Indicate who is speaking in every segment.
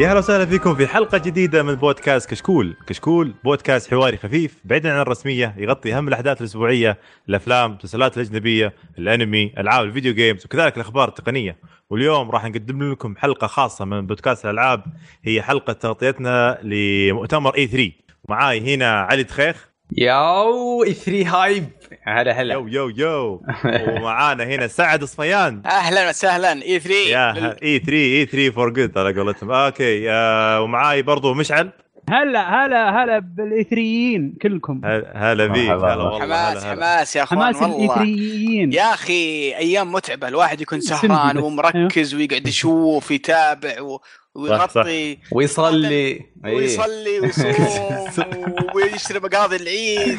Speaker 1: يا هلا وسهلا فيكم في حلقة جديدة من بودكاست كشكول، كشكول بودكاست حواري خفيف بعيدا عن الرسمية يغطي أهم الأحداث الأسبوعية، الأفلام، المسلسلات الأجنبية، الأنمي، ألعاب الفيديو جيمز وكذلك الأخبار التقنية، واليوم راح نقدم لكم حلقة خاصة من بودكاست الألعاب هي حلقة تغطيتنا لمؤتمر اي 3 معاي هنا علي دخيخ
Speaker 2: ياو اي 3 هايب
Speaker 1: يو
Speaker 2: هلا هلا
Speaker 1: يو يو ومعانا هنا سعد الصفيان
Speaker 3: اهلا وسهلا اي 3
Speaker 1: يا E اي 3 اي 3 فور جود على قولتهم اوكي آه ومعاي برضو مشعل
Speaker 4: هلا هلا هلا بالاثريين كلكم
Speaker 3: أه،
Speaker 1: هل- هلا فيك
Speaker 2: مرحبا.
Speaker 1: هلا والله
Speaker 3: حماس
Speaker 1: هلا هلا.
Speaker 3: حماس يا اخوان
Speaker 4: حماس
Speaker 3: والله
Speaker 4: الاثريين
Speaker 3: يا اخي ايام متعبه الواحد يكون
Speaker 4: أيوة.
Speaker 3: سهران
Speaker 4: سمجد.
Speaker 3: ومركز ويقعد يشوف ويتابع و- ويغطي
Speaker 2: ويصلي إيه.
Speaker 3: ويصلي ويصوم ويشتري مقاضي العيد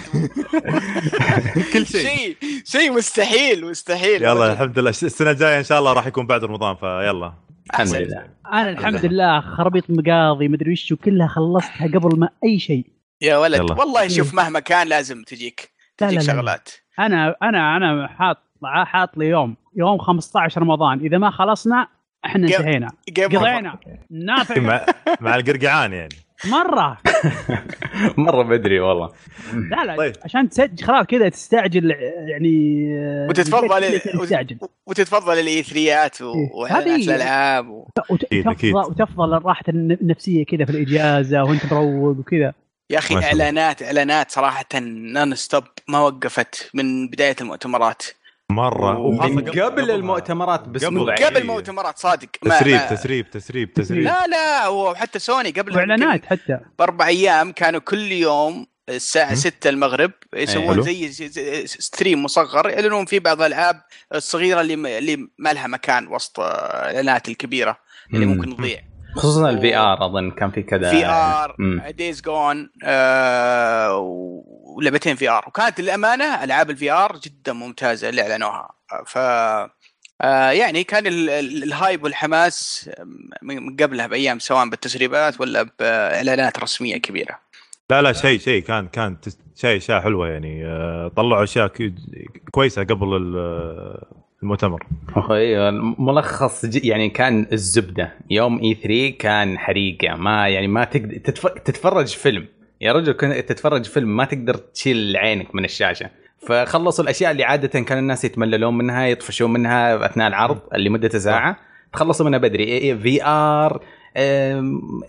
Speaker 1: كل شيء
Speaker 3: شيء شيء مستحيل مستحيل
Speaker 1: يلا الحمد لله السنه الجايه ان شاء الله راح يكون بعد رمضان فيلا
Speaker 2: الحمد لله
Speaker 4: انا الحمد لله خربيط مقاضي مدري وش وكلها خلصتها قبل ما اي شيء
Speaker 3: يا ولد
Speaker 1: يلا.
Speaker 3: والله شوف مهما كان لازم تجيك
Speaker 4: لا،
Speaker 3: تجيك
Speaker 4: لا، لا.
Speaker 3: شغلات
Speaker 4: انا انا انا حاط حاط لي يوم يوم 15 رمضان اذا ما خلصنا احنا
Speaker 3: قب-
Speaker 4: انتهينا
Speaker 3: قبل-
Speaker 4: قضينا نافع
Speaker 1: مع, مع القرقعان يعني
Speaker 4: مره
Speaker 2: مره بدري والله
Speaker 4: لا لا
Speaker 1: طيب.
Speaker 4: عشان تسجل خلاص كذا تستعجل يعني آه،
Speaker 3: وتتفضل
Speaker 4: كذا تستعجل
Speaker 3: وتتفضل الاي 3
Speaker 4: إيه.
Speaker 3: واعلانات
Speaker 4: هذه-
Speaker 3: الالعاب و...
Speaker 4: وت-
Speaker 1: أكيد، أكيد.
Speaker 4: وتفضل وتفضل راحه النفسيه كذا في الاجازه وانت مروق وكذا
Speaker 3: يا اخي
Speaker 1: ما شاء الله.
Speaker 3: اعلانات اعلانات صراحه نون ستوب ما وقفت من بدايه المؤتمرات
Speaker 1: مره وخاصة
Speaker 2: من قبل المؤتمرات باسبوع
Speaker 1: بعيد.
Speaker 3: قبل المؤتمرات صادق ما
Speaker 1: تسريب
Speaker 3: ما
Speaker 1: تسريب تسريب تسريب
Speaker 3: لا لا وحتى سوني قبل
Speaker 4: واعلانات حتى
Speaker 3: باربع ايام كانوا كل يوم الساعة
Speaker 1: مم.
Speaker 3: 6 المغرب
Speaker 1: حلو.
Speaker 3: يسوون زي زي- ستريم مصغر يعلنون فيه بعض الالعاب الصغيرة اللي ما- اللي ما لها مكان وسط الاعلانات الكبيرة اللي
Speaker 2: مم.
Speaker 3: ممكن تضيع
Speaker 2: خصوصا الفي ار اظن كان في كذا
Speaker 3: في ار
Speaker 2: مم.
Speaker 3: دايز جون آه، ولعبتين في ار وكانت للامانه العاب الفي ار جدا ممتازه اللي اعلنوها ف آه، يعني كان ال- ال- الهايب والحماس من من قبلها بايام سواء بالتسريبات ولا باعلانات رسميه كبيره.
Speaker 1: لا لا شيء شيء كان كان تس- شيء اشياء حلوه يعني آه، طلعوا اشياء ك- كويسه قبل ال- المؤتمر
Speaker 2: ايوه ملخص ج- يعني كان الزبده يوم اي 3 كان حريقه ما يعني ما تقدر تتف... تتفرج فيلم يا رجل كنت تتفرج فيلم ما تقدر تشيل عينك من الشاشه فخلصوا الاشياء اللي عاده كان الناس يتمللون منها يطفشون منها اثناء العرض اللي مدته ساعه تخلصوا منها بدري إيه، في ار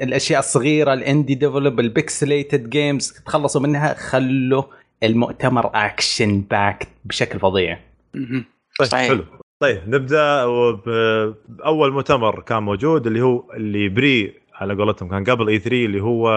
Speaker 2: الاشياء الصغيره الاندي ديفلوب البكسليتد جيمز تخلصوا منها خلوا المؤتمر اكشن باكت بشكل فظيع
Speaker 3: مهم.
Speaker 1: طيب
Speaker 3: صحيح.
Speaker 1: حلو طيب نبدا وب- باول مؤتمر كان موجود اللي هو اللي بري على قولتهم كان قبل اي 3 اللي هو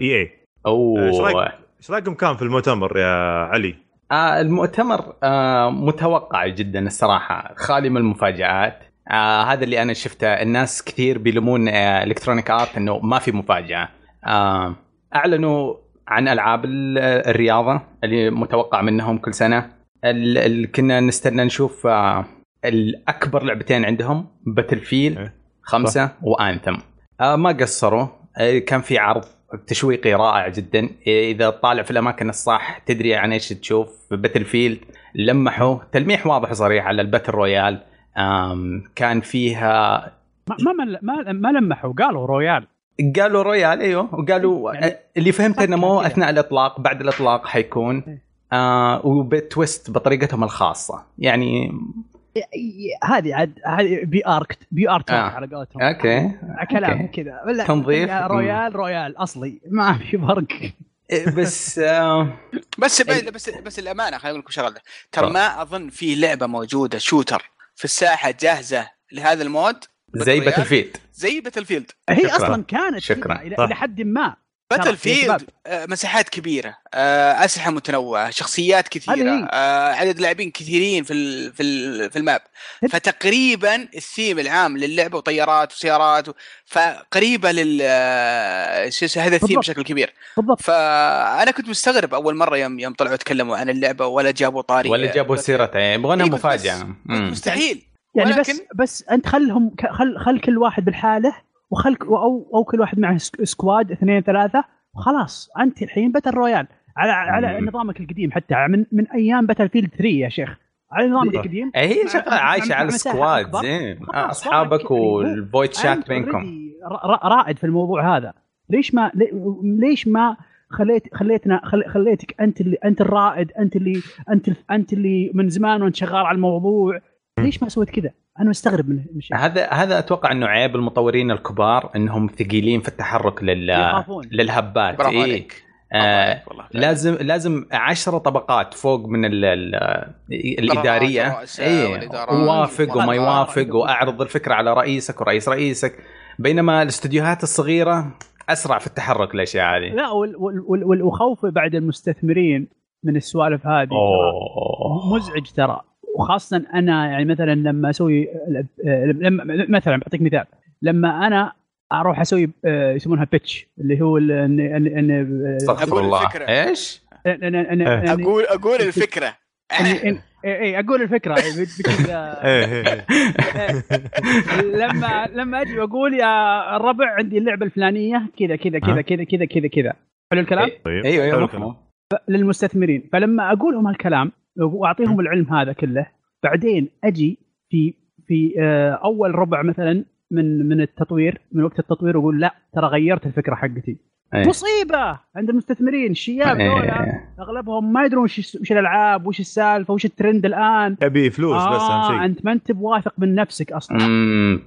Speaker 1: اي اي إيش رأيك؟
Speaker 2: اوه
Speaker 1: ايش رايكم كان في المؤتمر يا علي؟
Speaker 2: آه المؤتمر آه متوقع جدا الصراحه خالي من المفاجات آه هذا اللي انا شفته الناس كثير بيلومون آه الكترونيك ارت انه ما في مفاجاه آه اعلنوا عن العاب ال- الرياضه اللي متوقع منهم كل سنه ال- اللي كنا نستنى نشوف آه الاكبر لعبتين عندهم باتل فيل
Speaker 1: إيه.
Speaker 2: خمسه وانثم آه ما قصروا آه كان في عرض تشويقي رائع جدا اذا طالع في الاماكن الصح تدري عن ايش تشوف باتل فيلد لمحوا تلميح واضح وصريح على الباتل رويال آم، كان فيها
Speaker 4: ما ما ما- ما, ما لمحوا قالوا رويال
Speaker 2: قالوا رويال ايوه وقالوا
Speaker 4: يعني-
Speaker 2: آه، اللي فهمت انه مو
Speaker 4: كذا.
Speaker 2: اثناء الاطلاق بعد الاطلاق حيكون آه وبتويست بطريقتهم الخاصه يعني
Speaker 4: هذه عاد هذه بي اركت بي اركت
Speaker 2: آه.
Speaker 4: على قولتهم
Speaker 2: اوكي
Speaker 4: كلام
Speaker 2: أوكي.
Speaker 4: كذا ولا
Speaker 2: تنظيف.
Speaker 4: رويال رويال اصلي ما في فرق
Speaker 2: إيه، بس آه
Speaker 3: بس بس بس الامانه خليني اقول لكم شغله ترى
Speaker 2: طبعا.
Speaker 3: ما اظن في لعبه موجوده شوتر في الساحه جاهزه لهذا المود
Speaker 2: زي
Speaker 3: باتل
Speaker 2: باتل
Speaker 3: رويال؟
Speaker 2: فيلد
Speaker 3: زي باتل فيلد
Speaker 4: هي
Speaker 2: شكراً.
Speaker 4: اصلا كانت
Speaker 2: شكراً.
Speaker 4: كذا الى
Speaker 1: صح.
Speaker 4: إلى حد ما
Speaker 3: باتل
Speaker 4: ترى يا شباب.
Speaker 3: فيلد آه، مساحات كبيره آه، اسلحه متنوعه شخصيات كثيره
Speaker 4: هذه هي.
Speaker 3: آه، عدد لاعبين كثيرين في ال في ال في الماب
Speaker 4: هت-
Speaker 3: فتقريبا الثيم العام للعبه وطيارات وسيارات و... فقريبه لل آه، شو اسمه هذا الثيم
Speaker 4: بالضبط.
Speaker 3: بشكل كبير
Speaker 4: بالضبط
Speaker 3: فانا كنت مستغرب اول مره يوم يوم طلعوا يتكلموا عن اللعبه ولا جابوا طاري
Speaker 2: ولا جابوا
Speaker 3: بس-
Speaker 2: سيرته يبغونها
Speaker 3: إيه، بس-
Speaker 2: مفاجاه مم.
Speaker 3: مستحيل
Speaker 4: يعني بس
Speaker 3: ولكن-
Speaker 4: بس انت خلهم ك- خل خل كل واحد بالحاله وخل او او كل واحد معه سك- سكواد اثنين ثلاثه وخلاص انت الحين باتل رويال على على
Speaker 2: مم.
Speaker 4: نظامك القديم حتى من من ايام باتل فيلد 3 يا شيخ على نظامك
Speaker 1: صح.
Speaker 4: القديم
Speaker 2: إيه، هي
Speaker 4: مع-
Speaker 2: شغله
Speaker 4: مع-
Speaker 2: عايشه
Speaker 4: مع
Speaker 2: على
Speaker 4: مساحة
Speaker 2: السكواد
Speaker 4: أكبر.
Speaker 2: إيه.
Speaker 4: خلاص،
Speaker 2: اصحابك
Speaker 4: والله كذا.
Speaker 2: والفويت شات
Speaker 4: أنت
Speaker 2: بينكم
Speaker 4: already ر- ر- رائد في الموضوع هذا ليش ما ليش ما خليت خليتنا خل- خليتك انت اللي انت الرائد انت اللي انت انت اللي من زمان وانت شغال على الموضوع ليش ما سويت كذا؟ انا مستغرب من من شيء
Speaker 2: هذا هذا اتوقع انه عيب المطورين الكبار انهم ثقيلين في التحرك لل
Speaker 4: يخافون
Speaker 2: للهبات
Speaker 3: برافو
Speaker 2: إيه.
Speaker 3: عليك برافو
Speaker 2: آه
Speaker 3: عليك والله
Speaker 2: لازم لازم عشرة طبقات فوق من ال ال الاداريه
Speaker 3: الرؤساء
Speaker 2: اي
Speaker 3: والإدارات
Speaker 2: إيه، وافق وما
Speaker 3: والإدارات.
Speaker 2: يوافق واعرض الفكره على رئيسك ورئيس رئيسك بينما الاستديوهات الصغيره اسرع في التحرك الاشياء هذه
Speaker 4: لا وال- وال- وال- والخوف بعد المستثمرين من السوالف هذه
Speaker 2: اوه
Speaker 4: مزعج ترى وخاصه انا يعني مثلا لما اسوي لما مثلا بعطيك مثال لما انا اروح اسوي آه، يسمونها بيتش اللي هو ال- ان ان ان
Speaker 2: استغفر
Speaker 3: أقول
Speaker 2: الله
Speaker 3: الفكرة.
Speaker 2: ايش؟
Speaker 4: إن- إن- إن-
Speaker 1: إيه.
Speaker 4: إن-
Speaker 3: اقول اقول الفكره
Speaker 4: إن- إن- إيه، إيه، اقول الفكره إيه، بكذا.
Speaker 1: إيه، إيه، إيه.
Speaker 4: لما لما اجي واقول يا الربع عندي اللعبه الفلانيه كذا كذا كذا
Speaker 1: ها؟
Speaker 4: كذا كذا كذا كذا حلو الكلام
Speaker 1: طيب حلو
Speaker 2: ايوه ايوه
Speaker 1: الكلام.
Speaker 2: مفهوم.
Speaker 4: للمستثمرين فلما اقول لهم هالكلام واعطيهم العلم هذا كله بعدين اجي في في آه، اول ربع مثلا من من التطوير من وقت التطوير واقول لا ترى غيرت الفكره حقتي
Speaker 2: إيه.
Speaker 4: مصيبه عند المستثمرين الشياب دول
Speaker 2: إيه.
Speaker 4: اغلبهم ما يدرون وش وش الالعاب وش السالفه وش الترند الان
Speaker 1: ابي فلوس بس
Speaker 4: آه
Speaker 1: اهم شيء
Speaker 4: انت ما انت بواثق من نفسك اصلا
Speaker 2: أمم.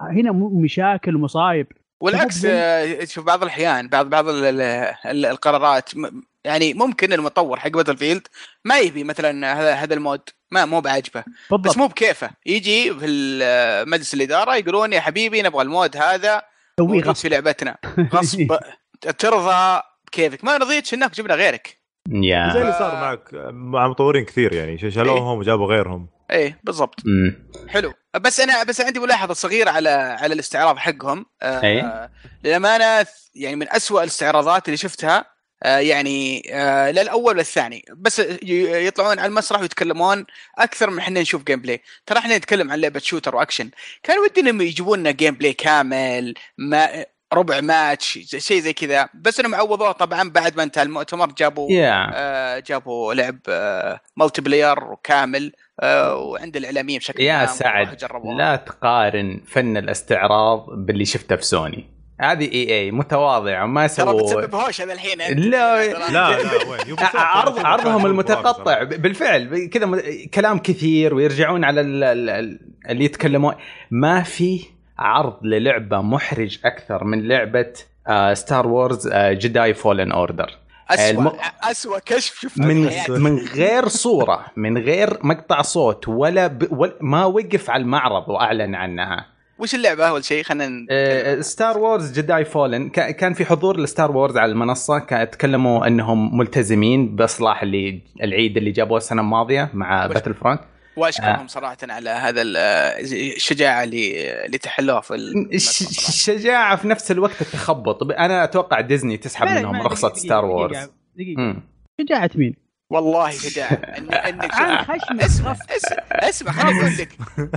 Speaker 4: هنا م- مشاكل ومصايب
Speaker 3: والعكس آه، شوف بعض الاحيان بعض بعض ال- ال- ال- القرارات م- يعني ممكن المطور حق باتل فيلد ما يبي مثلا هذا هذا المود ما مو بعاجبه
Speaker 4: بالضبط
Speaker 3: بس مو بكيفه يجي في ال- آه، مجلس الاداره يقولون يا حبيبي نبغى المود هذا
Speaker 4: سويه
Speaker 3: موجود
Speaker 4: غصب
Speaker 3: في لعبتنا غصب ترضى بكيفك ما رضيتش انك جبنا غيرك
Speaker 2: يا
Speaker 1: زي اللي صار معك مع مطورين كثير يعني ش- شالوهم وجابوا غيرهم
Speaker 3: ايه بالضبط
Speaker 2: أمم.
Speaker 3: حلو بس انا بس عندي ملاحظه صغيره على على الاستعراض حقهم
Speaker 2: إيه.
Speaker 3: آه للامانه يعني من أسوأ الاستعراضات اللي شفتها آه يعني آه لا الاول ولا الثاني بس ي- يطلعون على المسرح ويتكلمون اكثر من احنا نشوف جيم بلاي ترى احنا نتكلم عن لعبه شوتر واكشن كان ودي انهم يجيبوا لنا جيم بلاي كامل ما ربع ماتش شيء زي كذا بس انهم عوضوه طبعا بعد ما انتهى المؤتمر جابوا
Speaker 2: يا
Speaker 3: آه، جابوا لعب آه، ملتي بلاير كامل آه، وعند الاعلاميين بشكل
Speaker 2: يا
Speaker 3: عام
Speaker 2: سعد،
Speaker 3: جربوها
Speaker 2: لا تقارن فن الاستعراض باللي شفته في سوني هذه اي اي متواضعه ما
Speaker 3: ترى
Speaker 2: سووا
Speaker 3: بتسبب هوشه ذا الحين أنت.
Speaker 2: لا،
Speaker 1: لا لا وين يوبي سوفت
Speaker 2: عرض
Speaker 1: كان
Speaker 2: عرضهم
Speaker 1: شغال
Speaker 2: المتقطع
Speaker 1: صراحة.
Speaker 2: ب- بالفعل ب- كذا م- كلام كثير ويرجعون على ال- ال- ال- اللي يتكلمون ما في عرض للعبه محرج اكثر من آه، لعبه ستار وورز جداي فولن اوردر
Speaker 3: اسوء
Speaker 2: الم-
Speaker 3: اسوء كشف شفته
Speaker 2: من
Speaker 3: في حياتي.
Speaker 2: من غير صوره من غير مقطع صوت ولا, ب ولا ما وقف على المعرض واعلن عنها
Speaker 3: وش اللعبه اول شيء خلينا
Speaker 2: آه، ستار وورز جداي فولن كان في حضور لستار وورز على المنصه كان- تكلموا انهم ملتزمين باصلاح اللي العيد اللي جابوه السنه الماضيه مع
Speaker 3: وش-
Speaker 2: باتل فرونت آه.
Speaker 3: واشكرهم صراحه على هذا ال- الشجاعه اللي اللي تحلوها في ال-
Speaker 2: الش- الشجاعه في نفس الوقت التخبط انا اتوقع ديزني تسحب
Speaker 4: لا، لا،
Speaker 2: منهم
Speaker 4: ما-
Speaker 2: رخصه
Speaker 4: دقيقة،
Speaker 2: ستار
Speaker 4: دقيقة،
Speaker 2: وورز
Speaker 4: دقيقه
Speaker 2: مم.
Speaker 4: شجاعه مين؟
Speaker 3: والله شجاعه إن- انك
Speaker 4: عن
Speaker 3: شوف.
Speaker 4: خشمه
Speaker 3: اسمع اسمع- اسمع خليني اقول لك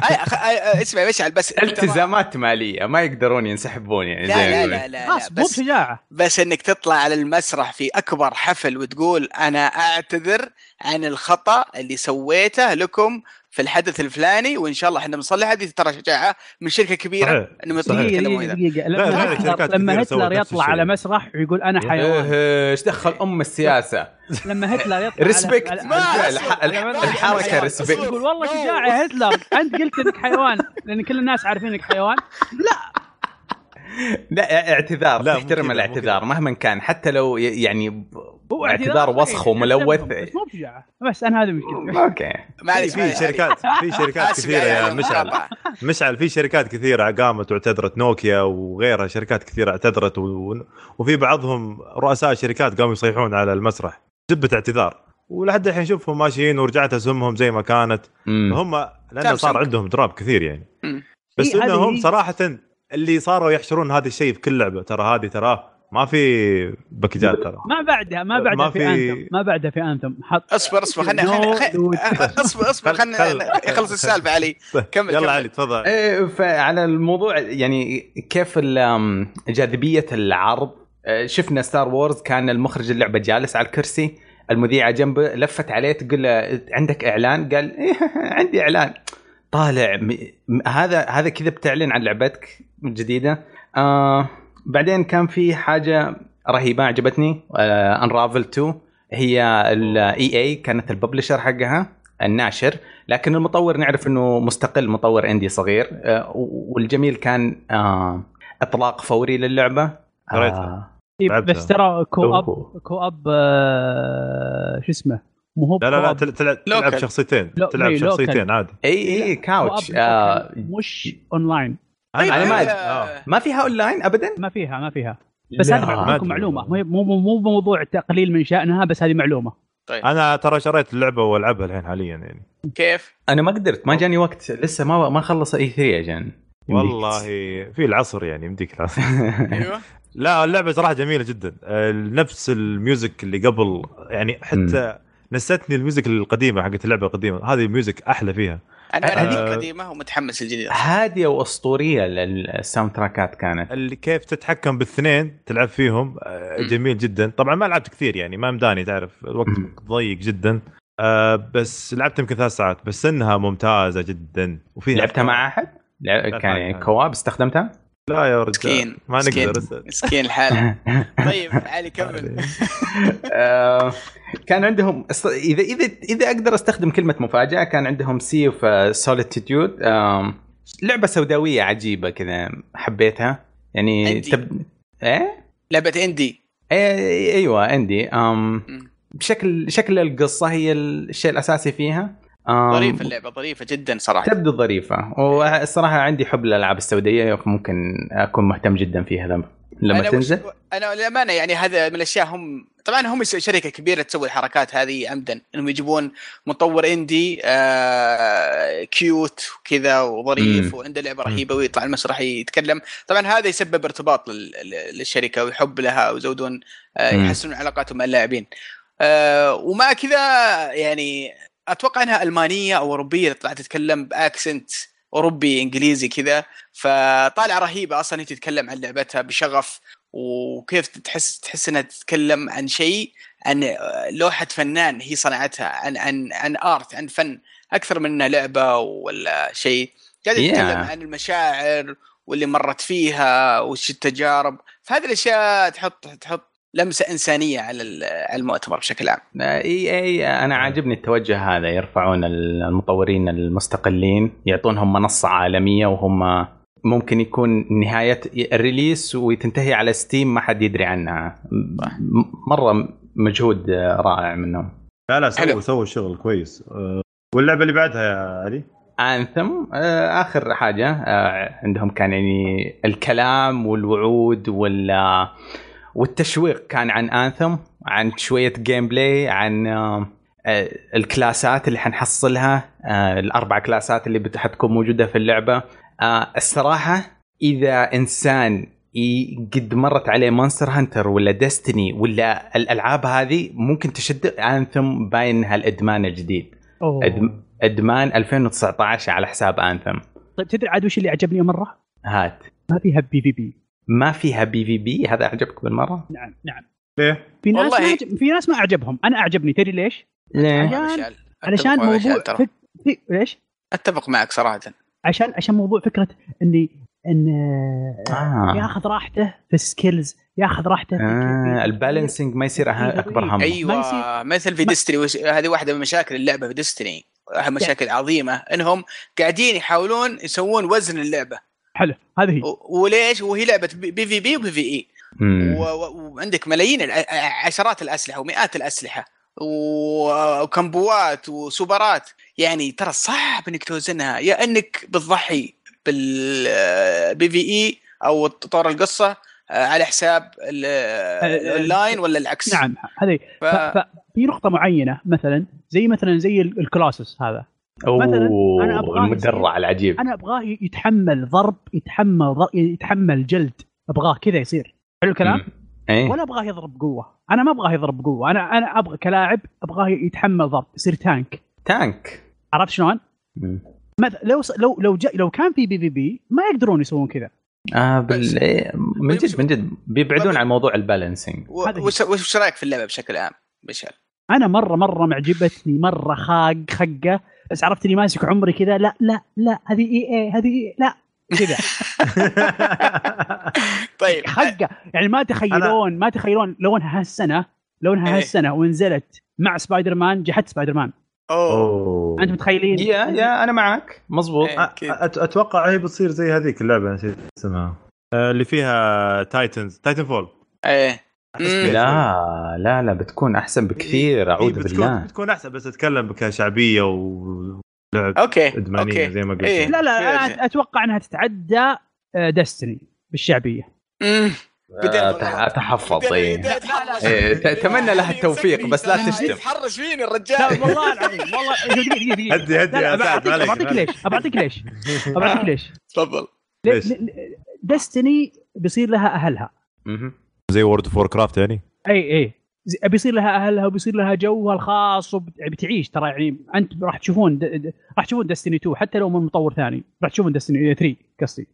Speaker 3: أي- خ- أي- اسمع يا مشعل بس
Speaker 2: التزامات ماليه ما يقدرون ينسحبون يعني زي ما
Speaker 3: لا لا
Speaker 2: يقولون.
Speaker 3: لا لا, لا
Speaker 4: خلاص مو
Speaker 3: بس
Speaker 4: بشجاعه
Speaker 3: بس انك تطلع على المسرح في اكبر حفل وتقول انا اعتذر عن الخطا اللي سويته لكم في الحدث الفلاني وان شاء الله احنا بنصلح هذه ترى شجاعه من شركه كبيره
Speaker 1: صحيح.
Speaker 3: انهم يطلعوا
Speaker 1: صحيح.
Speaker 4: دقيقه
Speaker 3: يتكلموا
Speaker 4: دقيقه
Speaker 3: هنا
Speaker 4: دقيقه
Speaker 1: لا، لا،
Speaker 4: لما
Speaker 1: شركات
Speaker 4: هتلر- لما
Speaker 1: كثيرة سوت
Speaker 4: هتلر
Speaker 1: نفس
Speaker 4: يطلع على
Speaker 1: الشيء.
Speaker 4: مسرح ويقول انا حيوان
Speaker 2: إيه، ايش دخل ام السياسه
Speaker 4: لما هتلر يطلع
Speaker 2: ريسبكت
Speaker 4: على- على-
Speaker 3: ما
Speaker 4: على-
Speaker 2: بالفعل
Speaker 3: أصبر.
Speaker 2: الح- الح-
Speaker 4: على-
Speaker 2: الحركه
Speaker 4: على-
Speaker 2: ريسبكت
Speaker 4: يقول والله
Speaker 3: No.
Speaker 4: شجاع يا هتلر انت قلت انك حيوان لان كل الناس عارفين انك حيوان
Speaker 2: لا اعتذار
Speaker 1: لا،
Speaker 2: لا
Speaker 1: مو كذا،
Speaker 2: تحترم
Speaker 1: مو
Speaker 2: الاعتذار مهما كان حتى لو ي- يعني ب-
Speaker 4: هو
Speaker 2: اعتذار وسخ
Speaker 4: صحيح،
Speaker 2: وملوث.
Speaker 4: بس مو بشجاعه بس انا هذا مشكلتي
Speaker 2: اوكي
Speaker 1: في
Speaker 3: معليش
Speaker 1: في
Speaker 3: معليش،
Speaker 1: شركات في
Speaker 3: معليش.
Speaker 1: شركات
Speaker 3: آسف
Speaker 1: كثيره يا
Speaker 3: على
Speaker 1: مشعل
Speaker 3: المقاطعة.
Speaker 1: مشعل في شركات كثيره قامت واعتذرت نوكيا وغيرها شركات كثيره اعتذرت و... و- وفي بعضهم رؤساء شركات قاموا يصيحون على المسرح جبة اعتذار ولحد الحين نشوفهم ماشيين ورجعت اسهمهم زي ما كانت
Speaker 2: هم
Speaker 1: هم لانه صار
Speaker 3: سامسونج.
Speaker 1: عندهم دراب كثير يعني
Speaker 3: مم.
Speaker 1: بس
Speaker 4: إيه، هذه
Speaker 1: انهم
Speaker 4: هي.
Speaker 1: صراحه اللي صاروا يحشرون هذا الشيء في كل لعبه ترى هذه تراه ما في باكجات ترى
Speaker 4: ما بعدها ما
Speaker 1: ما
Speaker 4: بعدها في,
Speaker 1: في-
Speaker 4: انثم ما بعدها في انثم حط
Speaker 3: اصبر اصبر خلنا
Speaker 4: No
Speaker 3: خلنا-
Speaker 4: dude.
Speaker 3: اصبر اصبر
Speaker 1: خل-
Speaker 3: خلنا
Speaker 1: خل- طيب،
Speaker 3: يخلص السالفه علي كمل كمل.
Speaker 1: يلا علي تفضل
Speaker 2: إيه، فعلى الموضوع يعني كيف ال- أم، جاذبيه العرض أه، شفنا ستار وورز كان المخرج اللعبه جالس على الكرسي المذيعه جنبه لفت عليه تقول له عندك اعلان قال إيه عندي اعلان طالع م- م- هذا هذا كذا بتعلن عن لعبتك الجديده آه بعدين كان في حاجه رهيبه عجبتني انرافل 2 هي الاي اي كانت الببلشر حقها الناشر لكن المطور نعرف انه مستقل مطور اندي صغير آه، والجميل كان آه، اطلاق فوري للعبه
Speaker 1: قريتها.
Speaker 4: إيه،
Speaker 1: لعبتها.
Speaker 4: بس ترى كو اب
Speaker 2: أوه.
Speaker 4: كو اب آه، شو اسمه مو هو
Speaker 1: لا لا لا
Speaker 4: كو أب-
Speaker 1: تل- تلعب تلعب
Speaker 3: لوكال.
Speaker 1: شخصيتين
Speaker 4: لو-
Speaker 1: تلعب
Speaker 4: إيه، لوكال.
Speaker 1: شخصيتين عادي
Speaker 2: اي اي كاوتش
Speaker 4: كو أب
Speaker 2: آه،
Speaker 4: لوكال، مش اونلاين
Speaker 1: أنا-
Speaker 2: أنا ما أدري.
Speaker 1: آه.
Speaker 2: ما فيها اونلاين ابدا
Speaker 4: ما فيها ما فيها بس
Speaker 2: لا.
Speaker 4: هذه بعطيكم
Speaker 1: ما أدري.
Speaker 4: معلومه مو مو مو موضوع تقليل من شانها بس هذه معلومه
Speaker 1: انا ترى شريت اللعبه والعبها الحين حاليا يعني
Speaker 3: كيف؟
Speaker 2: انا ما قدرت
Speaker 1: Oh.
Speaker 2: ما جاني وقت لسه ما ما خلص اي 3 يا جان
Speaker 1: والله في العصر يعني يمديك العصر
Speaker 3: ايوه
Speaker 1: لا اللعبه صراحه جميله جدا آه، نفس الميوزك اللي قبل يعني حتى نستني الميوزك القديمه حقت اللعبه القديمه هذه الميوزك احلى فيها
Speaker 3: انا انا
Speaker 1: هذه-
Speaker 3: هذيك قديمه ومتحمس الجديد
Speaker 2: هاديه واسطوريه لل- الساوند تراكات كانت
Speaker 1: اللي كيف تتحكم بالاثنين تلعب فيهم آه،
Speaker 3: مم.
Speaker 1: جميل جدا طبعا ما لعبت كثير يعني ما مداني تعرف الوقت
Speaker 2: مم.
Speaker 1: ضيق جدا آه، بس لعبت يمكن ثلاث ساعات بس انها ممتازه جدا وفيها
Speaker 2: لعبتها مع احد؟ لع-
Speaker 1: لا،
Speaker 2: كان
Speaker 1: لا،
Speaker 2: يعني
Speaker 1: لا.
Speaker 2: كواب استخدمتها؟
Speaker 1: لا يا رجال
Speaker 3: مسكين
Speaker 1: ما
Speaker 3: مسكين.
Speaker 1: نقدر أسأل.
Speaker 3: مسكين الحال طيب علي كمل
Speaker 2: آه، كان عندهم است- اذا اذا اذا اقدر استخدم كلمه مفاجاه كان عندهم آه، سي اوف سوليتيود لعبه سوداويه عجيبه كذا حبيتها يعني
Speaker 3: عندي.
Speaker 2: تب... ايه
Speaker 3: لعبه اندي
Speaker 2: إيه، ايوه عندي أم
Speaker 3: مم.
Speaker 2: بشكل شكل القصه هي الشيء الاساسي فيها أم،
Speaker 3: ظريفه اللعبه ظريفه جدا صراحه
Speaker 2: تبدو ظريفه والصراحه عندي حب للالعاب السوداويه ممكن اكون مهتم جدا فيها لما لما
Speaker 3: أنا
Speaker 2: تنزل
Speaker 3: وش... انا للامانه يعني هذا من الاشياء هم طبعا هم يس- شركه كبيره تسوي الحركات هذه عمدا انهم يجيبون مطور اندي آه كيوت وكذا وظريف
Speaker 2: مم.
Speaker 3: وعنده لعبه رهيبه ويطلع المسرح يتكلم طبعا هذا يسبب ارتباط لل... لل- للشركه ويحب لها ويزودون آه
Speaker 2: مم.
Speaker 3: يحسنون علاقاتهم مع اللاعبين آه ومع كذا يعني اتوقع انها المانيه او اوروبيه اللي طلعت تتكلم باكسنت اوروبي انجليزي كذا فطالعه رهيبه اصلا هي تتكلم عن لعبتها بشغف وكيف تحس تحس انها تتكلم عن شيء عن لوحه فنان هي صنعتها عن عن عن ارت عن فن اكثر من انها لعبه ولا شيء قاعده
Speaker 2: Yeah.
Speaker 3: تتكلم عن المشاعر واللي مرت فيها وش التجارب فهذه الاشياء تحط تحط لمسه انسانيه على ال- على المؤتمر بشكل عام
Speaker 2: اي اي انا إيه، عاجبني التوجه هذا يرفعون المطورين المستقلين يعطونهم منصه عالميه وهم ممكن يكون نهايه الريليس وتنتهي على ستيم ما حد يدري عنها م- مره مجهود رائع منهم
Speaker 1: لا لا
Speaker 3: حلو.
Speaker 1: سووا سووا شغل كويس آه، واللعبه اللي بعدها يا علي
Speaker 2: انثم اخر حاجه آه، عندهم كان يعني الكلام والوعود وال آه، والتشويق كان عن انثم عن شويه جيم بلاي عن آه، آه، الكلاسات اللي حنحصلها آه، الاربع كلاسات اللي بت- حتكون موجوده في اللعبه آه، الصراحه اذا انسان ي- قد مرت عليه مونستر هانتر ولا ديستني ولا الالعاب هذه ممكن تشد انثم باين انها الادمان الجديد
Speaker 4: أوه.
Speaker 2: أدم- ادمان 2019 على حساب انثم
Speaker 4: طيب تدري عاد وش اللي عجبني مره؟
Speaker 2: هات
Speaker 4: ما فيها بي في بي
Speaker 2: ما فيها بي في بي هذا عجبك بالمره؟
Speaker 4: نعم نعم
Speaker 1: ليه؟
Speaker 4: في ناس
Speaker 3: والله-
Speaker 4: ما عجب... في ناس ما اعجبهم انا اعجبني تدري ليش؟
Speaker 2: ليه؟
Speaker 4: علشان-
Speaker 3: أتفق
Speaker 4: علشان
Speaker 3: مع
Speaker 4: موضوع
Speaker 3: مشعل ترى.
Speaker 4: فك... في... ليش؟
Speaker 3: اتفق معك صراحه
Speaker 4: عشان عشان موضوع فكره اني ان
Speaker 2: آه.
Speaker 4: ياخذ راحته في السكيلز ياخذ راحته في
Speaker 2: آه
Speaker 4: كيفية-
Speaker 2: البالانسنج ما يصير أه- اكبر هم
Speaker 3: ايوه
Speaker 4: يصير.
Speaker 3: مثل في
Speaker 4: ما-
Speaker 3: ديستني وش... هذه واحده من مشاكل اللعبه في ديستني أحد مشاكل عظيمه انهم قاعدين يحاولون يسوون وزن اللعبه
Speaker 4: حلو هذه هي
Speaker 3: و- وليش وهي لعبه بي بي في بي وبي في اي
Speaker 2: مم.
Speaker 3: و- و- وعندك ملايين الع- عشرات الاسلحه ومئات الاسلحه و- وكمبوات وسوبرات يعني ترى صعب انك توزنها يا انك بتضحي بالبي في اي او طور القصه آه، على حساب ال- الاونلاين ولا العكس
Speaker 4: آه، نعم هذه هي.
Speaker 3: ف...
Speaker 4: ف... ففي نقطه معينه مثلا زي مثلا زي ال- الكلاسس هذا مثلاً أنا
Speaker 2: اوه
Speaker 4: أبغاه
Speaker 2: المدرع العجيب
Speaker 4: انا ابغاه يتحمل ضرب يتحمل ضرب يتحمل جلد ابغاه كذا يصير حلو الكلام
Speaker 2: مم. ايه
Speaker 4: ولا ابغاه يضرب قوه انا ما ابغاه يضرب قوه انا انا ابغى كلاعب ابغاه يتحمل ضرب يصير تانك
Speaker 2: تانك
Speaker 4: عرفت شلون
Speaker 2: مم.
Speaker 4: مثلا لو لو لو جا لو كان في بي في بي ما يقدرون يسوون كذا
Speaker 2: آه بال... إيه، من
Speaker 3: بس-
Speaker 2: جد من جد بيبعدون عن موضوع البالانسنج
Speaker 3: و-
Speaker 4: هذه هي.
Speaker 3: وش وش رايك في اللعبه بشكل عام مشعل؟
Speaker 4: انا مره مره معجبتني مره خاق خقه بس عرفت اني ماسك عمري كذا لا لا لا هذه اي اي هذه EA لا كذا
Speaker 3: طيب
Speaker 4: حقه يعني ما تخيلون ما تخيلون لونها هالسنه لونها
Speaker 3: إيه.
Speaker 4: هالسنه ونزلت مع سبايدر مان جحت سبايدر مان
Speaker 3: اوه
Speaker 1: اوه
Speaker 4: انتم متخيلين
Speaker 2: يا يا انا معك مزبوط
Speaker 3: إيه.
Speaker 1: أ- أت- اتوقع هي بتصير زي هذيك اللعبه نسيت اسمها آه، اللي فيها تايتنز تايتن فول
Speaker 3: ايه مم.
Speaker 2: لا لا لا بتكون احسن بكثير
Speaker 1: هي
Speaker 2: اعوذ
Speaker 1: إيه. بتكون
Speaker 2: بالله
Speaker 1: بتكون احسن بس اتكلم كشعبيه ولعب
Speaker 3: اوكي
Speaker 1: ادمانيه
Speaker 3: أوكي.
Speaker 1: زي ما قلت
Speaker 3: إيه.
Speaker 4: لا لا
Speaker 3: إيه.
Speaker 4: انا اتوقع انها تتعدى آه، دستني بالشعبيه
Speaker 3: مم. بديت
Speaker 2: آه، تح- تحفظ إيه.
Speaker 3: بديت أتحرش.
Speaker 2: إيه، اتمنى لها التوفيق بس لا تشتم
Speaker 3: يتحرش فيني
Speaker 4: لا
Speaker 3: الرجال
Speaker 4: والله العظيم والله دقيقه دقيقه دقيقه
Speaker 1: هدي هدي
Speaker 4: لا، لا،
Speaker 1: يا سعد
Speaker 4: بعطيك
Speaker 1: معليش،
Speaker 4: بعطيك
Speaker 1: معليش.
Speaker 4: ليش بعطيك ليش بعطيك ليش
Speaker 3: تفضل
Speaker 1: ليش؟
Speaker 4: دستني بيصير لها اهلها
Speaker 2: مهم.
Speaker 1: زي وورد اوف كرافت يعني
Speaker 4: اي اي زي- بيصير لها اهلها وبيصير لها جوها الخاص وبتعيش ترى يعني انت راح تشوفون د- د- راح تشوفون دستني 2 حتى لو من مطور ثاني راح تشوفون دستني 3 قصدي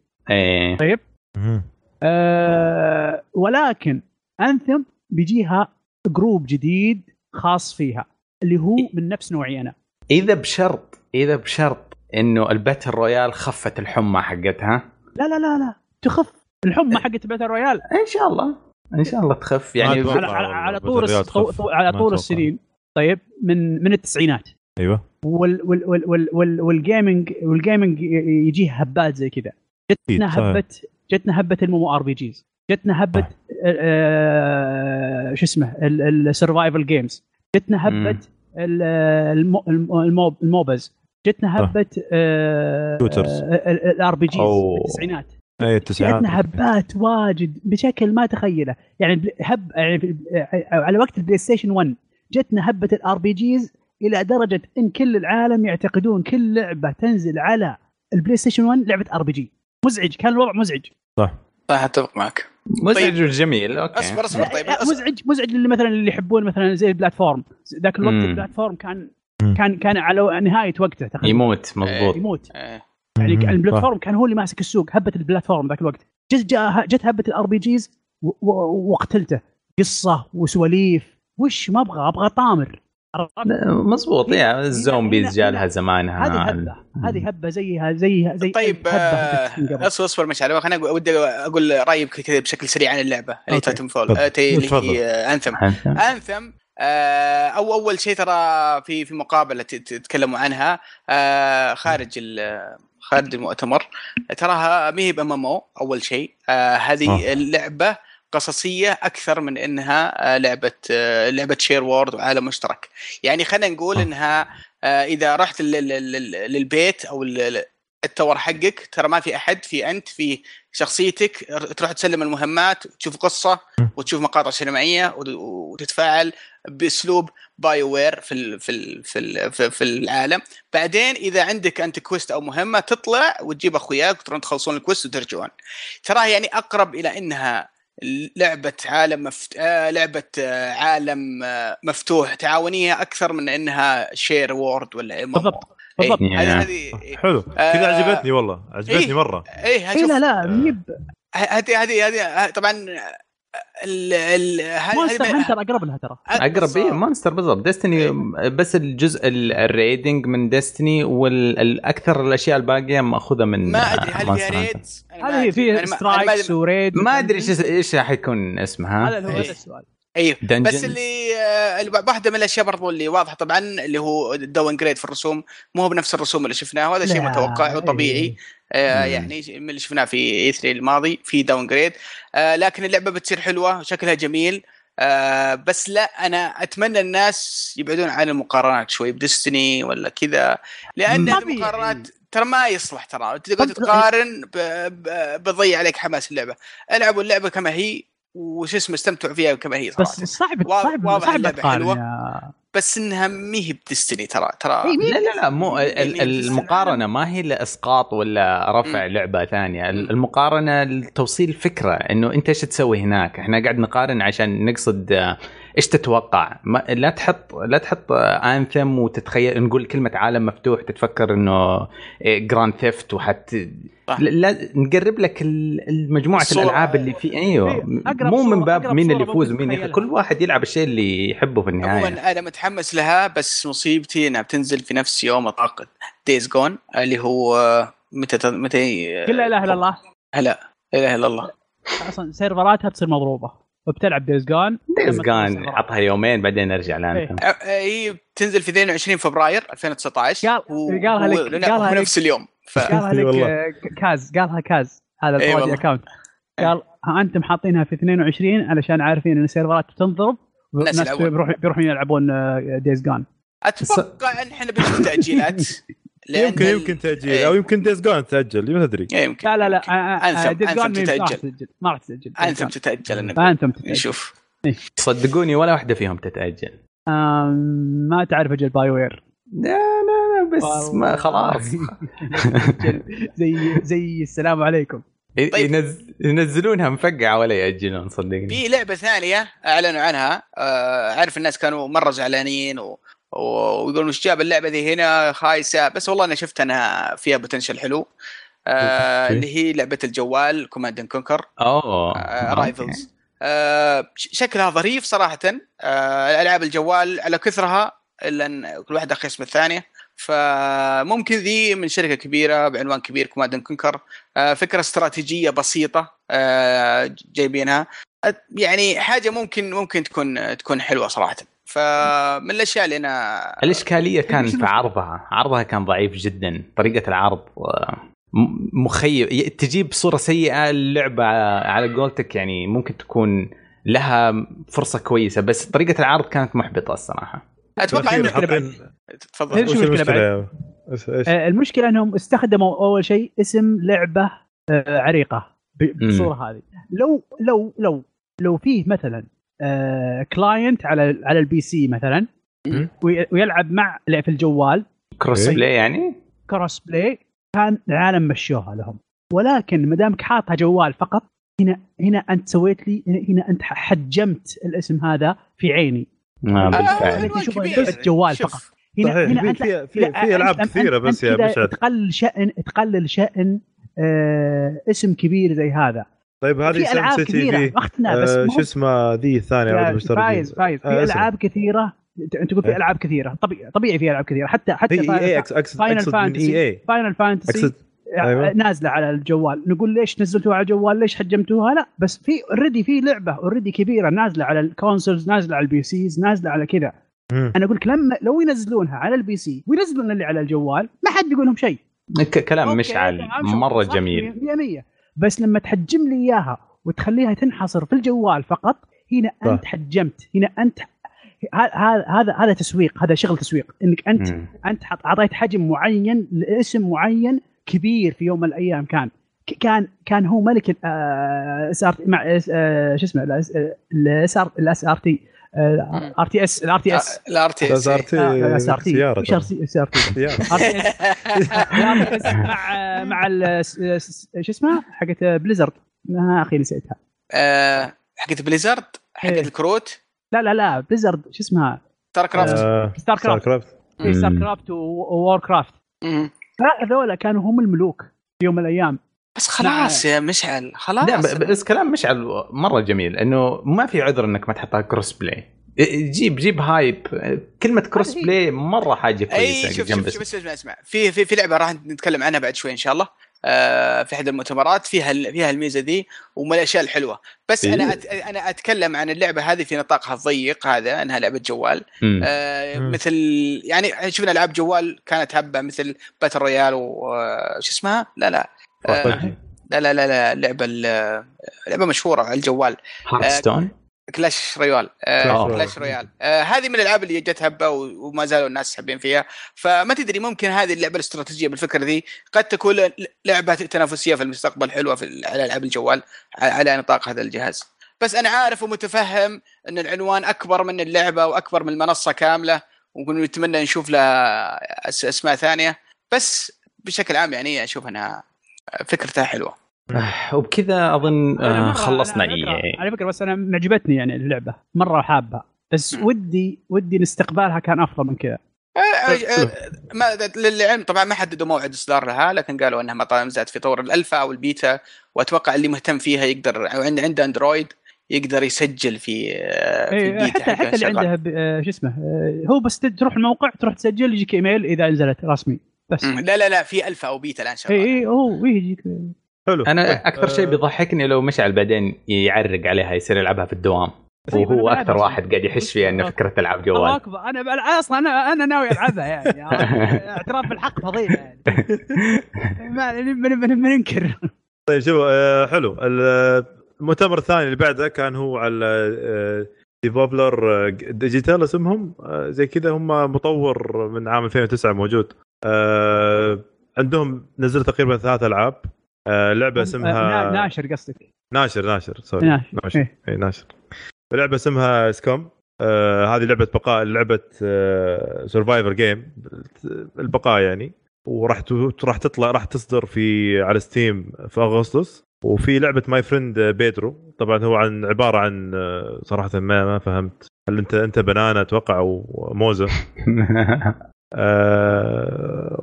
Speaker 4: طيب؟
Speaker 2: ايه
Speaker 4: أه ولكن انثم بيجيها جروب جديد خاص فيها اللي هو
Speaker 1: إيه.
Speaker 4: من نفس نوعي انا
Speaker 2: اذا بشرط اذا بشرط انه الباتل رويال خفت الحمى حقتها
Speaker 4: لا لا لا لا تخف الحمى
Speaker 1: إيه.
Speaker 4: حقت باتل رويال
Speaker 2: ان شاء الله ان شاء الله تخف يعني
Speaker 1: أتوقع.
Speaker 3: طيب.
Speaker 4: على, على, على
Speaker 1: والله
Speaker 4: طول
Speaker 1: بدريات
Speaker 4: الس- طو-
Speaker 1: خف.
Speaker 4: طو-
Speaker 1: ما
Speaker 4: على طول
Speaker 1: أتوقع.
Speaker 4: السنين طيب من من التسعينات أيوة.
Speaker 1: ايوه
Speaker 4: وال وال وال وال وال والجيمنج والجيمنج ي- ي- يجيه هبات زي كذا
Speaker 1: أكيد،
Speaker 4: جتنا
Speaker 1: صحيح.
Speaker 4: هبه جتنا هبه المو ار بي جيز جتنا هبه
Speaker 1: صح.
Speaker 4: آه، شو اسمه السرفايفل جيمز جتنا
Speaker 2: مم.
Speaker 4: هبه ال- الم- الم- الموب- الموبز جتنا آه،
Speaker 1: صح.
Speaker 4: هبه
Speaker 1: Shooters.
Speaker 4: الار بي جيز
Speaker 2: أوه.
Speaker 4: التسعينات
Speaker 1: اي
Speaker 4: جاتنا
Speaker 1: التسعينات
Speaker 4: هبات واجد بشكل ما تخيله يعني بل- هب يعني بال- على وقت البلاي ستيشن 1 جتنا هبه الار بي جيز الى درجه ان كل العالم يعتقدون كل لعبه تنزل على البلاي ستيشن 1 لعبه ار بي جي مزعج كان الوضع مزعج
Speaker 1: صح
Speaker 3: صح اتفق معك
Speaker 2: مزعج وجميل اوكي
Speaker 3: اصبر اصبر
Speaker 4: لا،
Speaker 3: طيب
Speaker 4: لا،
Speaker 3: أصبر.
Speaker 4: أه، مزعج مزعج للي مثلا اللي يحبون مثلا زي البلاتفورم ذاك الوقت
Speaker 2: مم.
Speaker 4: البلاتفورم كان
Speaker 1: مم.
Speaker 4: كان كان على نهايه وقته تقريبا
Speaker 2: يموت مضبوط
Speaker 4: يموت
Speaker 3: إيه.
Speaker 4: يعني
Speaker 1: مم.
Speaker 4: كان البلاتفورم كان هو اللي ماسك السوق هبه البلاتفورم ذاك الوقت جت جاء جت هبه الار بي جيز وقتلته قصه وسواليف وش ما ابغى ابغى طامر عرفت؟
Speaker 2: مضبوط
Speaker 3: إيه.
Speaker 2: يا الزومبيز
Speaker 4: هنا- هنا-
Speaker 2: جالها زمانها
Speaker 4: هذه هبه هذه هبه زيها زيها زي
Speaker 3: طيب
Speaker 4: أي هبة هبت من
Speaker 3: آه،
Speaker 4: قبل.
Speaker 3: اصبر اصبر مش على بالك. انا ودي اقول رايي بك- كذا بشكل سريع عن اللعبه اللي
Speaker 4: أوكي.
Speaker 3: تاتم فول آه، تي-
Speaker 1: تفضل.
Speaker 3: اللي هي آه، انثم
Speaker 1: نعم.
Speaker 3: انثم آه، او اول شيء ترى في في مقابله ت- ت- تكلموا عنها آه، خارج ال- خارج المؤتمر تراها ما هي بامامو اول شيء آه، هذه
Speaker 1: آه.
Speaker 3: اللعبه قصصيه اكثر من انها آه، لعبه آه، لعبه شير وورد وعالم مشترك يعني خلينا نقول
Speaker 1: آه.
Speaker 3: انها آه، اذا رحت لل- لل- لل- للبيت او لل- التور حقك ترى ما في احد في انت في شخصيتك تروح تسلم المهمات وتشوف قصه وتشوف مقاطع سينمائيه وت- وتتفاعل باسلوب باي وير في ال في ال في ال في, في العالم بعدين اذا عندك انت كويست او مهمه تطلع وتجيب اخوياك وتروحون تخلصون الكويست وترجعون تراها يعني اقرب الى انها لعبه عالم مفت... آه، لعبه آه، عالم آه، مفتوح تعاونيه اكثر من انها شير وورد ولا MMO.
Speaker 4: بالضبط بالضبط
Speaker 3: إيه، هذه
Speaker 2: Yeah.
Speaker 3: هذه
Speaker 1: حلو كذا
Speaker 3: آه،
Speaker 1: عجبتني والله عجبتني
Speaker 3: إيه.
Speaker 1: مره
Speaker 3: ايه
Speaker 4: إيه
Speaker 3: شوف،
Speaker 4: لا لا ميب
Speaker 3: هذه هذه هذه طبعا ال ال
Speaker 4: مونستر
Speaker 3: هذه-
Speaker 4: هنتر اقرب لها ترى
Speaker 2: اقرب ايه مونستر بالضبط ديستني بس الجزء ال- الريدنج من ديستني والاكثر الاشياء الباقيه ماخوذه من
Speaker 3: ما ادري هل فيها
Speaker 2: Monster Hunter.
Speaker 3: ريدز؟ أنا ما
Speaker 4: هذه
Speaker 3: أدري. أنا
Speaker 4: فيها
Speaker 3: ما- أنا ما-
Speaker 4: سترايكس وريد
Speaker 2: ما ادري ايش ايش راح يكون اسمها
Speaker 4: هذا هو هذا
Speaker 2: إيه.
Speaker 4: السؤال
Speaker 3: ايوه
Speaker 2: Dungeon.
Speaker 3: بس اللي آه، الب- واحده من الاشياء برضو اللي واضحه طبعا اللي هو الداون جريد في الرسوم مو هو بنفس الرسوم اللي شفناها وهذا شيء
Speaker 4: لا،
Speaker 3: متوقع
Speaker 4: إيه.
Speaker 3: وطبيعي آه،
Speaker 2: مم.
Speaker 3: يعني من اللي شفناه في اي 3 الماضي في داون جريد آه، لكن اللعبه بتصير حلوه وشكلها جميل آه، بس لا انا اتمنى الناس يبعدون عن المقارنات شوي بدستني ولا كذا لان
Speaker 4: طبيعي.
Speaker 3: المقارنات ترى ما يصلح ترى انت تقعد
Speaker 4: طب-
Speaker 3: تقارن ب- ب- بتضيع عليك حماس اللعبه العبوا اللعبه كما هي وش اسمه استمتعوا فيها كما هي صراحه
Speaker 4: بس صعب
Speaker 3: واضح-
Speaker 4: صعب
Speaker 3: واضح
Speaker 4: صعب
Speaker 3: اللعبة
Speaker 4: تقارن
Speaker 3: حلوة.
Speaker 4: يا-
Speaker 3: بس انها مهي بدستني ترى ترى
Speaker 4: إيه، مي-
Speaker 2: لا لا لا مو ال- ال-
Speaker 3: يعني
Speaker 2: المقارنه ما هي لاسقاط ولا رفع
Speaker 3: مم.
Speaker 2: لعبه ثانيه ال- المقارنه لتوصيل فكره انه انت ايش تسوي هناك احنا قاعد نقارن عشان نقصد آه، ايش تتوقع ما لا تحط لا تحط آه، انثم وتتخيل نقول كلمه عالم مفتوح تتفكر انه جراند ثيفت وحت
Speaker 3: صح.
Speaker 2: لا- لا نقرب لك ال- المجموعه
Speaker 3: الصورة.
Speaker 2: الالعاب اللي في
Speaker 4: إيه،
Speaker 2: ايوه
Speaker 4: أقرب
Speaker 2: مو من
Speaker 4: صورة-
Speaker 2: باب
Speaker 4: أقرب
Speaker 2: مين
Speaker 4: صورة
Speaker 2: اللي يفوز
Speaker 4: ممكن
Speaker 2: ومين يخ-
Speaker 4: تتخيلها.
Speaker 2: كل واحد يلعب الشيء اللي يحبه في النهايه
Speaker 3: عموما انا متحمس لها بس مصيبتي انها بتنزل في نفس يوم اعتقد دايز جون اللي هو متى ت- متى
Speaker 4: كل لا اله الا الله
Speaker 3: هلا لا اله الا الله
Speaker 4: اصلا سيرفراتها بتصير مضروبه وبتلعب دايز جون
Speaker 2: دايز جان عطها يومين بعدين ارجع
Speaker 4: إيه.
Speaker 2: لانثم
Speaker 3: أ- هي بتنزل في 22 فبراير 2019
Speaker 4: قال- قالها لك-
Speaker 3: ولنا-
Speaker 4: قالها
Speaker 3: هو
Speaker 4: لك.
Speaker 3: نفس اليوم ف
Speaker 4: قالها
Speaker 1: إي والله.
Speaker 4: لك آه، كاز قالها كاز هذا
Speaker 3: إي
Speaker 4: الفواجئ
Speaker 3: والله.
Speaker 4: اكونت قال ها انتم حاطينها في 22 علشان عارفين ان السيرفرات بتنضرب
Speaker 3: الناس
Speaker 4: والناس
Speaker 3: يلعبون.
Speaker 4: بيروح- بيروحون يلعبون آه، دايز جون
Speaker 3: اتوقع ان احنا بنشوف تاجيلات لأن
Speaker 1: يمكن
Speaker 3: ال-
Speaker 1: يمكن تاجيل او يمكن ديز جون تاجل ما تدري
Speaker 3: إيه، يمكن
Speaker 4: لا لا لا
Speaker 3: يمكن.
Speaker 4: آه، آه،
Speaker 3: أنثم- أنثم
Speaker 4: Days Gone ما راح
Speaker 3: تتأجل.
Speaker 4: تتأجل ما راح تتأجل
Speaker 3: انثم تتاجل النبي
Speaker 4: انتم تتأجل
Speaker 3: نشوف
Speaker 2: صدقوني ولا واحده فيهم تتاجل
Speaker 4: آم، آه، ما تعرف اجل باي وير
Speaker 2: لا لا لا بس ما خلاص
Speaker 4: زي زي السلام عليكم
Speaker 2: ي-
Speaker 3: طيب.
Speaker 2: ينز- ينزلونها مفقعه ولا ياجلون صدقني
Speaker 3: في لعبه ثانيه اعلنوا عنها آه، عارف الناس كانوا مره زعلانين و... و- ويقولون ايش جاب اللعبه ذي هنا خايسه بس والله انا شفت انها فيها بوتنشل حلو آه
Speaker 2: أوكي.
Speaker 3: اللي هي لعبه الجوال كوماند اند كونكر
Speaker 2: اوه
Speaker 3: آه،
Speaker 4: آه،
Speaker 3: رايفلز آه، شكلها ظريف صراحه آه العاب الجوال على كثرها الا ان كل واحده اخيس من الثانيه فممكن ذي من شركه كبيره بعنوان كبير كوماند اند كونكر آه فكره استراتيجيه بسيطه آه جايبينها أت- يعني حاجه ممكن ممكن تكون تكون حلوه صراحه فمن الاشياء اللي انا
Speaker 2: الاشكاليه كان في عرضها عرضها كان ضعيف جدا طريقه العرض آه، م- مخيب ي- تجيب صوره سيئه اللعبه على قولتك يعني ممكن تكون لها فرصه كويسه بس طريقه العرض كانت محبطه الصراحه
Speaker 3: اتوقع
Speaker 1: بالأخير
Speaker 3: انه
Speaker 1: حاطين-
Speaker 3: تفضل
Speaker 4: إيش
Speaker 1: وش
Speaker 4: المشكلة
Speaker 1: المشكله
Speaker 4: بعد؟
Speaker 1: يا- إيش- إيش؟
Speaker 4: آه، المشكله انهم استخدموا اول شيء اسم لعبه آه، عريقه ب- بالصوره هذه لو لو لو لو فيه مثلا آه، كلاينت على على البي سي مثلا
Speaker 1: مم.
Speaker 4: وي- ويلعب مع في الجوال
Speaker 2: كروس
Speaker 1: إيه.
Speaker 2: بلاي يعني
Speaker 4: كروس بلاي كان العالم مشوها لهم ولكن ما دامك حاطها جوال فقط هنا هنا انت سويت لي هنا- هنا انت حجمت الاسم هذا في عيني
Speaker 2: آه
Speaker 3: آه،
Speaker 2: بالفعل
Speaker 4: أنت
Speaker 3: عنوان
Speaker 4: شوف
Speaker 3: كبير.
Speaker 4: الجوال
Speaker 3: شوف.
Speaker 4: فقط. هنا
Speaker 1: صحيح،
Speaker 4: هنا
Speaker 1: في-
Speaker 4: انت
Speaker 1: في- في-
Speaker 4: لا،
Speaker 1: في ألعاب
Speaker 4: أنت- أنت-
Speaker 1: كثيرة
Speaker 4: أنت
Speaker 1: بس يا
Speaker 4: كذا
Speaker 1: مشعل.
Speaker 4: تقلل شأن تقلل شأن آه اسم كبير زي هذا
Speaker 1: طيب هذه
Speaker 4: في العاب
Speaker 1: سمسة تي في
Speaker 4: كثيره ما اختنا بس
Speaker 1: آه،
Speaker 4: مو
Speaker 1: شو اسمه ذي الثانيه
Speaker 4: يا
Speaker 1: أعوذ بالله من
Speaker 4: فايز
Speaker 1: الشر.
Speaker 4: فايز في
Speaker 1: آه، اسمه.
Speaker 4: العاب كثيره انت أنت تقول في
Speaker 1: إيه.
Speaker 4: العاب كثيره طبيعي طبيعي في العاب كثيره حتى حتى
Speaker 1: هي إيه، اي اي
Speaker 4: فاينل
Speaker 1: أقصد- اقصد
Speaker 4: Final
Speaker 1: اقصد من
Speaker 4: Fantasy.
Speaker 1: اي اي
Speaker 4: فاينل فانتسي
Speaker 1: اقصد أيوة.
Speaker 4: نازله على الجوال نقول ليش نزلتوها على الجوال ليش حجمتوها لا بس في اوريدي في لعبه اوريدي كبيره نازله على الكونسولز نازله على البي سيز نازله على كذا
Speaker 1: مم.
Speaker 4: انا اقول لك لما لو ينزلونها على البي سي وينزلون اللي على الجوال ما حد بيقول لهم شيء
Speaker 2: ك- كلام
Speaker 4: أوكي،
Speaker 2: مشعل
Speaker 4: تمام، شوف،
Speaker 2: مره
Speaker 4: صح،
Speaker 2: جميل
Speaker 4: 100% بس لما تحجم لي اياها وتخليها تنحصر في الجوال فقط هنا
Speaker 1: صح.
Speaker 4: انت حجمت هنا انت ه- هذا هذا هذا تسويق هذا شغل تسويق انك انت
Speaker 2: مم.
Speaker 4: انت حط- اعطيت حجم معين لاسم معين كبير في يوم من الايام كان ك- كان كان هو ملك ال- آه، اس ار مع آه، شو اسمه آه، الاس ار الاس ار تي
Speaker 3: مم.
Speaker 4: ار تي اس الار تي اس
Speaker 3: الار تي إيه.
Speaker 1: بس ار تي
Speaker 4: الاس ار آه، تي
Speaker 1: سياره
Speaker 4: وش اس ار تي
Speaker 1: سيارة. آه،
Speaker 4: يعني مع آه، مع ال- س- س- شو اسمه حقت آه، بليزرد يا اخي نسيتها
Speaker 3: آه، حقت بليزرد حقت
Speaker 4: إيه.
Speaker 3: الكروت
Speaker 4: لا لا لا بليزرد شو اسمها إيه،
Speaker 3: ستار كرافت
Speaker 1: آه،
Speaker 4: ستار
Speaker 1: ستار
Speaker 4: كرافت
Speaker 1: كرافت
Speaker 4: في ستار
Speaker 2: مم.
Speaker 4: كرافت وور كرافت
Speaker 3: مم.
Speaker 4: هذول كانوا هم الملوك في يوم من الايام
Speaker 3: بس خلاص يا مشعل خلاص
Speaker 2: لا ب- بس كلام مشعل مره جميل انه ما في عذر انك ما تحطها كروس بلاي جيب جيب هايب كلمه كروس
Speaker 4: هذه هي.
Speaker 2: بلاي مره حاجه كويسه
Speaker 3: اي شوف شوف
Speaker 2: يعني جنب
Speaker 3: شوف بس اسمع اسمع في في في لعبه راح نتكلم عنها بعد شوي ان شاء الله آه في احد المؤتمرات فيها ال- فيها الميزه دي ومن الاشياء الحلوه بس
Speaker 2: إيه.
Speaker 3: انا أت انا اتكلم عن اللعبه هذه في نطاقها الضيق هذا انها لعبه جوال
Speaker 2: مم.
Speaker 3: آه
Speaker 1: مم.
Speaker 3: مثل يعني شفنا العاب جوال كانت هبه مثل باتل رويال وش اسمها لا لا آه
Speaker 1: طيب.
Speaker 3: لا لا لا, لا لعبه ال- لعبه مشهوره على الجوال
Speaker 2: هارتستون
Speaker 3: كلاش رويال آه
Speaker 1: كلاش
Speaker 3: كلاش
Speaker 1: رويال.
Speaker 3: رويال آه هذه من الالعاب اللي جت هبه و- وما زالوا الناس حابين فيها فما تدري ممكن هذه اللعبه الاستراتيجيه بالفكره ذي قد تكون ل- لعبه تنافسيه في المستقبل حلوه في ال- على العاب الجوال على- على نطاق هذا الجهاز بس انا عارف ومتفهم ان العنوان اكبر من اللعبه واكبر من المنصه كامله ونتمنى نشوف لها أس- اسماء ثانيه بس بشكل عام يعني اشوف انها فكرتها حلوه آه،
Speaker 2: وبكذا اظن
Speaker 4: أنا
Speaker 2: آه
Speaker 4: مرة-
Speaker 2: خلصنا إيه.
Speaker 4: أنا على فكرة-
Speaker 2: اي
Speaker 3: إيه.
Speaker 4: على فكره بس انا معجبتني يعني اللعبه مره حابها بس ودي ودي ان استقبالها كان افضل من كذا
Speaker 3: آه، آه، آه، ما للعلم طبعا ما حددوا موعد اصدار لها لكن قالوا انها ما طال في طور الالفا او البيتا واتوقع اللي مهتم فيها يقدر او عنده عنده اندرويد يقدر يسجل في آه، في
Speaker 4: إيه،
Speaker 3: البيتا
Speaker 4: حتى
Speaker 3: حقها
Speaker 4: حتى اللي
Speaker 3: شغال.
Speaker 4: عنده ب- آه، شو اسمه آه، هو بس تد- تروح الموقع تروح تسجل يجيك ايميل اذا نزلت رسمي بس
Speaker 3: مم. لا لا لا في الفا او بيتا الان شغال
Speaker 4: اي اي إيه، هو يجيك
Speaker 1: حلو طيب،
Speaker 2: انا اكثر شيء
Speaker 1: آه،
Speaker 2: بيضحكني لو مشعل بعدين يعرق عليها يصير يلعبها في الدوام وهو اكثر واحد قاعد يحش فيها انه فكره العاب
Speaker 4: الله
Speaker 2: جوال
Speaker 4: اكبر انا بل- اصلا انا انا ناوي العبها يعني عرفت؟ اعتراف بالحق فضيله يعني ما من- من- من- مننكر
Speaker 1: طيب شوف آه، حلو ال- المؤتمر الثاني اللي بعده كان هو على ديفلوبر ديجيتال اسمهم آه، زي كذا هم مطور من عام 2009 موجود آه، عندهم نزلوا تقريبا ثلاث العاب آه، لعبه
Speaker 4: نا-
Speaker 1: اسمها
Speaker 4: ناشر قصدك
Speaker 1: ناشر ناشر سوري
Speaker 4: ناشر
Speaker 1: ناشر
Speaker 4: إيه.
Speaker 1: اي ناشر لعبه اسمها سكوم آه هذه لعبه بقاء لعبه سرفايفر جيم البقاء يعني وراح ت- راح تطلع راح تصدر في على ستيم في اغسطس وفي لعبه ماي فريند بيدرو طبعا هو عن عباره عن آه، صراحه ما ما فهمت هل انت انت بنانا اتوقع او موزه آه،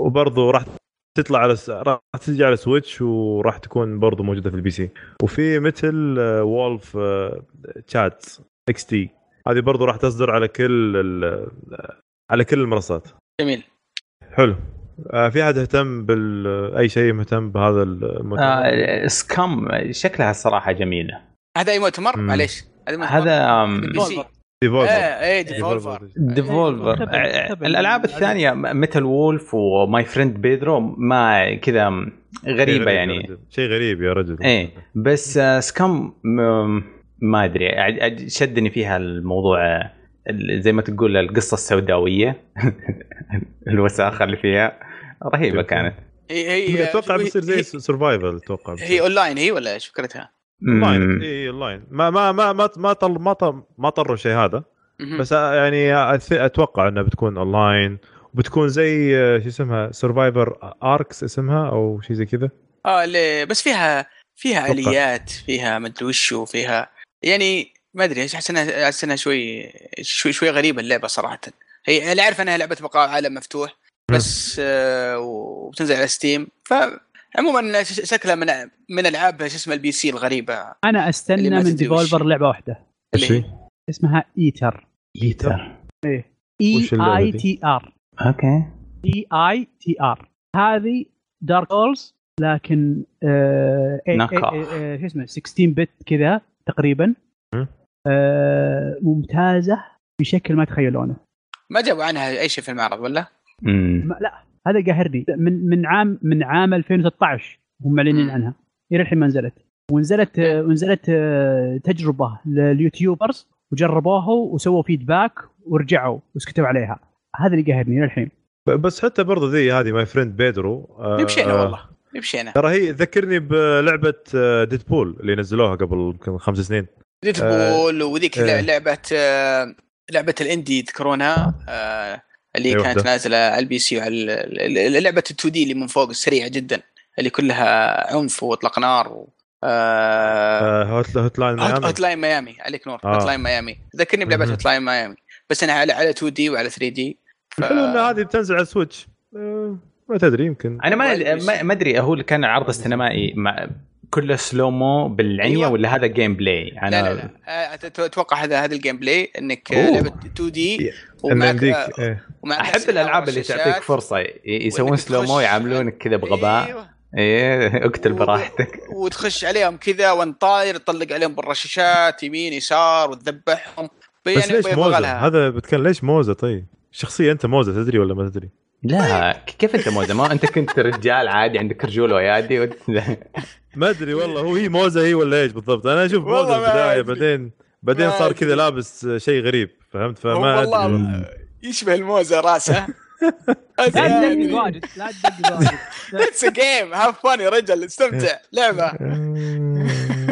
Speaker 1: وبرضه راح تطلع على س- راح تجي على سويتش وراح تكون برضه موجوده في البي سي وفي مثل آه، وولف آه، تشات اكس تي هذه برضه راح تصدر على كل ال- آه، على كل المنصات
Speaker 3: جميل
Speaker 1: حلو آه، في احد يهتم بال اي شيء مهتم بهذا المؤتمر؟
Speaker 2: آه، سكام شكلها الصراحه جميله
Speaker 3: هذا اي مؤتمر
Speaker 1: مم.
Speaker 3: معليش هذا مؤتمر.
Speaker 2: هذا أم،
Speaker 3: بي سي
Speaker 1: Devolver.
Speaker 3: ايه ايه
Speaker 1: Devolver.
Speaker 3: ديفولفر
Speaker 2: ديفولفر
Speaker 4: إيه،
Speaker 2: إيه،
Speaker 4: خبل- خبل.
Speaker 2: الالعاب الثانيه ميتال وولف وماي فريند بيدرو ما كذا
Speaker 1: شيء
Speaker 2: غريبه
Speaker 1: غريب يا
Speaker 2: يعني
Speaker 1: رجل. شيء غريب يا رجل
Speaker 2: ايه بس آه، سكام م- ما ادري أع- أع- شدني فيها الموضوع آه، ال- زي ما تقول القصه السوداويه الوساخه اللي فيها رهيبه كانت
Speaker 3: هي هي
Speaker 1: اتوقع
Speaker 3: هي-
Speaker 1: بيصير زي
Speaker 3: إيه، هي-
Speaker 1: سرفايفل اتوقع
Speaker 3: هي اونلاين هي ولا ايش فكرتها؟
Speaker 1: اونلاين
Speaker 2: مم.
Speaker 1: اي اونلاين إيه، ما ما ما ما ما طل ما طل ما طروا شيء هذا
Speaker 3: مهم.
Speaker 1: بس يعني أث- اتوقع انها بتكون اونلاين وبتكون زي آه، شو اسمها سرفايفر اركس اسمها او شيء زي كذا
Speaker 3: اه اللي- بس فيها فيها
Speaker 1: أتوقع.
Speaker 3: اليات فيها مدري وش وفيها يعني ما ادري احس انها احس انها شوي شوي شوي غريبه اللعبه صراحه هي انا اعرف انها لعبه بقاء عالم مفتوح بس آه وبتنزل على ستيم ف عموما ش- شكلها من من العاب شو اسمه البي سي الغريبه
Speaker 4: انا
Speaker 3: اللي ما
Speaker 4: استنى من
Speaker 3: تدري وش.
Speaker 4: ديفولفر لعبه واحده
Speaker 3: اللي هي-
Speaker 4: اسمها ايتر
Speaker 3: إيه.
Speaker 2: ايتر
Speaker 4: اي
Speaker 1: وش اللعبة
Speaker 4: اي
Speaker 1: دي؟
Speaker 4: تي ار
Speaker 2: اوكي
Speaker 4: اي اي تي ار هذه دارك اولز لكن آه إيه-
Speaker 2: نكهة.
Speaker 4: إيه- إيه- إيه، شو اسمه 16 بت كذا تقريبا
Speaker 1: مم.
Speaker 4: آه ممتازه بشكل ما تخيلونه
Speaker 3: ما جابوا عنها اي شيء في المعرض ولا؟
Speaker 2: مم.
Speaker 4: ما لا هذا قاهرني من من عام من عام 2013 هم معلنين
Speaker 3: مم. نعم.
Speaker 4: عنها الى الحين ما نزلت ونزلت آه، ونزلت آه، تجربه لليوتيوبرز وجربوها وسووا فيدباك ورجعوا وسكتوا عليها هذا اللي قاهرني الى الحين
Speaker 1: ب- بس حتى برضه زي هذه ماي فريند بيدرو آه،
Speaker 3: يمشينا
Speaker 1: آه،
Speaker 3: والله يمشينا
Speaker 1: ترى هي تذكرني بلعبه ديدبول اللي نزلوها قبل يمكن خمس سنين
Speaker 3: ديدبول وذيك
Speaker 1: آه.
Speaker 3: لعبه آه، لعبه الاندي تذكرونها آه، اللي
Speaker 1: أي
Speaker 3: كانت
Speaker 1: وحدة؟
Speaker 3: نازله على البي سي وعلى ال- ال- ال- لعبه ال2 دي اللي من فوق السريعه جدا اللي كلها عنف واطلاق نار و آه،
Speaker 1: آه، هوت هوت لاين
Speaker 3: هوت
Speaker 1: ميامي.
Speaker 3: هوت لاين ميامي عليك نور
Speaker 1: آه.
Speaker 3: هوت لاين ميامي ذكرني بلعبه
Speaker 1: مهم.
Speaker 3: هوت لاين ميامي بس انا على على 2 دي وعلى 3 دي
Speaker 1: الحلو ان هذه بتنزل على سويتش آه، ما تدري يمكن
Speaker 2: انا ما ما- ما ادري هو اللي كان عرض السينمائي ما- كله سلومو بالعنيه
Speaker 3: أيوة.
Speaker 2: ولا هذا جيم بلاي
Speaker 3: لا
Speaker 2: انا
Speaker 3: لا لا آه، أت- اتوقع هذا هذا الجيم بلاي انك آه،
Speaker 2: أوه.
Speaker 3: لعبه 2 دي
Speaker 1: إن
Speaker 3: ومعك
Speaker 1: أمديك،
Speaker 3: آه،
Speaker 1: إيه.
Speaker 3: ومعك
Speaker 2: احب
Speaker 3: أسلحة
Speaker 2: الالعاب اللي
Speaker 3: ورشاشات.
Speaker 2: تعطيك فرصه ي- يسوون
Speaker 3: وإنك
Speaker 2: سلو مو
Speaker 3: تخش-
Speaker 2: يعاملونك كذا
Speaker 4: إيه.
Speaker 2: بغباء
Speaker 3: أيوة.
Speaker 2: ايه اقتل براحتك
Speaker 3: وتخش عليهم كذا وانت طاير تطلق عليهم بالرشاشات يمين يسار وتذبحهم
Speaker 1: بس ليش
Speaker 3: يبغى
Speaker 1: موزه؟
Speaker 3: لها.
Speaker 1: هذا بتكلم ليش موزه طيب؟ شخصيه انت موزه تدري ولا ما تدري؟
Speaker 2: لا ك- كيف انت موزه ما انت كنت رجال عادي عندك رجول ويادي وت-
Speaker 1: ما ادري والله هو هي موزه هي ولا ايش بالضبط؟ انا اشوف
Speaker 3: والله
Speaker 1: موزه
Speaker 3: ما
Speaker 1: البدايه
Speaker 3: أدري.
Speaker 1: بعدين بعدين
Speaker 3: ما
Speaker 1: صار كذا
Speaker 3: أدري.
Speaker 1: لابس شيء غريب فهمت
Speaker 3: هو
Speaker 1: فما ادري والله.
Speaker 3: يشبه الموزه راسه
Speaker 4: لا تدقق واجد لا تدقق واجد
Speaker 3: اتس جيم هاف فان يا رجل استمتع لعبه
Speaker 1: آه،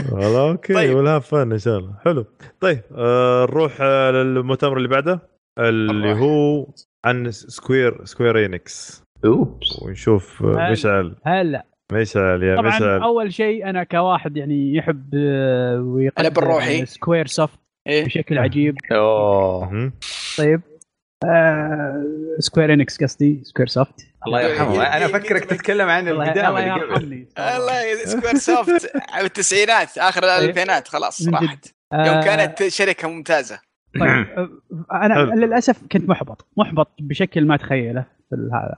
Speaker 1: والله اوكي
Speaker 3: طيب.
Speaker 1: ولا فن ان شاء الله حلو طيب آه، نروح آه، للمؤتمر اللي بعده اللي
Speaker 3: نروح.
Speaker 1: هو عن سكوير سكوير انكس
Speaker 2: اوبس
Speaker 1: ونشوف آه،
Speaker 4: هل-
Speaker 1: مشعل
Speaker 4: هلا
Speaker 1: مشعل يا
Speaker 4: طبعا
Speaker 1: مشعل
Speaker 4: اول شيء انا كواحد يعني يحب آه، ويقدر
Speaker 3: أنا بالروحي.
Speaker 4: سكوير سوفت
Speaker 3: إيه.
Speaker 4: بشكل عجيب
Speaker 2: اوه
Speaker 1: مهم.
Speaker 4: طيب آه سكوير انكس قصدي سكوير سوفت
Speaker 2: الله يرحمه انا افكرك تتكلم عن
Speaker 4: إيه. الله
Speaker 2: القدام
Speaker 4: الله
Speaker 2: اللي قبل
Speaker 4: يرحمني
Speaker 3: الله يا سكوير سوفت بالتسعينات اخر الالفينات خلاص
Speaker 4: إيه. من جد.
Speaker 3: راحت
Speaker 4: آه،
Speaker 3: يوم كانت شركه ممتازه
Speaker 4: طيب آه، انا
Speaker 1: حلو.
Speaker 4: للاسف كنت محبط محبط بشكل ما تخيله في هذا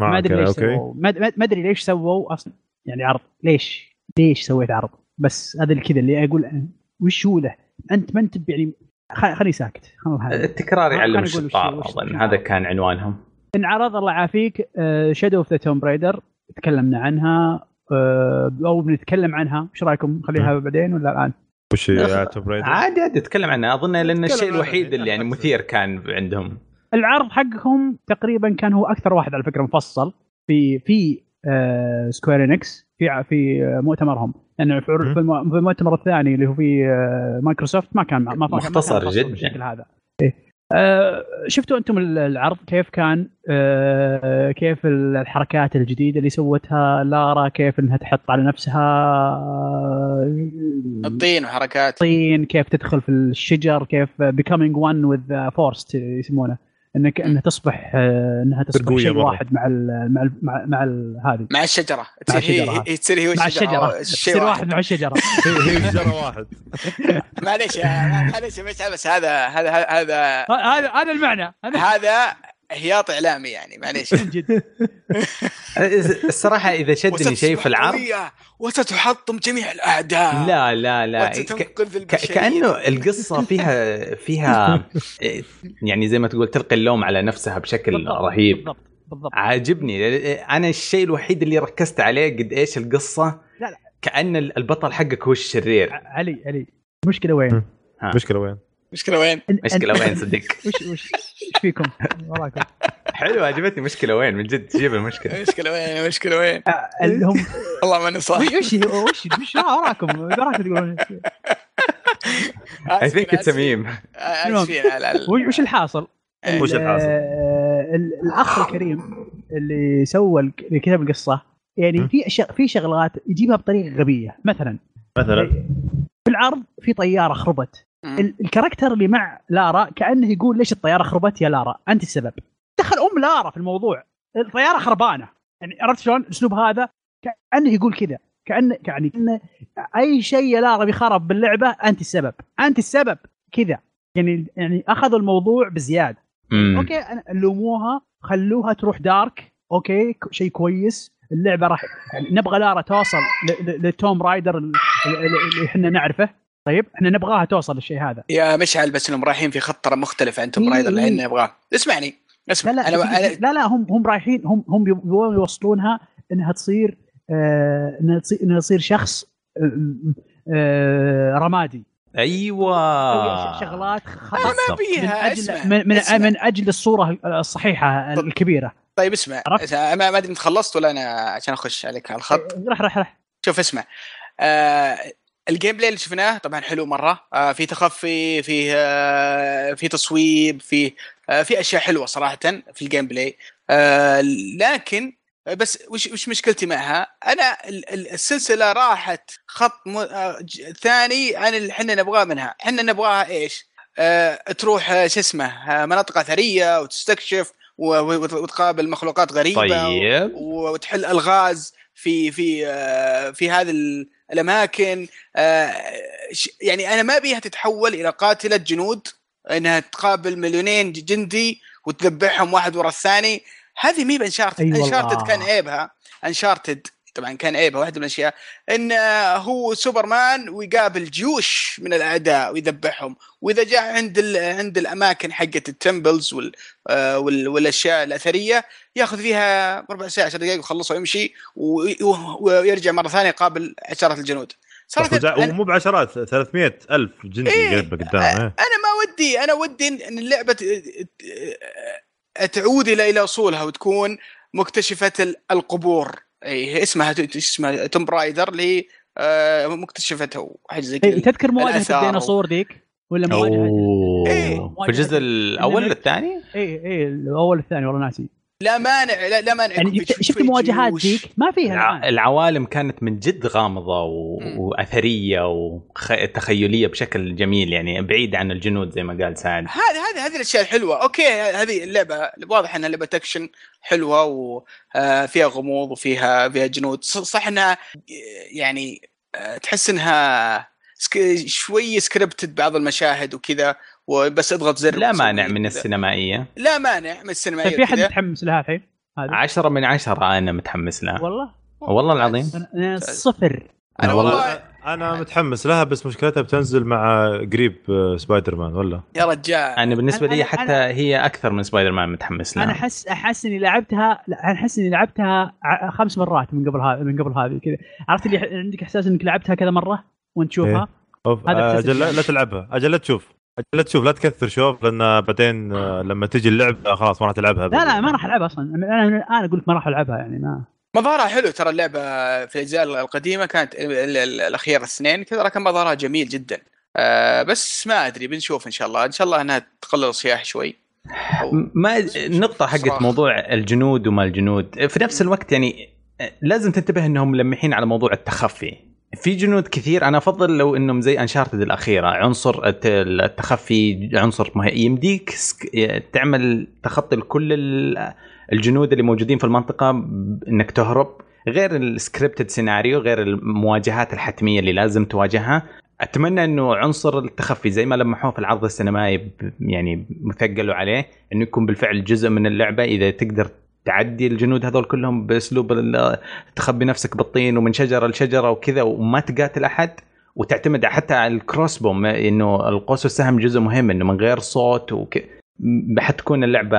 Speaker 1: آه،
Speaker 4: ما ادري ليش
Speaker 1: اوكي
Speaker 4: سووا ما ما- ما ادري ليش سووا اصلا يعني عرض ليش ليش سويت عرض بس هذا اللي كذا اللي اقول أنا، وش هو له انت ما انت ب- يعني خ- خلي ساكت خلاص هذا.
Speaker 2: التكرار
Speaker 4: ما
Speaker 2: يعلم
Speaker 4: كان يقول وش-
Speaker 2: الشطار
Speaker 4: وش
Speaker 2: اظن
Speaker 4: كان.
Speaker 2: هذا كان عنوانهم
Speaker 4: انعرض الله يعافيك أه، شادو اوف ذا توم بريدر تكلمنا عنها آه، او بنتكلم عنها ايش رايكم نخليها بعدين ولا الان؟
Speaker 1: وش يا توم برايدر؟
Speaker 2: عادي عادي اتكلم عنها اظن لان
Speaker 1: أتكلم
Speaker 2: الشيء
Speaker 1: عنها،
Speaker 2: الوحيد
Speaker 1: يعني
Speaker 2: اللي يعني
Speaker 1: أكثر.
Speaker 2: مثير كان عندهم
Speaker 4: العرض حقهم تقريبا كان هو اكثر واحد على فكره مفصل في في آه سكوير انكس في ع- في آه، مؤتمرهم لانه في عرض-
Speaker 1: مم.
Speaker 4: في الم- في المؤتمر الثاني اللي هو في آه مايكروسوفت ما كان ما ما كان
Speaker 2: مختصر
Speaker 4: مفصل
Speaker 2: جداً.
Speaker 4: بالشكل هذا إيه. آه شفتوا انتم ال- العرض كيف كان آه كيف ال- الحركات الجديده اللي سوتها لارا كيف انها تحط على نفسها آه،
Speaker 3: الطين وحركات
Speaker 4: الصين كيف تدخل في الشجر كيف becoming one with forest يسمونه انك انها تصبح آه، انها تصبح
Speaker 1: برقوية
Speaker 4: شيء
Speaker 1: مرة.
Speaker 4: واحد مع ال مع ال مع, مع ال هذه
Speaker 3: مع الشجره تصير هي-
Speaker 4: الشجرة.
Speaker 3: هي تصير هي
Speaker 4: مع
Speaker 3: والشجرة.
Speaker 4: الشجره
Speaker 3: أو شيء
Speaker 4: تصير واحد مع الشجره
Speaker 1: هي هي شجره واحد
Speaker 3: معليش يا- معليش يا فيصل، بس هذا هذا هذا
Speaker 4: ه- هذا هذا المعنى هذا
Speaker 3: هذا هياط اعلامي يعني معليش
Speaker 4: من جد
Speaker 2: الصراحه اذا شدني شيء في
Speaker 3: وستصبح
Speaker 2: العرض
Speaker 3: قوية وستحطم جميع الاعداء
Speaker 2: لا لا لا ك-
Speaker 3: وستنقذ
Speaker 2: ك-
Speaker 3: البشريه
Speaker 2: كانه القصه فيها فيها إيه، يعني زي ما تقول تلقي اللوم على نفسها بشكل
Speaker 4: بالضبط،
Speaker 2: رهيب
Speaker 4: بالضبط بالضبط
Speaker 2: عاجبني انا الشيء الوحيد اللي ركزت عليه قد ايش القصه
Speaker 4: لا، لا.
Speaker 2: كان البطل حقك هو الشرير
Speaker 4: ع- علي علي المشكله وين؟
Speaker 1: مشكله وين؟
Speaker 3: مشكلة وين؟
Speaker 4: إن-
Speaker 2: مشكله
Speaker 4: إن-
Speaker 2: وين صدق
Speaker 4: وش وش وش فيكم؟ وراكم
Speaker 2: حلو عجبتني مشكله وين من جد تجيب المشكله
Speaker 3: مشكلة وين؟ مشكلة وين؟
Speaker 4: اللي هم
Speaker 3: والله ماني صاحي
Speaker 4: آه. وش وش وش, وش وراكم؟ وراكم تقولون
Speaker 2: اي ثينك اتس ميم
Speaker 3: آه،
Speaker 4: وش- وش الحاصل؟
Speaker 3: إيه.
Speaker 1: وش الحاصل؟
Speaker 4: آه، ال- الاخ الكريم اللي سوى الك- اللي كتب القصه يعني
Speaker 1: مم.
Speaker 4: في أشياء- في شغلات يجيبها بطريقه غبيه مثلا
Speaker 1: مثلا
Speaker 4: في العرض في طياره خربت ال- الكاركتر اللي مع لارا كانه يقول ليش الطياره خربت يا لارا انت السبب دخل ام لارا في الموضوع الطياره خربانه يعني عرفت شلون الاسلوب هذا كانه يقول كذا كانه يعني كأنه اي شيء يا لارا بيخرب باللعبه انت السبب انت السبب كذا يعني يعني اخذوا الموضوع بزياده اوكي أنا- لوموها خلوها تروح دارك اوكي ك- شيء كويس اللعبه راح يعني نبغى لارا توصل ل- ل- للتوم رايدر ال- ال- ال- اللي احنا نعرفه طيب احنا نبغاها توصل للشيء هذا
Speaker 3: يا مشعل بس انهم رايحين في خط ترى مختلف عن توم
Speaker 4: إيه،
Speaker 3: رايدر اللي
Speaker 4: إيه.
Speaker 3: احنا نبغاه اسمعني
Speaker 4: لا
Speaker 3: اسمع
Speaker 4: لا
Speaker 3: انا انا
Speaker 4: لا لا هم هم رايحين هم هم يبغون يوصلونها انها تصير آه انها تصير انها تصير شخص آه، آه رمادي
Speaker 2: ايوه
Speaker 4: ش- شغلات خطأ
Speaker 3: انا آه. ما
Speaker 2: بالضبط.
Speaker 4: من
Speaker 3: بيها اسمع
Speaker 4: اجل من من,
Speaker 3: اسمع.
Speaker 4: من اجل الصوره الصحيحه الكبيره
Speaker 3: طيب اسمع
Speaker 4: عرفت؟
Speaker 3: اسمع، ما ما ادري انت خلصت ولا انا عشان اخش عليك على الخط
Speaker 4: راح راح راح
Speaker 3: شوف اسمع آه الجيم بلاي اللي شفناه طبعا حلو مره آه في تخفي في آه في تصويب في آه في اشياء حلوه صراحه في الجيم بلاي آه لكن بس وش وش مشكلتي معها؟ انا ال- ال- السلسله راحت خط م... آه، ج- ثاني عن اللي احنا نبغاه منها، احنا نبغاها ايش؟ آه تروح آه، شو اسمه آه، مناطق اثريه وتستكشف و- و- وتقابل مخلوقات غريبه
Speaker 2: طيب
Speaker 3: وتحل الغاز في في آه، في هذه ال- الاماكن آه، ش- يعني انا ما بيها تتحول الى قاتله جنود انها تقابل مليونين ج- جندي وتذبحهم واحد ورا الثاني هذه مي بانشارتد
Speaker 4: أي والله.
Speaker 3: انشارتد كان عيبها انشارتد طبعا كان عيبها واحده من الاشياء ان آه، هو سوبرمان ويقابل جيوش من الاعداء ويذبحهم واذا جاء عند ال- عند الاماكن حقت التمبلز وال آه، وال- والاشياء الاثريه ياخذ فيها ربع ساعه 10 دقائق ويخلصها ويمشي و- و- ويرجع مره ثانيه يقابل عشرات الجنود صراحه
Speaker 1: وجا-
Speaker 3: أنا,
Speaker 1: ومو بعشرات 300 الف جندي
Speaker 3: إيه.
Speaker 1: قلبه قدامه
Speaker 3: انا ما ودي انا ودي إن- ان اللعبه ت- ت- تعود الى الى اصولها وتكون مكتشفه ال- القبور اي اسمها ت- اسمها توم برايدر اللي هي، آه، مكتشفته حاجه زي
Speaker 4: إيه،
Speaker 3: كذا
Speaker 4: تذكر مواجهه
Speaker 3: الآثار و-
Speaker 4: الديناصور ذيك ولا مواجهه
Speaker 2: اوه
Speaker 3: إيه.
Speaker 2: في الجزء الاول الثاني
Speaker 4: اي اي الاول إيه، الثاني والله ناسي
Speaker 3: لا مانع لا, لا مانع
Speaker 4: يعني
Speaker 3: يكون في-
Speaker 4: شفت, شفت
Speaker 3: في
Speaker 4: مواجهات
Speaker 3: جيوش.
Speaker 4: ذيك ما فيها
Speaker 2: الع-
Speaker 4: الان
Speaker 2: العوالم كانت من جد غامضه و...
Speaker 3: مم.
Speaker 2: واثريه وتخيليه بشكل جميل يعني بعيد عن الجنود زي ما قال سعد
Speaker 3: هذه هذه هذه الاشياء الحلوه اوكي هذه اللعبه واضح انها لعبه اكشن حلوه وفيها آه، غموض وفيها فيها جنود ص- صح انها يعني آه، تحس انها سك- شوي سكريبتد بعض المشاهد وكذا وبس اضغط زر
Speaker 2: لا
Speaker 3: وتسوي
Speaker 2: مانع من
Speaker 3: كذا.
Speaker 2: السينمائيه
Speaker 3: لا مانع من
Speaker 4: طيب في
Speaker 3: السينمائيه
Speaker 4: احد
Speaker 3: كذا
Speaker 4: متحمس لها الحين؟ هذه
Speaker 2: عشرة من عشرة انا متحمس لها
Speaker 4: والله
Speaker 2: والله العظيم
Speaker 4: أنا- انا صفر
Speaker 2: آه،
Speaker 3: انا والله
Speaker 1: انا متحمس لها بس مشكلتها بتنزل مع قريب آه، سبايدر مان ولا
Speaker 3: يا رجال
Speaker 2: انا بالنسبه
Speaker 4: أنا-
Speaker 2: لي
Speaker 4: أنا-
Speaker 2: حتى هي اكثر من سبايدر مان متحمس
Speaker 4: انا
Speaker 2: لها
Speaker 4: احس احس اني لعبتها لا، انا احس اني لعبتها ع- خمس مرات من قبل هذه من قبل هذه كذا عرفت اللي ح- عندك احساس انك لعبتها كذا مره وانت تشوفها
Speaker 1: أوف.
Speaker 4: هذا
Speaker 1: آه،
Speaker 4: إحساس
Speaker 1: اجل لا
Speaker 4: الجانب.
Speaker 1: لا تلعبها اجل لا تشوف اجل لا تشوف لا تكثر شوف لان بعدين آه، لما تجي اللعبه خلاص ما راح تلعبها
Speaker 4: لا لا ما راح العبها اصلا انا انا الان اقول لك ما راح العبها يعني ما
Speaker 3: مظهرها حلو ترى اللعبه في الاجزاء القديمه كانت ال- ال- ال- الاخيره الاثنين كذا كان مظهرها جميل جدا آه بس ما ادري بنشوف ان شاء الله ان شاء الله انها تقلل الصياح شوي أو-
Speaker 2: ما النقطه
Speaker 3: صراحة.
Speaker 2: حقت موضوع الجنود وما الجنود في نفس الوقت يعني لازم تنتبه انهم ملمحين على موضوع التخفي في جنود كثير انا افضل لو انهم زي انشارتد الاخيره عنصر الت- التخفي عنصر مه- يمديك سك- تعمل تخطي كل ال- الجنود اللي موجودين في المنطقه ب- انك تهرب غير السكريبتد سيناريو غير المواجهات الحتميه اللي لازم تواجهها اتمنى انه عنصر التخفي زي ما لمحوه في العرض السينمائي ب- يعني مثقلوا عليه انه يكون بالفعل جزء من اللعبه اذا تقدر تعدي الجنود هذول كلهم باسلوب ال- تخبي نفسك بالطين ومن شجره لشجره وكذا وما تقاتل احد وتعتمد حتى على الكروس بوم انه القوس والسهم جزء مهم انه من غير صوت وك... م- حتكون اللعبه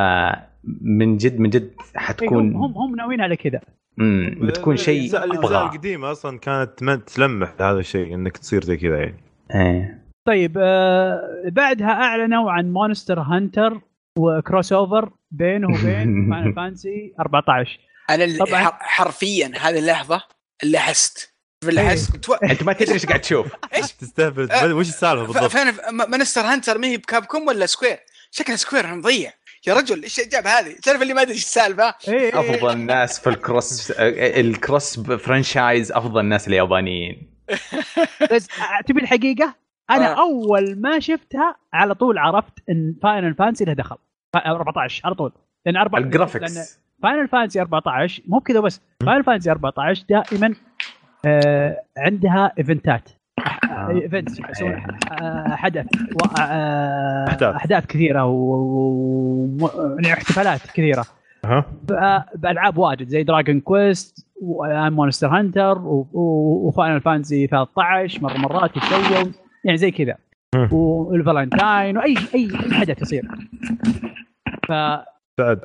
Speaker 2: من جد من جد
Speaker 4: تكون
Speaker 2: حتكون
Speaker 4: هم هم ناويين على كذا
Speaker 2: مم، بتكون شيء
Speaker 1: الاجزاء الأجزاء
Speaker 2: ابغاه
Speaker 1: القديمه اصلا كانت ما تلمح لهذا الشيء انك تصير زي كذا يعني
Speaker 2: إيه.
Speaker 4: طيب آه بعدها اعلنوا عن مونستر هانتر وكروس اوفر بينه وبين فاينل فانسي 14
Speaker 3: انا ال-
Speaker 4: طبعاً.
Speaker 3: حر- حرفيا هذه اللحظه لحست لحست كنت و-
Speaker 2: انت ما تدري ايش قاعد تشوف
Speaker 1: تستهبل
Speaker 4: آه.
Speaker 3: أه.
Speaker 1: وش السالفه
Speaker 3: ف-
Speaker 1: بالضبط
Speaker 3: فانا مانستر هانتر ما هي بكاب كوم ولا سكوير شكلها سكوير مضيع يا رجل ايش جاب هذه تعرف اللي ما ادري ايش السالفه
Speaker 4: اي
Speaker 2: افضل ناس في الكروس الكروس فرانشايز افضل ناس اليابانيين
Speaker 4: إيه. بس آه، تبي الحقيقه انا
Speaker 3: آه.
Speaker 4: اول ما شفتها على طول عرفت ان فاينل فانسي له دخل ف- 14 على طول لان أربع لأن
Speaker 2: الجرافيكس
Speaker 4: فاينل فانتسي 14 مو بكذا بس فاينل فانتسي 14 دائما آه عندها ايفنتات ايفنتس يسوون آه، حدث و- آه،
Speaker 1: إيه. أحداث.
Speaker 4: احداث كثيره واحتفالات كثيره
Speaker 1: ها
Speaker 4: يعني ب- بالعاب واجد زي دراجون كويست ومونستر هانتر وفاينل فانتسي 13 مره مرات يتسووا يعني زي كذا
Speaker 1: مم.
Speaker 4: والفالنتاين واي اي أي حدث يصير ف
Speaker 1: سعد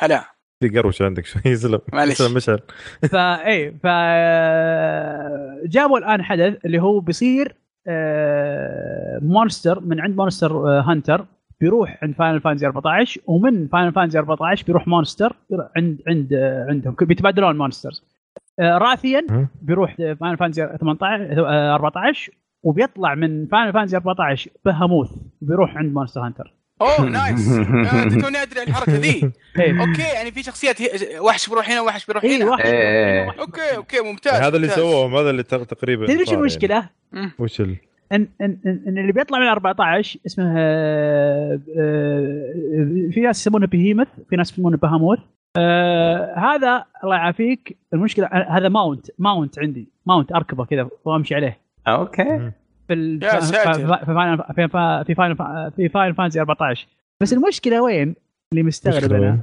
Speaker 3: هلا
Speaker 1: في قروش عندك شوي يسلم
Speaker 3: معلش.
Speaker 1: يسلم مشعل
Speaker 4: فاي ف آه، جابوا الان حدث اللي هو بيصير آه، مونستر من عند مونستر آه، هانتر بيروح عند فاينل فانزي 14 ومن فاينل فانزي 14 بيروح مونستر عند عند آه، عندهم بيتبادلون مونسترز آه، راثيا
Speaker 1: مم.
Speaker 4: بيروح فاينل فانزي 18 آه، 14 وبيطلع من فاينل فانزي 14 بهاموث بيروح عند مونستر هانتر
Speaker 3: اوه نايس آه، توني ادري عن الحركه ذي اوكي يعني في شخصيات هي- وحش بيروح هنا وحش بيروح
Speaker 4: اي
Speaker 3: هنا
Speaker 4: واحد
Speaker 2: إيه.
Speaker 3: اوكي اوكي ممتاز
Speaker 1: هذا اللي
Speaker 3: ممتاز.
Speaker 1: سووه هذا اللي تق- تقريبا
Speaker 4: تدري شو
Speaker 1: صار
Speaker 4: المشكله؟
Speaker 1: يعني. وش ال...
Speaker 4: ان ان ان إن اللي بيطلع من 14 اسمه آه، آه، في ناس يسمونه بهيمث في ناس يسمونه بهاموث آه، هذا الله يعافيك المشكله آه، هذا ماونت ماونت عندي ماونت اركبه كذا وامشي عليه
Speaker 2: اوكي
Speaker 4: في ال-
Speaker 3: يا
Speaker 4: في
Speaker 3: ساتر.
Speaker 4: فاينل في فا- في فاينل فا- في فاينل فانتسي 14 بس المشكله وين؟ اللي مستغرب
Speaker 1: المشكلة
Speaker 4: انا
Speaker 1: وين؟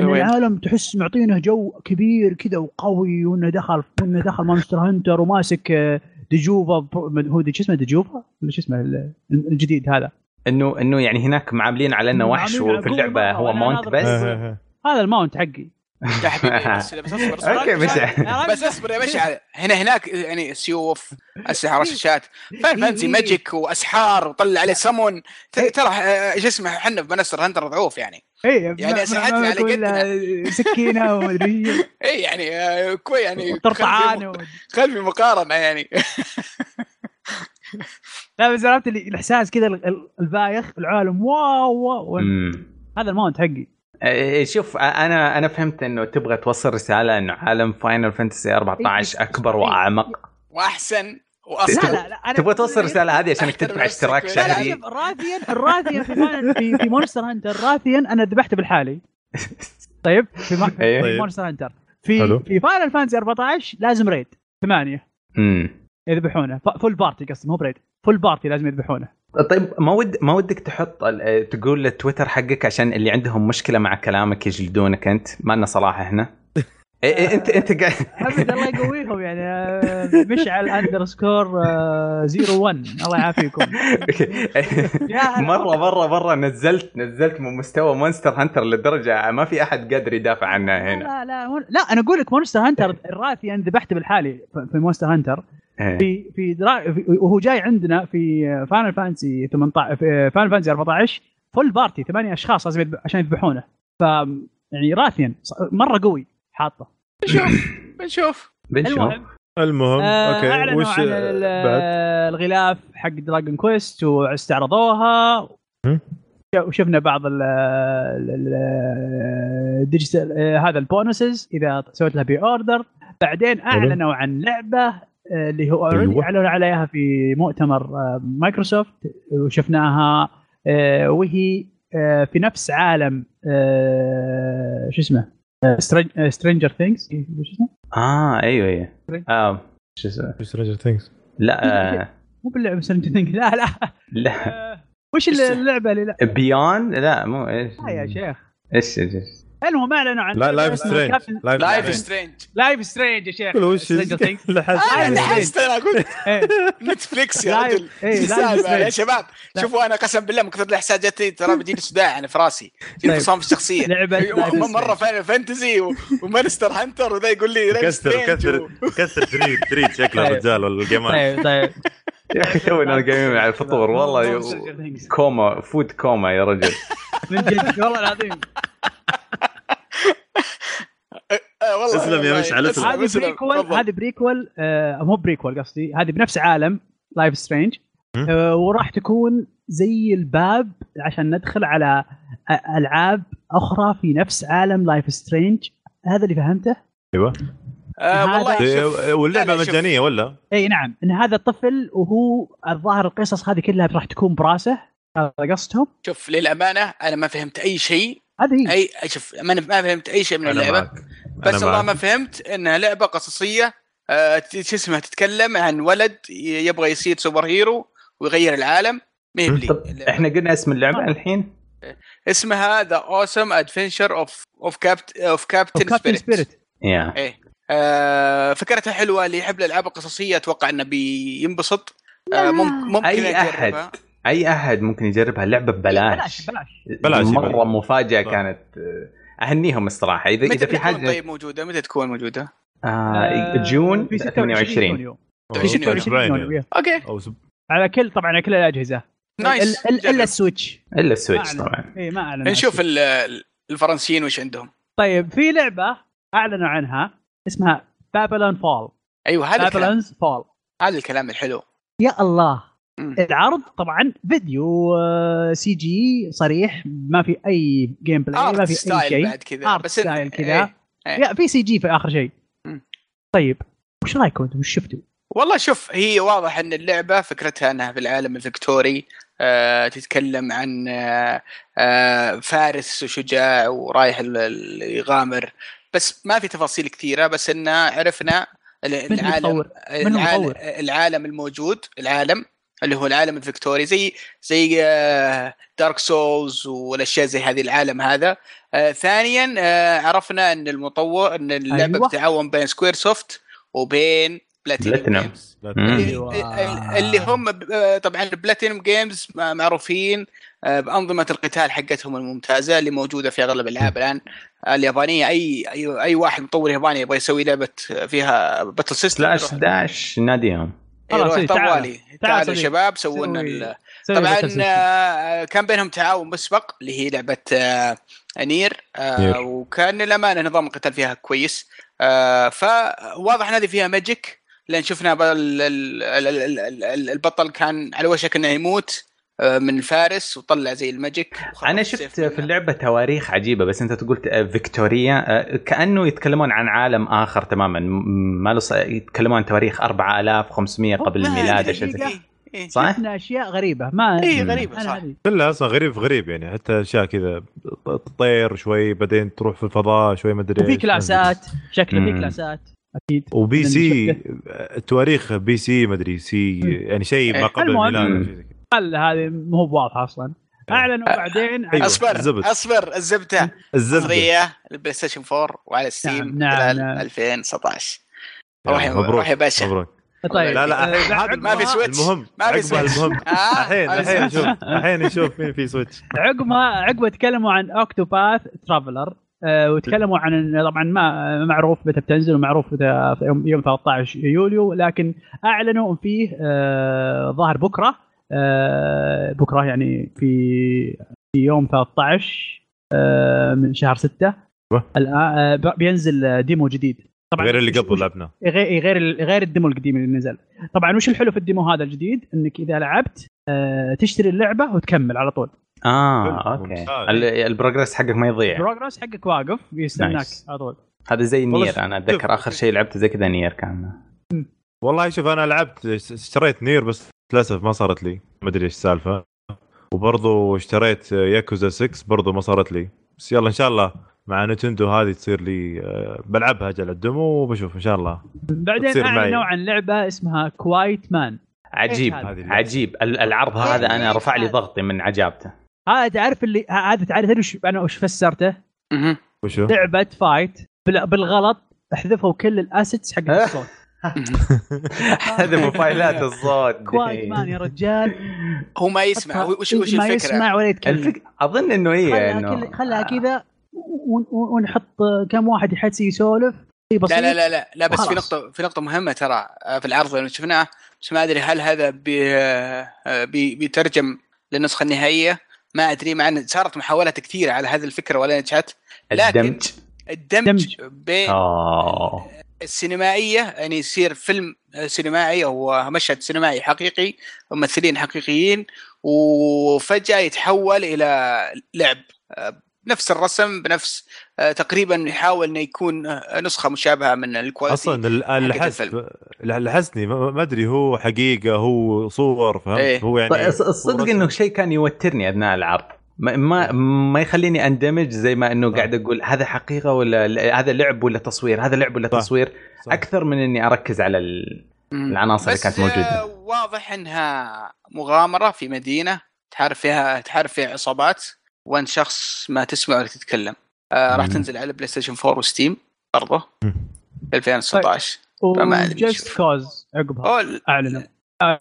Speaker 4: ان
Speaker 3: وين؟
Speaker 4: العالم تحس معطينه جو كبير كذا وقوي وانه دخل وانه دخل مونستر هانتر وماسك آه، دجوبه ب- من- هو دي- شو اسمه دجوبه؟ ولا شو اسمه ال- الجديد هذا؟
Speaker 2: انه انه يعني هناك معاملين على انه وحش
Speaker 4: معاملين على
Speaker 2: وفي
Speaker 4: قوة
Speaker 2: اللعبه
Speaker 4: مرة،
Speaker 2: هو
Speaker 4: وأنا
Speaker 2: مونت
Speaker 4: ناظر
Speaker 2: بس
Speaker 4: بس. هذا الماونت حقي
Speaker 3: يا حبيبي بس بس اصبر اصبر
Speaker 2: اوكي مشعل
Speaker 3: بس اصبر يا مشعل هنا هناك يعني سيوف اسلحه رشاشات فاين فانسي
Speaker 4: إيه.
Speaker 3: ماجيك واسحار وطلع عليه سمون ت- ترى آه، شو اسمه احنا في منستر هنتر ضعوف يعني
Speaker 4: اي
Speaker 3: يعني أسلحتنا على
Speaker 4: سكينه ومدري إيش،
Speaker 3: اي يعني آه، كوي يعني
Speaker 4: وطرطعان و-
Speaker 3: خلفي مقارنه يعني
Speaker 4: لا بس عرفت اللي- الاحساس كذا ال- ال- البايخ العالم واو واو
Speaker 2: مم.
Speaker 4: هذا الماونت حقي
Speaker 2: إيه، شوف انا انا فهمت انه تبغى توصل رساله انه عالم فاينل
Speaker 4: إيه،
Speaker 2: فانتسي 14 اكبر واعمق
Speaker 3: واحسن
Speaker 4: لا
Speaker 3: واصعب
Speaker 4: لا لا إيه، أنا-
Speaker 2: تبغى توصل الرساله هذه عشان تدفع اشتراك
Speaker 3: لا، لا،
Speaker 4: لا
Speaker 2: شهري
Speaker 4: شوف راثيا الراثيا في فاينل- في في مونستر هانتر راثيا انا ذبحته بالحالي طيب في, ما-
Speaker 2: إيه.
Speaker 4: في مونستر هانتر في
Speaker 1: حلو.
Speaker 4: في فاينل فانتسي 14 لازم ريد ثمانيه
Speaker 2: مم.
Speaker 4: يذبحونه ف- فول بارتي قصدي مو بريد فول بارتي لازم يذبحونه
Speaker 2: طيب ما ود ما ودك تحط ال- تقول التويتر حقك عشان اللي عندهم مشكله مع كلامك يجلدونك انت ما لنا صلاح احنا إيه إيه انت انت قاعد
Speaker 4: ابد الله يقويهم يعني آه، مشعل اندرسكور آه، 01 الله يعافيكم يا هلا.
Speaker 2: مره مره مره نزلت نزلت من مستوى مونستر هانتر لدرجه ما في احد قادر يدافع عنها هنا
Speaker 4: لا لا مون- لا انا اقول لك مونستر هانتر الراثي انا ذبحته بالحالي في مونستر هانتر
Speaker 2: إيه.
Speaker 4: في في درا... في- وهو جاي عندنا في فاينل فانسي 18 في فاينل فانسي 14 فول بارتي ثمانية اشخاص لازم يذب- عشان يذبحونه ف يعني راثيا ص- مره قوي حاطه
Speaker 3: بنشوف بنشوف
Speaker 2: بنشوف
Speaker 4: المهم
Speaker 1: المهم
Speaker 4: آه،
Speaker 1: اوكي
Speaker 4: اعلنوا
Speaker 1: وش
Speaker 4: عن ال-
Speaker 1: آه، بعد
Speaker 4: الغلاف حق دراجون كويست واستعرضوها
Speaker 1: هم؟
Speaker 4: وشفنا بعض ال- ال- ال- الديجيتال آه، هذا البونسز اذا سويت لها بي اوردر بعدين اعلنوا عن لعبه آه، اللي هو already
Speaker 1: أيوة.
Speaker 4: اعلنوا عليها في مؤتمر آه، مايكروسوفت وشفناها آه، وهي آه، في نفس عالم آه، شو اسمه سترينجر ثينجز إيه، شو اسمه
Speaker 2: اه ايوه ايوه آه. شو اسمه
Speaker 1: سترينجر ثينكس
Speaker 2: لا آه.
Speaker 4: مو باللعبه سترينجر ثينجز لا لا
Speaker 2: لا
Speaker 4: آه، وش اللعبه اللي لا
Speaker 2: بيون لا مو ايش
Speaker 4: آه يا شيخ
Speaker 2: ايش ايش
Speaker 4: المهم اعلنوا عن
Speaker 1: لا لايف
Speaker 4: اسمها
Speaker 1: سترينج
Speaker 4: كابتن-
Speaker 3: لايف سترينج
Speaker 4: لايف سترينج يا شيخ
Speaker 1: قول وش
Speaker 4: Stranger Things.
Speaker 3: انا
Speaker 4: Life is
Speaker 3: انحست انا آه، قلت
Speaker 4: إيه،
Speaker 3: نتفليكس يا
Speaker 4: Life-
Speaker 3: رجل
Speaker 4: إيه،
Speaker 3: إيش
Speaker 4: Life is
Speaker 3: السالفة يا
Speaker 4: Strange.
Speaker 3: شباب
Speaker 4: لا.
Speaker 3: شوفوا انا قسم بالله من كثر الاحساس جتني ترى بيجيني صداع انا في راسي
Speaker 4: طيب.
Speaker 3: جيني فصام في الشخصيه
Speaker 4: لعبة
Speaker 3: إيه،
Speaker 4: Life is
Speaker 3: م- مره
Speaker 4: Strange.
Speaker 3: فان- فانتزي و- ومانستر هانتر وذا يقول لي Life is
Speaker 1: كسر
Speaker 3: Strange
Speaker 1: كسر
Speaker 3: و-
Speaker 1: كسر دريد دريد شكله
Speaker 4: طيب.
Speaker 1: الرجال ولا الجمال
Speaker 4: طيب طيب
Speaker 2: يا اخي تونا قايمين على الفطور والله
Speaker 4: مو- مو
Speaker 2: يو...
Speaker 4: Stranger Things.
Speaker 2: كوما فود كوما يا رجل
Speaker 4: من جد والله العظيم
Speaker 3: آه، والله
Speaker 1: اسلم يا
Speaker 3: والله،
Speaker 1: مشعل، اسلم.
Speaker 4: هذه بريكول
Speaker 3: تفضل.
Speaker 4: هذه بريكول آه، مو بريكول قصدي هذه بنفس عالم لايف سترينج
Speaker 1: مم.
Speaker 4: وراح تكون زي الباب عشان ندخل على أ- العاب اخرى في نفس عالم لايف سترينج هذا اللي فهمته
Speaker 1: ايوه
Speaker 4: طيب،
Speaker 3: آه، والله
Speaker 1: إيه،
Speaker 3: شوف،
Speaker 1: واللعبه
Speaker 3: لا، لا، شوف.
Speaker 1: مجانيه ولا
Speaker 4: اي نعم ان هذا الطفل وهو الظاهر القصص هذه كلها راح تكون براسه هذا قصدهم
Speaker 3: شوف للامانه انا ما فهمت اي شيء
Speaker 4: هذه هي.
Speaker 3: اي شوف ما أنا ما فهمت اي شيء من
Speaker 1: انا
Speaker 3: اللعبه
Speaker 1: معك أنا
Speaker 3: بس والله
Speaker 1: معك.
Speaker 3: ما فهمت انها لعبه قصصيه آه، ت- شو اسمها تتكلم عن ولد ي- يبغى يصير سوبر هيرو ويغير العالم ما هي بلي.
Speaker 2: طب احنا قلنا اسم
Speaker 4: طيب.
Speaker 2: اللعبه الحين
Speaker 3: اسمها ذا اوسم ادفنشر اوف اوف كابت اوف كابتن
Speaker 4: وكابتن
Speaker 3: سبيريت
Speaker 4: سبيريت
Speaker 2: يا
Speaker 3: ايه آه، فكرتها حلوه اللي يحب الالعاب القصصيه اتوقع انه بينبسط آه، مم- ممكن
Speaker 2: اي
Speaker 3: أجربها.
Speaker 2: احد اي احد ممكن يجربها اللعبه ببلاش
Speaker 4: إيه، بلاش بلاش
Speaker 1: بلاش،
Speaker 2: مره
Speaker 1: بلاش.
Speaker 2: مفاجاه
Speaker 1: صح.
Speaker 2: كانت آه، اهنيهم الصراحه اذا
Speaker 3: متى
Speaker 2: اذا في
Speaker 3: بتكون
Speaker 2: حاجه
Speaker 3: طيب موجوده متى تكون موجوده؟
Speaker 2: آه جون
Speaker 4: في 26
Speaker 2: 28
Speaker 4: يونيو.
Speaker 1: أو-
Speaker 3: 20
Speaker 1: أو
Speaker 4: 26
Speaker 1: أسبوعين
Speaker 4: يونيو
Speaker 1: يعني.
Speaker 4: إيه.
Speaker 3: اوكي
Speaker 1: أو أسبوع.
Speaker 4: على كل طبعا على كل الاجهزه
Speaker 3: نايس
Speaker 4: ال- ال-
Speaker 3: جرب.
Speaker 4: الا السويتش
Speaker 2: الا السويتش
Speaker 4: أعلن.
Speaker 2: طبعا
Speaker 4: اي ما اعلن
Speaker 3: نشوف ال- ال- الفرنسيين وش عندهم
Speaker 4: طيب في لعبه اعلنوا عنها اسمها بابلون فول
Speaker 3: ايوه
Speaker 4: آه،
Speaker 3: هذا الكلام
Speaker 4: بابلونز فول
Speaker 3: هذا الكلام الحلو
Speaker 4: يا الله
Speaker 3: مم.
Speaker 4: العرض طبعا فيديو آه، سي جي صريح ما في اي جيم بلاي يعني ما
Speaker 3: ارت
Speaker 4: في اي
Speaker 3: ستايل
Speaker 4: شيء
Speaker 3: بعد كذا
Speaker 4: ارت
Speaker 3: بس إن-
Speaker 4: ستايل كذا
Speaker 3: إيه. إيه.
Speaker 4: لا في سي جي في اخر شيء
Speaker 3: مم.
Speaker 4: طيب وش رايكم انتم وش شفتوا؟
Speaker 3: والله شوف هي واضح ان اللعبه فكرتها انها في العالم الفكتوري آه تتكلم عن آه آه فارس وشجاع ورايح ال- ال- يغامر بس ما في تفاصيل كثيره بس ان عرفنا ال-
Speaker 4: من
Speaker 3: العالم
Speaker 4: المطور؟ من
Speaker 3: العالم,
Speaker 4: المطور؟
Speaker 3: العالم الموجود العالم اللي هو العالم الفكتوري زي زي آه، دارك سولز والاشياء زي هذه العالم هذا آه، ثانيا آه، عرفنا ان المطور ان اللعبه
Speaker 4: أيوة.
Speaker 3: أيوة. بتعاون بين سكوير سوفت وبين
Speaker 2: بلاتينوم.
Speaker 3: بلاتينوم جيمز
Speaker 1: لا
Speaker 2: مم.
Speaker 1: تنسى.
Speaker 4: أيوة.
Speaker 3: أيوة. اللي هم ب- آه، طبعا بلاتينوم جيمز معروفين آه، بانظمه القتال حقتهم الممتازه اللي موجوده في اغلب الالعاب الان اليابانيه اي اي, آه، أي واحد مطور ياباني يبغى يسوي لعبه فيها باتل سيستم
Speaker 2: سلاش داش ناديهم
Speaker 4: خلاص،
Speaker 3: يروح
Speaker 4: إيه، تعال.
Speaker 3: طوالي
Speaker 4: تعال
Speaker 3: تعالوا
Speaker 4: صديق.
Speaker 3: يا شباب سووا لنا
Speaker 4: سوي-
Speaker 3: ال-
Speaker 4: سوي
Speaker 3: طبعا
Speaker 4: باتل سيستم.
Speaker 3: آه، كان بينهم تعاون مسبق اللي هي لعبه آه، نير آه،
Speaker 1: نير.
Speaker 3: وكان الامانه نظام القتال فيها كويس آه، فواضح ان هذه فيها ماجيك لان شفنا بال- ال- ال- ال- ال- ال- البطل كان على وشك انه يموت آه، من الفارس وطلع زي الماجيك وخطف
Speaker 2: انا
Speaker 3: السيف
Speaker 2: شفت في
Speaker 3: منه.
Speaker 2: اللعبه تواريخ عجيبه بس انت تقول آه، فيكتوريا آه، كانه يتكلمون عن عالم اخر تماما م- ما له ص- يتكلمون عن تواريخ 4500 قبل
Speaker 4: أوه، ما
Speaker 2: الميلاد
Speaker 4: هذه
Speaker 2: أشياء زي-
Speaker 4: دقيقة.
Speaker 3: إيه.
Speaker 2: صح؟
Speaker 4: شفنا اشياء غريبه ما
Speaker 3: اي
Speaker 2: مم.
Speaker 3: غريبه
Speaker 4: أنا
Speaker 3: إيه، صح
Speaker 4: هذه.
Speaker 1: كلها اصلا غريب غريب يعني حتى اشياء كذا تطير شوي بعدين تروح في الفضاء شوي ما ادري
Speaker 4: وفي
Speaker 1: إيش.
Speaker 4: كلاسات شكله في
Speaker 2: مم.
Speaker 4: كلاسات اكيد
Speaker 1: وبي
Speaker 4: من
Speaker 1: سي تواريخ بي سي ما ادري سي يعني شيء ما
Speaker 3: إيه.
Speaker 1: قبل
Speaker 4: المهم.
Speaker 1: الميلاد أو شيء زي كذا.
Speaker 4: قال هذه ما هو واضحه اصلا اعلنوا بعدين عن-
Speaker 1: أيوة.
Speaker 3: اصبر
Speaker 1: الزبد.
Speaker 3: اصبر الزبده
Speaker 1: الزبده
Speaker 3: مصريه البلاي ستيشن 4 وعلى ستيم
Speaker 4: نعم،
Speaker 3: خلال
Speaker 4: نعم.
Speaker 3: 2019
Speaker 1: يلا،
Speaker 3: روح يا-
Speaker 1: مبروك.
Speaker 3: روح يا باشا
Speaker 1: مبروك
Speaker 3: أه،
Speaker 4: طيب
Speaker 1: لا لا
Speaker 4: آه،
Speaker 1: عاد-
Speaker 4: عقبها-
Speaker 3: ما في سويتش.
Speaker 1: المهم
Speaker 3: ما في
Speaker 1: عقبها
Speaker 3: سويتش.
Speaker 1: المهم
Speaker 3: آه،
Speaker 1: الحين
Speaker 3: ما في
Speaker 1: الحين
Speaker 3: سويتش.
Speaker 1: نشوف الحين نشوف مين في سويتش
Speaker 4: عقبها عقبها تكلموا عن اوكتوباث ترافلر آه، وتكلموا عن طبعا ما ما معروف متى بتنزل ومعروف متى في يوم يوم 13 يوليو لكن اعلنوا فيه آه، ظاهر بكره آه، بكره يعني في في يوم 13 آه، من شهر 6
Speaker 1: أيوة.
Speaker 4: الآن آه، ب- بينزل آه، ديمو جديد
Speaker 1: غير اللي
Speaker 4: وش-
Speaker 1: قبل
Speaker 4: وش-
Speaker 1: لعبناه
Speaker 4: غير غير غير الديمو القديم اللي نزل طبعا وش الحلو في الديمو هذا الجديد انك اذا لعبت آه، تشتري اللعبه وتكمل على طول
Speaker 2: اه
Speaker 1: حلو.
Speaker 2: اوكي
Speaker 1: ممتاز.
Speaker 2: ال- البروجرس حقك ما يضيع
Speaker 4: البروجرس حقك واقف يستناك
Speaker 2: Nice.
Speaker 4: على طول
Speaker 2: هذا زي
Speaker 1: والله شوف-
Speaker 2: نير انا اتذكر اخر شيء لعبته زي كذا نير كان
Speaker 1: والله شوف انا لعبت اشتريت نير بس للاسف ما صارت لي ما ادري ايش السالفه وبرضه اشتريت ياكوزا 6 برضه ما صارت لي بس يلا ان شاء الله مع نتندو هذه تصير لي آه، بلعبها اجل على الدمو وبشوف ان شاء الله
Speaker 4: بعدين
Speaker 1: بتصير معي.
Speaker 4: اعلنوا عن لعبه اسمها كوايت مان
Speaker 2: عجيب
Speaker 4: إيش
Speaker 1: هذه اللعبة؟
Speaker 2: عجيب ال- العرض هذا انا
Speaker 4: إيش
Speaker 2: رفع لي
Speaker 4: هذا؟
Speaker 2: ضغطي من عجابته
Speaker 4: هذا تعرف اللي هذا تعرف تدري وش انا وش فسرته؟
Speaker 3: مهم.
Speaker 1: وشو
Speaker 3: طيب،
Speaker 4: لعبه فايت بال- بالغلط احذفوا كل الاسيتس حق الصوت
Speaker 2: هذا موبايلات الصوت
Speaker 4: كوايت مان يا رجال
Speaker 3: هو ما يسمع هو- وش وش
Speaker 4: ما
Speaker 3: الفكره؟
Speaker 4: يسمع ولا يتكلم
Speaker 2: الفك... اظن انه هي
Speaker 4: خلها
Speaker 2: انه
Speaker 4: كل- خلها كذا ون- ون- ونحط كم واحد يحس يسولف شيء بسيط
Speaker 3: لا لا لا لا, لا بس في
Speaker 4: وخلاص.
Speaker 3: نقطة في نقطة مهمة ترى آه، في العرض اللي شفناه بس ما ادري هل هذا بي آه، بي بيترجم للنسخة النهائية ما ادري مع ان صارت محاولات كثيرة على هذه الفكرة ولا نجحت لكن-
Speaker 2: الدمج
Speaker 3: الدمج بين
Speaker 2: اوه
Speaker 3: السينمائية يعني يصير فيلم آه، سينمائي او مشهد سينمائي حقيقي ممثلين حقيقيين وفجأة يتحول الى لعب آه، نفس الرسم بنفس آه، تقريبا يحاول انه يكون آه، نسخة مشابهة من الكواليتي
Speaker 1: اصلا ال- اللي
Speaker 3: حقت
Speaker 1: حس اللي حسني ما ما ادري هو حقيقه هو صور فهمت
Speaker 3: إيه.
Speaker 1: هو
Speaker 2: طيب،
Speaker 1: يعني
Speaker 2: الصدق
Speaker 1: ورسم.
Speaker 2: انه شيء كان يوترني اثناء العرض ما ما, ما يخليني اندمج زي ما انه قاعد اقول هذا حقيقه ولا ل- هذا لعب ولا تصوير هذا لعب ولا
Speaker 1: صح.
Speaker 2: تصوير
Speaker 1: صح.
Speaker 2: اكثر من اني اركز على ال-
Speaker 3: مم.
Speaker 2: العناصر اللي
Speaker 3: بس،
Speaker 2: كانت
Speaker 3: آه،
Speaker 2: موجوده
Speaker 3: واضح انها مغامره في مدينه تحارب فيها تحارب فيها عصابات وان شخص ما تسمع ولا تتكلم آه راح
Speaker 2: مم.
Speaker 3: تنزل على بلاي ستيشن 4 وستيم برضه 2019 فما أدري
Speaker 4: وجست
Speaker 3: شو.
Speaker 4: كوز عقبها
Speaker 3: أو ال-
Speaker 4: اعلنوا آه،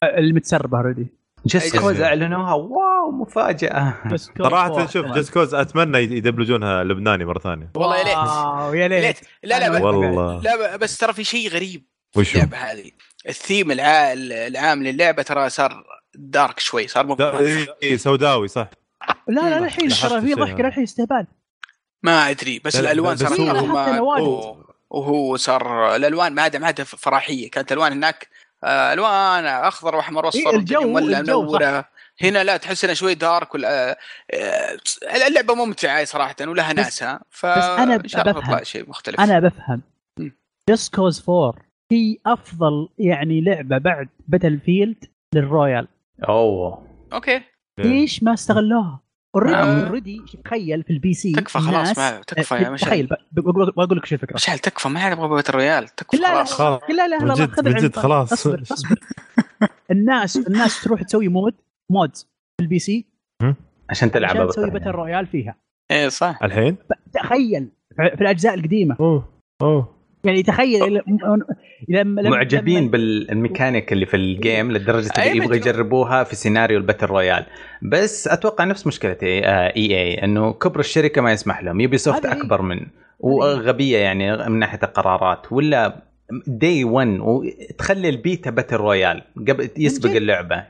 Speaker 4: المتسرب اوريدي
Speaker 2: جس
Speaker 3: أي-
Speaker 2: كوز اعلنوها واو مفاجاه
Speaker 1: صراحه شوف جست كوز اتمنى يدبلجونها لبناني مره ثانيه
Speaker 3: والله يا ليت
Speaker 4: واو يا
Speaker 3: يا
Speaker 4: ليت
Speaker 3: ليت لا لا
Speaker 4: أنا
Speaker 3: بس-
Speaker 1: والله
Speaker 3: لا بس ترى في شيء غريب في
Speaker 1: وشو
Speaker 3: اللعبه هذه الثيم الع- العام للعبه ترى صار دارك شوي صار
Speaker 1: دا-
Speaker 3: مب...
Speaker 1: إيه، إيه، سوداوي صح
Speaker 4: لا لا الحين
Speaker 1: لاحظت
Speaker 4: ترى في
Speaker 1: الشيء
Speaker 4: ضحك
Speaker 1: هذا.
Speaker 4: الحين استهبال
Speaker 3: ما ادري بس
Speaker 1: لا، لا،
Speaker 3: الالوان
Speaker 1: بس
Speaker 3: صارت
Speaker 1: هو-
Speaker 4: لا، حتى
Speaker 3: مظلمات
Speaker 4: الألوان.
Speaker 3: و- وهو صار الالوان ما عاد ما عاد فرحيه كانت الالوان هناك آه، الوان اخضر واحمر واصفر
Speaker 4: إيه، الجو-
Speaker 3: والدنيا مولعة
Speaker 4: الجو صح.
Speaker 3: منوره يعني هنا لا تحس انها شوي دارك وال- آه، آه، اللعبه ممتعه صراحه ولها ناسها ف
Speaker 4: أنا
Speaker 3: إن شاء الله
Speaker 4: بفهم.
Speaker 3: تطلع شيء مختلف
Speaker 4: انا بفهم
Speaker 3: مم.
Speaker 4: جست كوز 4 هي افضل يعني لعبه بعد باتل فيلد للرويال
Speaker 2: اوه
Speaker 3: اوكي
Speaker 1: إيه.
Speaker 4: ليش ما استغلوها؟ اوريدي
Speaker 3: آه.
Speaker 4: اوريدي تخيل في البي سي
Speaker 3: تكفى خلاص،
Speaker 4: ناس-
Speaker 3: ما- تكفى يا مشعل.
Speaker 4: تخيل ب- بقول بقول لك شو الفكره
Speaker 3: مشعل تكفى ما عاد ابغى بيت الريال تكفى
Speaker 4: لا لا
Speaker 3: خلاص
Speaker 1: خلاص.
Speaker 4: لا لا لا
Speaker 1: من
Speaker 4: لا
Speaker 1: جد- من
Speaker 4: خذها عند
Speaker 1: جد، خلاص.
Speaker 4: اصبر اصبر الناس الناس تروح تسوي مود مود في البي سي
Speaker 2: عشان تلعبها
Speaker 4: عشان
Speaker 2: بس
Speaker 4: تسوي باتل رويال فيها
Speaker 3: ايه صح
Speaker 1: الحين
Speaker 4: تخيل في في الاجزاء القديمه
Speaker 1: اوه اوه
Speaker 4: يعني تخيل إلى- لما لما
Speaker 2: معجبين
Speaker 4: لما-
Speaker 2: بالميكانيك اللي في الجيم لدرجه
Speaker 3: أي
Speaker 2: اللي يبغى
Speaker 3: مجنون.
Speaker 2: يجربوها في سيناريو الباتل رويال بس اتوقع نفس آه، مشكله اي اي انه كبر الشركه ما يسمح لهم يبي سوفت
Speaker 4: هذه هي.
Speaker 2: اكبر من وغبيه يعني من ناحيه القرارات ولا دي 1 وتخلي البيتا باتل رويال قبل يسبق
Speaker 4: جد.
Speaker 2: اللعبه أ-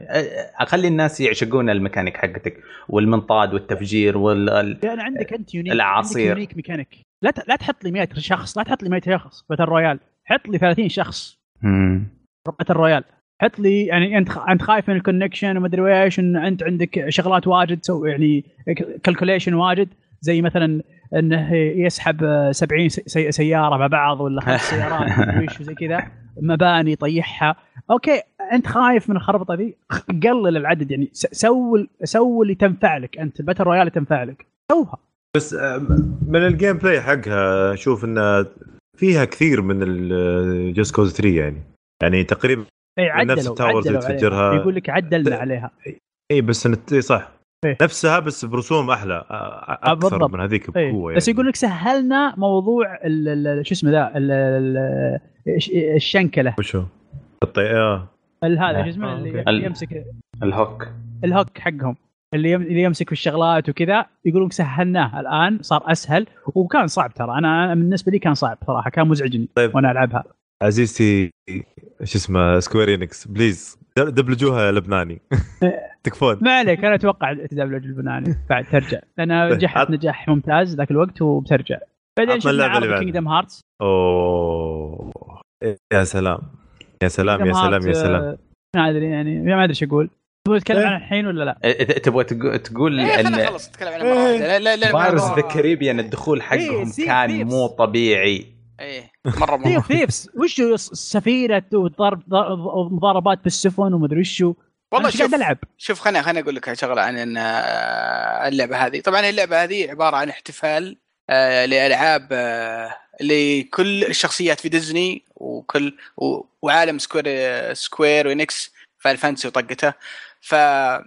Speaker 2: اخلي الناس يعشقون الميكانيك حقتك والمنطاد والتفجير وال
Speaker 4: لان عندك انت يونيك
Speaker 2: العصير.
Speaker 4: عندك يونيك ميكانيك لا ت- لا تحط لي 100 شخص لا تحط لي 100 شخص باتل رويال حط لي 30 شخص
Speaker 2: مم.
Speaker 4: باتل رويال حط لي يعني انت خ- انت خايف من الكونكشن وما ادري ايش ان انت عندك شغلات واجد تسوي يعني كالكوليشن واجد زي مثلا انه يسحب آه، 70 سي- سي- سياره مع بعض ولا خمس سيارات مدري ايش وزي كذا مباني طيحها اوكي انت خايف من الخربطه ذي خ- قلل العدد يعني س- سو ال- سو اللي تنفع لك انت الباتل رويال اللي تنفع لك سوها
Speaker 1: بس آه، من الجيم بلاي حقها اشوف انها فيها كثير من الجوست كوز 3 يعني يعني تقريبا
Speaker 4: اي
Speaker 1: نفس
Speaker 4: إيه، عدلوا
Speaker 1: التاورز اللي
Speaker 4: عدلوا عليها.
Speaker 1: تفجرها.
Speaker 4: يقول لك عدلنا
Speaker 1: ت-
Speaker 4: عليها
Speaker 1: اي بس نت... إيه صح
Speaker 4: إيه. آه،
Speaker 1: نفسها بس برسوم احلى أ- أ- اكثر
Speaker 4: بالضبط.
Speaker 1: من هذيك يعني.
Speaker 4: إيه.
Speaker 1: بقوه
Speaker 4: بس يقول لك سهلنا موضوع ال- ال- شو اسمه ذا ال- ال- الش- الشنكله
Speaker 1: وشو الطي... آه.
Speaker 4: ال- هذا
Speaker 2: آه،
Speaker 4: شو اسمه
Speaker 1: آه،
Speaker 4: اللي
Speaker 1: أوكي.
Speaker 4: اللي يمسك
Speaker 2: الهوك
Speaker 4: الهوك حقهم اللي يم- اللي يمسك في الشغلات وكذا يقولون سهلناه الان صار اسهل وكان صعب ترى انا أنا بالنسبه لي كان صعب صراحه كان مزعجني
Speaker 1: طيب.
Speaker 4: وانا العبها
Speaker 1: عزيزتي شو اسمه سكوير انكس بليز د- دبلجوها لبناني تكفون
Speaker 4: ما عليك انا اتوقع تدبلج البناني بعد ترجع لانها
Speaker 1: طيب،
Speaker 4: نجحت
Speaker 1: عط-
Speaker 4: نجاح ممتاز ذاك الوقت وبترجع بعدين
Speaker 1: عطنا
Speaker 4: شفنا
Speaker 1: اللعبة اللي
Speaker 4: عرض
Speaker 1: بعدها.
Speaker 4: كينجدم هارتس
Speaker 1: اوه يا سلام يا سلام يا سلام يا سلام
Speaker 4: ما ادري يعني ما ادري ايش اقول تبغى تتكلم
Speaker 1: إيه.
Speaker 4: عن الحين ولا لا؟
Speaker 2: إيه، إذا تبغى تقو- تقول
Speaker 3: إيه، خلنا
Speaker 2: ان
Speaker 3: نخلص نتكلم عن المرة واحدة. لا- لا- لا-
Speaker 2: بايرز
Speaker 3: الموضوع-
Speaker 2: ذا كاريبيان الدخول
Speaker 4: إيه،
Speaker 2: حقهم
Speaker 4: سي-
Speaker 2: كان
Speaker 4: ثيفز.
Speaker 2: مو طبيعي
Speaker 3: ايه مره مره
Speaker 4: ثيف ثيفز إيه، وش هو الس- السفينه وضرب مضاربات بالسفن ومدري وشو أنا
Speaker 3: والله
Speaker 4: إيش قاعد
Speaker 3: شوف
Speaker 4: العب
Speaker 3: شوف خليني خليني اقول لك شغله عن ان آه، اللعبه هذه طبعا اللعبه هذه عباره عن احتفال آه، لالعاب آه، لكل الشخصيات في ديزني وكل و- وعالم سكوير آه، سكوير وينكس فاين فانتسي وطقته ف آه،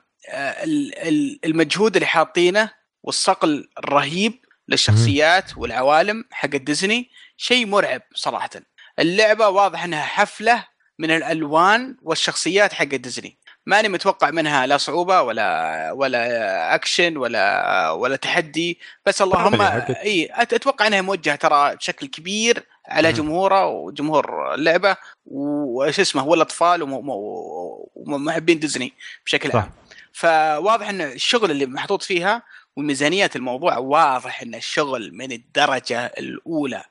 Speaker 3: ال- ال- المجهود اللي حاطينه والصقل الرهيب للشخصيات والعوالم حق ديزني شيء مرعب صراحه اللعبه واضح انها حفله من الالوان والشخصيات حق ديزني ماني متوقع منها لا صعوبه ولا ولا اكشن ولا ولا تحدي بس اللهم
Speaker 1: طبعاً حقت-
Speaker 3: اي أت- اتوقع انها موجهه ترى بشكل كبير على
Speaker 1: مم.
Speaker 3: جمهوره وجمهور اللعبه وش اسمه والاطفال وم- وم- ومحبين ديزني بشكل
Speaker 1: صح.
Speaker 3: عام فواضح ان الشغل اللي محطوط فيها وميزانيه الموضوع واضح ان الشغل من الدرجه الاولى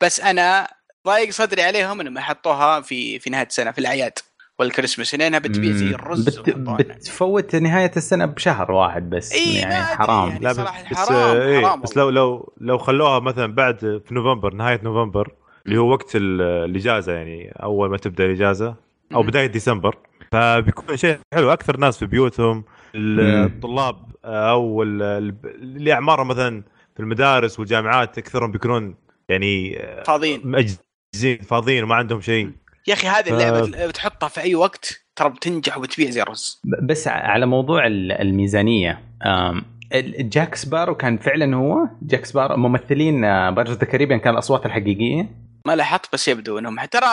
Speaker 3: بس انا ضايق صدري عليهم انهم حطوها في في نهايه السنه في الاعياد والكريسماس لانها بتبيع زي
Speaker 2: مم.
Speaker 3: الرز
Speaker 2: بت...
Speaker 3: وحطوها هنا.
Speaker 2: بتفوت نهايه السنه بشهر واحد بس
Speaker 3: إيه، ما
Speaker 2: يعني
Speaker 3: أدري
Speaker 2: حرام
Speaker 3: يعني.
Speaker 1: لا بس,
Speaker 3: صراحة
Speaker 1: بس,
Speaker 3: حرام،
Speaker 1: آه، إيه،
Speaker 3: حرام
Speaker 1: بس لو لو لو خلوها مثلا بعد في نوفمبر نهايه نوفمبر اللي هو وقت ال- الاجازه يعني اول ما تبدا الاجازه او
Speaker 3: مم.
Speaker 1: بدايه ديسمبر فبيكون شيء حلو اكثر ناس في بيوتهم ال-
Speaker 2: مم.
Speaker 1: الطلاب او ال- ال- اللي اعمارهم مثلا في المدارس والجامعات اكثرهم بيكونون يعني آه،
Speaker 3: فاضيين
Speaker 1: مأجزين فاضيين وما عندهم شيء
Speaker 3: يا اخي هذه
Speaker 1: ف-
Speaker 3: اللعبه اللي بتحطها في اي وقت ترى بتنجح وبتبيع زي الرز
Speaker 2: ب- بس ع- على موضوع ال- الميزانيه آم، ال- جاك سبارو كان فعلا هو جاك سبارو ممثلين بايرز ذا كاريبيان كان الاصوات الحقيقيه
Speaker 3: ما لاحظت بس يبدو انهم ترى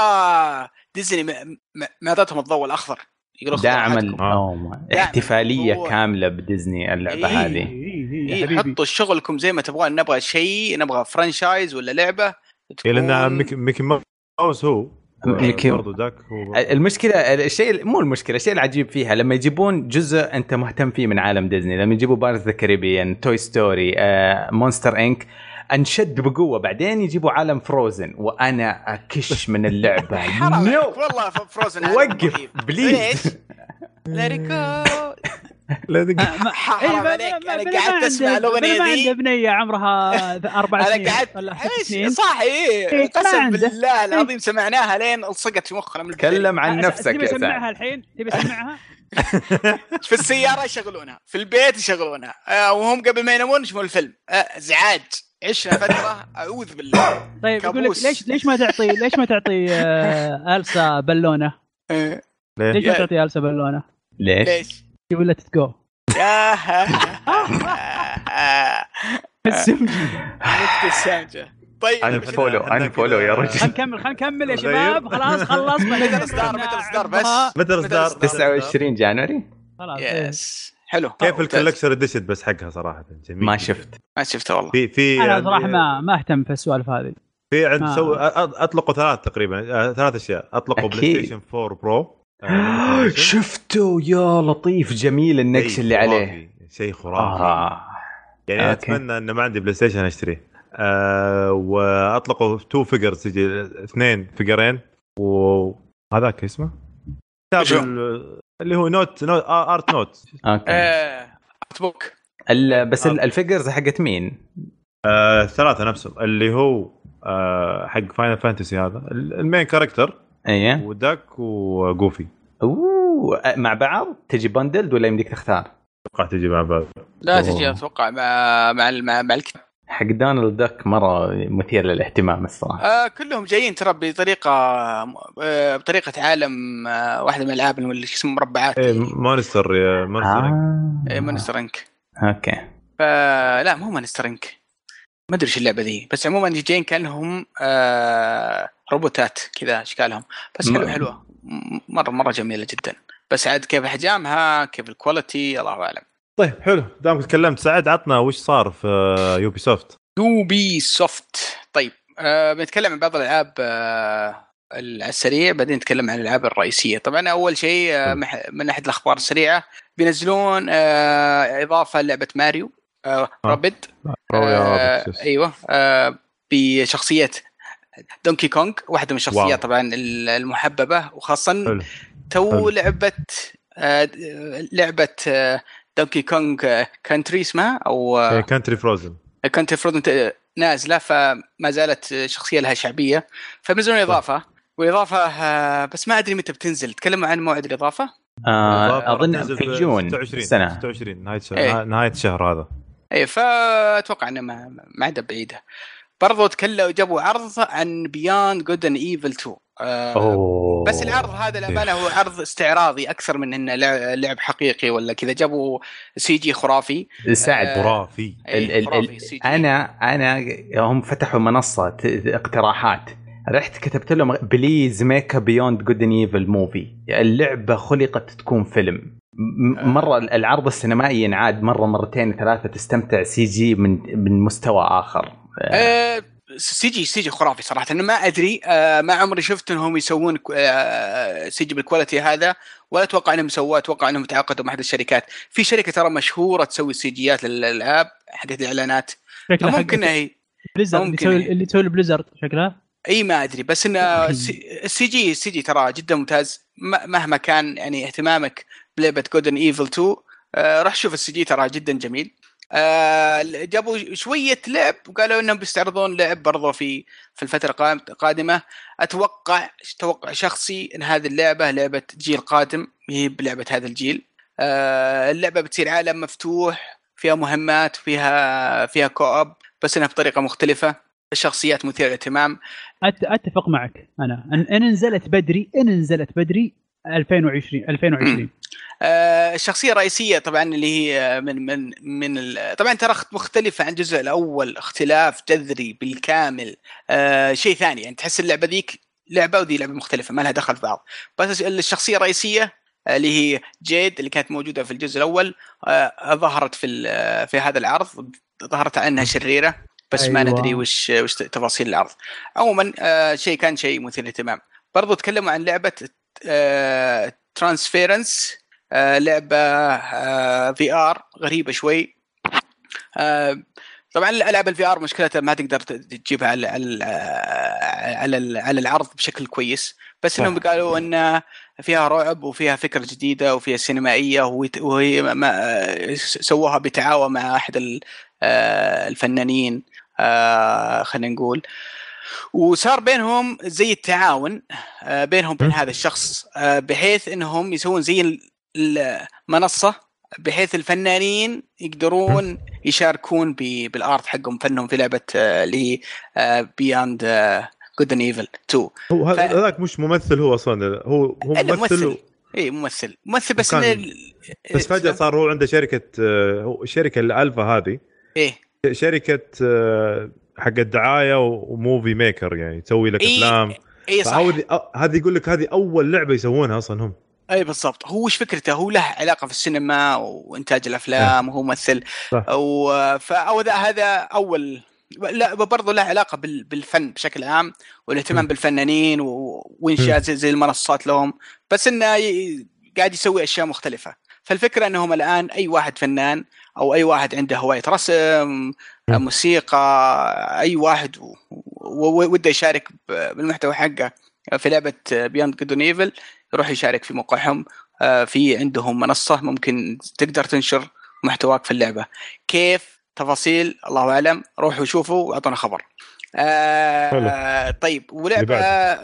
Speaker 3: ديزني م- م- معطتهم الضوء الاخضر يقولوا خذوا
Speaker 2: دعم
Speaker 3: راحتكم.
Speaker 2: ال- أوه ما-
Speaker 3: دعم
Speaker 2: احتفاليه
Speaker 3: الموضوع.
Speaker 2: كامله بديزني اللعبه
Speaker 3: إيه.
Speaker 2: هذه
Speaker 4: إيه،
Speaker 3: إيه حطوا شغلكم زي ما تبغون نبغى شيء نبغى فرانشايز ولا لعبه
Speaker 1: إيه، لان
Speaker 3: تكون-
Speaker 1: ميكي ميكي ماوس هو آه،
Speaker 2: ميكي-
Speaker 1: برضو ذاك هو
Speaker 2: المشكله الشيء مو المشكله الشيء العجيب فيها لما يجيبون جزء انت مهتم فيه من عالم ديزني لما يجيبوا بارز ذا كاريبيان توي ستوري آه، مونستر انك انشد بقوه بعدين يجيبوا عالم فروزن وانا اكش من اللعبه
Speaker 3: حرام عليك،
Speaker 2: نو
Speaker 3: والله ف- فروزن هذا
Speaker 2: وقف
Speaker 3: رهيب. ليش؟
Speaker 2: بليز
Speaker 3: Let it go.
Speaker 1: لا دقيقة.
Speaker 4: ما- إيه،
Speaker 3: حرام
Speaker 4: ما-
Speaker 3: عليك
Speaker 4: ما-
Speaker 3: انا
Speaker 4: ما- ما
Speaker 3: قعدت اسمع
Speaker 4: عنده-
Speaker 3: الاغنيه
Speaker 4: ما عنده
Speaker 3: ذي
Speaker 4: بنيه عمرها ذ- اربع سنين
Speaker 3: انا قعدت
Speaker 4: ولا ست سنين
Speaker 3: ايش صح
Speaker 4: إيه،
Speaker 3: ايه
Speaker 4: ما إيه.
Speaker 3: قسم
Speaker 4: عنده.
Speaker 3: بالله العظيم سمعناها لين لصقت في مخنا من البداية.
Speaker 2: تكلم عن
Speaker 4: أس-
Speaker 2: نفسك
Speaker 4: تبي
Speaker 2: يا
Speaker 4: اسمعها
Speaker 2: سعد
Speaker 4: الحين تبي اسمعها
Speaker 3: في السياره يشغلونها في البيت يشغلونها آه، وهم قبل ما ينامون يشوفون الفيلم آه، ازعاج عشنا فتره اعوذ بالله
Speaker 4: طيب يقول لك
Speaker 3: كابوس.
Speaker 4: ليش ليش ما تعطي ليش ما تعطي آه، السا بالونه؟
Speaker 3: إيه،
Speaker 1: ليه؟
Speaker 4: ليش ما
Speaker 3: يا- آه.
Speaker 4: تعطي السا بالونه؟
Speaker 2: ليش؟
Speaker 3: ليش؟
Speaker 4: يقول لا تتجو
Speaker 3: يا ها- ابتسامته طيب
Speaker 2: عن فولو عن فولو يا
Speaker 4: خلينا
Speaker 2: رجل
Speaker 4: نكمل خلينا نكمل يا شباب خلاص خلصنا
Speaker 3: متى الاصدار متى الاصدار بس
Speaker 1: متى الإصدار؟
Speaker 3: الإصدار؟
Speaker 2: 29 جانوري
Speaker 4: خلاص إيه.
Speaker 3: يس حلو
Speaker 1: كيف
Speaker 3: ممتاز.
Speaker 1: الكولكشن اديشن بس حقها صراحه جميل
Speaker 2: آه، ما شفت
Speaker 3: ما شفته والله
Speaker 1: في في
Speaker 4: انا صراحه ما ما اهتم في السوالف هذه
Speaker 1: في عند
Speaker 4: ما-
Speaker 1: سو أ- اطلقوا ثلاث تقريبا آه، ثلاث اشياء اطلقوا
Speaker 2: أكيد.
Speaker 1: بلاي ستيشن 4 برو آه،
Speaker 2: شفته يا لطيف جميل النكش
Speaker 1: شيء
Speaker 2: اللي عليه
Speaker 1: خرافي، شيء خرافي
Speaker 2: آه.
Speaker 1: يعني أنا
Speaker 2: أوكي.
Speaker 1: اتمنى انه ما عندي بلاي ستيشن اشتريه آه واطلقوا تو فيجرز يجي اثنين فيجرين وهذاك اسمه
Speaker 3: شو؟
Speaker 1: كتاب ال- اللي هو نوت, نوت آه، ارت نوت
Speaker 2: اوكي
Speaker 3: آه، ارت بوك
Speaker 2: ال- بس ال-
Speaker 1: آه.
Speaker 2: الفيجرز حقت مين؟
Speaker 1: آه، الثلاثه نفسهم اللي هو آه حق فاينل فانتسي هذا ال- المين كاركتر
Speaker 2: ايه
Speaker 1: وداك وجوفي
Speaker 2: اوه مع بعض تجي بندلد ولا يمديك تختار؟
Speaker 1: اتوقع تجي مع بعض
Speaker 3: لا
Speaker 1: أوه.
Speaker 3: تجي اتوقع مع مع مع, مع الكتاب
Speaker 2: حق دونالد داك مره مثير للاهتمام الصراحه
Speaker 3: آه كلهم جايين ترى بطريقه آه بطريقه عالم آه واحده من الالعاب اللي شو اسمه مربعات
Speaker 1: إيه، مونستر يا مونستر
Speaker 3: إيه،
Speaker 2: آه.
Speaker 3: مونسترنك
Speaker 2: اوكي
Speaker 3: فلا مو مونسترنك ما ادري ايش اللعبه ذي بس عموما جايين كانهم آه روبوتات كذا اشكالهم بس حلوه
Speaker 2: مم.
Speaker 3: حلوه م- مره مره جميله جدا بس عاد كيف احجامها كيف الكواليتي الله اعلم
Speaker 1: طيب حلو دامك تكلمت سعد عطنا وش صار في يوبي سوفت
Speaker 3: يوبي سوفت طيب آه بنتكلم عن بعض الالعاب آه على السريع بعدين نتكلم عن الالعاب الرئيسيه طبعا اول شيء آه مح- من ناحيه الاخبار السريعه بينزلون آه اضافه لعبه ماريو آه رابد آه ايوه آه بشخصيه دونكي كونغ
Speaker 1: واو.
Speaker 3: واحده من الشخصيات طبعا ال- المحببه وخاصه
Speaker 1: حلو.
Speaker 3: تو
Speaker 1: حلو.
Speaker 3: لعبه آه د- لعبه آه دونكي كونغ كانتري اسمها او آه
Speaker 1: إيه، كانتري فروزن
Speaker 3: كانت المفروض انت نازله فما زالت شخصيه لها شعبيه فبينزلون اضافه والاضافه آه، بس ما ادري متى بتنزل تكلموا عن موعد الاضافه
Speaker 2: آه اظن في جون
Speaker 1: 26
Speaker 2: السنه
Speaker 1: 26 نهايه شهر
Speaker 3: إيه.
Speaker 1: نهايه الشهر هذا
Speaker 3: اي فاتوقع انها إيه، ما ما عاد بعيده برضو تكلموا جابوا عرض عن بياند جود اند ايفل 2 آه،
Speaker 2: اوه
Speaker 3: بس العرض هذا الامانه
Speaker 2: إيه.
Speaker 3: هو عرض استعراضي اكثر من انه لع- لعب حقيقي ولا كذا جابوا سي جي خرافي
Speaker 2: سعد
Speaker 1: خرافي
Speaker 3: إيه،
Speaker 2: ال- ال-
Speaker 3: خرافي
Speaker 2: ال-
Speaker 3: CG.
Speaker 2: انا انا هم فتحوا منصه ت- اقتراحات رحت كتبت لهم بليز ميك بيوند جود ان ايفل موفي اللعبه يعني خلقت تكون فيلم م- مره ال- العرض السينمائي ينعاد مره مرتين ثلاثه تستمتع سي جي من من مستوى اخر
Speaker 3: آه، سي جي سي جي خرافي صراحه انا ما ادري آه، ما عمري شفت انهم يسوون كو- آه، سي جي بالكواليتي هذا ولا اتوقع انهم سووه اتوقع انهم تعاقدوا مع احد الشركات في شركه ترى مشهوره تسوي سي جيات للالعاب حقت الاعلانات
Speaker 4: شكلها حق
Speaker 3: ممكن هي
Speaker 4: بليزرد اللي
Speaker 3: ممكن
Speaker 4: تسوي
Speaker 3: هي.
Speaker 4: اللي تسوي البليزرد شكلها
Speaker 3: اي ما ادري بس ان السي- السي جي السي جي ترى جدا ممتاز م- مهما كان يعني اهتمامك بلعبه جودن ايفل 2 آه، روح شوف السي جي ترى جدا جميل آه، جابوا شويه لعب وقالوا انهم بيستعرضون لعب برضو في في الفتره القا- القادمه اتوقع توقع شخصي ان هذه اللعبه لعبه جيل قادم هي بلعبه هذا الجيل آه، اللعبه بتصير عالم مفتوح فيها مهمات فيها فيها كوب بس انها بطريقه مختلفه الشخصيات مثيره للاهتمام
Speaker 4: أت... اتفق معك انا ان, إن نزلت بدري ان نزلت بدري 2020 2020
Speaker 3: آه، الشخصيه الرئيسيه طبعا اللي هي من من من ال- طبعا ترى اخت- مختلفه عن الجزء الاول اختلاف جذري بالكامل آه، شيء ثاني يعني تحس اللعبه ذيك لعبه وذي لعبه مختلفه ما لها دخل في بعض بس الشخصيه الرئيسيه آه، اللي هي جيد اللي كانت موجوده في الجزء الاول آه، ظهرت في ال- آه، في هذا العرض ظهرت عنها شريره بس أيوة. ما
Speaker 4: أيوة.
Speaker 3: ندري وش وش تفاصيل العرض عموما آه، شيء كان شيء مثير للاهتمام برضو تكلموا عن لعبه ترانسفيرنس آه، لعبه في ار غريبه شوي آه، طبعا الالعاب الفي ار مشكلتها ما تقدر ت- تجيبها على على على على العرض بشكل كويس بس
Speaker 1: صح.
Speaker 3: انهم قالوا ان فيها رعب وفيها فكره جديده وفيها سينمائيه وهي- وهي ما- ما- سووها بتعاون مع احد ال- آه، الفنانين آه، خلينا نقول وصار بينهم زي التعاون آه، بينهم بين
Speaker 1: م.
Speaker 3: هذا الشخص آه، بحيث انهم يسوون زي ال- المنصه بحيث الفنانين يقدرون يشاركون ب- بالارت حقهم فنهم في لعبه آه، اللي بياند جود ان ايفل 2
Speaker 1: هو هذا-
Speaker 3: ف-
Speaker 1: هذاك مش ممثل هو اصلا هو هو
Speaker 3: إلا
Speaker 1: ممثل
Speaker 3: ممثل. إيه. اي ممثل ممثل بس
Speaker 1: وكان-
Speaker 3: إنه-
Speaker 1: بس فجاه صار هو عنده شركه آه، هو- الشركه الالفا هذه
Speaker 3: ايه
Speaker 1: شركه آه، حق الدعايه و- وموفي ميكر يعني تسوي لك
Speaker 3: إيه،
Speaker 1: افلام
Speaker 3: اي صح
Speaker 1: فهذه أ- هذه يقول لك هذه اول لعبه يسوونها اصلا هم
Speaker 3: اي إيه، بالضبط هو وش فكرته هو له علاقه في السينما وانتاج الافلام وهو ممثل
Speaker 1: إيه. صح.
Speaker 3: و- فهو ذا- هذا اول لا برضه له علاقه بال- بالفن بشكل عام والاهتمام
Speaker 1: إيه.
Speaker 3: بالفنانين و- وانشاء زي, زي المنصات لهم بس انه ي- قاعد يسوي اشياء مختلفه فالفكره انهم الان اي واحد فنان او اي واحد عنده هوايه رسم موسيقى اي واحد و- و- وده يشارك ب- بالمحتوى حقه في لعبه بياند جود ايفل يروح يشارك في موقعهم آه، في عندهم منصه ممكن تقدر تنشر محتواك في اللعبه كيف تفاصيل الله اعلم روحوا شوفوا واعطونا خبر آه طيب ولعبه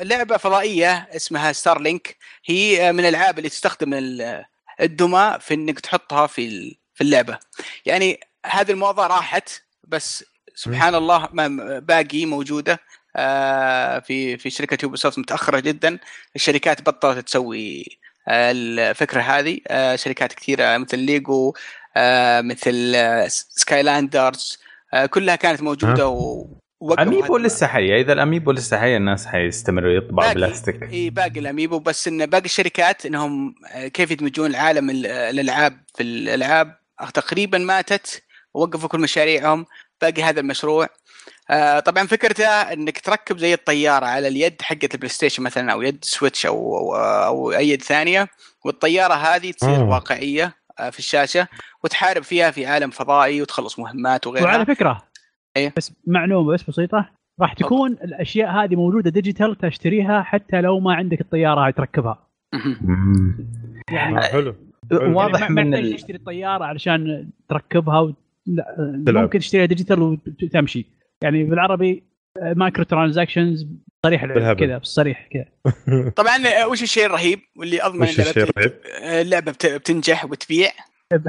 Speaker 3: لعبه فضائيه اسمها ستارلينك هي آه، من الالعاب اللي تستخدم ال- الدمى في انك تحطها في ال- في اللعبه يعني هذه الموضه راحت بس سبحان الله ما باقي موجوده آه، في في شركه يوبي سوفت متاخره جدا الشركات بطلت تسوي آه، الفكره هذه آه، شركات كثيره مثل ليجو آه، مثل سكاي لاندرز كلها كانت موجوده و ووقفوا
Speaker 2: اميبو
Speaker 3: هذه-
Speaker 2: لسه حيه اذا الاميبو لسه حيه الناس حيستمروا يطبعوا
Speaker 3: باقي.
Speaker 2: بلاستيك
Speaker 3: اي باقي الاميبو بس ان باقي الشركات انهم كيف يدمجون العالم ال- الالعاب في الالعاب تقريبا ماتت وقفوا كل مشاريعهم باقي هذا المشروع آه، طبعا فكرته انك تركب زي الطياره على اليد حقت البلاي ستيشن مثلا او يد سويتش او او, أو اي يد ثانيه والطياره هذه تصير
Speaker 1: مم.
Speaker 3: واقعيه آه، في الشاشه وتحارب فيها في عالم فضائي وتخلص مهمات
Speaker 4: وعلى
Speaker 3: وغيرها
Speaker 4: فكره
Speaker 3: إيه.
Speaker 4: بس معلومه بس بسيطه راح تكون الاشياء هذه موجوده ديجيتال تشتريها حتى لو ما عندك الطياره تركبها
Speaker 3: مهم.
Speaker 2: مم.
Speaker 4: يعني
Speaker 1: آه، حلو
Speaker 4: يعني
Speaker 2: واضح
Speaker 4: ما- ما
Speaker 2: من
Speaker 4: تحتاج
Speaker 2: ال...
Speaker 4: تشتري الطياره علشان تركبها و... لا
Speaker 1: تلعب.
Speaker 4: ممكن تشتريها ديجيتال وتمشي يعني بالعربي مايكرو ترانزاكشنز صريح
Speaker 1: بالهبل.
Speaker 4: كذا بالصريح كذا
Speaker 3: طبعا آه، وش الشيء الرهيب واللي اضمن
Speaker 1: وش
Speaker 3: إن
Speaker 1: الشيء
Speaker 3: لعبة-
Speaker 1: الرهيب؟
Speaker 3: آه، اللعبه بت- بتنجح وتبيع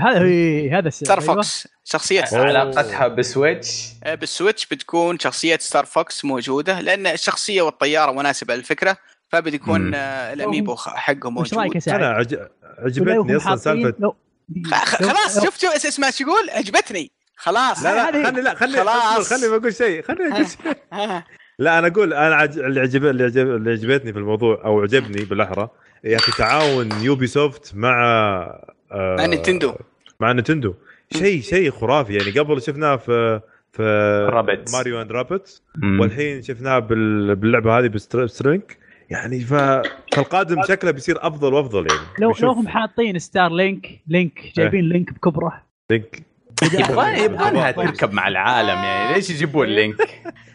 Speaker 4: هذا هي- هذا الس-
Speaker 3: ستار
Speaker 4: أيوة.
Speaker 3: فوكس شخصية
Speaker 1: أوه.
Speaker 2: علاقتها بسويتش
Speaker 3: آه، بالسويتش بتكون شخصية ستار فوكس موجودة لأن الشخصية والطيارة مناسبة للفكرة
Speaker 2: مم.
Speaker 3: فبتكون آه، الأميبو خ- حقه
Speaker 4: وش رايك يا
Speaker 1: انا
Speaker 3: موجود
Speaker 4: سعد؟
Speaker 1: عج...
Speaker 4: ولا
Speaker 1: عجبتني
Speaker 4: يكون
Speaker 1: اصلا
Speaker 4: حاطين-
Speaker 1: سالفه
Speaker 4: لو-
Speaker 3: خ- خ-
Speaker 4: لو-
Speaker 3: خلاص
Speaker 4: لو-
Speaker 3: شفت شو اسم ما تقول عجبتني خلاص
Speaker 1: لا لا
Speaker 4: هذه-
Speaker 1: خلني لا خلني
Speaker 3: خلاص.
Speaker 1: خلني بقول شيء خلني بقول شيء
Speaker 3: آه.
Speaker 1: لا انا اقول انا عج... اللي عجب اللي عجب اللي عجبتني في الموضوع او عجبني بالاحرى يا اخي تعاون يوبي سوفت مع آه...
Speaker 3: مع نينتندو.
Speaker 1: مع نينتندو شيء شيء خرافي يعني قبل شفناه في في
Speaker 2: رابتس.
Speaker 1: ماريو اند رابتس
Speaker 2: مم.
Speaker 1: والحين شفناه بال... باللعبه هذه بستر- بسترينك يعني ف... فالقادم شكله بيصير افضل وافضل يعني
Speaker 4: لو
Speaker 1: بنشوف.
Speaker 4: لو هم حاطين ستار لينك
Speaker 1: إيه.
Speaker 4: لينك جايبين لينك بكبره
Speaker 1: لينك
Speaker 2: يبغى يبغى
Speaker 1: طيب.
Speaker 2: تركب مع العالم يعني ليش يجيبون لينك؟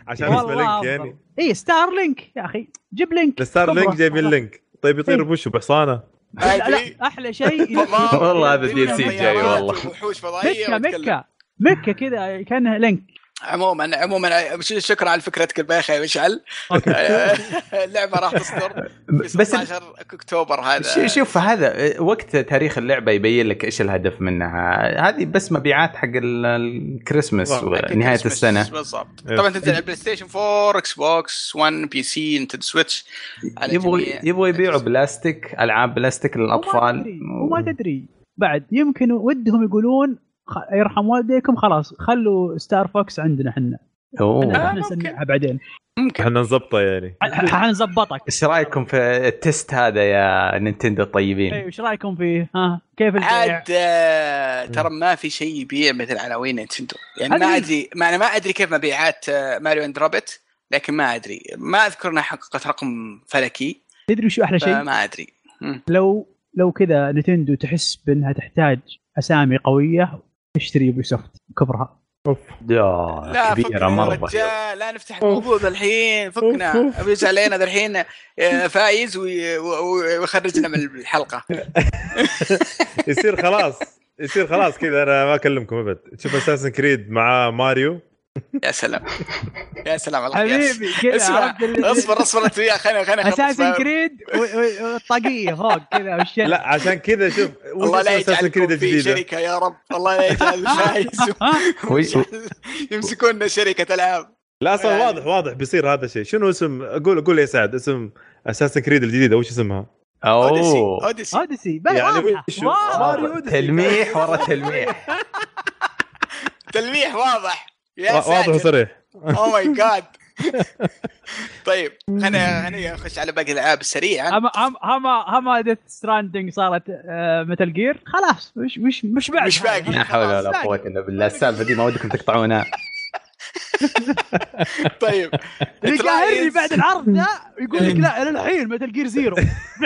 Speaker 1: عشان اسمه لينك
Speaker 4: والله
Speaker 1: يعني
Speaker 4: اي ستار لينك إيه، يا اخي جيب لينك
Speaker 1: الستار
Speaker 4: بكبره.
Speaker 1: لينك جايبين لينك طيب يطير
Speaker 4: إيه.
Speaker 1: بوشه بحصانه
Speaker 4: لا, لا احلى شيء
Speaker 2: والله هذا DLC
Speaker 3: يبنون
Speaker 2: جاي والله.
Speaker 3: طيارات ووحوش فضائية
Speaker 4: مكه
Speaker 3: وأتكلم.
Speaker 4: مكه مكه كذا كانها لينك
Speaker 3: عموما عموما ش- شكرا على فكرتك البايخة يا مشعل آه، اللعبة راح تصدر في
Speaker 2: بس
Speaker 3: 16 اكتوبر
Speaker 2: ش-
Speaker 3: هذا
Speaker 2: شوف هذا وقت تاريخ اللعبه يبين لك ايش الهدف منها هذه بس مبيعات حق ال- الكريسماس
Speaker 1: والله،
Speaker 2: ونهايه
Speaker 3: كريسمس
Speaker 2: السنه
Speaker 3: بالضبط
Speaker 1: إيه.
Speaker 3: طبعا تنزل على البلاي ستيشن 4 اكس بوكس 1 بي سي نتندو سويتش على
Speaker 2: يبغوا
Speaker 3: جميع
Speaker 2: يبغوا يبيعوا بلاستيك العاب بلاستيك
Speaker 4: وما
Speaker 2: للاطفال
Speaker 4: تدري- وما تدري بعد يمكن ودهم يقولون خ- يرحم والديكم خلاص خلوا ستار فوكس عندنا احنا
Speaker 2: أوه.
Speaker 3: آه،
Speaker 4: احنا
Speaker 3: ممكن.
Speaker 4: نصنعها بعدين
Speaker 3: ممكن
Speaker 1: احنا نظبطه يعني
Speaker 4: ح- حنظبطك
Speaker 2: ايش رايكم في التست هذا يا نينتندو
Speaker 4: إيه،
Speaker 2: الطيبين؟
Speaker 4: وش رايكم فيه؟ ها كيف البيع؟
Speaker 3: عاد
Speaker 2: إيه.
Speaker 3: آه، ترى ما في شيء يبيع مثل عناوين نينتندو يعني
Speaker 4: هذه
Speaker 3: ما
Speaker 4: هي.
Speaker 3: ادري ما انا ما ادري كيف مبيعات آه، ماريو اند روبت لكن ما ادري ما اذكر انها حققت رقم فلكي
Speaker 4: تدري شو احلى شيء؟
Speaker 3: فما ادري مم.
Speaker 4: لو لو كذا نتندو تحس بانها تحتاج اسامي قويه تشتري يوبي سوفت كبرها
Speaker 2: يا
Speaker 3: لا
Speaker 2: كبيره
Speaker 3: فكنا يا
Speaker 2: مره
Speaker 3: رجال لا نفتح الموضوع ذا الحين فكنا بيجي علينا ذا الحين آه، فايز وي- و- ويخرجنا من الحلقه
Speaker 1: يصير خلاص يصير خلاص كذا انا ما اكلمكم ابد تشوف اساسن كريد مع ماريو
Speaker 3: يا سلام يا سلام على القياس.
Speaker 4: حبيبي كذا
Speaker 3: اسمع،
Speaker 4: عرفت ال-
Speaker 3: اصبر اصبر انت وياه خليني خليني أخلص.
Speaker 4: اساسن كريد و- و- والطاقيه فوق كذا والشيء
Speaker 1: لا عشان كذا شوف
Speaker 3: الله لا
Speaker 1: اساسن كريد
Speaker 3: يجعلكم في
Speaker 1: الجديده
Speaker 3: شركه يا رب الله لا يجعل فايز
Speaker 2: وي-
Speaker 3: يمسكونا شركه العاب
Speaker 1: لا اصلا
Speaker 3: يعني-
Speaker 1: واضح واضح بيصير هذا الشيء شنو اسم قول قول يا سعد اسم اساسن كريد الجديده وش اسمها؟
Speaker 3: اوديسي
Speaker 2: اوه
Speaker 3: اوديسي
Speaker 4: اوديسي بقى
Speaker 1: يعني
Speaker 4: واضحة،
Speaker 1: وش-
Speaker 4: واضحة.
Speaker 1: ماريو أوديسي.
Speaker 2: تلميح ورا تلميح
Speaker 3: تلميح واضح يا
Speaker 1: وا- واضح
Speaker 3: ساتر
Speaker 1: وصريح
Speaker 3: او ماي جاد طيب خلينا خلينا نخش على باقي الالعاب سريعا
Speaker 4: اما أما- اما اما ديث ستراندنج صارت متل جير خلاص مش مش مش بعد
Speaker 3: مش باقي.
Speaker 2: لا حول ولا قوه الا بالله السالفه دي ما ودكم تقطعونها
Speaker 3: طيب
Speaker 4: اللي قاهرني
Speaker 3: ترايز.
Speaker 4: بعد العرض ذا يقول لك لا الى الحين متل جير زيرو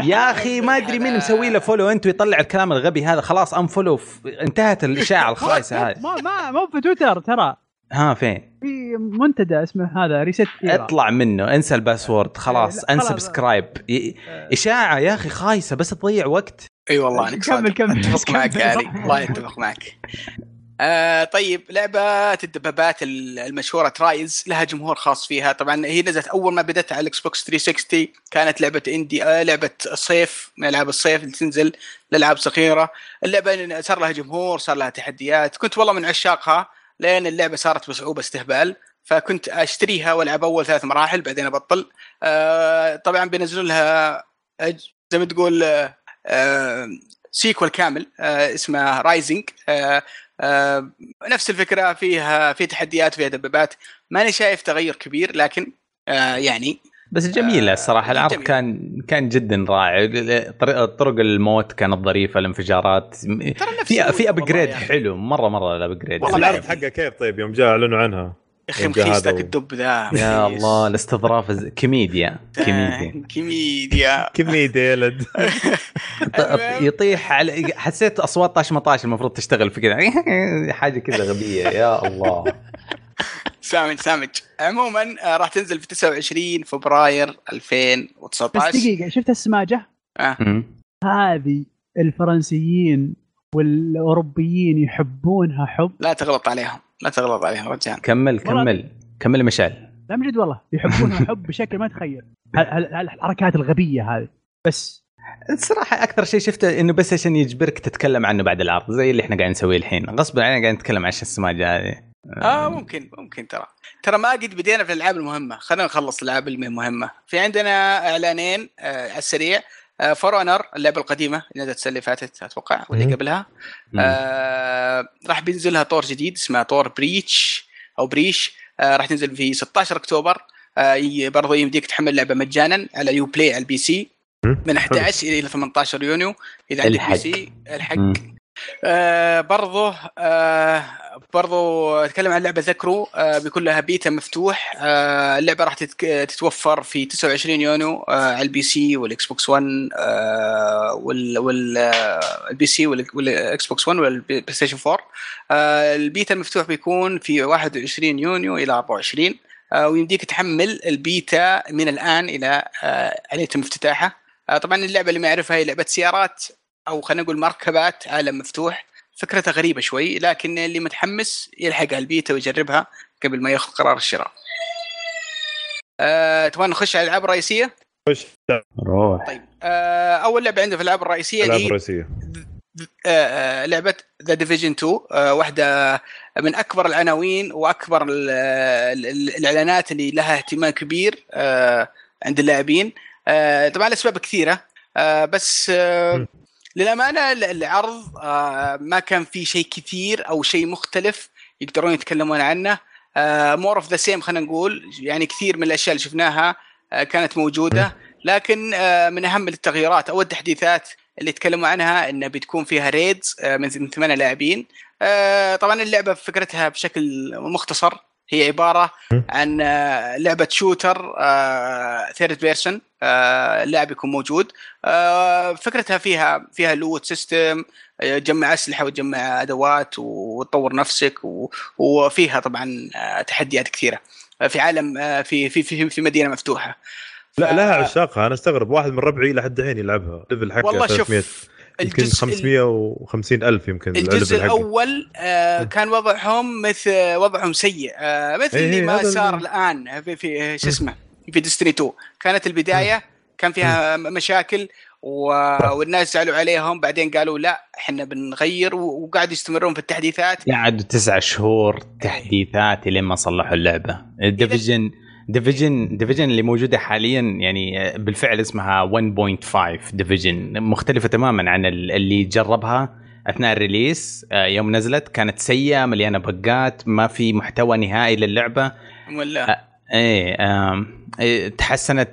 Speaker 2: يا اخي ما ادري مين مسوي له فولو انت ويطلع الكلام الغبي هذا خلاص انفولو انتهت الاشاعه الخايسه هذه
Speaker 4: ما ما مو في تويتر ترى
Speaker 2: ها فين؟
Speaker 4: في منتدى اسمه هذا ريست
Speaker 2: اطلع منه انسى الباسورد خلاص
Speaker 4: لا، خلاص.
Speaker 2: انسبسكرايب ي- اشاعه يا اخي خايسه بس تضيع وقت
Speaker 3: اي والله انك صادق.
Speaker 4: طيب، كمل كمل
Speaker 3: اتفق معك
Speaker 4: كمل.
Speaker 3: علي والله اتفق معك آه طيب لعبة الدبابات ال- المشهورة ترايز لها جمهور خاص فيها طبعا هي نزلت أول ما بدأت على الإكس بوكس 360 كانت لعبة اندي آه لعبة صيف من ألعاب الصيف اللي تنزل لألعاب صغيرة اللعبة صار لها جمهور صار لها تحديات كنت والله من عشاقها لان اللعبه صارت بصعوبه استهبال فكنت اشتريها والعب اول ثلاث مراحل بعدين ابطل آه، طبعا بينزلوا لها أج- زي ما تقول آه، آه، سيكول كامل آه، اسمه رايزنج نفس الفكره فيها في تحديات فيها دبابات ماني شايف تغير كبير لكن آه، يعني
Speaker 2: بس جميله
Speaker 3: آه،
Speaker 2: الصراحه العرض
Speaker 3: جميل.
Speaker 2: كان كان جدا رائع طر- طرق الموت كانت ظريفه الانفجارات
Speaker 3: ترى نفس يعني.
Speaker 2: في في
Speaker 3: والله
Speaker 2: ابجريد
Speaker 3: يا أخي.
Speaker 2: حلو مره مره الابجريد
Speaker 1: والله العرض حقه كيف طيب يوم جاء اعلنوا عنها
Speaker 3: يا اخي
Speaker 1: يبقى
Speaker 3: مخيس
Speaker 1: هذا
Speaker 3: ذاك
Speaker 1: هو.
Speaker 3: الدب ذا
Speaker 2: يا
Speaker 3: مخيس.
Speaker 2: الله الاستظراف الز- كوميديا كوميديا
Speaker 3: آه، كوميديا
Speaker 1: كمية
Speaker 3: يعني
Speaker 1: يلد
Speaker 2: ط- يطيح على حسيت اصوات طاش مطاش المفروض تشتغل في كذا حاجه كذا غبيه يا الله
Speaker 3: سامج سامج عموما آه، راح تنزل في 29 فبراير
Speaker 4: بس
Speaker 3: 2019
Speaker 4: دقيقه شفت السماجه
Speaker 2: مم.
Speaker 4: هذه الفرنسيين والاوروبيين يحبونها حب
Speaker 3: لا تغلط عليهم لا تغلط عليهم رجاء
Speaker 2: كمل كمل كمل مشعل
Speaker 4: لا من جد والله يحبونها حب بشكل ما تخيل هال- هال- هالحركات الغبيه هذه بس
Speaker 2: الصراحه اكثر شيء شفته انه بس عشان يجبرك تتكلم عنه بعد العرض زي اللي احنا قاعدين نسويه الحين غصب علينا قاعدين نتكلم عن السماجه هذه
Speaker 3: اه ممكن ممكن ترى ترى ما قد بدينا في الالعاب المهمه خلينا نخلص الالعاب المهمه في عندنا اعلانين آه على السريع آه، فورونر اللعبه القديمه اللي نزلت السنه اللي فاتت اتوقع واللي
Speaker 2: مم.
Speaker 3: قبلها آه راح بينزلها طور جديد اسمه طور بريتش او بريش آه راح تنزل في 16 اكتوبر آه ي- برضو يمديك تحمل اللعبه مجانا على يو بلاي على البي سي من 11 الى 18 يونيو اذا عندك
Speaker 2: الحق.
Speaker 3: بي سي الحق
Speaker 2: مم.
Speaker 3: آه برضو آه برضو اتكلم عن لعبه ذكروا آه بيكون لها بيتا مفتوح آه اللعبه راح تتك- تتوفر في 29 يونيو آه على البي سي والاكس بوكس 1 آه وال وال آه، البي سي وال- والاكس بوكس 1 والبلاي ستيشن 4 آه البيتا المفتوح بيكون في 21 يونيو الى 24 آه ويمديك تحمل البيتا من الان الى آه ان يتم افتتاحه آه طبعا اللعبه اللي ما يعرفها هي لعبه سيارات او خلينا نقول مركبات عالم مفتوح فكرتها غريبه شوي لكن اللي متحمس يلحقها البيتا ويجربها قبل ما ياخذ قرار الشراء. أه، تبغى نخش على الالعاب الرئيسيه؟
Speaker 1: خش
Speaker 2: روح
Speaker 3: طيب أه، اول لعبه عندنا في الالعاب الرئيسيه
Speaker 1: العاب
Speaker 3: اللي هي
Speaker 1: رئيسية
Speaker 3: آه، آه، لعبه ذا ديفيجن 2 آه، واحده من اكبر العناوين واكبر ال- ال- ال- الاعلانات اللي لها اهتمام كبير آه، عند اللاعبين آه، طبعا لاسباب كثيره آه، بس آه،
Speaker 1: م.
Speaker 3: للامانه ال- العرض آه، ما كان فيه شيء كثير او شيء مختلف يقدرون يتكلمون عنه آه، مور اوف ذا سيم خلينا نقول يعني كثير من الاشياء اللي شفناها آه، كانت موجوده لكن آه، من اهم التغييرات او التحديثات اللي تكلموا عنها انه بتكون فيها ريدز آه، من من ثمانيه لاعبين آه، طبعا اللعبه فكرتها بشكل مختصر هي عباره عن آه، لعبه شوتر آه، ثيرد بيرسون اللاعب يكون موجود آه، فكرتها فيها فيها لوت سيستم تجمع اسلحه وتجمع ادوات وتطور نفسك و- وفيها طبعا آه، تحديات كثيره آه، في عالم آه، في في في, في مدينه مفتوحه
Speaker 1: لا
Speaker 3: ف-
Speaker 1: لها عشاقها انا استغرب واحد من ربعي لحد الحين يلعبها ليفل حقه
Speaker 3: والله
Speaker 1: 300
Speaker 3: شوف
Speaker 1: يمكن
Speaker 3: الجزء-
Speaker 1: 550 الف يمكن
Speaker 3: الجزء
Speaker 1: الليفل حقه.
Speaker 3: الاول آه
Speaker 1: مم.
Speaker 3: كان وضعهم مثل وضعهم سيء آه مثل
Speaker 1: إيه
Speaker 3: اللي
Speaker 1: إيه،
Speaker 3: ما
Speaker 1: هذا
Speaker 3: صار
Speaker 1: اللي-
Speaker 3: الان في, في شو اسمه في ديستني 2 كانت البدايه
Speaker 2: إيه.
Speaker 3: كان فيها م- مشاكل و... والناس زعلوا عليهم بعدين قالوا لا احنا بنغير و- وقاعد يستمرون في التحديثات
Speaker 2: قعدوا تسع شهور تحديثات لين ما صلحوا اللعبه الديفيجن ديفيجن ديفيجن اللي موجوده حاليا يعني بالفعل اسمها 1.5 ديفيجن مختلفه تماما عن ال- اللي جربها اثناء الريليس آه، يوم نزلت كانت سيئه مليانه بقات ما في محتوى نهائي للعبه
Speaker 3: ولا
Speaker 2: ايه آم، إيه، تحسنت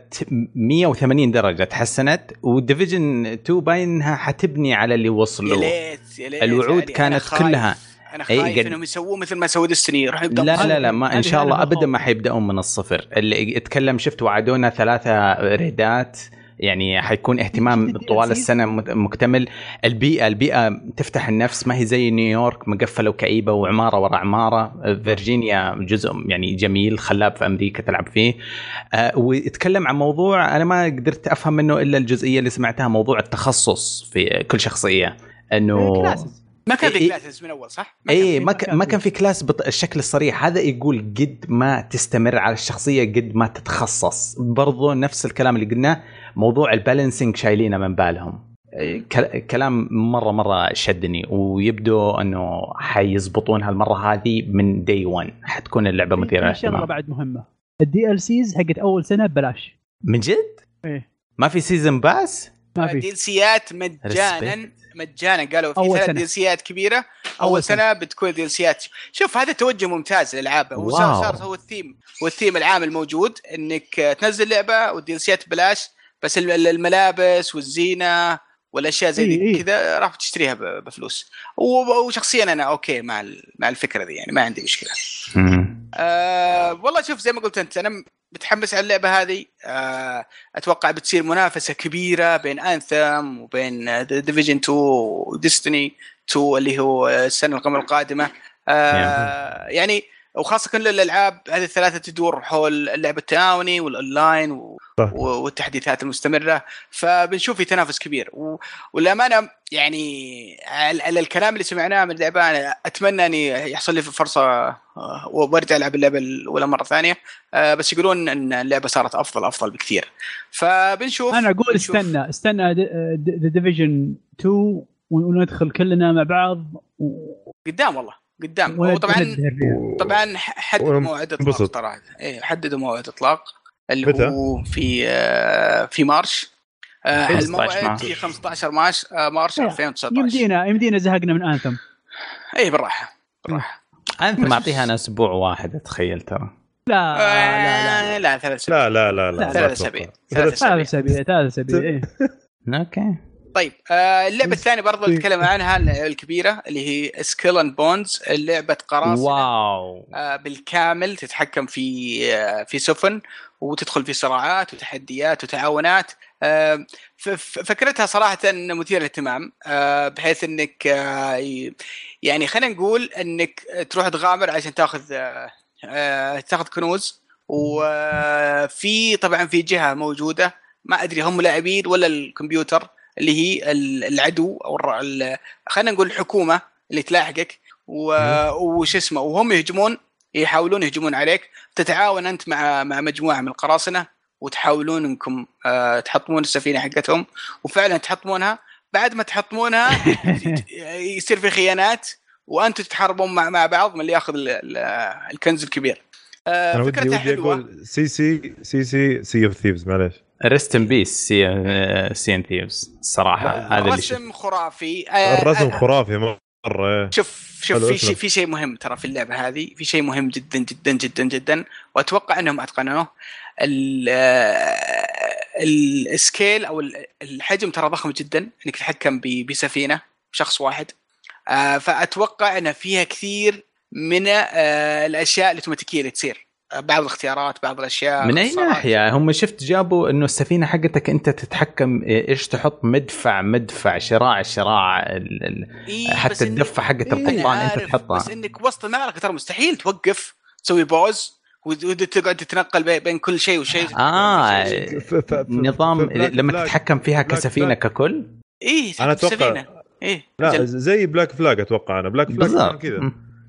Speaker 2: 180 درجه تحسنت وديفيجن 2 باين انها حتبني على اللي
Speaker 3: يا
Speaker 2: وصلوا
Speaker 3: ليت يا ليت
Speaker 2: الوعود
Speaker 3: علي، أنا
Speaker 2: كانت
Speaker 3: خايف-
Speaker 2: كلها
Speaker 3: انا
Speaker 2: إيه،
Speaker 3: خايف
Speaker 2: قد-
Speaker 3: انهم يسووه مثل ما سووا ديستني يروحوا
Speaker 2: لا
Speaker 3: يبدأوا من
Speaker 2: لا
Speaker 3: الصفر.
Speaker 2: لا ما ان
Speaker 4: هذه
Speaker 2: شاء
Speaker 4: هذه
Speaker 2: الله
Speaker 4: المخاوف.
Speaker 2: ابدا ما حيبداون من الصفر اللي اتكلم شفت وعدونا ثلاثه ريدات يعني حيكون اهتمام
Speaker 4: شفت ال
Speaker 2: طوال
Speaker 4: DLCs؟
Speaker 2: السنه مت- مكتمل البيئه البيئه تفتح النفس ما هي زي نيويورك مقفله وكئيبه وعماره ورا عماره فيرجينيا جزء يعني جميل خلاب في امريكا تلعب فيه آه، ويتكلم عن موضوع انا ما قدرت افهم منه الا الجزئيه اللي سمعتها موضوع التخصص في كل شخصيه انه
Speaker 4: كلاسز
Speaker 3: ما كان في
Speaker 2: إيه،
Speaker 3: كلاسز من اول صح؟ ما كان
Speaker 2: اي
Speaker 4: في-
Speaker 2: إيه، ما كان ما كان في كلاس بالشكل الصريح هذا يقول قد ما تستمر على الشخصيه قد ما تتخصص برضو نفس الكلام اللي قلناه موضوع البالانسنج شايلينه من بالهم إيه، كل- كلام مره مره شدني ويبدو انه حيزبطونها المره هذه من دي 1 حتكون اللعبه
Speaker 4: في-
Speaker 2: مثيره
Speaker 4: في شغله
Speaker 2: للاهتمام
Speaker 4: بعد مهمه الدي ال سيز حقت اول سنه ببلاش
Speaker 2: من جد؟
Speaker 4: إيه.
Speaker 2: ما في سيزن باس؟
Speaker 4: ما في
Speaker 3: ديلسيات مجانا مجانا قالوا في
Speaker 4: أول
Speaker 3: ثلاث
Speaker 4: سنة.
Speaker 3: ديلسيات كبيره اول سنه بتكون ديلسيات شوف هذا توجه ممتاز للالعاب هو
Speaker 2: واو.
Speaker 3: صار صار هو الثيم والثيم العام الموجود انك تنزل لعبه والديلسيات ببلاش بس ال- ال- الملابس والزينه والاشياء زي
Speaker 4: إي
Speaker 3: دي
Speaker 4: إي.
Speaker 3: كذا راح تشتريها ب- بفلوس و- وشخصيا انا اوكي مع ال- مع الفكره دي يعني ما عندي مشكله آه والله شوف زي ما قلت انت انا متحمس على اللعبه هذه آه اتوقع بتصير منافسه كبيره بين انثم وبين آه، ديفيجن 2 وديستني 2 اللي هو آه، السنه القمر القادمه آه يعني وخاصه كل الالعاب هذه الثلاثه تدور حول اللعب التعاوني والاونلاين و-
Speaker 1: صح.
Speaker 3: و- والتحديثات المستمره فبنشوف في تنافس كبير و- والامانه يعني على على الكلام اللي سمعناه من اللعبه انا اتمنى اني يحصل لي فرصه آه، وارجع العب اللعبه الاولى مره ثانيه آه، بس يقولون ان اللعبه صارت افضل افضل بكثير فبنشوف
Speaker 4: انا اقول
Speaker 3: بنشوف.
Speaker 4: استنى استنى ذا ديفيجن 2 وندخل كلنا مع بعض و-
Speaker 3: قدام والله قدام وطبعا
Speaker 4: وندهر فيها.
Speaker 3: طبعا ح- حددوا
Speaker 1: ونم-
Speaker 3: موعد اطلاق
Speaker 1: انبسط.
Speaker 3: ترى ايه حددوا موعد اطلاق اللي
Speaker 1: متى؟
Speaker 3: هو في آه، في مارش آه،
Speaker 2: 15
Speaker 3: الموعد
Speaker 2: مارش.
Speaker 3: في 15 مارش آه، مارش
Speaker 4: لا،
Speaker 3: 2019
Speaker 4: يمدينا يمدينا زهقنا من انثم
Speaker 3: اي بالراحه بالراحه
Speaker 2: انت معطيها انا اسبوع واحد اتخيل ترى
Speaker 4: لا لا لا
Speaker 3: آه، لا ثلاث سنوات
Speaker 1: لا لا لا لا
Speaker 3: ثلاث أسابيع. ثلاث
Speaker 4: ثلاث
Speaker 3: أسابيع.
Speaker 4: اسابيع ثلاث اسابيع إيه.
Speaker 2: اوكي
Speaker 3: طيب آه، اللعبه الثانيه برضه اللي اتكلم عنها الكبيره اللي هي سكيل اند بونز لعبه قراصنه
Speaker 2: واو
Speaker 3: آه، بالكامل تتحكم في آه، في سفن وتدخل في صراعات وتحديات وتعاونات آه، ف- ف- فكرتها صراحه مثيره للاهتمام آه، بحيث انك آه، ي- يعني خلينا نقول انك تروح تغامر عشان تاخذ آه، آه، تاخذ كنوز وفي طبعا في جهه موجوده ما ادري هم لاعبين ولا الكمبيوتر اللي هي ال- العدو او الر- ال- خلينا نقول الحكومه اللي تلاحقك و- وش اسمه وهم يهجمون يحاولون يهجمون عليك تتعاون انت مع مع مجموعه من القراصنه وتحاولون انكم آه، تحطمون السفينه حقتهم وفعلا تحطمونها بعد ما تحطمونها يصير في خيانات وانتم تتحاربون مع مع بعض من اللي ياخذ ال- ال- الكنز الكبير آه،
Speaker 1: انا ودي
Speaker 3: فكرتها
Speaker 1: ودي
Speaker 3: حلوه
Speaker 1: اقول سي سي سي سي سي اوف ثيفز معليش
Speaker 2: ريست ان بيس سي ان ثيفز الصراحه هذا اللي شفت
Speaker 3: الرسم خرافي آه،
Speaker 1: الرسم
Speaker 3: آه،
Speaker 1: خرافي مره إيه.
Speaker 3: شوف شوف
Speaker 1: حلو،
Speaker 3: في
Speaker 1: اسمع.
Speaker 3: شيء في شيء مهم ترى في اللعبه هذه في شيء مهم جدا جدا جدا جدا واتوقع انهم اتقنوه ال- آه، السكيل او ال- الحجم ترى ضخم جدا انك تتحكم ب- بسفينه شخص واحد آه، فاتوقع ان فيها كثير من آه، الاشياء الاوتوماتيكيه اللي تصير آه، بعض الاختيارات بعض الاشياء
Speaker 2: من اي
Speaker 3: اختصارات.
Speaker 2: ناحيه هم شفت جابوا انه السفينه حقتك انت تتحكم ايش تحط مدفع مدفع شراع شراع ال- ال-
Speaker 3: إيه، بس
Speaker 2: حتى
Speaker 3: إنك-
Speaker 2: الدفه حقت
Speaker 3: أنا
Speaker 2: القبطان انت
Speaker 3: إيه، عارف، بس
Speaker 2: تحطها
Speaker 3: انك وسط المعركه ترى مستحيل توقف تسوي بوز وتقعد تتنقل بي- بين كل شيء وشيء
Speaker 2: اه
Speaker 1: ف- ف- ف-
Speaker 2: نظام
Speaker 1: ف- بلاك-
Speaker 2: لما
Speaker 1: بلاك-
Speaker 2: تتحكم فيها
Speaker 1: بلاك-
Speaker 2: كسفينه
Speaker 1: بلاك.
Speaker 2: ككل
Speaker 3: ايه
Speaker 1: انا اتوقع
Speaker 3: سفينة. ايه
Speaker 1: لا
Speaker 3: أجل.
Speaker 1: زي بلاك فلاج اتوقع انا بلاك فلاج كان
Speaker 2: بالضبط
Speaker 1: كذا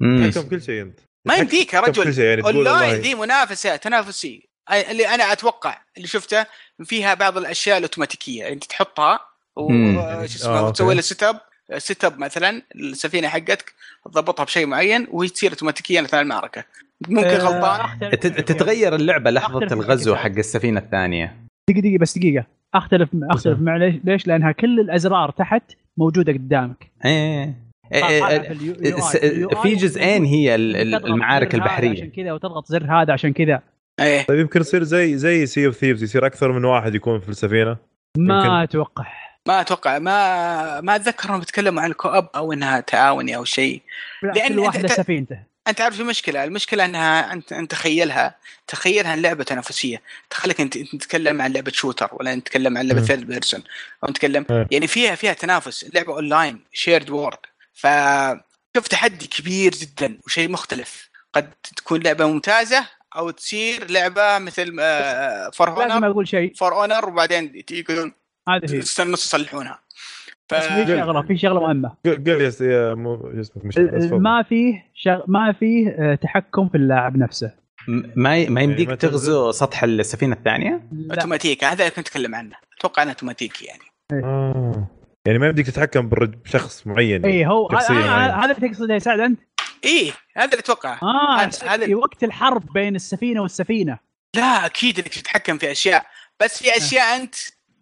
Speaker 2: مم.
Speaker 1: تحكم كل شيء انت
Speaker 3: ما يمديك يا
Speaker 1: تحكم كل
Speaker 3: رجل
Speaker 1: شيء يعني تقول
Speaker 3: اونلاين
Speaker 1: والله
Speaker 3: ذي منافسه تنافسي أي- اللي انا اتوقع اللي شفته فيها بعض الاشياء الاوتوماتيكيه اللي انت تحطها
Speaker 2: مم.
Speaker 3: وش
Speaker 1: آه،
Speaker 3: اسمه
Speaker 1: أوكي.
Speaker 3: وتسوي له سيت اب سيت اب مثلا السفينه حقتك تضبطها بشيء معين وهي تصير اوتوماتيكيا اثناء المعركه ممكن
Speaker 4: آه،
Speaker 3: غلطانه
Speaker 4: أختلف
Speaker 2: تت-
Speaker 4: معك.
Speaker 2: تتغير اللعبه
Speaker 4: أختلف
Speaker 2: لحظه
Speaker 4: معك
Speaker 2: الغزو
Speaker 4: فعلاً.
Speaker 2: حق السفينه الثانيه
Speaker 4: دقيقه دقيقه بس دقيقه اختلف اختلف مع ليش ليش لانها كل الازرار تحت موجوده قدامك
Speaker 1: آه،
Speaker 2: ايه إيه،
Speaker 4: طالعة
Speaker 2: إيه،
Speaker 4: في اليو-
Speaker 2: إيه،
Speaker 4: UI.
Speaker 2: س-
Speaker 4: اليو
Speaker 2: في
Speaker 4: آي
Speaker 2: جزئين هي ال-
Speaker 1: آه،
Speaker 2: ال-
Speaker 4: تضغط
Speaker 2: المعارك
Speaker 4: زر هذا عشان
Speaker 2: البحريه
Speaker 4: كذا وتضغط زر هذا عشان كذا
Speaker 3: ايه
Speaker 1: طيب يمكن يصير زي زي سي اوف ثيفز يصير اكثر من واحد يكون في السفينه يمكن.
Speaker 4: ما اتوقع
Speaker 3: ما اتوقع ما ما اتذكر انهم بيتكلموا عن الكوب او انها تعاوني او شيء لأن
Speaker 4: كل واحد له
Speaker 3: أنت-
Speaker 4: سفينته
Speaker 3: انت عارف في مشكله المشكله انها انت انت تخيلها تخيلها لعبه تنافسيه تخليك انت أنت تتكلم عن لعبه شوتر ولا نتكلم عن لعبه
Speaker 1: مم.
Speaker 3: ثيرد بيرسون او نتكلم
Speaker 1: مم.
Speaker 3: يعني فيها فيها تنافس اللعبه اونلاين شيرد وورد ف شوف تحدي كبير جدا وشيء مختلف قد تكون لعبه ممتازه او تصير لعبه مثل آه، فور
Speaker 4: لازم
Speaker 3: اونر
Speaker 4: اقول شيء
Speaker 3: فور اونر وبعدين يقولون
Speaker 1: إيه.
Speaker 4: هذا هي بس
Speaker 3: استنوا يصلحونها ف...
Speaker 4: في شغله في شغله
Speaker 3: آه،
Speaker 4: مهمه
Speaker 1: قل قل يا س- يا مو- يا اسمك مش بس تفضل.
Speaker 4: ما فيه شغ... ما فيه آه، تحكم في اللاعب نفسه
Speaker 2: م- ما ما يمديك
Speaker 1: ما
Speaker 2: تغزو سطح السفينه الثانيه
Speaker 4: لا
Speaker 3: اوتوماتيك هذا اللي كنت اتكلم عنه اتوقع انه اوتوماتيكي يعني
Speaker 1: آه. يعني ما يمديك تتحكم بالرج- بشخص معين
Speaker 4: اي إيه، هو هذا-
Speaker 1: شخصية
Speaker 4: هذا
Speaker 1: معينة.
Speaker 3: إيه.
Speaker 4: هذا اللي تقصده يا سعد انت؟
Speaker 3: ايه هذا اللي اتوقعه
Speaker 4: اه
Speaker 3: هذا- هذا-
Speaker 4: في وقت الحرب بين السفينه والسفينه
Speaker 3: لا اكيد انك تتحكم في اشياء بس في اشياء انت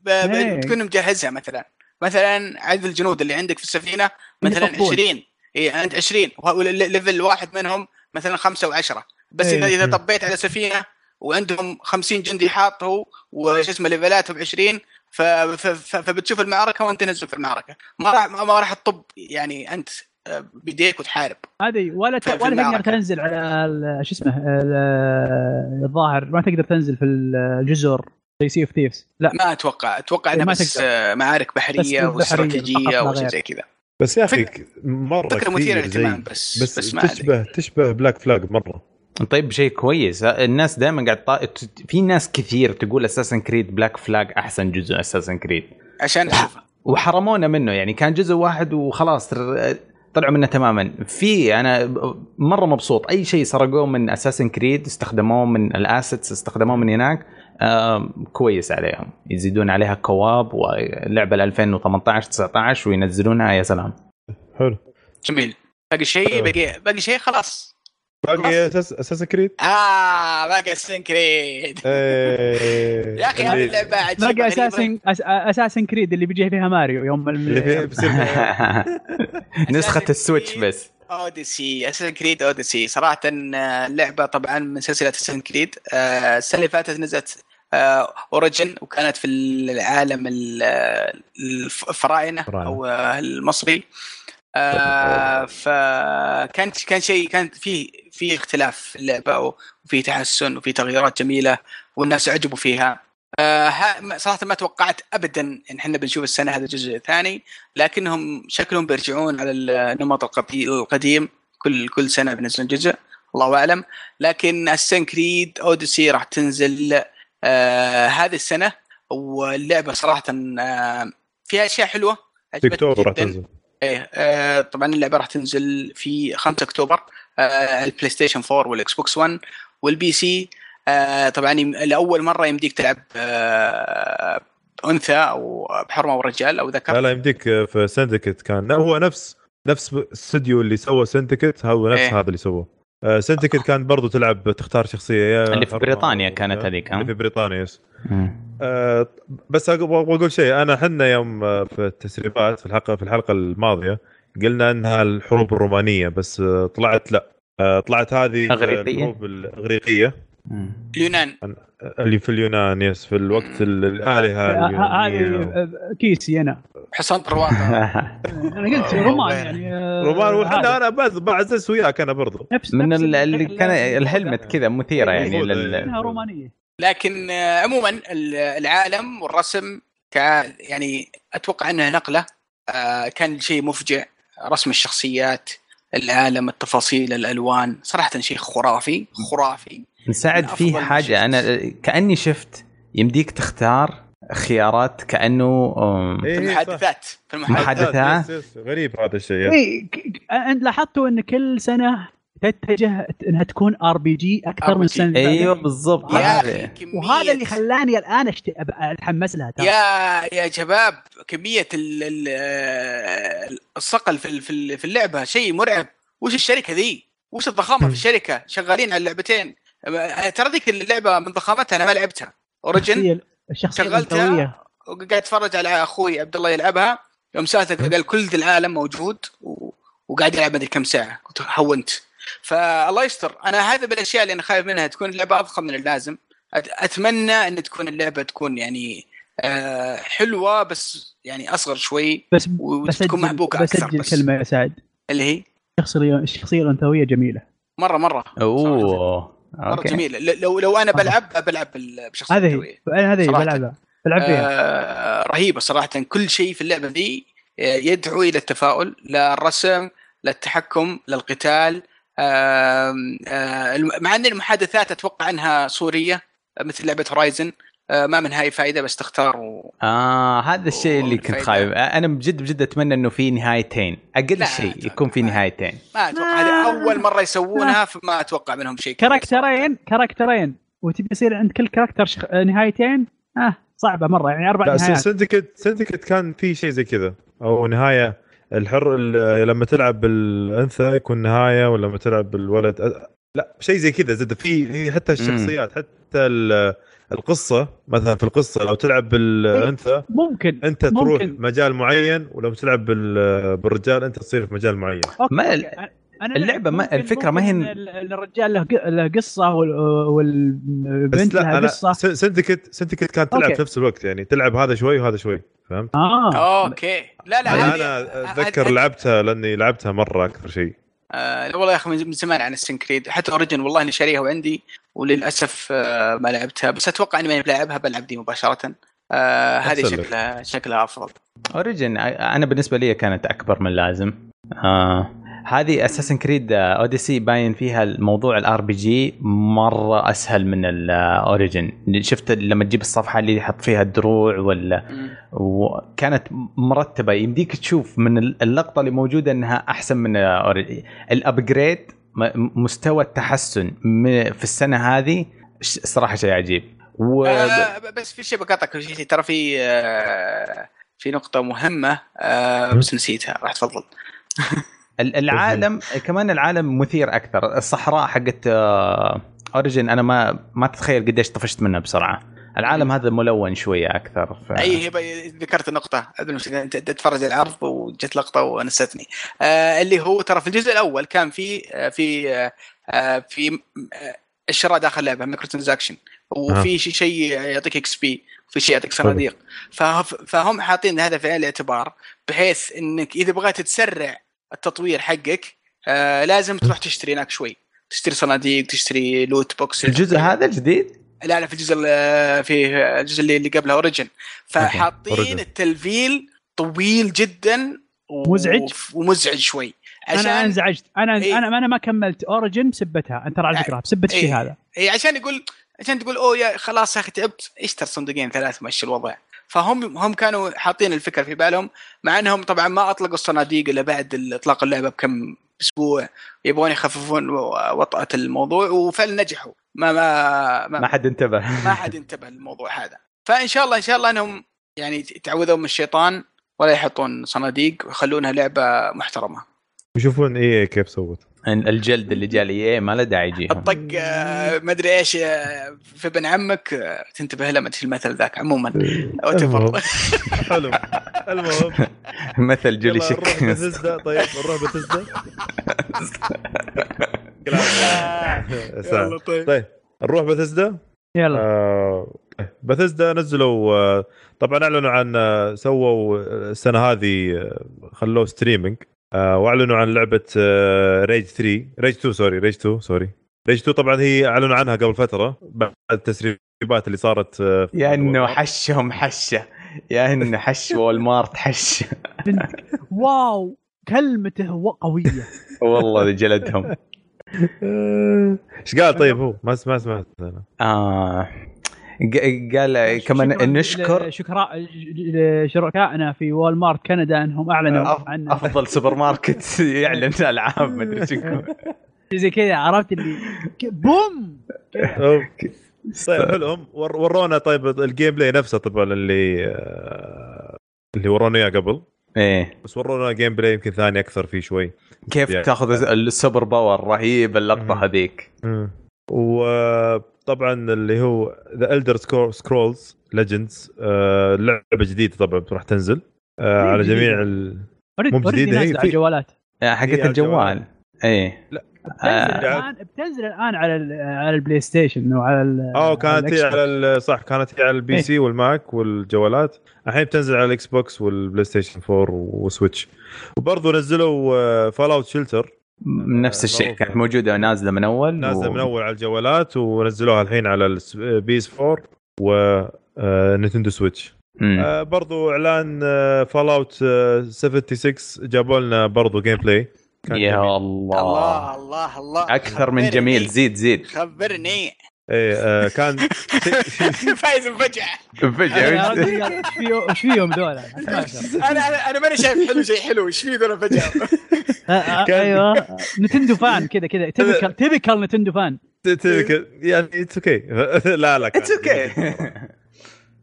Speaker 3: ب...
Speaker 4: نعم. إيه.
Speaker 3: ب... تكون مجهزها مثلا مثلا عدد الجنود اللي عندك في السفينه مثلا
Speaker 4: يطبون.
Speaker 3: 20 اي انت 20 وليفل واحد منهم مثلا خمسه و10 بس
Speaker 4: إيه.
Speaker 3: اذا اذا
Speaker 1: مم.
Speaker 3: طبيت على سفينه وعندهم 50 جندي حاطه وش اسمه ليفلاتهم 20 ف... ف... ف... فبتشوف المعركه وانت نزل في المعركه ما راح ما راح تطب يعني انت آه، بيديك وتحارب
Speaker 4: هذه ولا ت...
Speaker 3: في- في
Speaker 4: ولا تقدر
Speaker 3: المعركة.
Speaker 4: تنزل على ال- شو اسمه ال- الظاهر ما تقدر تنزل في الجزر زي سي اوف ثيفز لا
Speaker 3: ما اتوقع اتوقع انها
Speaker 4: إيه، ما
Speaker 3: بس
Speaker 4: تقدر.
Speaker 3: آه، معارك بحريه
Speaker 4: بحرية فقط
Speaker 3: واستراتيجيه
Speaker 4: لا
Speaker 3: وشيء
Speaker 4: غير.
Speaker 3: زي كذا
Speaker 1: بس يا اخي مره
Speaker 3: فكره مثيره
Speaker 1: كثير زي-
Speaker 3: للاهتمام بس
Speaker 1: بس,
Speaker 3: بس ما أدري.
Speaker 1: تشبه تشبه بلاك فلاج مره
Speaker 2: طيب شيء كويس الناس دائما قاعد طا... في ناس كثير تقول اساسن كريد بلاك فلاج احسن جزء اساسن كريد
Speaker 3: عشان نشوفها
Speaker 2: وحرمونا منه يعني كان جزء واحد وخلاص تر- طلعوا منه تماما في انا ب- مره مبسوط اي شيء سرقوه من اساسن كريد استخدموه من الاسيتس استخدموه من هناك آم، كويس عليهم يزيدون عليها كواب ولعبه ل 2018 19 وينزلونها يا سلام
Speaker 1: حلو
Speaker 3: جميل باقي شيء باقي باقي شيء خلاص
Speaker 1: باقي اساس اساس كريد
Speaker 3: اه باقي اساسن كريد
Speaker 1: يا
Speaker 3: يا اخي هذه اللعبه عجيبه
Speaker 4: تلاقي
Speaker 3: غريبة.
Speaker 4: اساسن أس... اساسن كريد اللي بيجي فيها ماريو يوم ال-
Speaker 1: اللي فيها بيصير
Speaker 2: نسخه السويتش بس
Speaker 3: اوديسي اساسن كريد اوديسي صراحه آه، اللعبه طبعا من سلسله اساسن كريد آه، السنه اللي فاتت نزلت اوريجن وكانت في العالم ال- آه، الف- الفراعنه
Speaker 1: الفراعنة.
Speaker 3: او آه، المصري آه، فكان كان شيء كان في في اختلاف في اللعبه وفي تحسن وفي تغييرات جميله والناس عجبوا فيها آه، ها- ما- صراحه ما توقعت ابدا ان احنا بنشوف السنه هذا الجزء الثاني لكنهم شكلهم بيرجعون على النمط القدي- القديم كل كل سنه بينزلون جزء الله اعلم لكن السن كريد اوديسي راح تنزل آه هذه السنه واللعبه صراحه آه فيها اشياء حلوه
Speaker 1: في
Speaker 3: عجبتني
Speaker 1: اكتوبر راح
Speaker 3: جداً.
Speaker 1: تنزل
Speaker 3: ايه آه طبعا اللعبه راح تنزل في 5 اكتوبر آه على البلاي ستيشن 4 والاكس بوكس 1 والبي سي آه طبعا يم- لاول مره يمديك تلعب آه انثى او بحرمه ورجال او ذكر
Speaker 1: لا لا يمديك آه، في سندكت كان لا هو نفس نفس الاستوديو اللي سوى سندكت هو نفس
Speaker 3: إيه.
Speaker 1: هذا اللي سووه آه، سندكت كان برضو تلعب تختار شخصيه يا
Speaker 2: اللي في
Speaker 1: حرة
Speaker 2: بريطانيا
Speaker 1: أو-
Speaker 2: كانت هذيك، ها؟
Speaker 1: اللي في بريطانيا يس
Speaker 2: مم.
Speaker 1: آه، بس أق- ابغى اقول شيء انا احنا يوم آه، في التسريبات في الحلقه في الحلقه الماضيه قلنا انها الحروب الرومانيه بس آه، طلعت لا آه، طلعت هذه
Speaker 2: أغريقية؟
Speaker 1: الحروب الاغريقيه
Speaker 2: مم.
Speaker 3: اليونان
Speaker 1: اللي في اليونان يس في الوقت ال- الالهه
Speaker 4: آه، آه،
Speaker 1: اليونانية.
Speaker 4: هذه آه، كيسي انا
Speaker 3: حصان برواطه
Speaker 4: انا قلت رومان يعني آه،
Speaker 1: رومان
Speaker 4: هذا.
Speaker 1: وحنا انا بعز- بعزز وياك انا برضو
Speaker 4: نفس
Speaker 2: من
Speaker 4: نفس
Speaker 2: ال- اللي
Speaker 4: الشكل
Speaker 2: كان
Speaker 4: لازم
Speaker 2: الهلمت كذا مثيره يعني
Speaker 1: موجودة،
Speaker 2: لل...
Speaker 4: انها رومانيه
Speaker 3: لكن آه، عموما ال- العالم والرسم ك يعني اتوقع انها نقله آه، كان شيء مفجع رسم الشخصيات العالم التفاصيل الالوان صراحه شيء خرافي خرافي
Speaker 2: مساعد
Speaker 3: من
Speaker 2: في
Speaker 3: أفضل ما شفت.
Speaker 2: حاجه انا كاني شفت يمديك تختار خيارات كانه أم،
Speaker 1: إيه،
Speaker 3: في
Speaker 1: إيه، صح.
Speaker 3: المحادثات في المحادثات
Speaker 2: محادثات.
Speaker 1: يس- يس، غريب هذا الشيء يس.
Speaker 3: إيه،
Speaker 4: اي ك- ك- انت لاحظتوا ان كل سنه تتجه انها تكون ار بي جي اكثر من
Speaker 3: RPG.
Speaker 4: السنه اللي فاتت.
Speaker 2: ايوه
Speaker 3: يعني
Speaker 2: بالضبط
Speaker 3: يا
Speaker 2: هذا.
Speaker 3: اخي كمية-
Speaker 4: وهذا اللي خلاني الان أشت- أب- اتحمس لها ترى
Speaker 3: يا يا شباب كميه ال ال ال- الصقل في ال- في ال- في اللعبه شيء مرعب وش الشركه ذي؟ وش الضخامه في الشركه؟ شغالين على اللعبتين أه، ترى ذيك اللعبه من ضخامتها انا ما لعبتها اوريجن
Speaker 4: الشخصيه الشخصيه
Speaker 3: شغلتها.
Speaker 4: الانثويه
Speaker 3: وقاعد اتفرج على اخوي عبد الله يلعبها يوم سالته قال كل ذا العالم موجود و- وقاعد يلعب مدري كم ساعه قلت هونت فالله يستر انا هذا بالاشياء اللي انا خايف منها تكون اللعبه اضخم من اللازم أت- اتمنى ان تكون اللعبه تكون يعني آه، حلوه بس يعني اصغر شوي
Speaker 4: بس
Speaker 3: وتكون
Speaker 4: بسجل
Speaker 3: محبوكه اكثر
Speaker 4: بسجل
Speaker 3: بس
Speaker 4: كلمه يا سعد
Speaker 3: اللي هي
Speaker 4: الشخصيه الشخصيه الانثويه جميله
Speaker 3: مره مره صراحة.
Speaker 2: اوه
Speaker 3: مره
Speaker 2: اوكي
Speaker 3: جميله ل- لو لو انا بلعب بلعب بال- بشخص
Speaker 4: هذه
Speaker 3: سوية.
Speaker 4: هي أنا هذه هي
Speaker 3: صراحة.
Speaker 4: بلعبها بلعب فيها
Speaker 3: آه رهيبه صراحه كل شيء في اللعبه ذي آه، يدعو الى التفاؤل لا الرسم لا التحكم لا القتال آه آه مع ان المحادثات اتوقع انها صوريه آه، مثل لعبه هورايزن آه ما منها اي فائده بس تختار و...
Speaker 2: اه هذا الشيء اللي كنت
Speaker 3: والفايدة.
Speaker 2: خايف انا بجد بجد اتمنى انه في نهايتين اقل
Speaker 3: لا،
Speaker 2: شيء
Speaker 3: لا،
Speaker 2: يكون في
Speaker 3: لا.
Speaker 2: نهايتين
Speaker 3: ما اتوقع هذه اول مره يسوونها فما اتوقع منهم شيء كبير.
Speaker 4: كاركترين كاركترين وتبي يصير عند كل كاركتر شخ... نهايتين اه صعبه مره يعني اربع
Speaker 1: لا
Speaker 4: نهايات
Speaker 1: سندكت سندكت كان في شيء زي كذا او نهايه الحر ال- لما تلعب بالانثى يكون نهايه ولما تلعب بالولد أ- لا شيء زي كذا زد في في حتى الشخصيات حتى ال- القصه مثلا في القصه لو تلعب بالانثى
Speaker 4: ممكن
Speaker 1: انت تروح
Speaker 4: إيه، ممكن.
Speaker 1: مجال معين ولو تلعب بال- بالرجال انت تصير في مجال معين
Speaker 4: أوكي.
Speaker 2: ما-
Speaker 4: أوكي. أنا
Speaker 2: اللعبة ما-
Speaker 4: ممكن-
Speaker 2: الفكرة ما هي-
Speaker 4: ممكن ال- ال- الرجال له ق- له قصه وال- والبنت
Speaker 1: بس
Speaker 4: لها
Speaker 1: لا انا
Speaker 4: قصه
Speaker 1: س- سندكت سندكت كانت تلعب
Speaker 4: أوكي.
Speaker 1: في نفس الوقت يعني تلعب هذا شوي وهذا شوي فهمت؟
Speaker 4: اه
Speaker 3: اوكي لا لا
Speaker 1: انا
Speaker 3: هذه-
Speaker 1: أنا
Speaker 3: هذه-
Speaker 1: اتذكر لعبتها لاني لعبتها مره اكثر شيء
Speaker 3: آه لا والله يا اخي من من زمان عن السنكريد حتى اوريجن والله اني شاريها وعندي وللاسف آه ما لعبتها بس اتوقع اني ما بلعبها بلعب دي مباشره آه هذه
Speaker 1: أحسن لك.
Speaker 3: شكلها شكلها افضل
Speaker 2: اوريجن انا بالنسبه لي كانت اكبر من اللازم آه هذه اساسن كريد اوديسي باين فيها الموضوع الار بي جي مره اسهل من الاوريجن شفت لما تجيب الصفحه اللي يحط فيها الدروع ولا
Speaker 3: مم.
Speaker 2: وكانت مرتبه يمديك تشوف من اللقطه اللي موجوده انها احسن من آه، اوريجن الابجريد م- مستوى التحسن م- في السنه هذه ش- صراحه شيء عجيب و...
Speaker 3: آه ب- بس في شيء بقاطعك في شيء ترى في آه في نقطة مهمة آه بس نسيتها راح تفضل
Speaker 2: ال- العالم كمان العالم مثير اكثر الصحراء حقت آه، اوريجن انا ما ما تتخيل قديش طفشت منها بسرعه العالم هذا ملون شويه اكثر ف...
Speaker 3: اي هي ب- ذكرت النقطة أدري مش- أنت أنت تتفرج العرض وجت لقطة ونستني آه اللي هو ترى في الجزء الأول كان في آه في آه، آه في م- آه، الشراء داخل اللعبة مايكرو ترانزاكشن
Speaker 2: آه.
Speaker 3: وفي شيء شيء يعطيك اكس بي وفي شيء يعطيك صناديق فه- فهم حاطين هذا في عين الاعتبار بحيث انك اذا بغيت تسرع التطوير حقك آه لازم تروح تشتري هناك شوي تشتري صناديق تشتري لوت بوكس
Speaker 2: الجزء هذا الجديد
Speaker 3: لا لا في الجزء ال- في الجزء اللي اللي قبله اوريجن فحاطين
Speaker 1: أوريجن.
Speaker 3: التلفيل طويل جدا و-
Speaker 4: مزعج؟
Speaker 3: ومزعج شوي
Speaker 4: انا
Speaker 3: عشان
Speaker 4: انزعجت انا
Speaker 3: إيه.
Speaker 4: انا انا ما كملت اوريجن بسبتها انت ترى على
Speaker 3: لا.
Speaker 4: فكره بسبت الشيء
Speaker 3: إيه.
Speaker 4: هذا
Speaker 3: إيه عشان يقول عشان تقول اوه يا خلاص يا اخي تعبت اشتر صندوقين ثلاث مشي الوضع فهم هم كانوا حاطين الفكره في بالهم مع انهم طبعا ما اطلقوا الصناديق الا بعد اطلاق اللعبه بكم اسبوع يبغون يخففون و- وطأة الموضوع وفعلا نجحوا ما ما
Speaker 2: ما حد انتبه
Speaker 3: ما حد انتبه للموضوع هذا فان شاء الله ان شاء الله انهم يعني يتعوذوا من الشيطان ولا يحطون صناديق ويخلونها لعبه محترمه
Speaker 1: يشوفون اي كيف سوت
Speaker 2: الجلد اللي جاء لي إيه، ما له داعي يجي
Speaker 3: الطق آه، ما ادري ايش آه، في ابن عمك آه، تنتبه له ما ادري المثل ذاك عموما
Speaker 1: المهم.
Speaker 3: whatever.
Speaker 1: حلو المهم
Speaker 2: مثل جولي
Speaker 1: يلا نروح
Speaker 2: شك
Speaker 1: بتزدا طيب نروح بتزدا
Speaker 3: يلا طيب
Speaker 1: طيب نروح بثزدا
Speaker 4: يلا
Speaker 1: آه بثزدا نزلوا آه طبعا اعلنوا عن آه سووا آه، السنه هذه آه، خلوه ستريمينج آه واعلنوا عن لعبه آه ريج 3 ريج 2 سوري ريج 2 سوري ريج 2 طبعا هي اعلنوا عنها قبل فتره بعد التسريبات اللي صارت آه، في
Speaker 2: يا انه حشهم حشه يا انه حش والمارت حش
Speaker 4: واو كلمته و- قويه
Speaker 2: والله جلدهم
Speaker 1: آه، ايش قال طيب هو ما ما سمعت انا
Speaker 2: آه ق- قال
Speaker 4: شكراً
Speaker 2: إيه، كمان نشكر
Speaker 4: ل- شكراء ل- شركائنا في وول مارت كندا انهم اعلنوا
Speaker 2: آه، أف-
Speaker 4: عن
Speaker 2: افضل سوبر ماركت يعلن العاب ما ادري شنو
Speaker 4: زي كذا عرفت اللي ك- بوم
Speaker 1: أوه. طيب حلو هم ور- ورونا طيب الجيم بلاي نفسه طبعا اللي آه، اللي ورونا اياه قبل
Speaker 2: ايه
Speaker 1: بس ورونا جيم بلاي يمكن ثاني اكثر فيه شوي
Speaker 2: كيف
Speaker 1: يعني.
Speaker 2: تاخذ السوبر باور رهيب اللقطه
Speaker 1: مم.
Speaker 2: هذيك
Speaker 1: وطبعا اللي هو ذا الدر سكرولز ليجندز لعبه جديده طبعا راح تنزل آه،
Speaker 4: ليه
Speaker 1: على
Speaker 4: جديدة؟
Speaker 1: جميع ال...
Speaker 4: أوريدي-
Speaker 1: مو بجديدة
Speaker 4: أوريدي
Speaker 1: هي،
Speaker 4: نازلة
Speaker 1: في-
Speaker 4: على الجوالات
Speaker 2: آه، حقت
Speaker 1: هي
Speaker 2: الجوال
Speaker 1: إيه، الجوال.
Speaker 2: ايه
Speaker 4: بتنزل
Speaker 2: آه.
Speaker 4: الان بتنزل الان على ال- على البلاي ستيشن وعلى ال-
Speaker 1: اه كانت هي
Speaker 4: الإكس
Speaker 1: على ال- صح كانت هي على البي
Speaker 4: آه، إيه.
Speaker 1: سي والماك والجوالات الحين بتنزل على الاكس بوكس والبلاي ستيشن 4 وسويتش وبرضه نزلوا آه، فال اوت شيلتر
Speaker 2: من نفس الشيء
Speaker 1: معروف.
Speaker 2: كانت موجوده نازله من اول
Speaker 1: نازله آه، من اول على الجوالات ونزلوها الحين على البيس 4 و آه، نينتندو سويتش
Speaker 2: مم.
Speaker 1: آه، برضو آه، اعلان فال اوت 76 جابوا لنا برضو جيم بلاي كان جميل.
Speaker 2: يا
Speaker 3: الله
Speaker 2: الله
Speaker 3: الله الله
Speaker 2: اكثر من
Speaker 3: خبرني-
Speaker 2: جميل زيد زيد
Speaker 3: خبرني
Speaker 1: ايه آه، كان شيء-
Speaker 3: فايز مفجعه
Speaker 4: يا
Speaker 2: فجاه
Speaker 4: رجل، يا- ايش فيه- ايش فيهم ذولا
Speaker 3: انا انا انا ماني شايف حلو شيء حلو ايش في ذولا فجاه
Speaker 1: كان-
Speaker 4: ايوه نتندو فان كذا كذا تيبكال تيبكال
Speaker 1: إيه؟
Speaker 4: نتندو فان
Speaker 1: ت- ت- يعني اتس اوكي لا لا
Speaker 2: اتس اوكي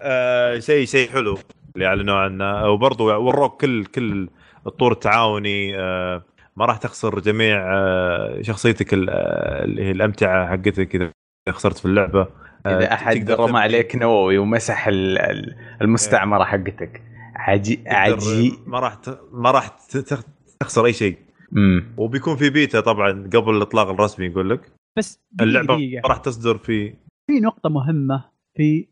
Speaker 1: آه شيء شيء حلو اللي اعلنوا عنه وبرضه وروك كل كل الطور التعاوني آه ما راح تخسر جميع آه شخصيتك ال- آه، اللي هي الامتعه حقتك اذا خسرت في اللعبه آه،
Speaker 2: اذا احد
Speaker 1: تقدر
Speaker 2: رمى
Speaker 1: تبني-
Speaker 2: عليك نووي ومسح ال- ال- المستعمره حقتك عجي
Speaker 1: تقدر-
Speaker 2: عجي
Speaker 1: ما راح ت- ما راح ت- تخ- تخسر اي شيء
Speaker 2: امم
Speaker 1: وبيكون في بيتا طبعا قبل الاطلاق الرسمي يقول لك
Speaker 4: بس
Speaker 1: اللعبه
Speaker 4: اللعبه
Speaker 1: ما راح تصدر في
Speaker 4: في نقطه مهمه في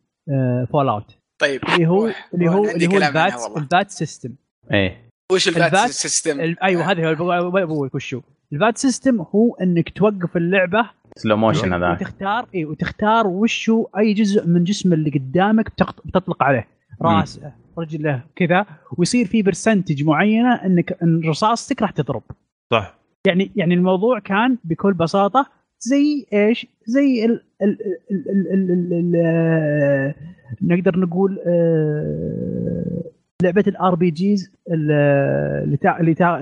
Speaker 4: فول اوت
Speaker 3: طيب
Speaker 4: اللي هو
Speaker 3: روح.
Speaker 4: اللي
Speaker 3: روح.
Speaker 4: هو
Speaker 3: عندي
Speaker 4: اللي هو
Speaker 3: كلام عنها
Speaker 4: البات
Speaker 3: والله.
Speaker 4: البات سيستم
Speaker 2: ايه
Speaker 3: وش آه. الفات
Speaker 4: الفات-
Speaker 3: سيستم؟
Speaker 4: ال- ايوه هذا هو ب- بقولك وشو البات سيستم هو انك توقف اللعبه
Speaker 2: سلو موشن هذا
Speaker 4: وتختار اي وتختار وشو اي جزء من جسم اللي قدامك بتقط- بتطلق عليه راسه رجله كذا ويصير في برسنتج معينه انك ان رصاصتك راح تضرب
Speaker 1: صح
Speaker 4: يعني يعني الموضوع كان بكل بساطه زي ايش؟ زي ال ال ال ال ال ال ال نقدر نقول آه، لعبه الار بي جيز اللي تا- اللي تا-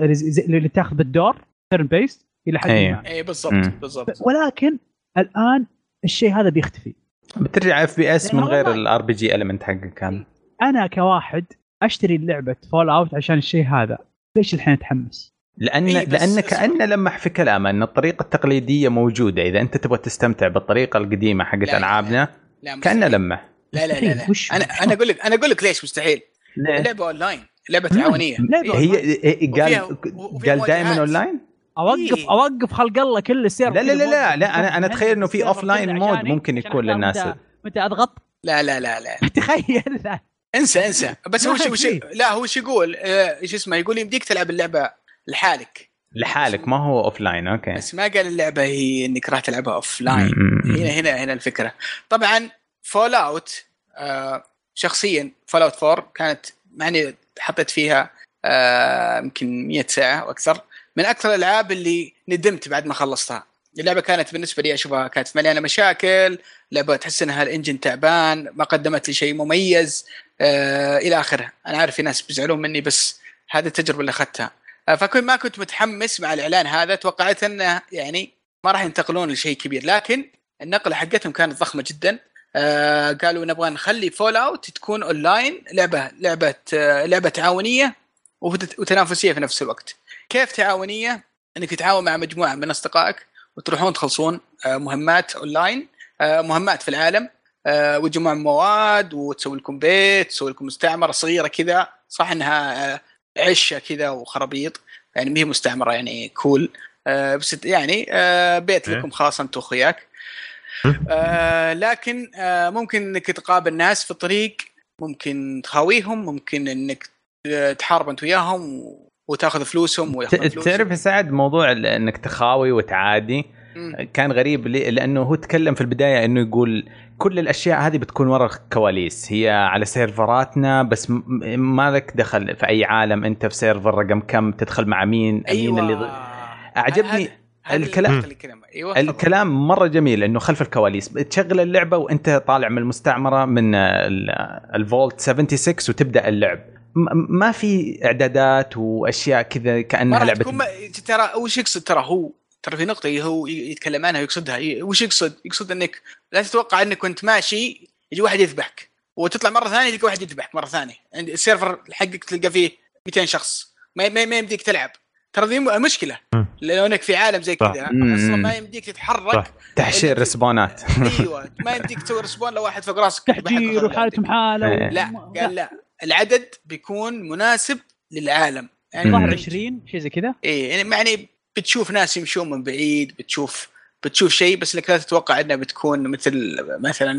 Speaker 4: اللي تاخذ بالدور ترن بيست الى حد
Speaker 2: أيوه.
Speaker 4: ما
Speaker 3: اي إيه، بالضبط
Speaker 2: مم.
Speaker 3: بالضبط
Speaker 4: ولكن الان الشيء هذا بيختفي
Speaker 2: بترجع اف بي اس من
Speaker 4: لا
Speaker 2: غير
Speaker 4: والله.
Speaker 2: الار بي جي المنت حقك كان
Speaker 4: انا كواحد اشتري لعبه فول اوت عشان الشيء هذا ليش الحين اتحمس؟
Speaker 2: لان
Speaker 3: إيه، بس
Speaker 2: لان
Speaker 3: اسمع.
Speaker 2: كانه لمح في كلامه ان الطريقه التقليديه موجوده اذا انت تبغى تستمتع بالطريقه القديمه حقت
Speaker 3: لا،
Speaker 2: العابنا
Speaker 3: لا
Speaker 2: كانه
Speaker 3: مستحيل.
Speaker 2: لمح
Speaker 3: لا لا لا, لا.
Speaker 4: وش-
Speaker 3: انا انا اقول لك انا اقول لك ليش مستحيل
Speaker 2: ليه؟
Speaker 3: لعبه اونلاين لعبه تعاونيه
Speaker 4: لعبة
Speaker 2: إيه. هي هي- قال
Speaker 3: وفيها- وفيها
Speaker 2: قال دائما
Speaker 3: مواجهات.
Speaker 2: اون لاين
Speaker 4: اوقف
Speaker 3: إيه.
Speaker 4: اوقف خلق الله كل السير
Speaker 2: لا لا لا لا, لا انا انا اتخيل انه في اوف لاين مود ممكن يكون للناس
Speaker 4: يعني متى اضغط
Speaker 3: لا لا لا لا
Speaker 4: تخيل لا.
Speaker 3: انسى انسى بس هو
Speaker 4: ما
Speaker 3: شو شو
Speaker 4: في.
Speaker 3: لا هو شو يقول آه، ايش اسمه يقول يمديك تلعب اللعبه لحالك
Speaker 2: لحالك ما هو اوف لاين اوكي
Speaker 3: بس ما قال اللعبه هي انك راح تلعبها اوف لاين
Speaker 2: م- م-
Speaker 3: هنا هنا هنا الفكره طبعا فول اوت آه شخصيا فول اوت 4 كانت يعني حطيت فيها آه، يمكن 100 ساعه واكثر من اكثر الالعاب اللي ندمت بعد ما خلصتها اللعبه كانت بالنسبه لي اشوفها كانت مليانه مشاكل لعبه تحس انها الانجن تعبان ما قدمت لي شيء مميز آه الى اخره انا عارف في ناس بيزعلون مني بس هذه التجربه اللي اخذتها آه، فكنت ما كنت متحمس مع الاعلان هذا توقعت انه يعني ما راح ينتقلون لشيء كبير لكن النقله حقتهم كانت ضخمه جدا آه قالوا نبغى نخلي فول اوت تكون اونلاين لعبه لعبه آه لعبه تعاونيه وت- وتنافسيه في نفس الوقت كيف تعاونيه انك تتعاون مع مجموعه من اصدقائك وتروحون تخلصون آه مهمات اونلاين آه مهمات في العالم آه وتجمعون مواد وتسوي لكم بيت تسوي لكم مستعمره صغيره كذا صح انها آه عشه كذا وخرابيط يعني ما هي مستعمره يعني كول آه بس يعني آه بيت
Speaker 1: إيه.
Speaker 3: لكم خاص انت واخوياك آه لكن آه ممكن انك تقابل ناس في الطريق ممكن تخاويهم ممكن انك آه، تحارب انت وياهم و- وتاخذ فلوسهم
Speaker 2: ت-
Speaker 3: وياخذون فلوسك.
Speaker 2: تعرف يا سعد موضوع ال- انك تخاوي وتعادي
Speaker 3: مم.
Speaker 2: كان غريب لي- لانه هو تكلم في البدايه انه يقول كل الاشياء هذه بتكون ورا الكواليس هي على سيرفراتنا بس م- م- ما لك دخل في اي عالم انت في سيرفر رقم كم تدخل مع مين مين اللي ضد- اعجبني
Speaker 3: أيوة. هذا- هذا
Speaker 2: الكلام-
Speaker 3: اللي- الكلام ايوه تفضل.
Speaker 2: الكلام مره جميل انه خلف الكواليس تشغل اللعبه وانت طالع من المستعمره من ال- الفولت 76 وتبدا اللعب م- ما في اعدادات واشياء كذا كانها
Speaker 3: مرة
Speaker 2: لعبه
Speaker 3: تكون ما- ترى وش يقصد ترى هو ترى في نقطة هو ي- يتكلم عنها ويقصدها ي- وش يقصد؟ يقصد انك لا تتوقع انك وانت ماشي يجي واحد يذبحك وتطلع مرة ثانية تلقى واحد يذبحك مرة ثانية عند السيرفر حقك تلقى فيه 200 شخص ما ما ما يمديك تلعب ترى ذي م- مشكلة لانك في عالم زي
Speaker 1: صح.
Speaker 3: كذا
Speaker 2: مم.
Speaker 3: اصلا ما يمديك
Speaker 1: صح.
Speaker 3: تتحرك
Speaker 2: تحشير رسبونات
Speaker 3: ايوه ما يمديك تسوي رسبون لو واحد فوق راسك يذبحك
Speaker 4: تحجير
Speaker 3: وخلاص.
Speaker 4: وحالتهم حاله
Speaker 2: إيه.
Speaker 3: لا قال لا العدد بيكون مناسب للعالم يعني
Speaker 2: مم.
Speaker 4: ظهر
Speaker 2: مم.
Speaker 4: 20 شيء زي كذا
Speaker 3: ايه يعني يعني بتشوف ناس يمشون من بعيد بتشوف بتشوف شيء بس انك لا تتوقع انها بتكون مثل مثلا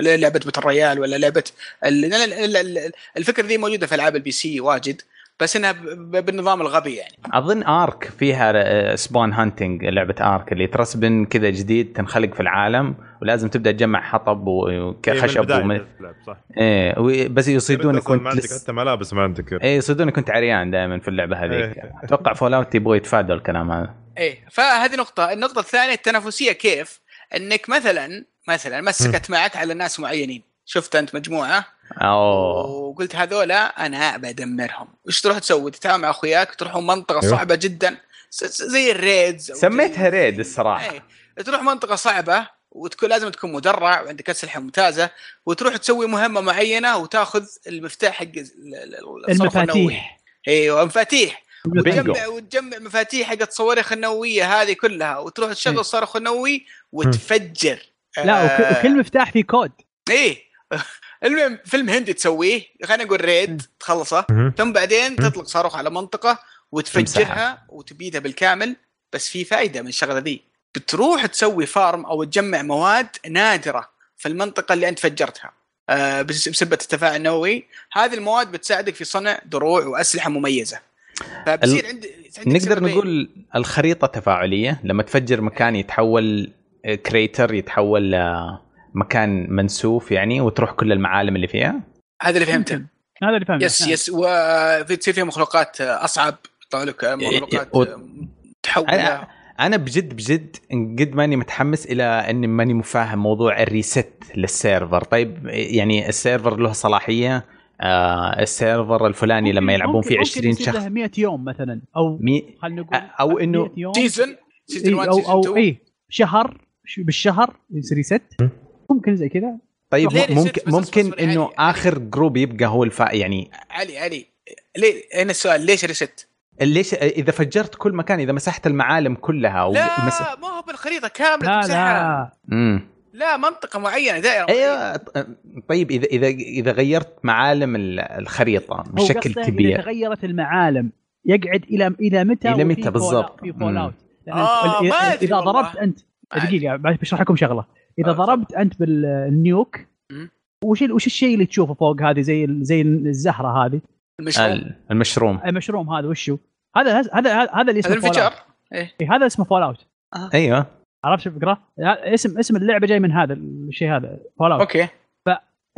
Speaker 3: لعبه باتل رويال ولا لعبه ال- لا- لا- لا- لا- الفكره ذي موجوده في العاب البي سي واجد بس انها ب- ب- بالنظام الغبي يعني
Speaker 2: اظن ارك فيها آه، سبون هانتنج لعبه ارك اللي ترسبن كذا جديد تنخلق في العالم ولازم تبدا تجمع حطب
Speaker 1: إيه، من
Speaker 2: وخشب
Speaker 1: البداية
Speaker 2: وم...
Speaker 1: تلعب، صح
Speaker 2: ايه و- بس يصيدونك
Speaker 1: أصلاً ما
Speaker 2: وانت
Speaker 1: عندك
Speaker 2: لس...
Speaker 1: حتى ملابس ما عندك
Speaker 2: ايه يصيدونك وانت عريان دائما في اللعبه هذيك
Speaker 1: إيه.
Speaker 2: اتوقع فول اوت يبغوا يتفادوا الكلام هذا
Speaker 3: ايه فهذه نقطه النقطه الثانيه التنافسيه كيف انك مثلا مثلا مسكت معك على ناس معينين شفت انت مجموعه
Speaker 2: اوه
Speaker 3: وقلت هذولا انا بدمرهم وش تروح تسوي تتعامل مع اخوياك تروحوا منطقه
Speaker 1: أيوة.
Speaker 3: صعبه جدا س- س- زي الريدز أو
Speaker 2: أيوه. سميتها
Speaker 3: زي-
Speaker 2: ريد الصراحه
Speaker 3: إيه. تروح منطقه صعبه وتكون لازم تكون مدرع وعندك اسلحه ممتازه وتروح تسوي مهمه معينه وتاخذ المفتاح حق ال- ال- الصرف النووي.
Speaker 4: المفاتيح
Speaker 3: ايوه مفاتيح
Speaker 1: بينجو.
Speaker 3: وتجمع وتجمع مفاتيح حق الصواريخ النوويه هذه كلها وتروح تشغل
Speaker 4: إيه.
Speaker 3: الصاروخ النووي وتفجر آه.
Speaker 4: لا وك-
Speaker 2: آه.
Speaker 4: وكل مفتاح فيه كود
Speaker 3: ايه المهم فيلم هندي تسويه خلينا نقول ريد تخلصه
Speaker 1: مهم.
Speaker 3: ثم بعدين تطلق صاروخ على منطقه وتفجرها
Speaker 2: تمسحها.
Speaker 3: وتبيدها بالكامل بس في فائده من الشغله ذي بتروح تسوي فارم او تجمع مواد نادره في المنطقه اللي انت فجرتها آه، بس- بسبه التفاعل النووي هذه المواد بتساعدك في صنع دروع واسلحه مميزه فبصير
Speaker 2: ال-
Speaker 3: عند... عندك طيب؟
Speaker 2: نقدر
Speaker 3: سببين.
Speaker 2: نقول الخريطه تفاعليه لما تفجر مكان يتحول كريتر يتحول آه، مكان منسوف يعني وتروح كل المعالم اللي فيها
Speaker 3: هذا اللي فهمته
Speaker 4: هذا اللي فهمته
Speaker 3: يس يس وتصير فيها مخلوقات آه، اصعب طلع لك آه،
Speaker 2: إيه،
Speaker 3: مخلوقات
Speaker 2: و-
Speaker 3: آه، تحول
Speaker 2: أنا- انا بجد بجد قد ماني متحمس الى اني ماني مفاهم موضوع الريست للسيرفر طيب يعني السيرفر له صلاحيه آه السيرفر
Speaker 4: يعني
Speaker 2: الفلاني لما يلعبون فيه 20 شخص
Speaker 4: 100 يوم مثلا او
Speaker 2: مي
Speaker 4: خلينا نقول
Speaker 2: أو إنه
Speaker 4: 100 يوم
Speaker 3: سيزون سيزون 1
Speaker 4: إيه، او
Speaker 3: سيزون
Speaker 4: او
Speaker 3: 2
Speaker 4: اي شهر ش- بالشهر يصير ريست ممكن زي كذا
Speaker 2: طيب
Speaker 3: ليه reset
Speaker 2: ممكن
Speaker 3: بس
Speaker 2: ممكن
Speaker 3: أصبر عادي
Speaker 2: انه
Speaker 3: يعني.
Speaker 2: اخر جروب يبقى هو الفا يعني
Speaker 3: علي علي ليه هنا السؤال ليش ريست؟
Speaker 2: ليش اذا فجرت كل مكان اذا مسحت المعالم كلها
Speaker 3: لا
Speaker 2: ومس...
Speaker 3: ما هو بالخريطه كامله
Speaker 4: لا
Speaker 3: تمسحها
Speaker 4: لا
Speaker 2: مم.
Speaker 3: لا منطقه معينه دائره معينة.
Speaker 2: ايوه طيب اذا اذا اذا غيرت معالم ال- الخريطه
Speaker 4: هو
Speaker 2: بشكل
Speaker 4: قصده إذا
Speaker 2: كبير
Speaker 4: تغيرت المعالم يقعد الى الى متى
Speaker 2: إلى
Speaker 4: وفي
Speaker 2: متى
Speaker 4: fallout-
Speaker 2: بالضبط.
Speaker 4: في فول
Speaker 2: مم.
Speaker 4: اوت
Speaker 3: آه، ما أدري
Speaker 4: اذا
Speaker 3: والله.
Speaker 4: ضربت انت
Speaker 3: عادي.
Speaker 4: دقيقه بشرح لكم شغله اذا
Speaker 3: آه، تفضل.
Speaker 4: ضربت انت بالنيوك
Speaker 3: مم.
Speaker 4: وش ال- وش الشيء اللي تشوفه فوق هذه زي ال- زي الزهره هذه
Speaker 3: المشروع
Speaker 2: ال- المشروم
Speaker 4: المشروم هذا وشو هذا هذا هذا
Speaker 3: هذا
Speaker 4: اللي اسمه فول اوت
Speaker 3: الانفجار
Speaker 4: هذا اسمه فول اوت
Speaker 2: ايوه
Speaker 4: عرفت شو الفكره؟ ه- اسم اسم اللعبه جاي من هذا الشيء هذا فول اوت
Speaker 3: اوكي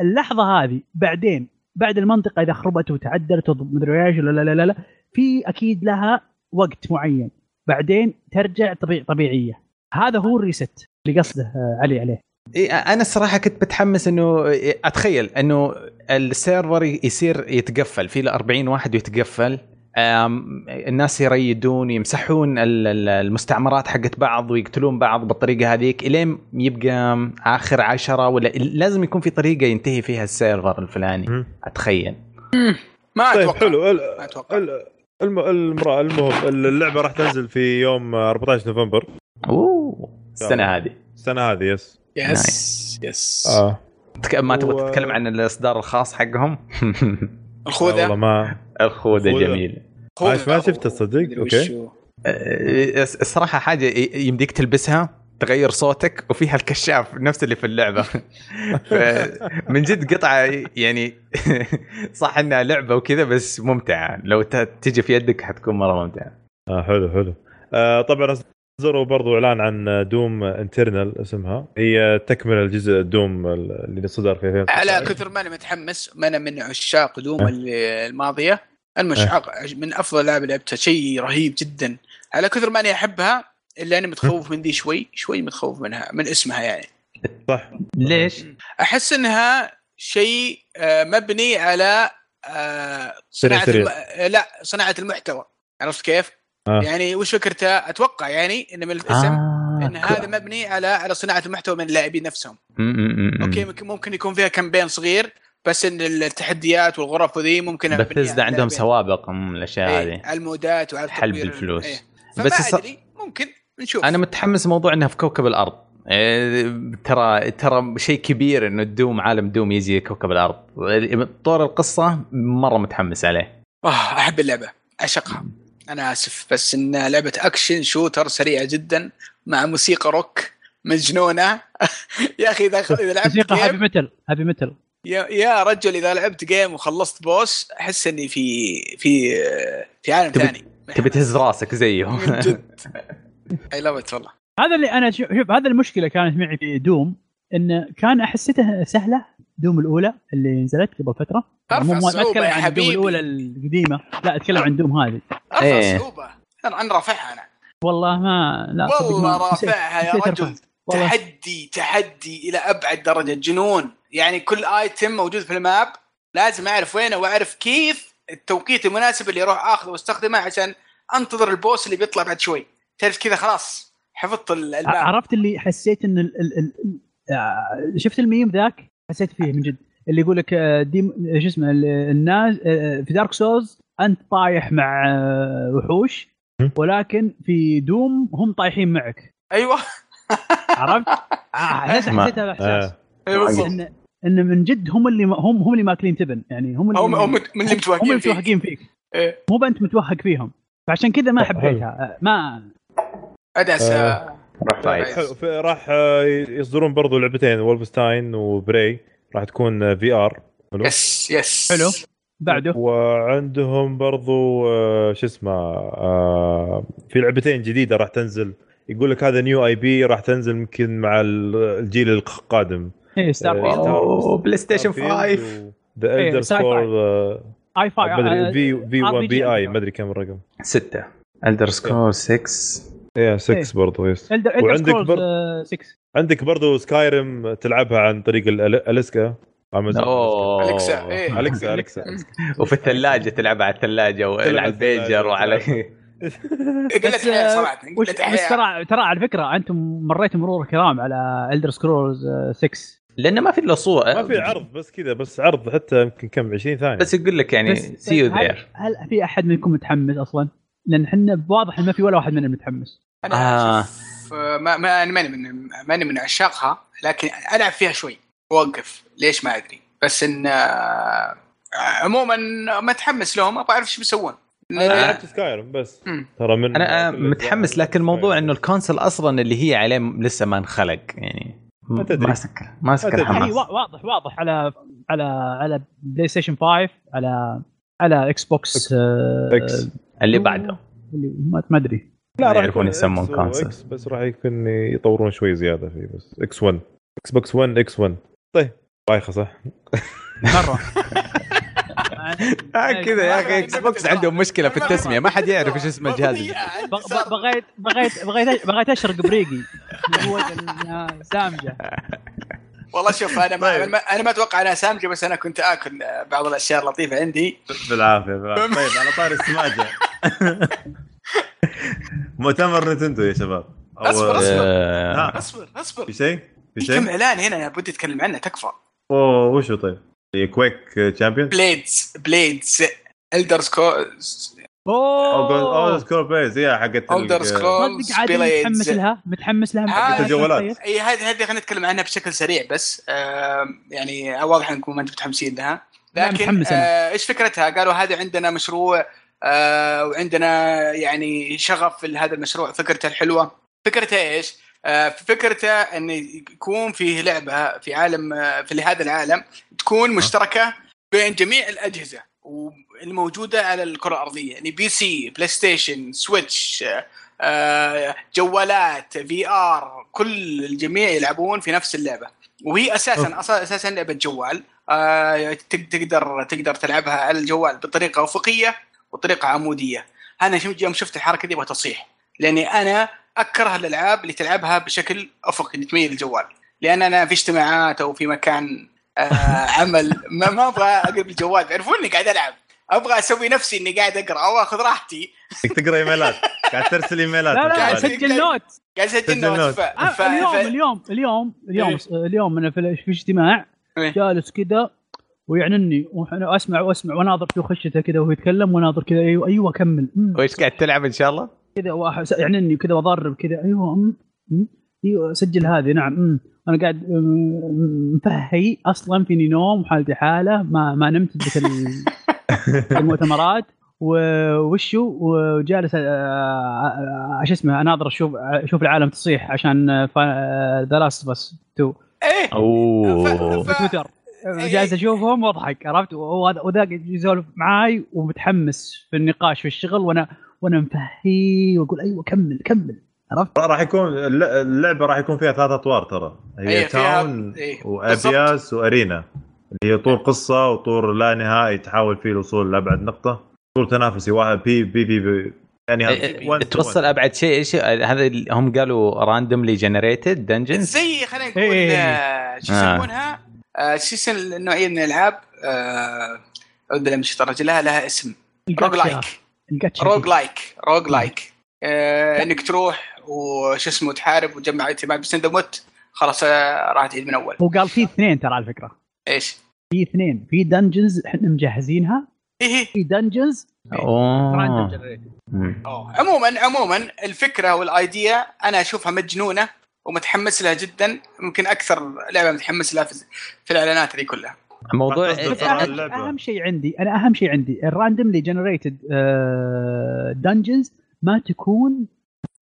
Speaker 4: اللحظه هذه بعدين بعد المنطقه اذا خربت وتعدلت ومدري ايش لا لا لا لا لا في اكيد لها وقت معين بعدين ترجع طبيع طبيعيه هذا هو الريست اللي قصده آه، علي عليه
Speaker 2: إيه، انا الصراحه كنت متحمس انه إيه، اتخيل انه السيرفر يصير يتقفل في له 40 واحد ويتقفل آم، الناس يريدون يمسحون ال- ال- المستعمرات حقت بعض ويقتلون بعض بالطريقه هذيك الين يبقى اخر عشرة ولا لازم يكون في طريقه ينتهي فيها السيرفر الفلاني
Speaker 1: مم.
Speaker 2: اتخيل
Speaker 3: ما
Speaker 1: طيب
Speaker 3: اتوقع
Speaker 1: حلو ال-
Speaker 3: ما اتوقع
Speaker 1: ال- الم- المرا- المهم اللعبه راح تنزل في يوم 14 نوفمبر
Speaker 2: اوه السنه هذه
Speaker 1: السنه هذه يس
Speaker 3: يس يس
Speaker 1: اه
Speaker 2: تك- ما
Speaker 1: و-
Speaker 2: تبغى تتكلم عن الاصدار الخاص حقهم
Speaker 1: آه، والله
Speaker 3: الخوذه
Speaker 1: ما
Speaker 2: الخوذه
Speaker 1: خوذة.
Speaker 2: جميله
Speaker 1: عايش ما شفته تصدق؟ أوكي.
Speaker 2: أه، الصراحه حاجه ي- يمديك تلبسها تغير صوتك وفيها الكشاف نفس اللي في اللعبه ف- من جد قطعه يعني صح انها لعبه وكذا بس ممتعه لو ت- تجي في يدك حتكون مره ممتعه
Speaker 1: اه حلو حلو آه طبعا اصدروا برضو اعلان عن دوم انترنال اسمها هي تكمله الجزء دوم اللي صدر في 2019
Speaker 3: على كثر ما انا متحمس ما انا من عشاق دوم
Speaker 1: أه.
Speaker 3: الماضيه المش
Speaker 1: آه.
Speaker 3: من افضل العاب لعبتها شيء رهيب جدا على كثر ما انا احبها الا انا متخوف
Speaker 1: آه.
Speaker 3: من دي شوي شوي متخوف منها من اسمها يعني
Speaker 1: صح
Speaker 2: ليش؟
Speaker 3: احس انها شيء آه، مبني على آه، صناعه
Speaker 1: سريع.
Speaker 3: الم... آه، لا صناعه المحتوى عرفت كيف؟
Speaker 1: آه.
Speaker 3: يعني وش فكرته؟ اتوقع يعني ان من الاسم
Speaker 2: آه
Speaker 3: ان هذا مبني على على صناعه المحتوى من اللاعبين نفسهم، اوكي
Speaker 2: اوكي
Speaker 3: ممكن ممكن يكون فيها كامبين صغير بس ان التحديات والغرف وذي ممكن مبنية
Speaker 2: بثزدا
Speaker 3: على
Speaker 2: عندهم
Speaker 3: اللاعبين.
Speaker 2: سوابق أم، الاشياء
Speaker 3: إيه،
Speaker 2: هذه
Speaker 3: على المودات وعلى
Speaker 2: حلب
Speaker 3: تطوير ال-
Speaker 2: الفلوس.
Speaker 3: إيه. فما
Speaker 2: بس الص-
Speaker 3: ادري ممكن نشوف
Speaker 2: انا متحمس موضوع انها في كوكب الارض إيه، ترى ترى شيء كبير انه دوم عالم دوم يجي كوكب الارض طور القصه مره متحمس عليه
Speaker 3: آه، احب اللعبه اعشقها انا اسف بس ان لعبه اكشن شوتر سريعه جدا مع موسيقى روك مجنونه يا اخي اذا اذا لعبت
Speaker 4: موسيقى هابي
Speaker 3: جيم
Speaker 4: متل هابي متل
Speaker 3: يا, يا رجل اذا لعبت جيم وخلصت بوس احس اني في في في عالم
Speaker 2: تبي-
Speaker 3: ثاني
Speaker 2: تبي تهز راسك زيه
Speaker 3: من جد اي لاف والله
Speaker 4: هذا اللي انا شوف شوف، هذا المشكله كانت معي في دوم ان كان حسيتها سهله دوم الاولى اللي نزلت قبل فتره
Speaker 3: ارفع
Speaker 4: مو- ما
Speaker 3: الصعوبة
Speaker 4: اتكلم
Speaker 3: يا
Speaker 4: عن دوم
Speaker 3: حبيبي.
Speaker 4: الاولى القديمه لا اتكلم عن دوم هذه
Speaker 3: ارفع
Speaker 2: إيه.
Speaker 3: صعوبة انا أنا رافعها انا
Speaker 4: والله ما لا صدق
Speaker 3: والله
Speaker 4: ما- نسيت-
Speaker 3: رافعها يا
Speaker 4: نسيت
Speaker 3: رجل
Speaker 4: أرفع. والله
Speaker 3: تحدي تحدي الى ابعد درجه جنون يعني كل ايتم موجود في الماب لازم اعرف وينه واعرف كيف التوقيت المناسب اللي اروح اخذه واستخدمه عشان انتظر البوس اللي بيطلع بعد شوي تعرف كذا خلاص حفظت ال- الماء
Speaker 4: عرفت اللي حسيت ان ال ال ال آه، شفت الميم ذاك حسيت فيه من جد اللي يقول لك آه، ديم شو اسمه ال- الناس آه، في دارك سولز انت طايح مع آه، وحوش ولكن في دوم هم طايحين معك
Speaker 3: ايوه
Speaker 4: عرفت؟ آه، حسيت
Speaker 2: ما-
Speaker 4: حسيت هذا الاحساس
Speaker 3: أيوة بالضبط
Speaker 4: ان ان من جد هم اللي هم هم اللي ماكلين تبن يعني هم اللي
Speaker 3: هم هم من اللي
Speaker 4: هم
Speaker 3: متوهقين
Speaker 4: اللي
Speaker 3: فيه
Speaker 4: متوهقين فيك
Speaker 3: إيه.
Speaker 4: مو بانت متوهق فيهم فعشان كذا ما
Speaker 1: حلو.
Speaker 4: حبيتها آه، ما
Speaker 3: ادعس
Speaker 1: آه.
Speaker 2: روح فايز
Speaker 1: حلو في- راح آه، يصدرون برضو لعبتين وولفستاين وبراي راح تكون في ار
Speaker 3: يس يس
Speaker 4: حلو. بعده
Speaker 1: وعندهم برضو آه، شو اسمه آه، في لعبتين جديده راح تنزل يقول لك هذا نيو اي بي راح تنزل يمكن مع ال- الجيل القادم
Speaker 4: ايه ستار
Speaker 1: آه،
Speaker 4: فيلد.
Speaker 2: اوه بلاي ستيشن 5
Speaker 1: ذا
Speaker 4: إيه،
Speaker 1: الدر
Speaker 4: sci-fi.
Speaker 1: سكور
Speaker 2: آه،
Speaker 4: اي فاي
Speaker 1: مدري في
Speaker 4: آه،
Speaker 1: 1
Speaker 4: RPG.
Speaker 1: بي اي ما ادري كم الرقم
Speaker 2: 6 الدر سكور 6
Speaker 1: يا
Speaker 4: إيه.
Speaker 1: 6 برضو يس
Speaker 4: Elder, Elder
Speaker 1: وعندك
Speaker 4: Scrolls
Speaker 1: بر-
Speaker 4: آه، 6
Speaker 1: عندك برضو سكايرم تلعبها عن طريق ال- اليسكا امازون
Speaker 2: اوه
Speaker 3: أليكسا، إيه.
Speaker 1: اليكسا اليكسا
Speaker 2: وفي الثلاجه تلعب على الثلاجه وعلى
Speaker 1: تلعب على
Speaker 2: البيجر
Speaker 1: الثلاجة.
Speaker 2: وعلى
Speaker 3: قلت
Speaker 4: بس،
Speaker 3: حياه
Speaker 4: آه،
Speaker 3: صراحه
Speaker 4: وش
Speaker 3: قلت
Speaker 4: بس
Speaker 3: حياه
Speaker 4: ترى ترى على فكره انتم مريتوا مرور كرام على آه، الدر سكرولز 6
Speaker 2: لانه ما في الا صور
Speaker 1: ما في عرض بس كذا بس عرض حتى يمكن كم 20 ثانيه
Speaker 2: بس يقول لك يعني
Speaker 4: بس-
Speaker 2: سي يو
Speaker 4: هل-
Speaker 2: ذير
Speaker 4: هل في احد منكم متحمس اصلا؟ لان احنا واضح إن ما في ولا واحد مننا متحمس
Speaker 2: آه.
Speaker 3: انا شوف، آه. ما ما انا ماني من ماني من عشاقها لكن العب فيها شوي اوقف ليش ما ادري بس ان آه، عموما متحمس لهم ابغى اعرف ايش بيسوون
Speaker 1: انا
Speaker 2: آه.
Speaker 1: لعبت سكايرم بس
Speaker 3: أه؟ مم.
Speaker 1: ترى من
Speaker 2: انا آه، متحمس
Speaker 1: يعني.
Speaker 2: لكن الموضوع
Speaker 1: طيب.
Speaker 2: انه الكونسل اصلا اللي هي عليه لسه ما انخلق يعني م-
Speaker 1: ما تدري.
Speaker 2: ما سكر ما سكر
Speaker 1: تدري. أيوة.
Speaker 4: يعني
Speaker 2: الحماس
Speaker 4: وا- واضح واضح على على على بلاي ستيشن 5 على على اكس بوكس آه،
Speaker 1: اكس
Speaker 2: اللي بعده
Speaker 4: اللي ما ما ادري
Speaker 2: ما
Speaker 1: راح
Speaker 2: يعرفون
Speaker 1: يكون
Speaker 2: يسمون
Speaker 1: X و
Speaker 2: كونسل.
Speaker 1: X بس راح يكون يطورون شوي زياده فيه بس اكس 1 اكس بوكس 1 اكس 1 طيب بايخه صح؟
Speaker 4: مره
Speaker 2: آه، كذا يا اخي
Speaker 3: ما-
Speaker 2: اكس بوكس عندهم مشكله في التسميه ما حد يعرف ايش اسم الجهاز
Speaker 3: بطيئة،
Speaker 4: ب- ب- بغيت بغيت بغيت بغيت اشرق بريقي من قوة إنها سامجه
Speaker 3: والله شوف انا ما
Speaker 1: طيب.
Speaker 3: أنا ما- انا ما اتوقع انها سامجه بس انا كنت اكل آه، بعض الاشياء اللطيفه عندي
Speaker 1: بالعافيه بالعافية. طيب على طار السماجه مؤتمر نتندو يا شباب أو-
Speaker 3: أصبر، أصبر.
Speaker 2: آه،
Speaker 1: ها،
Speaker 3: اصبر اصبر
Speaker 1: في شيء؟ في
Speaker 3: في كم
Speaker 1: شيء؟
Speaker 3: اعلان هنا بدي اتكلم عنه تكفى
Speaker 1: اوه وشو طيب؟ آه، كويك تشامبيون
Speaker 3: بليدز بليدز الدر سكولز
Speaker 1: او
Speaker 4: اوه
Speaker 1: سكور بيز يا إيه، حقت
Speaker 3: الدر سكولز
Speaker 4: صدق عادي متحمس لها متحمس لها
Speaker 3: آه،
Speaker 4: متحمس طيب. لها.
Speaker 1: الجوالات.
Speaker 3: اي هذه هذه خلينا نتكلم عنها بشكل سريع بس آم، يعني واضح انكم ما انتم متحمسين لها
Speaker 4: لا،
Speaker 3: لكن
Speaker 4: متحمس أنا.
Speaker 3: آه، ايش فكرتها؟ قالوا هذه عندنا مشروع آه، وعندنا يعني شغف في هذا المشروع فكرته الحلوه فكرته ايش؟ آه، فكرته ان يكون فيه لعبه في عالم آه، في هذا العالم تكون مشتركه بين جميع الاجهزه والموجوده على الكره الارضيه يعني بي سي بلاي ستيشن سويتش آه، آه، جوالات في ار كل الجميع يلعبون في نفس اللعبه وهي اساسا أصلا- اساسا لعبه جوال آه، تق- تقدر تقدر تلعبها على الجوال بطريقه افقيه وطريقه عموديه انا شم- يوم شفت الحركه دي بتصيح لاني انا اكره الالعاب اللي تلعبها بشكل افقي اللي تميل الجوال لان انا في اجتماعات او في مكان آه، عمل ما, ما ابغى اقلب الجوال تعرفون اني قاعد العب ابغى اسوي نفسي اني قاعد اقرا واخذ راحتي
Speaker 1: تقرا ايميلات قاعد ترسل ايميلات
Speaker 4: لا لا
Speaker 3: جوالي.
Speaker 4: سجل نوت
Speaker 3: قاعد اسجل
Speaker 1: سجل
Speaker 3: نوت
Speaker 1: نوت.
Speaker 3: ف...
Speaker 4: آه،
Speaker 3: ف...
Speaker 4: اليوم
Speaker 3: ف...
Speaker 4: اليوم اليوم اليوم اليوم انا في في اجتماع
Speaker 3: إيه.
Speaker 4: جالس كذا ويعنني وانا اسمع واسمع واناظر في خشته كذا وهو يتكلم واناظر كذا ايوه ايوه كمل أمم.
Speaker 2: وايش قاعد تلعب ان شاء الله؟
Speaker 4: كذا وأح- يعنني كذا واضرب كذا ايوه أم أم ايوه سجل هذه نعم أم انا قاعد أم، مفهي اصلا فيني نوم وحالتي حاله ما ما نمت مثل المؤتمرات و- وشو وجالس أ- أ- أ- شو اسمه اناظر اشوف اشوف العالم تصيح عشان ذا لاست بس تو
Speaker 3: ايه
Speaker 2: اوه
Speaker 3: ف- ف-
Speaker 4: تويتر جالس اشوفهم واضحك عرفت وهذا وذاك يسولف معاي ومتحمس في النقاش في الشغل وانا وانا مفهي واقول ايوه كمل كمل
Speaker 1: راح يكون الل- اللعبه راح يكون فيها ثلاث اطوار ترى هي
Speaker 3: أي، فيها- إيه،
Speaker 1: تاون
Speaker 3: أي،
Speaker 1: وابياس وارينا اللي هي طور قصه وطور لا نهائي تحاول فيه الوصول لابعد نقطه طور تنافسي واحد بي بي بي, بي يعني هذا one to one.
Speaker 2: إيه، توصل ابعد شيء ايش هذا اللي هم قالوا راندوملي جنريتد دنجنز
Speaker 3: زي خلينا نقول
Speaker 4: إيه.
Speaker 3: آه، شو
Speaker 2: آه.
Speaker 3: يسمونها آه، شو اسم النوعيه من الالعاب آه، اعوذ بالله من الشيطان الرجيم، لها لها اسم روج
Speaker 4: الجاتشا
Speaker 3: لايك روج لايك روج لايك آه، انك تروح وش اسمه تحارب وتجمع اعتماد بس اذا مت خلاص آه، راح تعيد من اول
Speaker 4: هو قال في اثنين ترى على فكره
Speaker 3: ايش؟
Speaker 4: في اثنين في دنجنز احنا مجهزينها
Speaker 3: ايه
Speaker 4: في آه. دنجنز
Speaker 2: اوه مم.
Speaker 3: أوه. عموما عموما الفكره والايديا انا اشوفها مجنونه ومتحمس لها جدا ممكن اكثر لعبه متحمس لها في, في الاعلانات هذه كلها
Speaker 2: موضوع إيه،
Speaker 1: قصدك
Speaker 4: بس
Speaker 1: ترى
Speaker 3: آه،
Speaker 4: أنا
Speaker 1: اللعبة.
Speaker 4: اهم شيء عندي انا اهم شيء عندي الراندملي جنريتد دنجنز ما تكون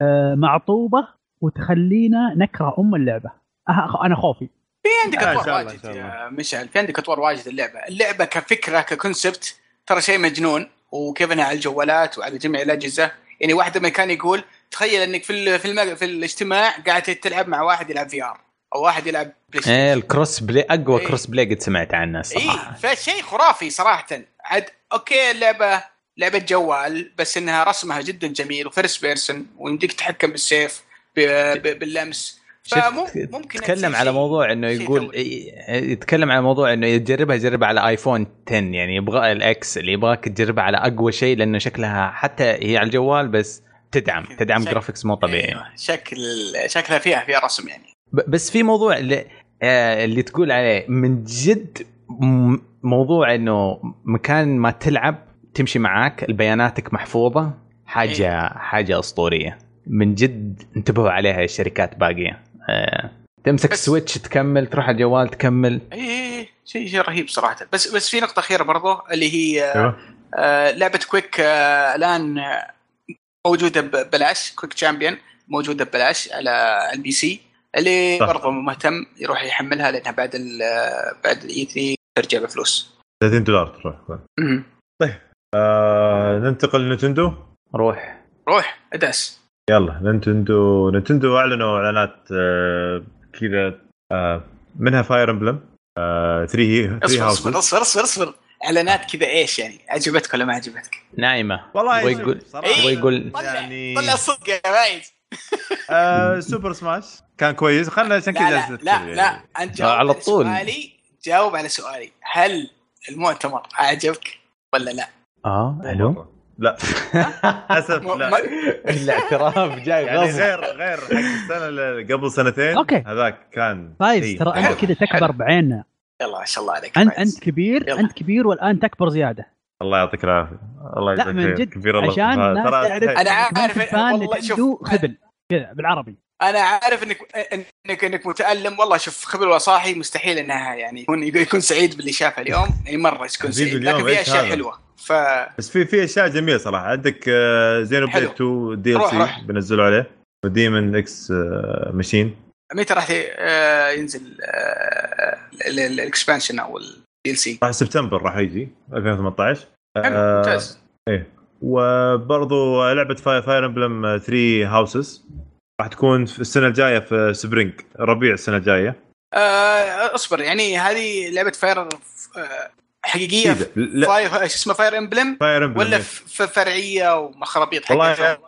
Speaker 4: آه، معطوبه وتخلينا نكره ام اللعبه أه- انا خوفي
Speaker 3: في عندك
Speaker 1: آه، إن
Speaker 3: اطوار
Speaker 1: شاء الله، إن
Speaker 3: واجد
Speaker 1: شاء الله.
Speaker 3: يا مشعل في عندك اطوار واجد اللعبه اللعبه كفكره ككونسبت ترى شيء مجنون وكيف انها على الجوالات وعلى جميع الاجهزه يعني واحد ما كان يقول تخيل انك في ال- في, المج... في الاجتماع قاعد تلعب مع واحد يلعب في ار او واحد يلعب بلاي ستيشن
Speaker 2: ايه الكروس بلاي اقوى
Speaker 3: إيه.
Speaker 2: كروس بلاي قد سمعت عنه
Speaker 3: اي
Speaker 2: الصراحه
Speaker 3: فشيء خرافي صراحه عاد اوكي اللعبه لعبه جوال بس انها رسمها جدا جميل وفيرست بيرسون ويمديك تتحكم بالسيف ب- ب- باللمس
Speaker 2: شفت
Speaker 3: فممكن ممكن
Speaker 2: تكلم
Speaker 3: تصير
Speaker 2: على
Speaker 3: شيء-
Speaker 2: موضوع انه
Speaker 3: شيء
Speaker 2: يقول
Speaker 3: ثوري.
Speaker 2: إيه- يتكلم على موضوع انه يجربها جربها على ايفون 10 يعني يبغى الاكس اللي يبغاك تجربها على اقوى شيء لانه شكلها حتى هي على الجوال بس تدعم تدعم
Speaker 3: شكل-
Speaker 2: جرافيكس مو طبيعي
Speaker 3: أيوة، شكل شكلها فيها فيها رسم يعني
Speaker 2: ب- بس في موضوع اللي, آه، اللي تقول عليه من جد م- موضوع انه مكان ما تلعب تمشي معاك بياناتك محفوظه حاجه
Speaker 3: إيه.
Speaker 2: حاجه اسطوريه من جد انتبهوا عليها الشركات باقيه آه، تمسك
Speaker 3: بس-
Speaker 2: سويتش تكمل تروح على الجوال تكمل
Speaker 3: اي إي، إي، إيه، شيء شيء رهيب صراحه بس بس في نقطه اخيره برضو اللي هي
Speaker 1: ايوه
Speaker 3: آه، لعبه كويك آه، الان آه، موجوده ببلاش كويك تشامبيون موجوده ببلاش على البي سي اللي
Speaker 1: صح.
Speaker 3: برضه مو مهتم يروح يحملها لانها بعد ال آه، بعد الاي 3 ترجع بفلوس
Speaker 1: 30 دولار تروح
Speaker 3: مهم.
Speaker 1: آه ننتقل لنتندو
Speaker 2: روح
Speaker 3: روح ادعس
Speaker 1: يلا نينتندو نينتندو اعلنوا اعلانات آه كذا آه منها آه، فاير امبلم 3 3
Speaker 3: اصبر اصبر
Speaker 1: هاوس
Speaker 3: اصبر اصبر اصبر اعلانات كذا ايش يعني عجبتك ولا ما عجبتك؟
Speaker 2: نايمه
Speaker 1: والله
Speaker 2: هو يقول-
Speaker 1: صراحة،
Speaker 2: هو يقول-
Speaker 3: طلع-
Speaker 1: يعني
Speaker 3: طلع الصدق يا فايز
Speaker 1: آه سوبر سماش كان كويس خلنا عشان
Speaker 3: لا
Speaker 1: كذا يعني.
Speaker 3: لا لا, لا. انت جاوب
Speaker 2: على
Speaker 3: على
Speaker 2: طول.
Speaker 3: سؤالي جاوب على سؤالي هل المؤتمر اعجبك ولا لا؟
Speaker 2: اه الو
Speaker 1: لا للاسف
Speaker 3: ما-
Speaker 1: لا
Speaker 3: ما-
Speaker 2: الاعتراف جاي
Speaker 1: يعني
Speaker 2: غصب
Speaker 1: غير غير حق السنه اللي قبل سنتين
Speaker 4: أوكي.
Speaker 1: هذاك كان
Speaker 4: فايز
Speaker 1: شيء.
Speaker 4: ترى
Speaker 3: إيه، حلو،
Speaker 4: انت كذا تكبر
Speaker 3: حلو.
Speaker 4: بعيننا
Speaker 3: يلا ما شاء الله عليك
Speaker 4: انت
Speaker 3: فايز.
Speaker 4: انت كبير
Speaker 3: يلا.
Speaker 4: انت كبير والان تكبر زياده
Speaker 1: الله يعطيك العافيه الله
Speaker 4: لا،
Speaker 1: يجزاك
Speaker 4: من
Speaker 1: خير.
Speaker 4: جد،
Speaker 1: كبير الله
Speaker 4: عشان
Speaker 1: آه،
Speaker 4: الناس
Speaker 1: ترى
Speaker 4: تعرف-
Speaker 3: انا عارف
Speaker 4: فان
Speaker 3: والله شوف
Speaker 4: نتندو خبل كذا بالعربي
Speaker 3: انا عارف انك انك انك متالم والله شوف خبير ولا صاحي مستحيل انها يعني يكون يكون سعيد باللي شافه اليوم يعني مره
Speaker 1: حبيبي
Speaker 3: يكون سعيد
Speaker 1: اليوم
Speaker 3: لكن في
Speaker 1: إيش
Speaker 3: اشياء
Speaker 1: هذا؟
Speaker 3: حلوه فروح
Speaker 1: بس في في اشياء جميله صراحه عندك آه، زينو بليد
Speaker 3: حلو.
Speaker 1: 2 دي ال
Speaker 3: روح،
Speaker 1: سي
Speaker 3: روح.
Speaker 1: بنزلوا عليه وديمن اكس ماشين
Speaker 3: متى راح ي- آه، ينزل آه، ال- ال- الاكسبانشن او الدي ال سي
Speaker 1: راح سبتمبر راح يجي 2018
Speaker 3: حلو
Speaker 1: آه،
Speaker 3: ممتاز
Speaker 1: وبرضو لعبه فاير امبلم 3 هاوسز راح تكون في السنه الجايه في سبرينج ربيع السنه الجايه
Speaker 3: آه، اصبر يعني هذه لعبه فاير آه، حقيقيه
Speaker 1: جديدة. لا
Speaker 3: فاير شو اسمه فاير امبلم
Speaker 1: فاير امبلم
Speaker 3: ولا ف- ف- فرعيه ومخربيط
Speaker 1: والله
Speaker 3: حقيقيه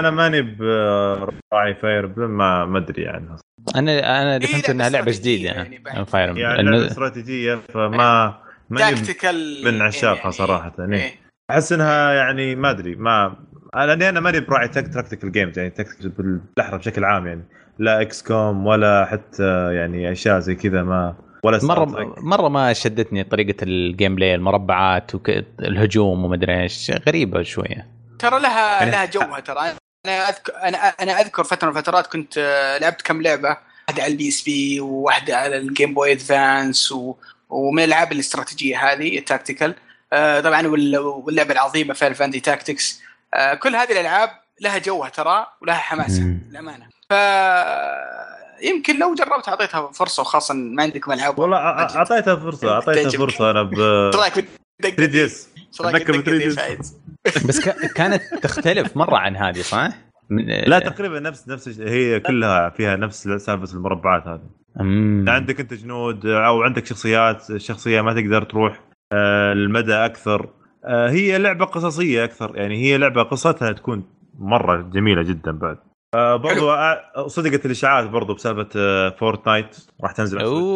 Speaker 1: انا ماني براعي فاير امبلم ما ما يعني. ادري عنها
Speaker 2: انا انا اللي
Speaker 3: إيه،
Speaker 2: فهمت
Speaker 3: لا،
Speaker 2: انها
Speaker 3: بس
Speaker 2: لعبه
Speaker 3: استراتيجية
Speaker 2: جديده
Speaker 3: يعني بعد.
Speaker 2: فاير أمبلم.
Speaker 1: يعني لعبه استراتيجيه فما ماني
Speaker 3: تاكتيكال
Speaker 1: من عشاقها
Speaker 3: يعني-
Speaker 1: صراحة، يعني.
Speaker 3: إيه.
Speaker 1: احس انها يعني ما ادري ما لاني انا ماني براعي تك- تكتيكال جيمز يعني تكتيكال بالاحرى بشكل عام يعني لا اكس كوم ولا حتى يعني اشياء زي كذا ما ولا Star
Speaker 2: مره
Speaker 1: Trek.
Speaker 2: مره ما شدتني طريقه الجيم بلاي المربعات والهجوم ومدري ايش غريبه شويه
Speaker 3: ترى لها
Speaker 1: يعني-
Speaker 3: لها جوها ترى انا اذكر انا انا اذكر فتره من الفترات كنت آه، لعبت كم لعبه واحده على البي اس بي وواحده على الجيم بوي ادفانس و... ومن الالعاب الاستراتيجيه هذه التاكتيكال آه، طبعا وال- واللعبه العظيمه فاير فاندي تاكتكس آه، كل هذه الالعاب لها جوها ترى ولها حماسها
Speaker 2: مم.
Speaker 3: للامانه ف يمكن لو جربت اعطيتها فرصه وخاصه ما عندكم العاب
Speaker 1: والله أ- أ- اعطيتها فرصه اعطيتها
Speaker 3: تعجبك.
Speaker 1: فرصه انا ب
Speaker 3: ايش رايك
Speaker 1: 3 دي اس أتذكر ب 3DS.
Speaker 2: بس ك- كانت تختلف مره عن هذه صح؟ من-
Speaker 1: لا تقريبا نفس نفس الشيء، هي كلها فيها نفس سالفه المربعات هذه
Speaker 2: أمم.
Speaker 1: عندك انت جنود او عندك شخصيات الشخصيه ما تقدر تروح آه، المدى اكثر آه، هي لعبه قصصيه اكثر يعني هي لعبه قصتها تكون مره جميله جدا بعد آه، برضو آه، صدقت الاشاعات برضو بسالفه آه، فورتنايت راح تنزل على السويتش.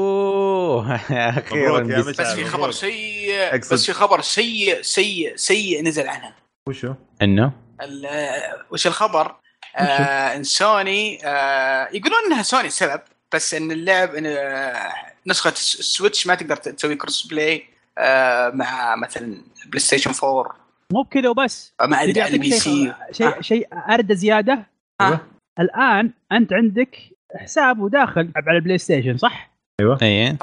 Speaker 2: اوه اخيرا
Speaker 1: مبروك يا
Speaker 2: بس-
Speaker 1: مشعل.
Speaker 3: بس في خبر سيء
Speaker 1: أقصد-
Speaker 3: بس في خبر سيء سيء سيء نزل عنها
Speaker 1: وشو؟
Speaker 2: انه
Speaker 3: ال- وش الخبر؟ آه ان سوني آه يقولون انها سوني السبب بس ان اللعب إن آه نسخه الس- السويتش ما تقدر تسوي كروس بلاي آه مع مثلا بلاي ستيشن 4
Speaker 4: مو بكذا وبس
Speaker 3: آه، مع
Speaker 4: بدي
Speaker 3: ال-
Speaker 4: أعطيك
Speaker 3: البي سي
Speaker 4: شيء- شيء شيء ارده زياده
Speaker 3: آه.
Speaker 4: الان انت عندك حساب وداخل تلعب على البلاي ستيشن صح؟
Speaker 1: أيوه.
Speaker 2: اي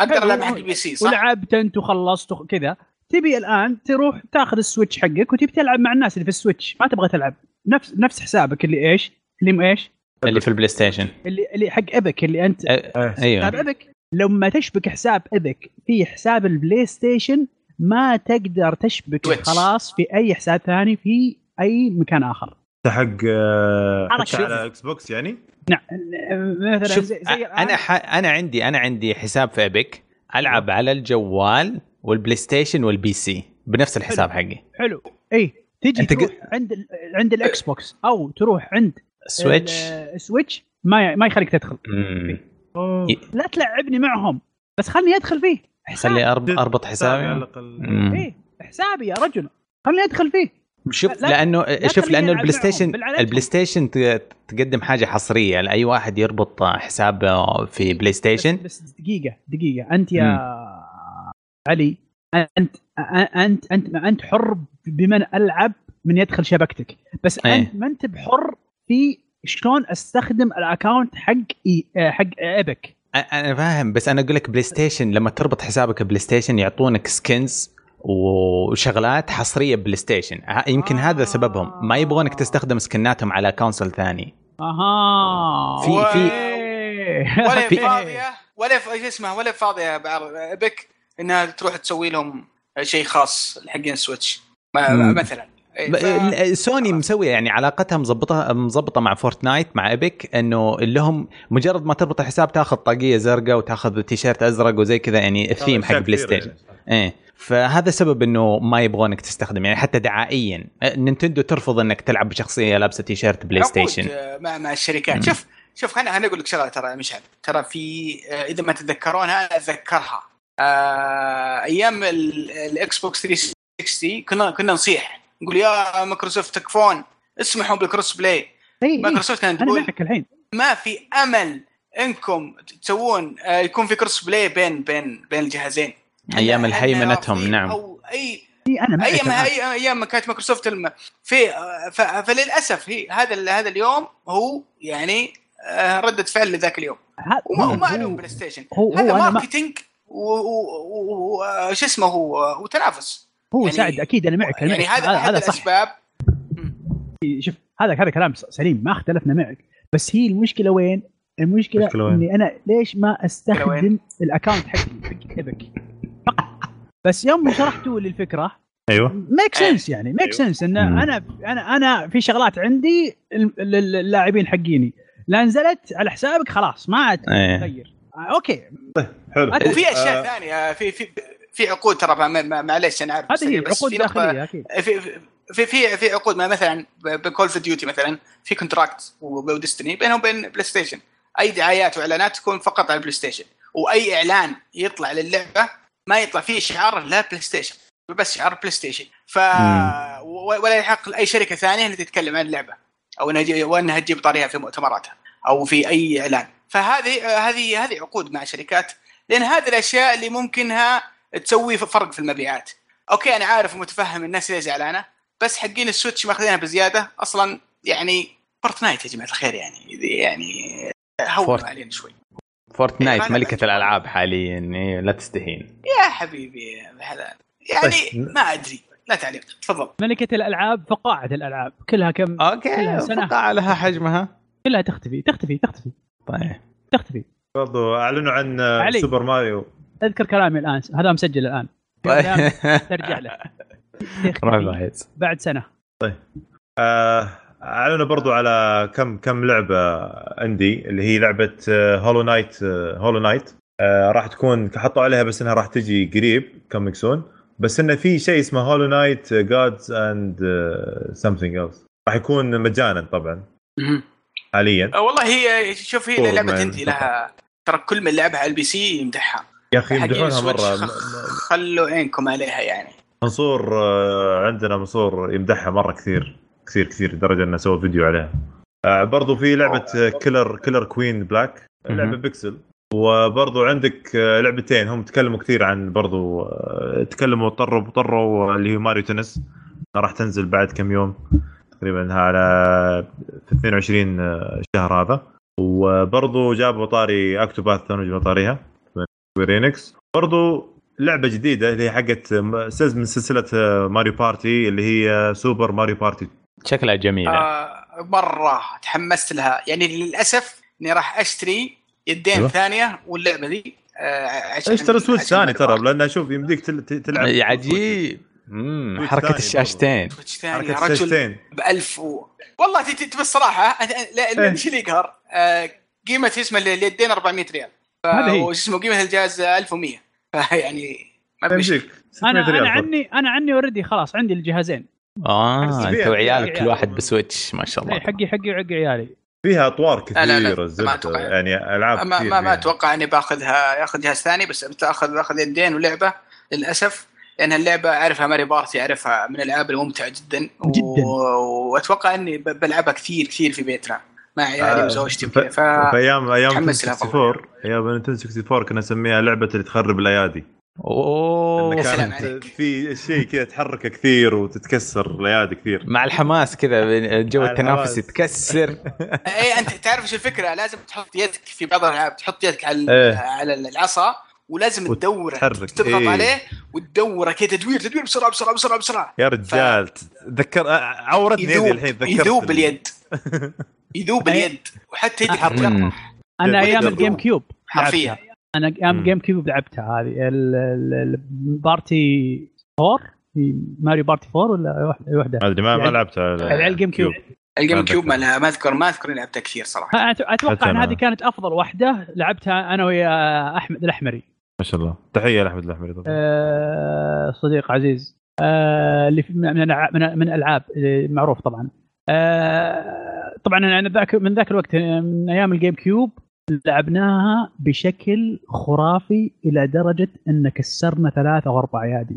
Speaker 3: اقدر العب
Speaker 4: حلو.
Speaker 3: حق البي سي صح؟
Speaker 4: ولعبت انت وخلصت وخ- كذا تبي الان تروح تاخذ السويتش حقك وتبي تلعب مع الناس اللي في السويتش ما تبغى تلعب نفس نفس حسابك اللي ايش؟ اللي م- ايش؟
Speaker 2: اللي في البلاي ستيشن
Speaker 4: اللي اللي حق ابك اللي انت
Speaker 1: أيوه.
Speaker 4: حساب
Speaker 2: ايوه
Speaker 4: ابك لما تشبك حساب ابك في حساب البلاي ستيشن ما تقدر تشبك
Speaker 3: Twitch.
Speaker 4: خلاص في اي حساب ثاني في اي مكان اخر
Speaker 1: حق آه،
Speaker 4: حركة.
Speaker 1: حتى على اكس بوكس يعني
Speaker 4: نعم مثلا
Speaker 2: شوف
Speaker 4: زي, زي الآن
Speaker 2: انا ح... انا عندي انا عندي حساب في ابيك العب على الجوال والبلاي ستيشن والبي سي بنفس الحساب حقي
Speaker 4: حلو اي تجي
Speaker 2: أنت
Speaker 4: تروح عند ال- عند الاكس بوكس او تروح عند
Speaker 2: سويتش
Speaker 4: ال- السويتش ما ي- ما يخليك تدخل
Speaker 2: مم.
Speaker 4: لا تلعبني معهم بس خلني ادخل فيه حساب
Speaker 2: خلي أرب- اربط
Speaker 1: على
Speaker 2: حسابي
Speaker 1: الاقل
Speaker 2: مم.
Speaker 4: ايه حسابي يا رجل خلني ادخل فيه
Speaker 2: شوف
Speaker 4: لا- لا-
Speaker 2: لانه
Speaker 4: لا
Speaker 2: شوف
Speaker 4: تخليني
Speaker 2: لانه
Speaker 4: ألعب
Speaker 2: البلاي
Speaker 4: معهم،
Speaker 2: ستيشن
Speaker 4: بالعكس.
Speaker 2: البلاي ستيشن ت- تقدم حاجه حصريه لاي واحد يربط حسابه في بلاي
Speaker 4: بس,
Speaker 2: ستيشن
Speaker 4: بس دقيقه دقيقه انت يا علي انت انت انت انت حر بمن العب من يدخل شبكتك بس
Speaker 2: إيه.
Speaker 4: انت ما انت بحر في شلون استخدم الاكونت حق إي آه، حق ايبك
Speaker 2: أ- انا فاهم بس انا اقول لك بلاي ستيشن لما تربط حسابك بلاي ستيشن يعطونك سكنز وشغلات حصريه بلاي ستيشن ه- يمكن هذا سببهم ما يبغونك
Speaker 4: آه.
Speaker 2: تستخدم سكناتهم على كونسول ثاني
Speaker 4: اها
Speaker 2: في- في-
Speaker 3: ولا
Speaker 4: في-
Speaker 3: فاضيه ولا ف- ايش اسمها ولا فاضيه بعر- بك انها تروح تسوي لهم شيء خاص حقين السويتش ما-
Speaker 2: مم.
Speaker 3: مثلا إيه،
Speaker 2: ب-
Speaker 3: ف-
Speaker 2: ال- سوني مسويه يعني علاقتها مظبطه مظبطه مع فورتنايت مع ايبك انه لهم مجرد ما تربط الحساب تاخذ طاقيه زرقاء وتاخذ تيشيرت ازرق وزي كذا يعني الثيم حق
Speaker 1: أشياء
Speaker 2: بلاي
Speaker 1: كثيرة
Speaker 2: ستيشن
Speaker 1: يعني.
Speaker 2: ايه فهذا سبب انه ما يبغونك تستخدم يعني حتى دعائيا نينتندو ترفض انك تلعب بشخصيه لابسه تيشيرت بلاي
Speaker 3: عقود،
Speaker 2: ستيشن
Speaker 3: آه، مع مع الشركات شوف شوف انا انا اقول لك شغله ترى يا مشعل ترى في آه، اذا ما تتذكرونها انا اتذكرها آه، ايام ال- الاكس بوكس 360 كنا كنا نصيح نقول يا مايكروسوفت تكفون اسمحوا بالكروس بلاي
Speaker 4: إيه، إيه.
Speaker 3: مايكروسوفت كانت
Speaker 4: انا
Speaker 3: تقول
Speaker 4: معك الحين
Speaker 3: ما في امل انكم تسوون آه، يكون في كروس بلاي بين بين بين الجهازين
Speaker 2: ايام
Speaker 3: إحنا-
Speaker 2: الحي
Speaker 3: إحنا
Speaker 2: منتهم
Speaker 3: رافضين
Speaker 2: نعم
Speaker 3: او اي
Speaker 4: إيه، انا معك
Speaker 3: ايام
Speaker 4: الآن.
Speaker 3: اي ايام ما كانت مايكروسوفت الم... في آه، ف... فللاسف هي هذا ال... هذا اليوم هو يعني آه، رده فعل لذاك اليوم
Speaker 4: ه-
Speaker 3: وما
Speaker 4: هو-
Speaker 3: وما
Speaker 4: نعم. هو-
Speaker 3: الوم بلاي ستيشن
Speaker 4: هو هو
Speaker 3: هذا
Speaker 4: انا ما
Speaker 3: ماركتينج و- و- و- وش اسمه هو وتنافس
Speaker 4: هو
Speaker 3: يعني-
Speaker 4: سعد اكيد انا معك أنا
Speaker 3: يعني
Speaker 4: معك.
Speaker 3: هذا هذا
Speaker 4: صح
Speaker 3: الاسباب
Speaker 4: شوف هذا هذا كلام س- سليم ما اختلفنا معك بس هي المشكله وين؟ المشكله,
Speaker 1: المشكلة وين؟
Speaker 4: اني انا ليش ما
Speaker 3: المشكلة
Speaker 4: استخدم
Speaker 3: وين؟
Speaker 4: الاكونت حقي حق ايبك بس يوم شرحتوا لي الفكره
Speaker 1: ايوه
Speaker 4: ميك
Speaker 3: إيه.
Speaker 4: سنس يعني ميك
Speaker 1: أيوه.
Speaker 4: سنس ان
Speaker 2: مم.
Speaker 4: انا انا انا في شغلات عندي الم- لل- اللاعبين حقيني لا نزلت على حسابك خلاص ما عاد
Speaker 2: ايه
Speaker 3: طيب.
Speaker 4: تغير آه، اوكي
Speaker 1: حلو
Speaker 4: هذا-
Speaker 3: وفي اشياء
Speaker 1: آه.
Speaker 3: ثانيه في في في عقود ترى ما- ما- معليش انا عارف بس-
Speaker 4: هذه هي
Speaker 3: بس
Speaker 4: عقود
Speaker 3: في نقطة-
Speaker 4: داخليه اكيد
Speaker 3: في في في في عقود ما مثلا بكول اوف ديوتي مثلا في كونتراكت وديستني بينهم وبين بلاي ستيشن اي دعايات واعلانات تكون فقط على البلاي ستيشن واي اعلان يطلع للعبه ما يطلع فيه شعار لا بلاي ستيشن بس شعار بلاي ستيشن ف
Speaker 2: مم.
Speaker 3: و- ولا يحق لاي شركه ثانيه انها تتكلم عن اللعبه او انها تجي- وانها تجيب طاريها في مؤتمراتها او في اي اعلان فهذه هذه هذه عقود مع شركات لان هذه الاشياء اللي ممكنها تسوي فرق في المبيعات اوكي انا عارف ومتفهم الناس ليه زعلانه بس حقين السويتش ماخذينها بزياده اصلا يعني فورتنايت يا جماعه الخير يعني يعني هونوا
Speaker 2: فورت-
Speaker 3: علينا شوي
Speaker 2: فورتنايت
Speaker 3: أنا-
Speaker 2: ملكه الالعاب حاليا إيه، لا تستهين
Speaker 3: يا حبيبي يا هلا يعني ما ادري لا تعليق تفضل
Speaker 4: ملكه الالعاب فقاعه الالعاب كلها كم
Speaker 3: آه.
Speaker 2: اوكي
Speaker 4: كلها سنة.
Speaker 2: فقاعة لها حجمها
Speaker 4: كلها تختفي تختفي تختفي
Speaker 2: طيب
Speaker 4: تختفي
Speaker 1: برضو اعلنوا عن آه،
Speaker 4: علي.
Speaker 1: سوبر ماريو
Speaker 4: اذكر كلامي الان هذا مسجل الان
Speaker 2: طيب.
Speaker 4: كلام ترجع له
Speaker 2: رهيب
Speaker 4: تختفي
Speaker 2: عايز.
Speaker 4: بعد سنه
Speaker 1: آه، اعلنوا برضو على كم كم لعبه عندي اللي هي آه، لعبه هولو نايت هولو نايت آه، راح تكون حطوا عليها بس انها راح تجي قريب كم سون بس انه في شيء اسمه آه، هولو نايت جادز اند سمثينج ايلس آه، راح يكون مجانا طبعا حاليا
Speaker 3: آه، والله هي شوف هي
Speaker 1: فور
Speaker 3: لعبه
Speaker 1: مان.
Speaker 3: عندي لها ترى كل من لعبها على البي سي يمدحها
Speaker 1: يا اخي
Speaker 3: حقين
Speaker 1: يمدحونها
Speaker 3: السويتش
Speaker 1: مره
Speaker 3: خ-
Speaker 1: م- م-
Speaker 3: خلوا عينكم عليها يعني
Speaker 1: منصور آه، عندنا منصور يمدحها مره كثير كثير كثير لدرجه انه سوى فيديو عليها آه، برضو في آه، لعبه كيلر كيلر كوين بلاك
Speaker 2: مهم.
Speaker 1: لعبه بيكسل وبرضو عندك آه، لعبتين هم تكلموا كثير عن برضو آه، تكلموا طروا طروا اللي هي ماريو تنس راح تنزل بعد كم يوم تقريبا على آه، في 22 آه، شهر هذا وبرضو جابوا طاري اكتوباث ثانوي جابوا طاريها رينكس برضو لعبه جديده اللي هي حقت آه، سلس- من سلسله آه، ماريو بارتي اللي هي آه، سوبر ماريو بارتي
Speaker 2: شكلها جميله
Speaker 3: آه مره تحمست لها يعني للاسف اني راح اشتري يدين
Speaker 1: أيوة.
Speaker 3: اشتري. ثانيه واللعبه ذي آه عشان
Speaker 1: اشتري سويتش
Speaker 3: عشان
Speaker 1: ثاني ترى
Speaker 3: ماريو
Speaker 1: لان اشوف يمديك تل- ت- تلعب
Speaker 2: يعني عجيب مم،
Speaker 1: سويتش
Speaker 2: حركه
Speaker 1: ثاني
Speaker 2: الشاشتين
Speaker 3: بارتي. سويتش ثاني يا
Speaker 1: حركه
Speaker 3: رجل
Speaker 1: الشاشتين
Speaker 3: ب 1000 و... والله ت- ت- بالصراحه أنا- أه، لا- لا-
Speaker 1: إيه.
Speaker 3: ايش اللي يقهر آه قيمه اسمه اليدين 400 ريال ف-
Speaker 1: إيه.
Speaker 4: هذا هي.
Speaker 3: وش اسمه قيمه الجهاز 1100 فيعني ما بيش
Speaker 1: يمديك
Speaker 4: انا انا عني انا عني اوريدي خلاص عندي الجهازين
Speaker 1: بس
Speaker 2: اه
Speaker 1: بيع-
Speaker 2: انت وعيالك
Speaker 4: بيع-
Speaker 1: يعني
Speaker 2: كل واحد بسويتش ما شاء
Speaker 1: إيه،
Speaker 4: إي،
Speaker 2: الله
Speaker 4: إيه، حقي حقي وحق عيالي
Speaker 1: فيها اطوار
Speaker 3: لا، لا،
Speaker 1: كثيره
Speaker 3: ما
Speaker 1: زبدة.
Speaker 3: أتوقع.
Speaker 1: يعني العاب
Speaker 3: ما
Speaker 1: كثير
Speaker 3: ما, ما
Speaker 1: فيها.
Speaker 3: اتوقع اني باخذها اخذ جهاز ثاني بس بتاخذ اخذ يدين ولعبه للاسف لان اللعبه اعرفها ماري بارتي اعرفها من الالعاب الممتعه جدا
Speaker 4: جداً.
Speaker 3: و... واتوقع اني ب- بلعبها كثير كثير في بيتنا مع عيالي
Speaker 1: آه،
Speaker 3: وزوجتي
Speaker 1: ف-
Speaker 3: وكذا ف...
Speaker 1: في ايام ايام
Speaker 3: متحمس لها
Speaker 1: 64 ايام نينتندو 64 كنا نسميها لعبه اللي تخرب الايادي
Speaker 2: اوه
Speaker 1: إن
Speaker 3: سلام
Speaker 1: كانت
Speaker 3: عليك.
Speaker 1: في شيء كذا تحركه كثير وتتكسر الايادي كثير
Speaker 2: مع الحماس كذا الجو
Speaker 1: مع
Speaker 2: التنافسي
Speaker 1: الحماس.
Speaker 2: تكسر
Speaker 3: اي انت إيه، تعرف ايش الفكره لازم تحط يدك في بعض الالعاب تحط يدك على
Speaker 1: إيه.
Speaker 3: على العصا ولازم تدوره
Speaker 1: وتحرك.
Speaker 3: تضغط
Speaker 1: إيه.
Speaker 3: عليه وتدوره كذا تدوير تدوير بسرعه بسرعه بسرعه بسرعه
Speaker 1: يا رجال تذكر عورتني يدي
Speaker 3: يذوب
Speaker 1: الحين تذكرت
Speaker 3: يذوب اليد يذوب اليد وحتى يدك
Speaker 4: أحرق.
Speaker 3: تتقطع
Speaker 4: انا
Speaker 1: جد-
Speaker 4: ايام
Speaker 1: جد.
Speaker 4: الجيم كيوب
Speaker 3: حرفيا
Speaker 4: انا
Speaker 1: مم.
Speaker 4: ايام جيم كيوب لعبتها هذه ال- ال- ال- بارتي 4 في ماريو بارتي 4 ولا أي واحده أي واحده
Speaker 1: ما ادري ما ما
Speaker 4: العيال-
Speaker 1: لعبتها
Speaker 4: العيال جيم كيوب
Speaker 3: الجيم
Speaker 1: ما
Speaker 3: كيوب ما
Speaker 1: أتذكر.
Speaker 3: لها ما اذكر ما اذكر إني لعبتها كثير صراحه
Speaker 4: أت-
Speaker 1: حتى
Speaker 4: اتوقع ان
Speaker 1: أنا.
Speaker 4: هذه كانت افضل واحده لعبتها انا ويا احمد الاحمري
Speaker 1: ما شاء الله تحيه لاحمد الاحمري طبعا
Speaker 4: آه، صديق عزيز آه، اللي في- من من الع- من من الالعاب آه، معروف طبعا آه، طبعا أنا- انا ذاك من ذاك الوقت آه، من ايام الجيم كيوب لعبناها بشكل خرافي الى درجه ان كسرنا ثلاثه واربع ايادي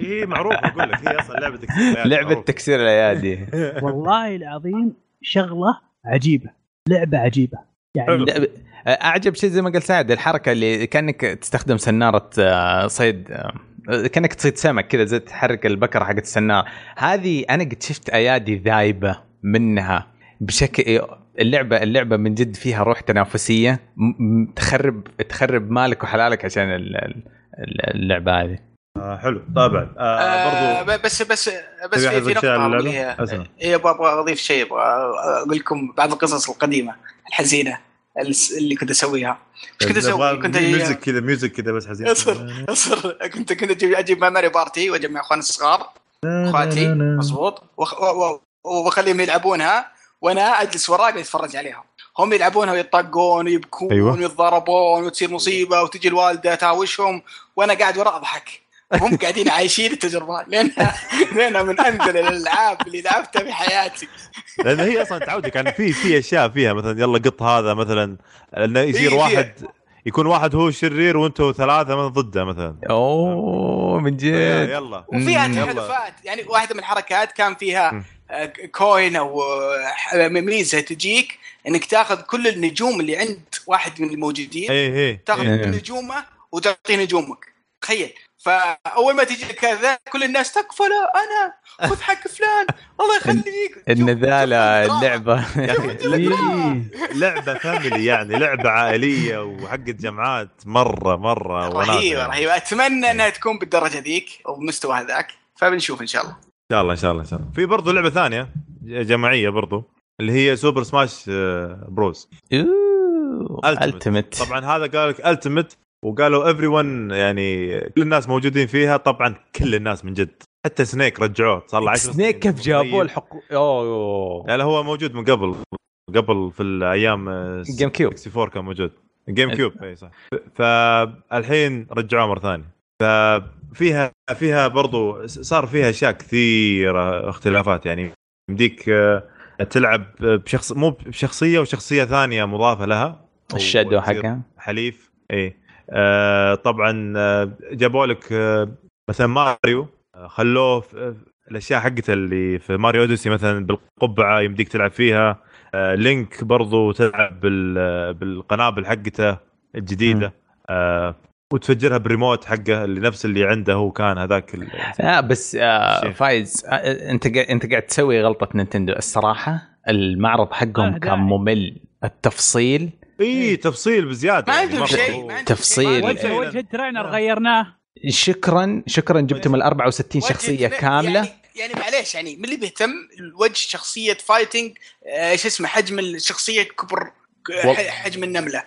Speaker 1: اي إيه، معروف اقول لك هي اصلا لعبه تكسير الأيادي
Speaker 2: لعبه
Speaker 1: معروف.
Speaker 2: تكسير الايادي
Speaker 4: والله العظيم شغله عجيبه لعبه عجيبه يعني
Speaker 1: حلو.
Speaker 2: لا، ب- اعجب شيء زي ما قال سعد الحركه اللي كانك تستخدم سناره آه، صيد آه، كانك تصيد سمك كذا زي تحرك البكره حقت السناره هذه انا قد شفت ايادي ذايبه منها بشكل اللعبه اللعبه من جد فيها روح تنافسيه م- م- تخرب تخرب مالك وحلالك عشان ال- ال- ال- اللعبه هذه
Speaker 1: آه، حلو طبعا آه
Speaker 3: آه
Speaker 1: برضو
Speaker 3: ب- بس بس بس
Speaker 1: تبي أحد
Speaker 3: في, في
Speaker 1: يقول شيء
Speaker 3: نقطه
Speaker 1: على اللعبة؟
Speaker 3: أبغى
Speaker 1: أسمع.
Speaker 3: أقولها. إيه، ابغى ابغى اضيف شيء ابغى اقول لكم بعض القصص القديمه الحزينه الس- اللي كنت اسويها ايش كنت اسوي؟ كنت يعني-
Speaker 1: ميوزك كذا ميوزك كذا بس حزين
Speaker 3: اصبر اصبر كنت كنت اجيب اجيب ماري بارتي واجمع اخواني الصغار اخواتي مضبوط وأخ- و- و- واخليهم يلعبونها وانا اجلس وراه قاعد اتفرج عليهم هم يلعبونها ويطقون ويبكون
Speaker 1: أيوة.
Speaker 3: أيوة. ويتضاربون وتصير مصيبه وتجي الوالده تهاوشهم وانا قاعد وراه اضحك هم قاعدين عايشين التجربه لانها لانها من انزل الالعاب اللي لعبتها في حياتي
Speaker 1: لان هي اصلا تعودك يعني في في اشياء فيها مثلا يلا قط هذا مثلا انه يصير
Speaker 3: فيها.
Speaker 1: واحد يكون واحد هو الشرير وانتم ثلاثه من ضده مثلا
Speaker 2: اوه من جد
Speaker 1: يلا
Speaker 3: وفيها
Speaker 2: مم.
Speaker 3: تحالفات يعني واحده من الحركات كان فيها
Speaker 1: مم.
Speaker 3: آه، كوين او آه، ح- ميزه تجيك انك تاخذ كل النجوم اللي عند واحد من الموجودين
Speaker 1: اي اي
Speaker 3: تاخذ
Speaker 2: إيه.
Speaker 3: نجومه وتعطيه نجومك تخيل فاول ما تجي كذا كل الناس تكفى لا انا خذ حق فلان الله يخليك
Speaker 2: النذاله اللعبه
Speaker 4: إيه.
Speaker 1: لعبه فاميلي يعني لعبه عائليه وحقت جمعات مره مره وناسة
Speaker 3: رهيبه
Speaker 1: يعني.
Speaker 3: رهيبه اتمنى انها تكون بالدرجه ذيك او بالمستوى هذاك فبنشوف ان شاء الله
Speaker 1: ان شاء الله ان شاء الله ان شاء الله في برضه لعبه ثانيه جماعيه برضه اللي هي سوبر سماش آه، بروز
Speaker 2: التمت
Speaker 1: طبعا هذا قال لك التيمت وقالوا ايفري ون يعني كل الناس موجودين فيها طبعا كل الناس من جد حتى سنيك رجعوه صار له 10
Speaker 2: سنيك كيف جابوه
Speaker 1: طيب.
Speaker 2: الحقوق اوه
Speaker 1: لا لا هو موجود من قبل قبل في الايام آه،
Speaker 2: جيم كيوب
Speaker 1: 64 كان موجود جيم كيوب اي صح فالحين رجعوه مره ثانيه ففيها فيها برضو صار فيها اشياء كثيره اختلافات يعني يمديك آه، تلعب بشخص مو بشخصيه وشخصيه ثانيه مضافه لها
Speaker 2: الشادو
Speaker 1: وتصير
Speaker 2: حقه
Speaker 1: حليف اي آه طبعا آه، جابوا لك آه مثلا ماريو آه، خلوه في- الاشياء حقته اللي في ماريو اوديسي مثلا بالقبعه يمديك تلعب فيها آه، لينك برضو تلعب بال- آه، بالقنابل حقته الجديده آه، وتفجرها بالريموت حقه اللي نفس اللي عنده هو كان هذاك ال- إيه،
Speaker 2: لا بس آه
Speaker 1: شيخ.
Speaker 2: فايز آه انت قا- انت قاعد تسوي غلطه نينتندو الصراحه المعرض حقهم
Speaker 4: آه،
Speaker 2: كان
Speaker 4: داعي.
Speaker 2: ممل التفصيل
Speaker 1: اي
Speaker 4: إيه.
Speaker 1: تفصيل بزياده
Speaker 3: ما
Speaker 1: يعني
Speaker 3: عندهم
Speaker 1: مرة.
Speaker 3: شيء ما عندهم
Speaker 2: تفصيل.
Speaker 3: شيء. ما عندهم
Speaker 4: وجه
Speaker 1: إيه.
Speaker 3: شيء.
Speaker 4: وجه الترينر غيرناه
Speaker 2: شكرا شكرا جبتم ال 64
Speaker 3: وجه
Speaker 2: شخصيه
Speaker 3: لا،
Speaker 2: كامله
Speaker 3: يعني, يعني معليش يعني من اللي بيهتم وجه شخصيه فايتنج آه، ايش اسمه حجم الشخصيه كبر
Speaker 2: وال-
Speaker 3: ح- حجم النمله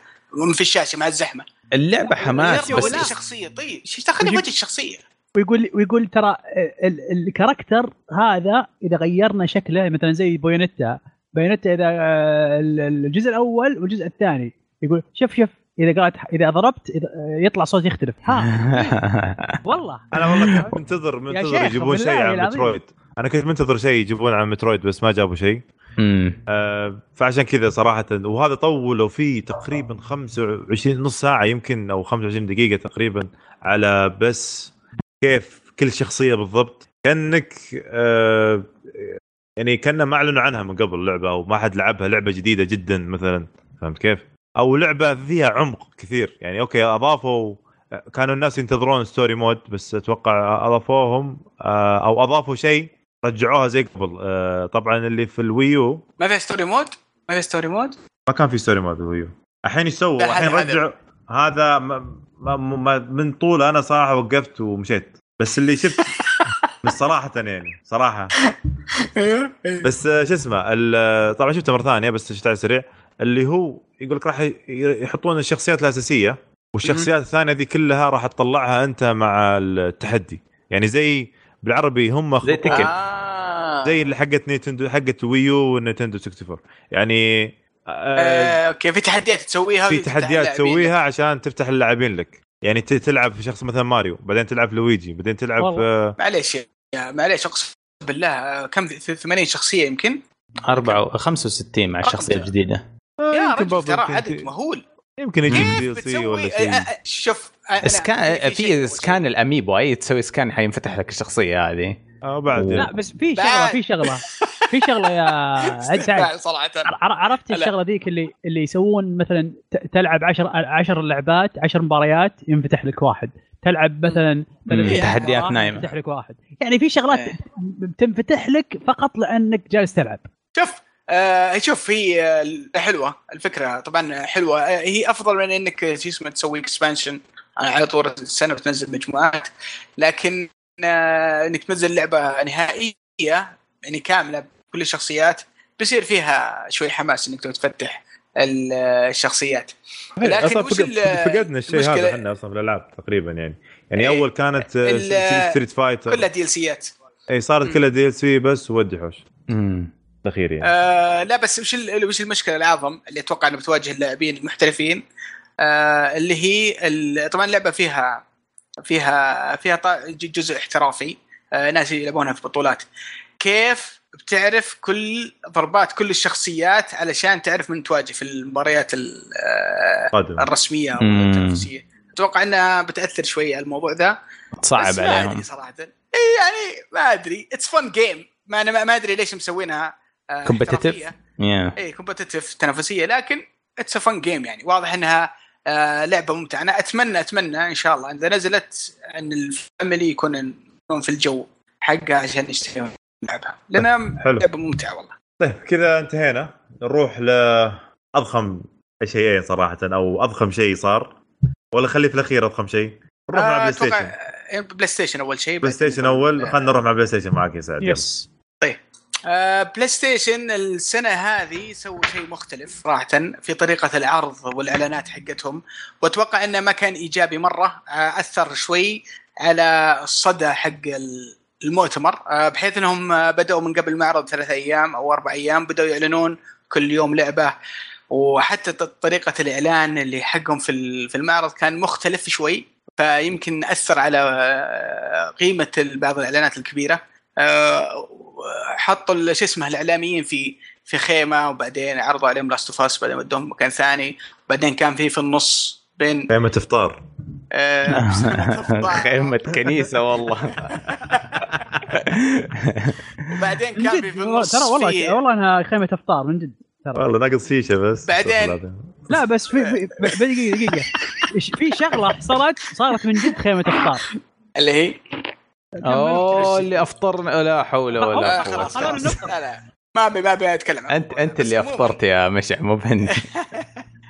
Speaker 3: من في الشاشه مع يعني الزحمه
Speaker 2: اللعبه حماس
Speaker 3: يا رجل،
Speaker 2: بس
Speaker 3: ولا شخصيه طيب شو دخلني
Speaker 4: وجه-
Speaker 3: وجه الشخصيه
Speaker 4: ويقول ويقول ترى ال- ال- الكاركتر هذا اذا غيرنا شكله مثلا زي بايونيتا بايونيتا اذا آه، ال- الجزء الاول والجزء الثاني يقول شوف شوف اذا قالت اذا ضربت إذا آه، يطلع صوت يختلف ها والله
Speaker 1: انا والله كنت منتظر منتظر
Speaker 4: شيخ،
Speaker 1: يجيبون شيء
Speaker 4: بالله
Speaker 1: عن
Speaker 4: العظيم.
Speaker 1: مترويد انا كنت منتظر شيء يجيبون عن مترويد بس ما جابوا شيء
Speaker 2: أمم.
Speaker 1: آه، فعشان كذا صراحه وهذا طولوا فيه تقريبا 25 نص ساعه يمكن او 25 دقيقه تقريبا على بس كيف كل شخصيه بالضبط كانك آه، يعني كنا ما اعلنوا عنها من قبل لعبه او ما حد لعبها لعبه جديده جدا مثلا فهمت كيف؟ او لعبه فيها عمق كثير يعني اوكي اضافوا كانوا الناس ينتظرون ستوري مود بس اتوقع اضافوهم آه، او اضافوا شيء رجعوها زي قبل آه، طبعا اللي في الويو
Speaker 3: ما فيها ستوري مود ما فيها ستوري مود
Speaker 1: ما كان في ستوري مود بالويو الحين ايش سووا؟
Speaker 3: لا، هذا-
Speaker 1: الحين
Speaker 3: هذا-
Speaker 1: رجعوا هذا ما ما ما من طوله انا صراحه وقفت ومشيت بس اللي شفت بس صراحة يعني صراحة
Speaker 3: إيه.
Speaker 1: بس آه، شو اسمه ال- طبعا شفته مرة ثانية بس شفته على السريع اللي هو يقول لك راح ي- يحطون الشخصيات الأساسية والشخصيات الثانية دي كلها راح تطلعها أنت مع التحدي يعني زي بالعربي هم
Speaker 2: زي
Speaker 1: خطوة-
Speaker 2: تكن.
Speaker 3: آه.
Speaker 1: زي اللي حقت نينتندو حقت ويو ونينتندو 64 يعني آه،
Speaker 3: آه، اوكي في تحديات تسويها
Speaker 1: في
Speaker 3: وتفتح
Speaker 1: تحديات
Speaker 3: اللاعبين.
Speaker 1: تسويها عشان تفتح اللاعبين لك يعني ت- تلعب في شخص مثلا ماريو بعدين تلعب لويجي بعدين تلعب
Speaker 4: والله.
Speaker 1: آه،
Speaker 3: معليش يا- معليش اقسم بالله آه، كم ث- 80 شخصيه يمكن
Speaker 2: أربعة 65 مع الشخصيه
Speaker 3: أربعة.
Speaker 2: الجديده
Speaker 3: يا
Speaker 1: يمكن
Speaker 3: رجل
Speaker 1: برضو
Speaker 3: ترى
Speaker 1: يمكن
Speaker 3: عدد
Speaker 1: ت-
Speaker 3: مهول
Speaker 1: يمكن يجيب دي
Speaker 3: كيف
Speaker 1: سي
Speaker 3: بتسوي
Speaker 1: ولا
Speaker 3: آه، آه،
Speaker 1: شيء
Speaker 3: آه، شوف آه، أنا-
Speaker 2: سكان في
Speaker 3: شيء-
Speaker 2: سكان الاميبو اي تسوي سكان حينفتح لك الشخصيه هذه
Speaker 1: او بعد
Speaker 4: لا
Speaker 1: يعني.
Speaker 4: بس في شغله في شغله في شغله يا عد سعد
Speaker 3: استمتاع صراحه
Speaker 4: عر- عر- عرفت
Speaker 3: لا.
Speaker 4: الشغله ذيك اللي اللي يسوون مثلا ت- تلعب 10 10 لعبات 10 مباريات ينفتح لك واحد تلعب مثلا ثلاث
Speaker 2: مم، تحديات
Speaker 4: مباريات،
Speaker 2: نايمة.
Speaker 4: ينفتح لك واحد يعني في شغلات
Speaker 3: إيه.
Speaker 4: ب- بتنفتح لك فقط لانك جالس تلعب
Speaker 3: شوف آه شوف هي آه، حلوه الفكره طبعا حلوه آه، هي افضل من انك آه، شو اسمه تسوي اكسبانشن على طول السنه وتنزل مجموعات لكن آه انك تنزل لعبه نهائيه يعني كامله بكل الشخصيات بيصير فيها شوي حماس انك تقعد تفتح ال- آه، الشخصيات لكن
Speaker 1: اصلا
Speaker 3: وش
Speaker 1: فقد-
Speaker 3: ال-
Speaker 1: فقدنا الشيء
Speaker 3: المشكلة-
Speaker 1: هذا احنا اصلا في الالعاب تقريبا يعني يعني
Speaker 3: إيه.
Speaker 1: اول كانت
Speaker 3: ال-
Speaker 1: ستريت
Speaker 3: كلها
Speaker 1: فايتر
Speaker 3: ديلسيات
Speaker 1: اي إيه، صارت
Speaker 3: مم.
Speaker 1: كلها دي ال سي بس وودي حوش
Speaker 2: امم
Speaker 1: الاخير يعني
Speaker 3: آه لا بس وش ال- وش المشكله الاعظم اللي اتوقع انه بتواجه اللاعبين المحترفين آه اللي هي ال- طبعا اللعبه فيها فيها فيها ط- ج- جزء احترافي آه ناس يلعبونها في بطولات كيف بتعرف كل ضربات كل الشخصيات علشان تعرف من تواجه في المباريات ال- آه،
Speaker 1: قادم
Speaker 3: الرسميه او
Speaker 2: مم.
Speaker 3: التنافسيه اتوقع انها بتاثر شوي على الموضوع ذا
Speaker 2: تصعب
Speaker 3: بس ما
Speaker 2: عليهم
Speaker 3: ادري صراحه إيه يعني ما ادري اتس فن جيم ما انا ما- ما ادري ليش مسوينها آه،
Speaker 2: Competitive.
Speaker 3: احترافية.
Speaker 2: يا.
Speaker 3: اي كومبتتف تنافسيه إيه، لكن اتس فن جيم يعني واضح انها آه لعبه ممتعه انا اتمنى اتمنى ان شاء الله اذا نزلت ان الفاميلي يكون يكون في الجو حقها عشان يشتريون لعبها لانها
Speaker 1: طيب، حلو
Speaker 3: لعبه ممتعه والله
Speaker 1: طيب كذا انتهينا نروح لاضخم شيئين صراحه او اضخم شيء صار ولا خليه في الاخير اضخم شيء نروح مع
Speaker 3: آه،
Speaker 1: بلاي
Speaker 3: أتوقع-
Speaker 1: ستيشن
Speaker 3: آه، بلاي ستيشن اول شيء
Speaker 1: بلاي ستيشن اول خلينا نروح مع بلاي ستيشن معك يا سعد
Speaker 4: يس
Speaker 3: آه، بلاي ستيشن السنة هذه سووا شيء مختلف صراحة في طريقة العرض والإعلانات حقتهم وأتوقع أنه ما كان إيجابي مرة آه، أثر شوي على الصدى حق ال- المؤتمر آه، بحيث أنهم آه، بدأوا من قبل المعرض ثلاثة أيام أو أربع أيام بدأوا يعلنون كل يوم لعبة وحتى ط- طريقة الإعلان اللي حقهم في ال- في المعرض كان مختلف شوي فيمكن أثر على آه، قيمة بعض الإعلانات الكبيرة آه، حطوا ال- شو اسمه الاعلاميين في في خيمه وبعدين عرضوا عليهم لاست اوف اس بعدين ودوهم مكان ثاني وبعدين كان في في النص بين
Speaker 1: خيمة افطار
Speaker 3: آه،
Speaker 2: طيب. خيمة كنيسة والله
Speaker 3: وبعدين
Speaker 4: من
Speaker 3: كان في
Speaker 4: جد
Speaker 3: في
Speaker 4: والله-
Speaker 3: النص
Speaker 4: ترى والله
Speaker 3: في-
Speaker 4: والله انها خيمه افطار من جد ترى
Speaker 1: والله ناقص شيشه بس
Speaker 3: بعدين.
Speaker 1: استغفر الله العظيم.
Speaker 4: لا بس في
Speaker 3: إيه.
Speaker 4: في- ب- دقيقه دقيقه إيش- في شغله حصلت صارت من جد خيمه افطار
Speaker 3: اللي هي
Speaker 2: اوه اللي افطر لا حول ولا قوه
Speaker 3: آه، خلاص
Speaker 2: إلا
Speaker 4: أنا
Speaker 2: بالله.
Speaker 4: من
Speaker 3: خلاص لا لا ما ابي ما ابي اتكلم عن
Speaker 2: انت
Speaker 3: الموضوع ده،
Speaker 2: انت
Speaker 3: بس
Speaker 2: اللي
Speaker 3: عموماً،
Speaker 2: افطرت يا مشع مو بهن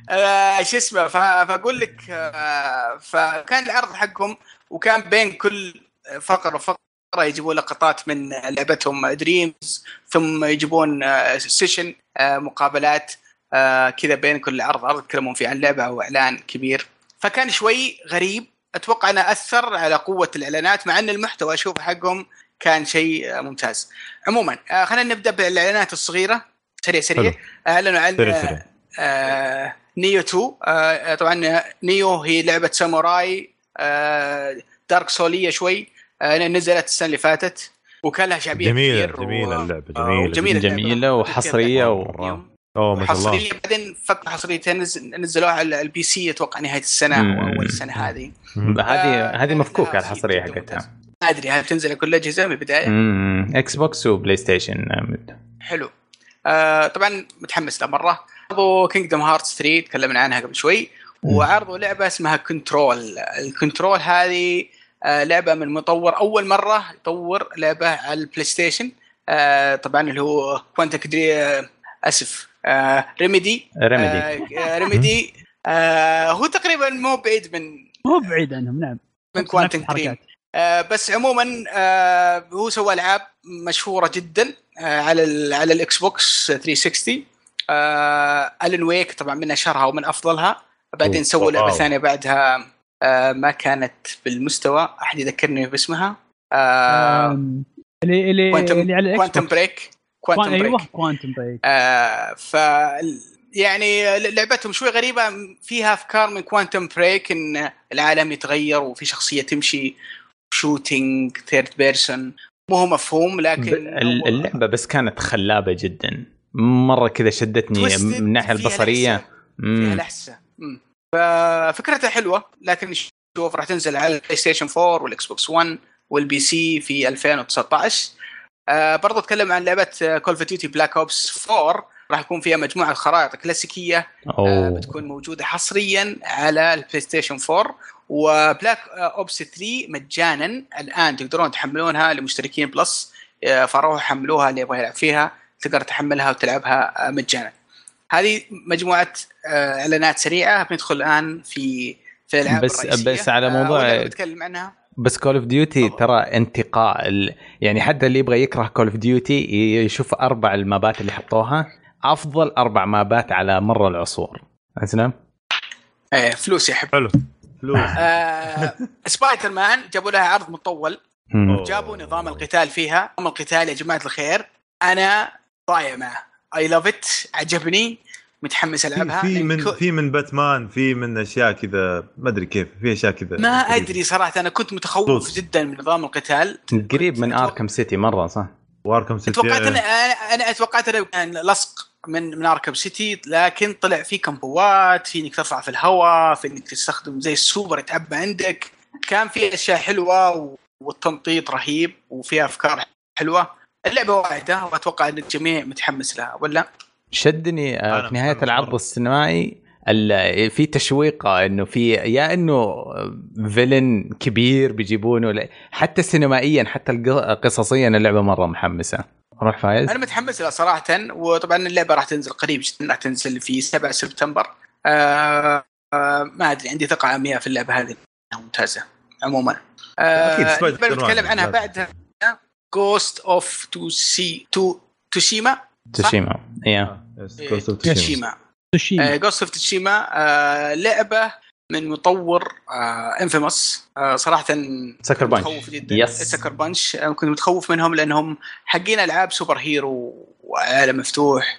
Speaker 3: آه، شو اسمه فا- فاقول لك آه، فكان العرض حقهم وكان بين كل فقره وفقره يجيبوا لقطات من لعبتهم دريمز ثم يجيبون آه، سيشن آه، مقابلات آه، كذا بين كل عرض عرض يتكلمون فيه عن لعبه او اعلان كبير فكان شوي غريب اتوقع انه اثر على قوه الاعلانات مع ان المحتوى اشوف حقهم كان شيء آه، ممتاز عموما آه، خلينا نبدا بالاعلانات الصغيره سريع سريع
Speaker 1: حلو.
Speaker 3: اعلنوا عن
Speaker 1: سريع
Speaker 3: آه،
Speaker 1: سريع
Speaker 3: آه، نيو 2 آه، طبعا نيو هي لعبه ساموراي آه، دارك سوليه شوي آه، نزلت السنه اللي فاتت وكان لها شعبيه
Speaker 1: جميله
Speaker 3: كثير
Speaker 1: جميله اللعبه
Speaker 3: آه،
Speaker 1: جميله
Speaker 3: وجميلة
Speaker 1: جداً.
Speaker 2: جميلة وحصرية و-
Speaker 3: يوم.
Speaker 1: اوه ما شاء الله
Speaker 3: حصريه بعدين فك حصريتين نز- نزلوها على البي سي اتوقع نهايه السنه
Speaker 2: مم.
Speaker 3: او اول السنه هذه
Speaker 1: مم.
Speaker 2: هذه هذه
Speaker 3: آه،
Speaker 2: مفكوكه
Speaker 3: آه،
Speaker 2: الحصريه
Speaker 3: جداً
Speaker 2: حقتها
Speaker 3: ممتاز. ما ادري هل بتنزل على كل الاجهزه من البدايه
Speaker 2: أمم، اكس بوكس وبلاي ستيشن
Speaker 3: حلو آه طبعا متحمس له مره عرضوا كينجدم هارت 3 تكلمنا عنها قبل شوي وعرضوا لعبه اسمها كنترول الكنترول هذه آه لعبه من مطور اول مره يطور لعبه على البلاي ستيشن آه طبعا اللي هو كوانتك دري آه اسف آه ريميدي
Speaker 2: ريميدي
Speaker 3: آه ريميدي آه هو تقريبا مو بعيد من
Speaker 4: مو بعيد عنهم نعم
Speaker 3: من
Speaker 4: نفس- نفس
Speaker 3: كوانتم دريم
Speaker 4: الحركات.
Speaker 3: آه بس عموما آه هو سوى العاب مشهوره جدا آه على ال على الاكس بوكس 360 آه الن ويك طبعا من اشهرها ومن افضلها بعدين
Speaker 1: أوه،
Speaker 3: سووا لعبه
Speaker 1: واو.
Speaker 3: ثانيه بعدها آه ما كانت بالمستوى احد يذكرني باسمها آه
Speaker 4: آم، اللي اللي
Speaker 3: كوانتم-
Speaker 4: اللي على الاكس
Speaker 3: كوانتم
Speaker 4: بوكس.
Speaker 3: بريك كوانتم بريك
Speaker 4: ايوه كوانتم بريك
Speaker 3: آه ف يعني لعبتهم شوي غريبه فيها افكار من كوانتم بريك ان العالم يتغير وفي شخصيه تمشي شوتينج ثيرد بيرسون مو هو مفهوم لكن
Speaker 2: ال- اللعبه بس كانت خلابه جدا مره كذا شدتني
Speaker 3: تويستد،
Speaker 2: يعني من الناحيه
Speaker 3: فيها
Speaker 2: البصريه
Speaker 3: لحسة- فيها
Speaker 2: أمم،
Speaker 3: لحسه مم. ففكرتها حلوه لكن شوف راح تنزل على البلاي ستيشن 4 والاكس بوكس 1 والبي سي في 2019 آه برضو اتكلم عن لعبه كول اوف ديوتي بلاك اوبس 4 راح يكون فيها مجموعه خرائط كلاسيكيه آه،
Speaker 2: أوه.
Speaker 3: بتكون موجوده حصريا على البلاي ستيشن 4 وبلاك اوبس 3 مجانا الان تقدرون تحملونها لمشتركين بلس آه، فروحوا حملوها اللي يبغى يلعب فيها تقدر تحملها وتلعبها آه، مجانا. هذه مجموعه آه، اعلانات سريعه بندخل الان في في الالعاب
Speaker 2: بس-
Speaker 3: الرئيسية.
Speaker 2: بس على
Speaker 3: آه،
Speaker 2: موضوع-
Speaker 3: أول لعبة بتكلم عنها
Speaker 2: بس كول اوف ديوتي
Speaker 3: طبعاً.
Speaker 2: ترى انتقاء ال... يعني حتى اللي يبغى يكره كول اوف ديوتي يشوف اربع المابات اللي حطوها افضل اربع مابات على مر العصور اسلم
Speaker 3: آه، فلوس يا حب
Speaker 1: حلو فلوس
Speaker 3: آه، سبايدر مان جابوا لها عرض مطول
Speaker 1: أوه.
Speaker 3: جابوا نظام القتال فيها نظام القتال يا جماعه الخير انا ضايع معه اي لاف ات عجبني متحمس
Speaker 1: في-
Speaker 3: العبها
Speaker 1: في
Speaker 3: لأن
Speaker 1: من
Speaker 3: كو-
Speaker 1: في من باتمان في من اشياء كذا ما ادري كيف في اشياء كذا
Speaker 3: ما ادري صراحه انا كنت متخوف
Speaker 1: طوف.
Speaker 3: جدا من نظام القتال
Speaker 2: قريب من
Speaker 3: أتوقع-
Speaker 1: طيب.
Speaker 2: اركم سيتي مره صح؟
Speaker 1: واركم سيتي
Speaker 3: توقعت انا أنا- انا اتوقعت انه كان لصق من من اركب سيتي لكن طلع في كمبوات في انك تطلع في الهواء في انك تستخدم زي السوبر يتعبى عندك كان في اشياء حلوه و- والتنطيط رهيب وفيها افكار حلوه اللعبه واعده واتوقع ان الجميع متحمس لها ولا
Speaker 2: شدني آه،
Speaker 1: أنا
Speaker 2: في نهايه
Speaker 1: متحمس
Speaker 2: العرض
Speaker 1: مرة.
Speaker 2: السينمائي ال- في تشويقه انه في يا انه فيلن كبير بيجيبونه لا- حتى سينمائيا حتى الق- قصصيا اللعبه مره محمسه روح فايز
Speaker 3: انا متحمس لها صراحه وطبعا اللعبه راح تنزل قريب جدا راح تنزل في 7 سبتمبر آه آه ما ادري عندي ثقه عمياء في اللعبه هذه إنها ممتازه عموما
Speaker 1: أكيد،
Speaker 3: آه
Speaker 1: سبايدر
Speaker 3: اللعبة بنتكلم
Speaker 1: مان لازم.
Speaker 3: عنها بعدها جوست اوف تو سي تو توشيما
Speaker 2: تشيما يا
Speaker 1: تشيما
Speaker 4: سوشيما
Speaker 3: جوست اوف توشيما آه، لعبه من مطور آه، انفيموس صراحه
Speaker 2: سكر بانش.
Speaker 3: متخوف جدا
Speaker 2: يس.
Speaker 3: سكر بانش آه، كنت متخوف منهم لانهم حقين العاب سوبر هيرو وعالم مفتوح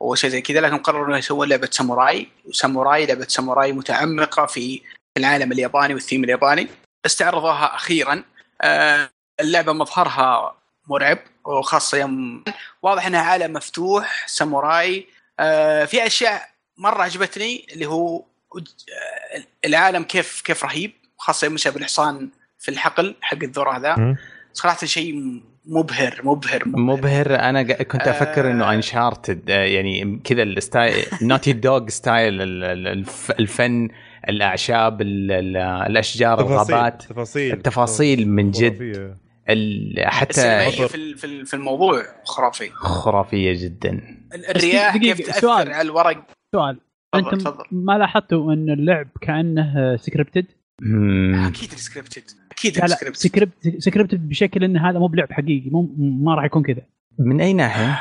Speaker 3: وشيء زي كذا لكن قرروا انه يسوون لعبه ساموراي وساموراي لعبه ساموراي متعمقه في العالم الياباني والثيم الياباني استعرضوها اخيرا آه، اللعبه مظهرها مرعب وخاصه يوم واضح انها عالم مفتوح ساموراي آه، في اشياء مره عجبتني اللي هو آه، العالم كيف كيف رهيب خاصه يوم مشى بالحصان في الحقل حق الذره ذا صراحه شيء مبهر مبهر
Speaker 2: مبهر انا قا- كنت
Speaker 3: آه.
Speaker 2: افكر انه انشارتد يعني كذا الستايل نوتي دوغ ستايل ال- ال- الف- الفن الاعشاب ال- ال- الاشجار الغابات
Speaker 1: تفاصيل
Speaker 2: التفاصيل من جد
Speaker 1: خرافية.
Speaker 2: ال- حتى
Speaker 1: السينمائية.
Speaker 3: السينمائيه في ال- في ال- في الموضوع خرافي
Speaker 2: خرافيه جدا
Speaker 3: ال- الرياح
Speaker 4: دقيقة،
Speaker 3: كيف تاثر
Speaker 4: سؤال.
Speaker 3: على الورق
Speaker 4: سؤال
Speaker 3: تفضل،
Speaker 4: انتم
Speaker 3: تفضل.
Speaker 4: ما لاحظتوا ان اللعب كانه سكريبتد؟
Speaker 2: مم.
Speaker 3: اكيد سكريبتد اكيد
Speaker 4: لا لا
Speaker 3: scripted.
Speaker 4: سكريبت سكريبتد بشكل ان هذا مو بلعب حقيقي مو ما راح يكون كذا
Speaker 2: من اي ناحيه؟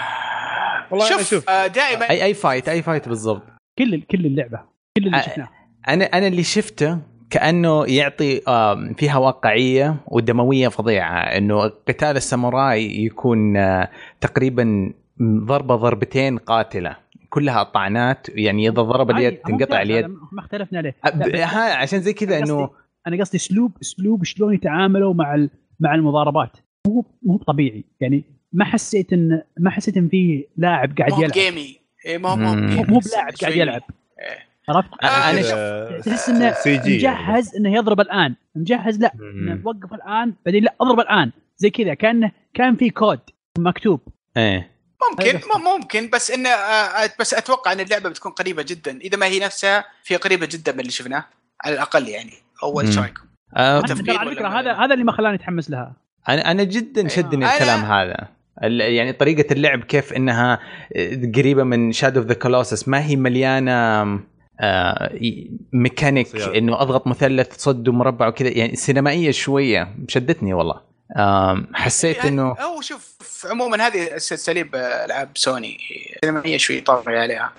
Speaker 1: والله شوف,
Speaker 3: شوف
Speaker 1: شوف.
Speaker 3: آه، دائما
Speaker 2: اي اي فايت اي فايت بالضبط
Speaker 4: كل كل اللعبه كل
Speaker 2: آه،
Speaker 4: اللي شفناه
Speaker 2: انا انا اللي شفته كانه يعطي آم، فيها واقعيه ودمويه فظيعه انه قتال الساموراي يكون آه، تقريبا ضربه ضربتين قاتله كلها طعنات يعني اذا ضرب اليد
Speaker 4: عادي، ممتاز،
Speaker 2: تنقطع اليد
Speaker 4: هذا ما اختلفنا عليه
Speaker 2: أب-
Speaker 4: لا، بس
Speaker 2: ها عشان زي كذا
Speaker 4: أنا
Speaker 2: انه
Speaker 4: انا قصدي اسلوب اسلوب شلون يتعاملوا مع ال- مع المضاربات مو مو طبيعي يعني ما حسيت ان ما حسيت ان في لاعب قاعد
Speaker 3: ما هو
Speaker 4: يلعب
Speaker 3: جيمي إيه، ما هو ما هو
Speaker 2: مم.
Speaker 4: مو-
Speaker 3: بجيمي.
Speaker 4: مو بلاعب قاعد
Speaker 3: شوي-
Speaker 4: يلعب
Speaker 3: إيه.
Speaker 4: عرفت؟
Speaker 3: آه،
Speaker 2: أنا-
Speaker 1: كذا
Speaker 4: تحس انه
Speaker 1: سي جي
Speaker 4: مجهز انه يضرب الان مجهز لا إنه
Speaker 2: مم.
Speaker 4: وقف الان بعدين لا اضرب الان زي كذا كانه كان في كود مكتوب
Speaker 2: ايه
Speaker 4: هذا
Speaker 3: ممكن
Speaker 4: الفرق.
Speaker 3: م- ممكن بس انه آه، آه، بس اتوقع ان اللعبه بتكون قريبه جدا اذا ما هي نفسها فهي قريبه جدا من اللي شفناه على الاقل يعني اول
Speaker 2: مم.
Speaker 3: ايش رايكم؟
Speaker 2: آه،
Speaker 4: أنا
Speaker 3: تفكير
Speaker 4: ترى على
Speaker 3: ولا
Speaker 4: فكره
Speaker 3: ما-
Speaker 4: هذا هذا اللي ما خلاني اتحمس لها
Speaker 2: انا انا جدا شدني
Speaker 3: أيوة. أنا-
Speaker 2: الكلام هذا ال- يعني طريقه اللعب كيف انها آه، قريبه من شادو اوف ذا كولوسس ما هي مليانه آه، ي- ميكانيك
Speaker 1: صياد.
Speaker 2: انه اضغط مثلث صد ومربع وكذا يعني سينمائيه شويه شدتني والله آم، حسيت انه
Speaker 3: هو يعني، شوف عموما هذه أس- اساليب آه، العاب سوني سينمائيه شوي طافيه عليها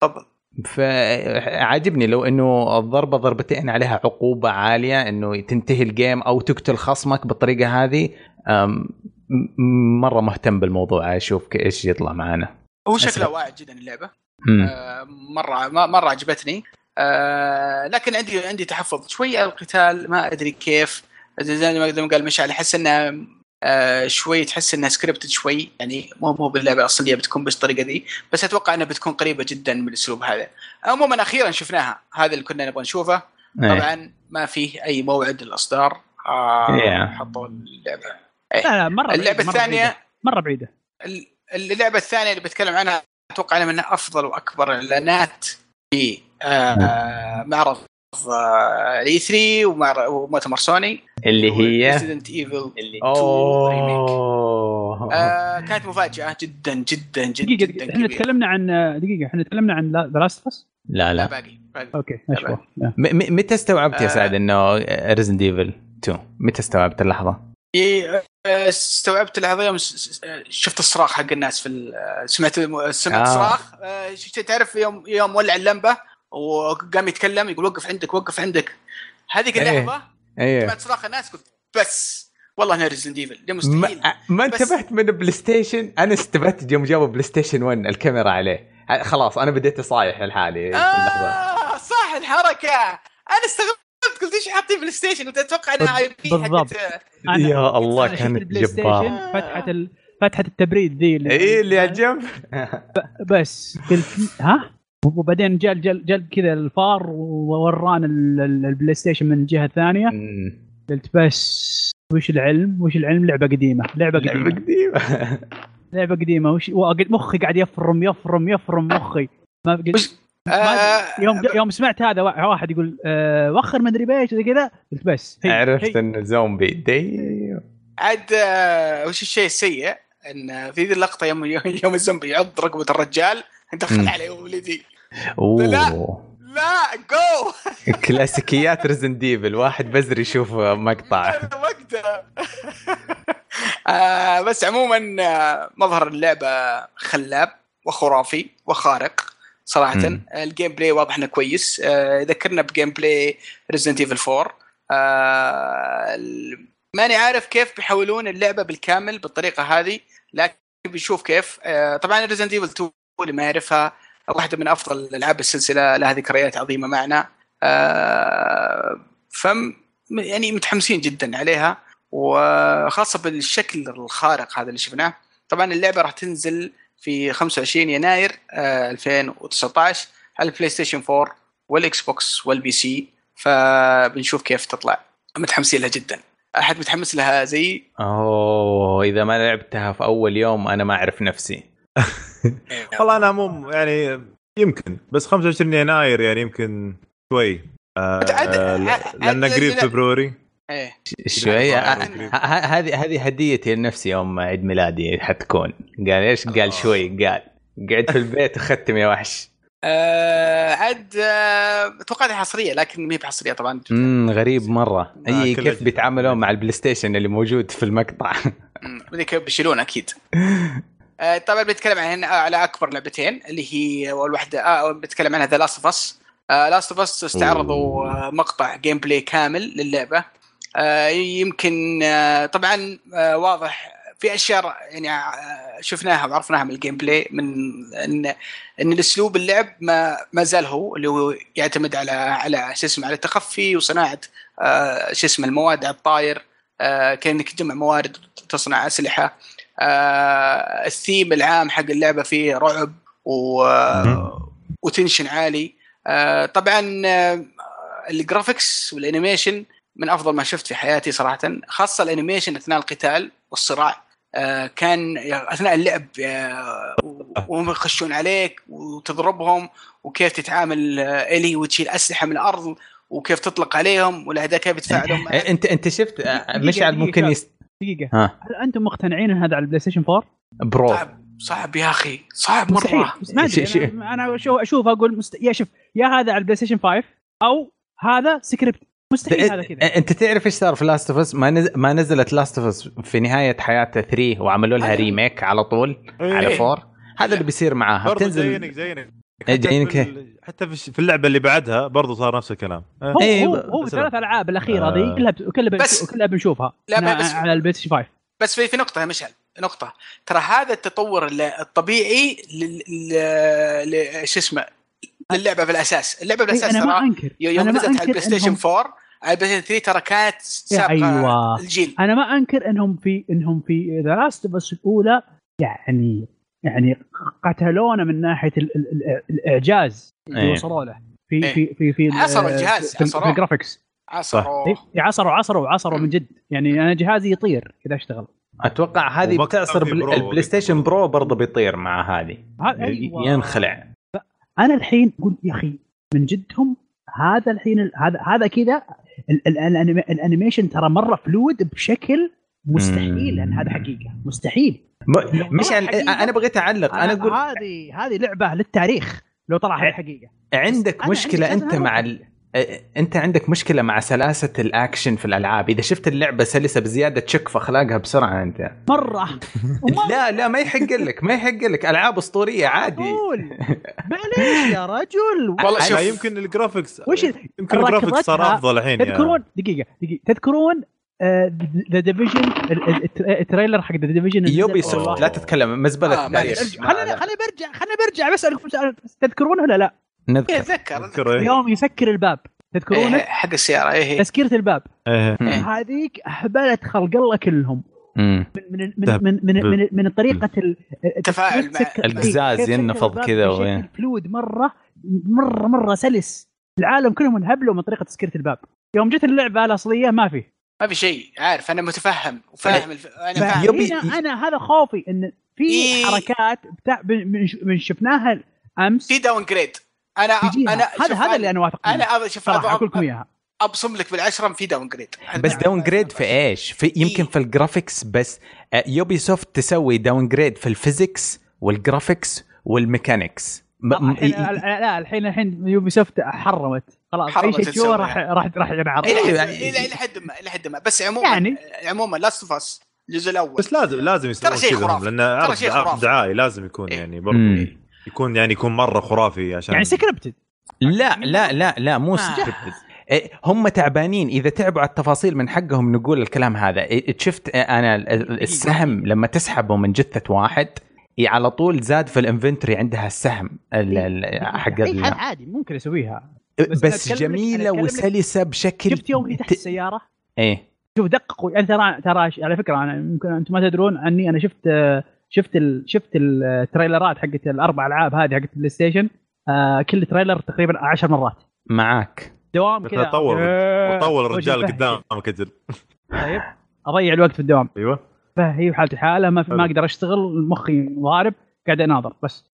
Speaker 3: تفضل
Speaker 2: فعاجبني لو انه الضربه ضربتين عليها عقوبه عاليه انه تنتهي الجيم او تقتل خصمك بالطريقه هذه آم، م- مره مهتم بالموضوع اشوف ك- ايش يطلع معانا
Speaker 3: هو
Speaker 2: أسف.
Speaker 3: شكله واعد جدا اللعبه
Speaker 2: مم.
Speaker 3: آه، مره ما- مره عجبتني آه، لكن عندي عندي تحفظ شوي على القتال ما ادري كيف زي زي ما زي ما قال مشعل احس انها آه، شوي تحس انها سكريبتد شوي يعني مو مو باللعبه الاصليه بتكون بالطريقه دي بس اتوقع انها بتكون قريبه جدا من الاسلوب هذا عموما اخيرا شفناها هذا اللي كنا نبغى نشوفه
Speaker 2: إيه.
Speaker 3: طبعا ما فيه اي موعد للاصدار آه،
Speaker 2: Yeah.
Speaker 3: حطوا اللعبه
Speaker 4: لا لا مره
Speaker 3: اللعبه
Speaker 4: بعيدة، مرة بعيدة.
Speaker 3: الثانيه
Speaker 4: مره بعيده
Speaker 3: ال- اللعبه الثانيه اللي بتكلم عنها اتوقع انها من افضل واكبر الاعلانات في آه،
Speaker 2: نعم.
Speaker 3: معرض آه، اي 3 ومعر- ومؤتمر سوني
Speaker 2: اللي هي
Speaker 3: ريزيدنت ايفل 2 ريميك
Speaker 2: اوه
Speaker 3: آه، كانت مفاجاه جدا جدا جدا
Speaker 4: دقيقه
Speaker 3: جدا
Speaker 4: دقيقه احنا
Speaker 3: كبيرة.
Speaker 4: تكلمنا عن دقيقه احنا تكلمنا عن ذا لاست بس
Speaker 2: لا
Speaker 3: لا
Speaker 2: لا
Speaker 3: باقي باقي.
Speaker 4: اوكي اشوف
Speaker 2: م- م- متى استوعبت يا
Speaker 3: آه.
Speaker 2: سعد انه ريزن ديفل 2 متى استوعبت اللحظه؟
Speaker 3: إيه، آه، استوعبت لحظه يوم س- س- شفت الصراخ حق الناس في ال- سمعت الم- سمعت
Speaker 2: آه.
Speaker 3: صراخ آه، شفت تعرف يوم يوم ولع اللمبه وقام يتكلم يقول وقف عندك وقف عندك هذيك
Speaker 2: إيه.
Speaker 3: اللحظه
Speaker 2: ايوه
Speaker 3: سمعت صراخ الناس قلت بس والله انها ريزن ديفل ده
Speaker 2: ما,
Speaker 3: مستحيل
Speaker 2: ما
Speaker 3: بس-
Speaker 2: انتبهت من بلاي ستيشن انا استبعدت يوم جابوا بلاي ستيشن 1 الكاميرا عليه ه- خلاص انا بديت اصايح لحالي في اللحظه
Speaker 3: آه صح الحركه انا استغربت قلت ايش حاطين بلاي ستيشن كنت اتوقع انها اي بي
Speaker 4: بالضبط.
Speaker 3: حقت آه،
Speaker 4: أنا
Speaker 2: يا الله
Speaker 4: شفت
Speaker 2: كانت
Speaker 4: البلاي
Speaker 2: جبار
Speaker 4: ستيشن فتحه ال... فتحه التبريد ذي اللي
Speaker 3: إيه،
Speaker 2: ايه اللي على جنب
Speaker 4: بس قلت ها وبعدين جاء جاء جاء كذا الفار وورانا ال- ال- البلاي ستيشن من الجهه الثانيه
Speaker 2: مم.
Speaker 4: قلت بس وش العلم وش العلم لعبه قديمه لعبه
Speaker 2: لعبه
Speaker 4: قديمه
Speaker 2: قديمه
Speaker 4: لعبه قديمه وش وأقعد- مخي قاعد يفرم يفرم يفرم مخي ما قلت
Speaker 3: وش- آه
Speaker 4: يوم يوم سمعت هذا وا- واحد يقول أه وخر مدري ايش زي كذا قلت بس هي-
Speaker 2: عرفت
Speaker 4: هي.
Speaker 2: انه زومبي دي
Speaker 3: عاد آه وش الشيء السيء ان في ذي اللقطه يوم يوم الزومبي يعض رقبه الرجال دخل
Speaker 2: مم.
Speaker 3: علي ولدي لا.
Speaker 2: اوه
Speaker 3: لا جو
Speaker 2: كلاسيكيات ريزن ديفل واحد بزر يشوف مقطع
Speaker 3: هذا وقته آه بس عموما آه، مظهر اللعبه خلاب وخرافي وخارق صراحه
Speaker 2: مم.
Speaker 3: الجيم بلاي واضح انه كويس آه ذكرنا بجيم بلاي ريزدنت ايفل 4 آه ال- ماني عارف كيف بيحولون اللعبه بالكامل بالطريقه هذه لكن بنشوف كيف آه طبعا ريزدنت ايفل 2 اللي ما يعرفها واحده من افضل العاب السلسله لها ذكريات عظيمه معنا آه فم يعني متحمسين جدا عليها وخاصه بالشكل الخارق هذا اللي شفناه طبعا اللعبه راح تنزل في 25 يناير آه، 2019 على البلاي ستيشن 4 والاكس بوكس والبي سي فبنشوف كيف تطلع متحمسين لها جدا احد متحمس لها زي
Speaker 2: اوه اذا ما لعبتها في اول يوم انا ما اعرف نفسي
Speaker 1: والله انا مو يعني يمكن بس 25 يناير يعني يمكن شوي آه
Speaker 3: عاد-
Speaker 1: آه،
Speaker 3: عاد-
Speaker 1: لانه
Speaker 3: عاد-
Speaker 1: قريب
Speaker 3: لا-
Speaker 1: فبروري يعني
Speaker 3: ايه
Speaker 2: شويه
Speaker 1: لا،
Speaker 2: ه- آه، ه- هذه هذه هديتي لنفسي يوم عيد ميلادي حتكون قال ايش
Speaker 3: آه.
Speaker 2: قال شوي قال قعدت في البيت وختم يا وحش
Speaker 3: آه عاد آه، توقعت حصريه لكن ما هي بحصريه طبعا
Speaker 2: امم غريب مره
Speaker 1: آه،
Speaker 2: اي
Speaker 1: كل
Speaker 2: كيف
Speaker 1: أجهزة.
Speaker 2: بيتعاملون مع البلاي ستيشن اللي موجود في المقطع
Speaker 3: مم، ذيك بيشيلون اكيد آه، طبعا بنتكلم عن هنا آه، على اكبر لعبتين اللي هي اول واحده آه بنتكلم عنها ذا لاست اوف اس لاست اوف اس استعرضوا آه، مقطع جيم بلاي كامل للعبه آه، يمكن آه، طبعا آه، واضح في اشياء يعني آه، شفناها وعرفناها من الجيم بلاي من ان ان الاسلوب اللعب ما ما زال هو اللي هو يعتمد على على شو اسمه على التخفي وصناعه آه، شو اسمه المواد على الطاير آه، كانك تجمع موارد تصنع اسلحه آه، الثيم العام حق اللعبه فيه رعب و... آه، وتنشن عالي آه، طبعا آه، الجرافيكس والانيميشن من افضل ما شفت في حياتي صراحه خاصه الانيميشن اثناء القتال والصراع آه، كان اثناء اللعب آه، وهم يخشون عليك وتضربهم وكيف تتعامل آه، الي وتشيل اسلحه من الارض وكيف تطلق عليهم والاعداء كيف يتفاعلون معك.
Speaker 2: إيه، انت انت شفت آه،
Speaker 4: دقيقة،
Speaker 2: مشعل
Speaker 4: دقيقة. آه،
Speaker 2: ممكن يست...
Speaker 4: دقيقه
Speaker 2: ها
Speaker 4: هل انتم مقتنعين ان هذا على البلاي ستيشن 4؟
Speaker 2: برو
Speaker 4: طيب،
Speaker 3: صعب صعب يا اخي صعب
Speaker 4: مستحيل
Speaker 3: مره
Speaker 4: بس ما
Speaker 2: شي- شي-
Speaker 4: ادري انا انا أشوف- اشوف اقول مست... يا شوف يا هذا على البلاي ستيشن 5 او هذا سكريبت مستحيل هذا كذا
Speaker 2: انت إيه، تعرف ايش صار في لاست اوف اس ما نز... ما نزلت لاست اوف اس في نهايه حياتها 3 وعملوا لها
Speaker 3: هذا-
Speaker 4: أيوه.
Speaker 2: ريميك على طول على
Speaker 3: إيه.
Speaker 2: 4 هذا اللي بيصير معاها
Speaker 1: برضه زينك
Speaker 2: بتنزل
Speaker 1: زينك
Speaker 2: إيه،
Speaker 1: حتى
Speaker 2: زينك
Speaker 1: في ال- حتى في في اللعبه اللي بعدها برضه صار نفس الكلام آه.
Speaker 4: هو
Speaker 2: إيه،
Speaker 4: هو,
Speaker 2: ب-
Speaker 1: بس-
Speaker 4: هو ثلاث العاب الاخيره ذي
Speaker 1: آه.
Speaker 4: كلها بت- كلها بنش-
Speaker 3: بس-
Speaker 4: كلها بنشوفها
Speaker 3: لا، ما-
Speaker 4: أنا-
Speaker 3: بس-
Speaker 4: على البلاي ستيشن 5
Speaker 3: بس في في نقطه يا مشعل نقطه ترى هذا التطور ال- الطبيعي لل لل- ل- شو اسمه للعبه في الاساس اللعبه في
Speaker 4: إيه،
Speaker 3: الاساس
Speaker 4: انا ما
Speaker 3: ترى
Speaker 4: انكر
Speaker 3: يوم
Speaker 4: أنا ما
Speaker 3: نزلت على
Speaker 4: أنكر
Speaker 3: البلاي ستيشن
Speaker 4: إنهم-
Speaker 3: 4 على البلاي ستيشن 3 ترى كانت سابقه
Speaker 4: أيوة.
Speaker 3: الجيل
Speaker 4: انا ما انكر انهم في انهم في ذا لاست بس الاولى يعني يعني قتلونا من ناحيه ال ال ال الاعجاز اللي
Speaker 2: إيه.
Speaker 4: وصلوا له في
Speaker 3: إيه.
Speaker 4: في في في ال-
Speaker 3: عصروا الجهاز،
Speaker 4: في-
Speaker 3: عصروه.
Speaker 4: في الجرافكس
Speaker 3: عصره
Speaker 4: عصروا عصروا عصروا من جد يعني انا جهازي يطير اذا اشتغل
Speaker 2: اتوقع هذه
Speaker 1: وبكتر
Speaker 2: بتعصر
Speaker 1: في
Speaker 2: بل...
Speaker 1: برو
Speaker 2: البلاي
Speaker 1: وقت
Speaker 2: ستيشن
Speaker 1: برو.
Speaker 2: برو برضه بيطير مع هذه
Speaker 4: ه-
Speaker 2: ي-
Speaker 4: أيوة.
Speaker 2: يعني ينخلع
Speaker 4: انا الحين قلت يا اخي من جدهم هذا الحين ال- هذا هذا كذا ال- ال- الأنيم- الانيميشن ترى مره فلود بشكل مستحيل لان هذا حقيقه مستحيل
Speaker 2: م- مش
Speaker 4: طلع
Speaker 2: عن...
Speaker 4: حقيقة.
Speaker 2: انا بغيت اعلق انا
Speaker 4: آه،
Speaker 2: اقول
Speaker 4: هذه هذه لعبه للتاريخ لو طلع هذه حقيقه
Speaker 2: عندك
Speaker 4: أنا
Speaker 2: مشكله
Speaker 4: عندي
Speaker 2: انت
Speaker 4: كذا
Speaker 2: مع ال... آه، انت عندك مشكله مع سلاسه الاكشن في الالعاب اذا شفت اللعبه سلسه بزياده تشك في اخلاقها بسرعه انت
Speaker 4: مره
Speaker 2: لا لا ما يحق لك ما يحق لك العاب اسطوريه عادي
Speaker 4: معقول معليش يا رجل
Speaker 3: والله
Speaker 1: لا،
Speaker 3: شوف
Speaker 1: يعني يمكن الجرافكس
Speaker 4: وش ال-
Speaker 1: يمكن الجرافكس صار
Speaker 4: ركضتها-
Speaker 1: افضل الحين يعني يا-
Speaker 4: تذكرون دقيقه دقيقه تذكرون آه، ذا ديفيجن التريلر حق ذا ديفيجن
Speaker 2: يوبي
Speaker 1: والله.
Speaker 2: سوفت لا تتكلم مزبله
Speaker 3: آه،
Speaker 2: تاريخ
Speaker 3: معلش.
Speaker 2: ما-
Speaker 4: خليني
Speaker 2: لا.
Speaker 4: خليني برجع خليني برجع بسالكم سؤال تذكرونه ولا لا؟
Speaker 3: إيه،
Speaker 2: نذكر
Speaker 3: اتذكر
Speaker 1: تذكر إيه.
Speaker 4: يوم يسكر الباب
Speaker 3: إيه،
Speaker 4: تذكرونه؟
Speaker 3: حق السياره ايه إيه.
Speaker 4: تسكيره الباب
Speaker 1: إيه.
Speaker 2: مم.
Speaker 4: هذيك اهبلت خلق الله كلهم
Speaker 2: مم.
Speaker 4: من من من من من, من طريقه ال-
Speaker 3: التفاعل مع-
Speaker 4: تسكر-
Speaker 2: القزاز
Speaker 4: كيف تسكر
Speaker 2: ينفض
Speaker 4: الباب
Speaker 2: كذا
Speaker 4: بشكل
Speaker 2: وين.
Speaker 4: فلود مره مره مره سلس العالم كلهم انهبلوا من طريقه تسكيره الباب يوم جت اللعبه الاصليه ما في
Speaker 3: ما في شيء عارف انا متفهم وفاهم الف...
Speaker 4: إيه.
Speaker 3: انا
Speaker 2: ما-
Speaker 3: فاهم
Speaker 2: يب- يوبي-
Speaker 4: يوبي هنا انا هذا خوفي ان في
Speaker 3: إيه.
Speaker 4: حركات بتاع من- من من شفناها امس
Speaker 3: في داون جريد انا
Speaker 4: تجيها
Speaker 3: انا شوف،
Speaker 4: هذا هذا اللي انا واثق منه.
Speaker 3: انا أبغى- شوف
Speaker 4: صراحه
Speaker 3: أبغى-
Speaker 4: اقول لكم اياها
Speaker 3: ابصم لك بالعشره في داون جريد
Speaker 2: بس داون جريد في
Speaker 4: إيه؟
Speaker 2: ايش؟ في يمكن في الجرافيكس بس آه، يوبي سوفت تسوي داون جريد في الفيزيكس والجرافيكس والميكانكس م-
Speaker 4: طبعاً إيه،
Speaker 2: م-
Speaker 4: الحين
Speaker 2: إي- إي-
Speaker 4: لا الحين الحين يوبي سوفت حرمت خلاص اي
Speaker 3: حرمت إيه.
Speaker 4: شيء تسوى
Speaker 3: تسوي.
Speaker 4: راح راح راح ينعرض
Speaker 3: الى
Speaker 2: أيوة.
Speaker 3: الى إلى حد ما الى حد ما بس عموما
Speaker 4: يعني.
Speaker 3: عموما لاست اوف اس الجزء الاول
Speaker 1: بس لازم لازم يسوون
Speaker 3: ترى شيء
Speaker 1: كذا
Speaker 3: خرافي.
Speaker 1: هم، لان
Speaker 3: ترى
Speaker 1: عرض
Speaker 3: شيء
Speaker 1: عرض
Speaker 3: خرافي.
Speaker 1: دعائي لازم يكون
Speaker 3: إيه.
Speaker 1: يعني
Speaker 2: مم.
Speaker 1: برضه يكون يعني يكون مره خرافي عشان
Speaker 4: يعني سكريبتد
Speaker 2: لا لا لا لا
Speaker 4: آه.
Speaker 2: مو سكريبتد إيه، هم تعبانين اذا تعبوا على التفاصيل من حقهم نقول الكلام هذا إيه، شفت آه، انا ال- ال- السهم لما تسحبه من جثه واحد إيه، على طول زاد في الانفنتوري عندها السهم ال- ال- حق
Speaker 4: اي حد
Speaker 2: ال-
Speaker 4: عادي ممكن اسويها إيه. بس أنا
Speaker 2: بس
Speaker 4: أتكلم لك-
Speaker 2: جميله
Speaker 4: أنا أتكلم لك-
Speaker 2: وسلسه بشكل
Speaker 4: شفت يوم هي تحت
Speaker 2: ت-
Speaker 4: السياره
Speaker 2: ايه
Speaker 4: شوف دققوا يعني ترى ترى ش- على فكره انا يمكن انتم ما تدرون عني انا شفت آه، شفت ال شفت التريلرات حقت الاربع العاب هذه حقت البلاي ستيشن آه، كل تريلر تقريبا 10 مرات
Speaker 2: معاك
Speaker 4: دوام كذا
Speaker 1: طول-
Speaker 4: آه،
Speaker 1: وطول
Speaker 4: وجه
Speaker 1: الرجال
Speaker 4: الفهد.
Speaker 1: قدامك اجل
Speaker 4: طيب اضيع الوقت في الدوام
Speaker 1: ايوه
Speaker 4: فهي حالتي حاله ما,
Speaker 1: حلو.
Speaker 4: ما اقدر اشتغل مخي ضارب قاعد اناظر بس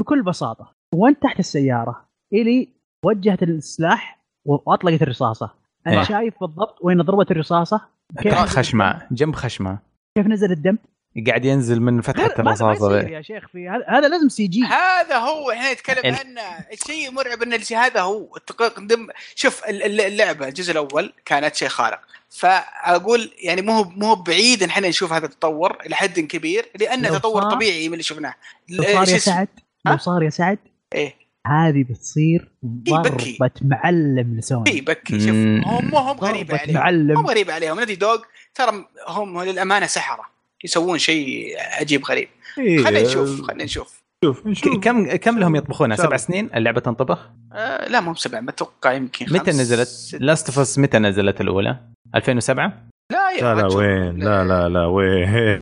Speaker 4: فبكل بساطه وانت تحت السياره الي وجهت السلاح واطلقت الرصاصه انا
Speaker 2: إيه.
Speaker 4: شايف بالضبط وين ضربت الرصاصه كيف
Speaker 2: خشمه جنب خشمه
Speaker 4: كيف نزل الدم
Speaker 2: قاعد ينزل من فتحه
Speaker 4: ما- ما يصير
Speaker 2: الرصاصه
Speaker 4: يا شيخ في هذا, هذا لازم سي جي
Speaker 3: هذا هو احنا
Speaker 2: ال-
Speaker 3: نتكلم عنه الشيء المرعب ان الشيء هذا هو التقيق دم شوف ال- ال- اللعبه الجزء الاول كانت شيء خارق فاقول يعني مو هو- مو هو بعيد ان احنا نشوف هذا التطور الى حد كبير
Speaker 4: لو
Speaker 3: لانه تطور
Speaker 4: صار-
Speaker 3: طبيعي من اللي شفناه
Speaker 4: لو صار
Speaker 3: شو
Speaker 4: يا
Speaker 3: اسمه؟
Speaker 4: سعد لو صار يا سعد
Speaker 3: ايه
Speaker 4: هذه بتصير
Speaker 3: بكي.
Speaker 4: ضربة معلم لسوني
Speaker 3: في بكي شوف
Speaker 2: مم.
Speaker 3: هم مو هم غريبه
Speaker 4: ضربة
Speaker 3: عليهم مو
Speaker 4: معلم
Speaker 3: غريبه عليهم نادي دوغ ترى هم للامانه سحره يسوون شيء عجيب غريب
Speaker 4: إيه.
Speaker 3: خلينا نشوف خلينا نشوف
Speaker 1: شوف
Speaker 2: ك-
Speaker 1: إيه، نشوف
Speaker 2: كم كم لهم يطبخونها
Speaker 1: شاب.
Speaker 2: سبع سنين اللعبه تنطبخ
Speaker 3: آه لا مو بسبع اتوقع يمكن
Speaker 2: متى
Speaker 3: خمس-
Speaker 2: نزلت
Speaker 3: ست-
Speaker 2: لاست اوف اس متى نزلت الاولى 2007
Speaker 3: لا
Speaker 1: لا
Speaker 3: يا
Speaker 1: لا
Speaker 3: رجل.
Speaker 1: وين لا لا لا وين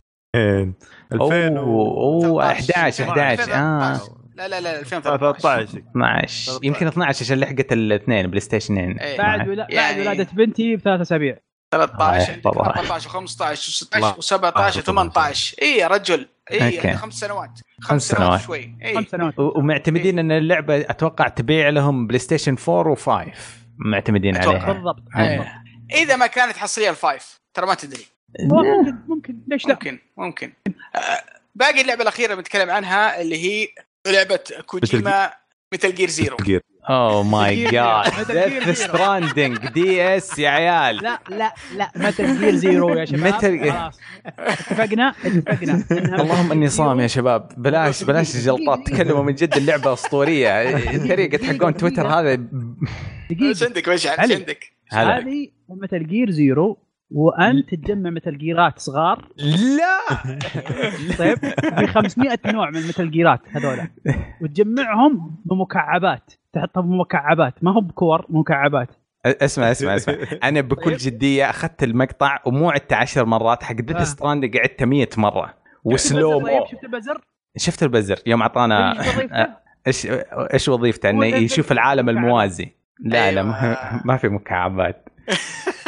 Speaker 1: 2000 و-
Speaker 2: اوه 11
Speaker 3: 13.
Speaker 2: 11 اه
Speaker 3: 2013. لا لا لا 2013
Speaker 1: 13
Speaker 2: 12
Speaker 1: 13.
Speaker 2: يمكن 12 عشان لحقت الاثنين بلاي ستيشن
Speaker 3: إيه.
Speaker 2: اثنين
Speaker 4: بعد
Speaker 2: نعم.
Speaker 4: ولا... بعد
Speaker 3: يعني-
Speaker 4: ولادة بنتي بثلاث اسابيع
Speaker 2: آه،
Speaker 3: 13 عندك
Speaker 2: طبعاً.
Speaker 3: 14 و15
Speaker 1: الله.
Speaker 3: و16 و17 و18 اي يا رجل اي
Speaker 2: أوكي.
Speaker 3: يعني خمس سنوات
Speaker 2: خمس
Speaker 3: خمس
Speaker 2: سنوات.
Speaker 3: سنوات شوي
Speaker 4: خمس
Speaker 3: اي
Speaker 4: سنوات
Speaker 2: و- ومعتمدين ان اللعبه اتوقع تبيع لهم بلاي ستيشن 4 و5 معتمدين
Speaker 3: أتوقع.
Speaker 2: عليها
Speaker 4: بالضبط
Speaker 2: إيه.
Speaker 3: اذا ما كانت حصريه الفايف ترى ما تدري
Speaker 4: ممكن ممكن ليش لا
Speaker 3: ممكن ممكن آه، باقي اللعبه الاخيره اللي بنتكلم عنها اللي هي لعبه كوجيما مثل جير زيرو
Speaker 1: جير
Speaker 2: اوه ماي جاد
Speaker 4: Metal Gear
Speaker 2: ديث
Speaker 4: Zero.
Speaker 2: ستراندنج دي اس يا عيال
Speaker 4: لا لا لا متل جير زيرو يا شباب
Speaker 2: Metal Gear.
Speaker 4: خلاص اتفقنا اتفقنا إنها
Speaker 2: اللهم
Speaker 4: Metal
Speaker 2: اني
Speaker 4: Gear
Speaker 2: صام يا
Speaker 4: Zero.
Speaker 2: شباب بلاش بلاش الجلطات تكلموا من جد اللعبه اسطوريه طريقه حقون تويتر هذا
Speaker 3: ايش
Speaker 4: دقيقه
Speaker 3: عندك مشعل
Speaker 4: علي.
Speaker 3: ايش عندك؟
Speaker 2: هلا.
Speaker 4: هذه متل جير زيرو وانت تجمع متل جيرات صغار
Speaker 2: لا
Speaker 4: طيب في 500 نوع من متل جيرات هذول وتجمعهم بمكعبات تحطها بمكعبات ما هو بكور مكعبات
Speaker 2: اسمع اسمع اسمع انا بكل
Speaker 4: طيب.
Speaker 2: جديه اخذت المقطع ومو عدته عشر مرات حق ديث
Speaker 4: آه.
Speaker 2: ستراند قعدت 100 مره وسلو
Speaker 4: البزر طيب
Speaker 2: مو.
Speaker 4: شفت البزر؟
Speaker 2: شفت البزر يوم اعطانا
Speaker 4: تدري إيش
Speaker 2: آه.
Speaker 4: وظيفته؟
Speaker 2: ايش ايش وظيفته انه
Speaker 4: هو ده
Speaker 2: يشوف
Speaker 4: الفكرة.
Speaker 2: العالم الموازي لا لا
Speaker 3: أيوة.
Speaker 2: ما, ما في مكعبات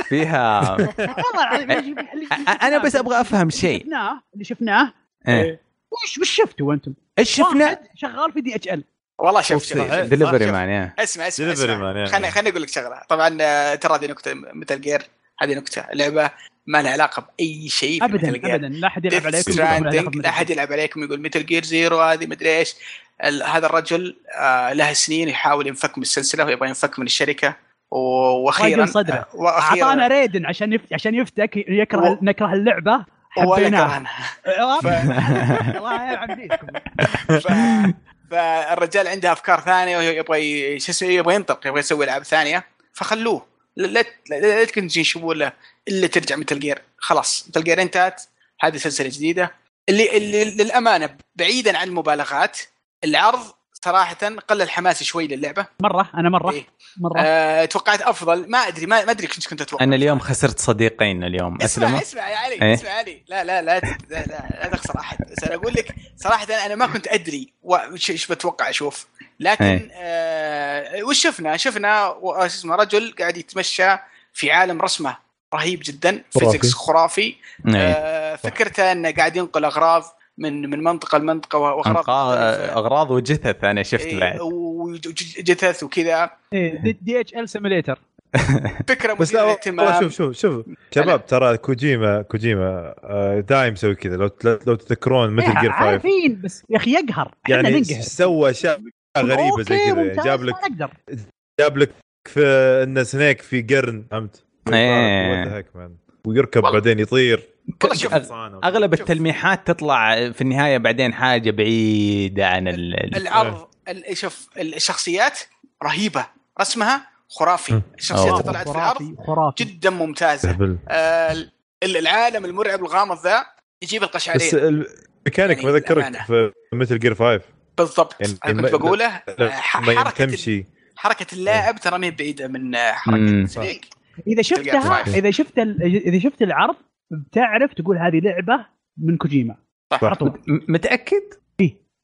Speaker 2: فيها
Speaker 4: والله العظيم اللي شف- اللي شف-
Speaker 2: أ- انا آه، بس ابغى افهم
Speaker 4: اللي
Speaker 2: شيء
Speaker 4: شفناه اللي شفناه طيب.
Speaker 2: إيه.
Speaker 4: وش وش شفتوا انتم؟
Speaker 2: ايش شفنا
Speaker 4: واحد شغال في دي اتش ال
Speaker 3: والله شوف شوف
Speaker 1: صحيح.
Speaker 2: دليفري
Speaker 3: صح،
Speaker 2: مان إيه.
Speaker 3: اسمع اسمع
Speaker 1: Delivery
Speaker 3: اسمع
Speaker 1: man، يعني.
Speaker 3: خليني خليني اقول لك شغله طبعا آه، ترى هذه نكته مثل جير هذه نكته لعبه ما لها علاقه باي شيء في
Speaker 4: ابدا
Speaker 3: Metal Gear.
Speaker 4: ابدا لا احد يلعب
Speaker 3: ديث
Speaker 4: عليكم
Speaker 3: ستراندنج لا احد يلعب عليكم يقول متل جير زيرو هذه مدري ايش ال- هذا الرجل آه له سنين يحاول ينفك من السلسله ويبغى ينفك من الشركه و- واخيرا
Speaker 4: واخيرا صدره اعطانا
Speaker 3: واخيرا
Speaker 4: ريدن عشان يف... عشان يفتك يكره
Speaker 3: و-
Speaker 4: نكره اللعبه
Speaker 3: ولا
Speaker 4: حبيناها
Speaker 3: كرهنا
Speaker 4: عرفت؟
Speaker 2: ف-
Speaker 4: الله يلعن فيكم
Speaker 3: ف... فالرجال عنده افكار ثانيه ويبغى ي- شو اسمه يبغى ينطلق يبغى يسوي العاب ثانيه فخلوه لا لا لا- لا تكون تنشبوا له الا ترجع مثل جير خلاص مثل جير انتهت هذه سلسله جديده اللي, اللي للامانه بعيدا عن المبالغات العرض صراحه قلل حماسي شوي للعبه
Speaker 4: مره انا مره
Speaker 3: إيه.
Speaker 4: مره
Speaker 3: أه توقعت افضل ما ادري ما, ما ادري كنت كنت اتوقع
Speaker 2: انا اليوم خسرت صديقين اليوم
Speaker 3: اسمع
Speaker 2: اسلموا
Speaker 3: اسمع يا علي
Speaker 2: إيه؟
Speaker 3: اسمع يا علي لا لا لا ت- لا لا, لا تخسر احد بس انا اقول لك صراحه انا ما كنت ادري و- وش ايش بتوقع اشوف
Speaker 2: إيه.
Speaker 3: لكن آه وش شفنا؟ شفنا و- آه، شو اسمه رجل قاعد يتمشى في عالم رسمه رهيب جدا
Speaker 1: خرافي.
Speaker 3: فيزكس خرافي
Speaker 2: إيه.
Speaker 3: آه فكرته انه قاعد ينقل اغراض من من منطقه لمنطقه واغراض
Speaker 2: أنقاض-
Speaker 3: مختلفة.
Speaker 2: اغراض آه، وجثث انا شفت
Speaker 3: آه، إيه،
Speaker 2: بعد
Speaker 3: وجثث وكذا
Speaker 4: إيه، دي اتش ال سيميليتر
Speaker 3: فكره
Speaker 1: بس لا والله
Speaker 3: مثيره للاهتمام
Speaker 1: شوف شوف شوف شباب ترى كوجيما كوجيما آه، دايم يسوي كذا لو لو تذكرون
Speaker 4: إيه،
Speaker 1: مثل جير 5
Speaker 4: عارفين بس يا اخي يقهر احنا
Speaker 1: يعني
Speaker 4: ننقهر
Speaker 1: سوى اشياء غريبه زي
Speaker 4: أوكي،
Speaker 1: كذا
Speaker 4: ممتاز،
Speaker 1: جاب
Speaker 4: ما
Speaker 1: لك
Speaker 4: نقدر
Speaker 1: جاب لك في ان سنيك في قرن فهمت؟
Speaker 2: إيه.
Speaker 1: What the heck, man. ويركب بعدين يطير
Speaker 3: والله شوف،
Speaker 2: اغلب
Speaker 3: شوف.
Speaker 2: التلميحات تطلع في النهايه بعدين حاجه بعيده عن ال... ال-
Speaker 3: العرض
Speaker 1: إيه.
Speaker 3: ال- شوف الشخصيات رهيبه رسمها خرافي
Speaker 1: مم. آه.
Speaker 3: الشخصيات
Speaker 2: أوه.
Speaker 3: اللي طلعت في العرض
Speaker 4: خرافي خرافي
Speaker 3: جدا ممتازه
Speaker 1: تهبل.
Speaker 3: آه، ال- العالم المرعب الغامض ذا يجيب القشعرير
Speaker 1: بس الميكانيك
Speaker 3: يعني
Speaker 1: ما ذكرك
Speaker 3: الأمانة.
Speaker 1: في مثل جير 5
Speaker 3: بالضبط
Speaker 1: يعني
Speaker 3: انا
Speaker 1: ما-
Speaker 3: كنت بقوله آه، ح-
Speaker 1: لما
Speaker 3: حركه
Speaker 1: تمشي
Speaker 3: حركه اللاعب ترى ما هي بعيده من آه، حركه
Speaker 2: مم.
Speaker 3: الفريق.
Speaker 4: اذا شفتها
Speaker 3: تلقاها.
Speaker 4: اذا شفت ال- اذا شفت العرض بتعرف تقول هذه لعبه من كوجيما
Speaker 3: صح.
Speaker 4: على طول
Speaker 2: م- متاكد؟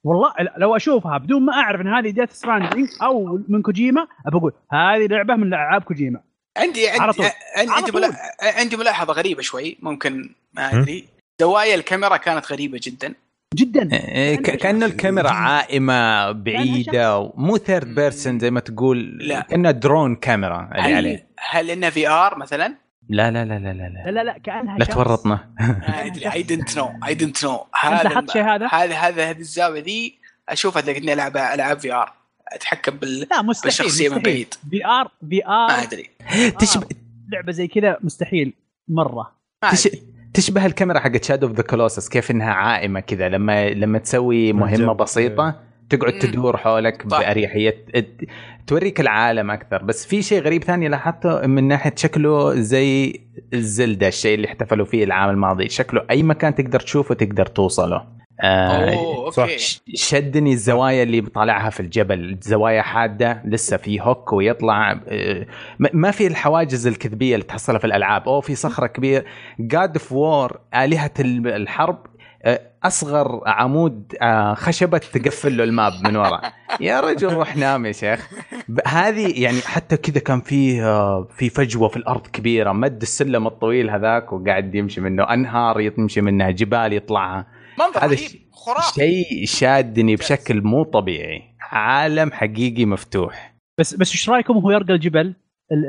Speaker 4: والله لو اشوفها بدون ما اعرف ان هذه ديث ستراندنج او من كوجيما بقول هذه لعبه من العاب كوجيما
Speaker 3: عندي
Speaker 1: على طول.
Speaker 3: عندي عندي,
Speaker 1: على
Speaker 3: عندي,
Speaker 1: طول.
Speaker 3: ملا... عندي ملاحظه غريبه شوي ممكن ما
Speaker 1: م.
Speaker 3: ادري زوايا الكاميرا كانت غريبه جدا
Speaker 4: جدا
Speaker 2: إيه، ك- كانه الكاميرا عائمه بعيده ومو ثيرد بيرسون زي ما تقول
Speaker 3: لا.
Speaker 2: كانها درون كاميرا اللي
Speaker 3: هل
Speaker 2: عليه
Speaker 3: هل انها في ار مثلا؟
Speaker 2: لا لا لا لا لا
Speaker 4: لا
Speaker 2: لا
Speaker 4: لا لا كانها
Speaker 2: لا
Speaker 4: شخص.
Speaker 2: تورطنا
Speaker 3: ما ادري اي دنت نو اي دنت نو
Speaker 4: انت
Speaker 3: هذا
Speaker 4: لاحظت شيء
Speaker 3: الم-
Speaker 4: هذا؟
Speaker 3: هذا هذا هذه الزاويه ذي اشوفها تلاقيني العب العاب في ار اتحكم بال
Speaker 4: لا مستحيل آه.
Speaker 3: بالشخصيه من بعيد
Speaker 4: في ار في
Speaker 3: ما
Speaker 4: ار
Speaker 3: ادري
Speaker 2: تشبه
Speaker 4: لعبه إيه، زي كذا مستحيل مره
Speaker 3: ما
Speaker 2: تش...
Speaker 3: ادري
Speaker 2: تشبه الكاميرا حقت شادو اوف ذا كولوسس كيف انها عائمه كذا لما لما تسوي مهمه
Speaker 1: بالجنب.
Speaker 2: بسيطه تقعد
Speaker 3: مم.
Speaker 2: تدور حولك
Speaker 3: صح.
Speaker 2: باريحيه ت- توريك العالم اكثر بس في شيء غريب ثاني لاحظته من ناحيه شكله زي الزلده الشيء اللي احتفلوا فيه العام الماضي شكله اي مكان تقدر تشوفه تقدر توصله آه
Speaker 3: اوه
Speaker 1: صح.
Speaker 3: اوكي
Speaker 2: ش- شدني الزوايا اللي بطلعها في الجبل زوايا حاده لسه في هوك ويطلع آه، ما- ما في الحواجز الكذبيه اللي تحصلها في الالعاب او في صخره كبيره جاد اوف وور الهه ال- الحرب آه، اصغر عمود آه، خشبه تقفل له الماب من ورا يا رجل روح نام يا شيخ ب- هذه يعني حتى كذا كان فيه آه، في فجوه في الارض كبيره مد السلم الطويل هذاك وقاعد يمشي منه انهار يمشي منها جبال يطلعها
Speaker 3: منظر
Speaker 2: هذا
Speaker 3: رهيب خرافي
Speaker 2: شيء شادني بشكل مو طبيعي عالم حقيقي مفتوح
Speaker 4: بس بس ايش رايكم هو يرقى الجبل ال-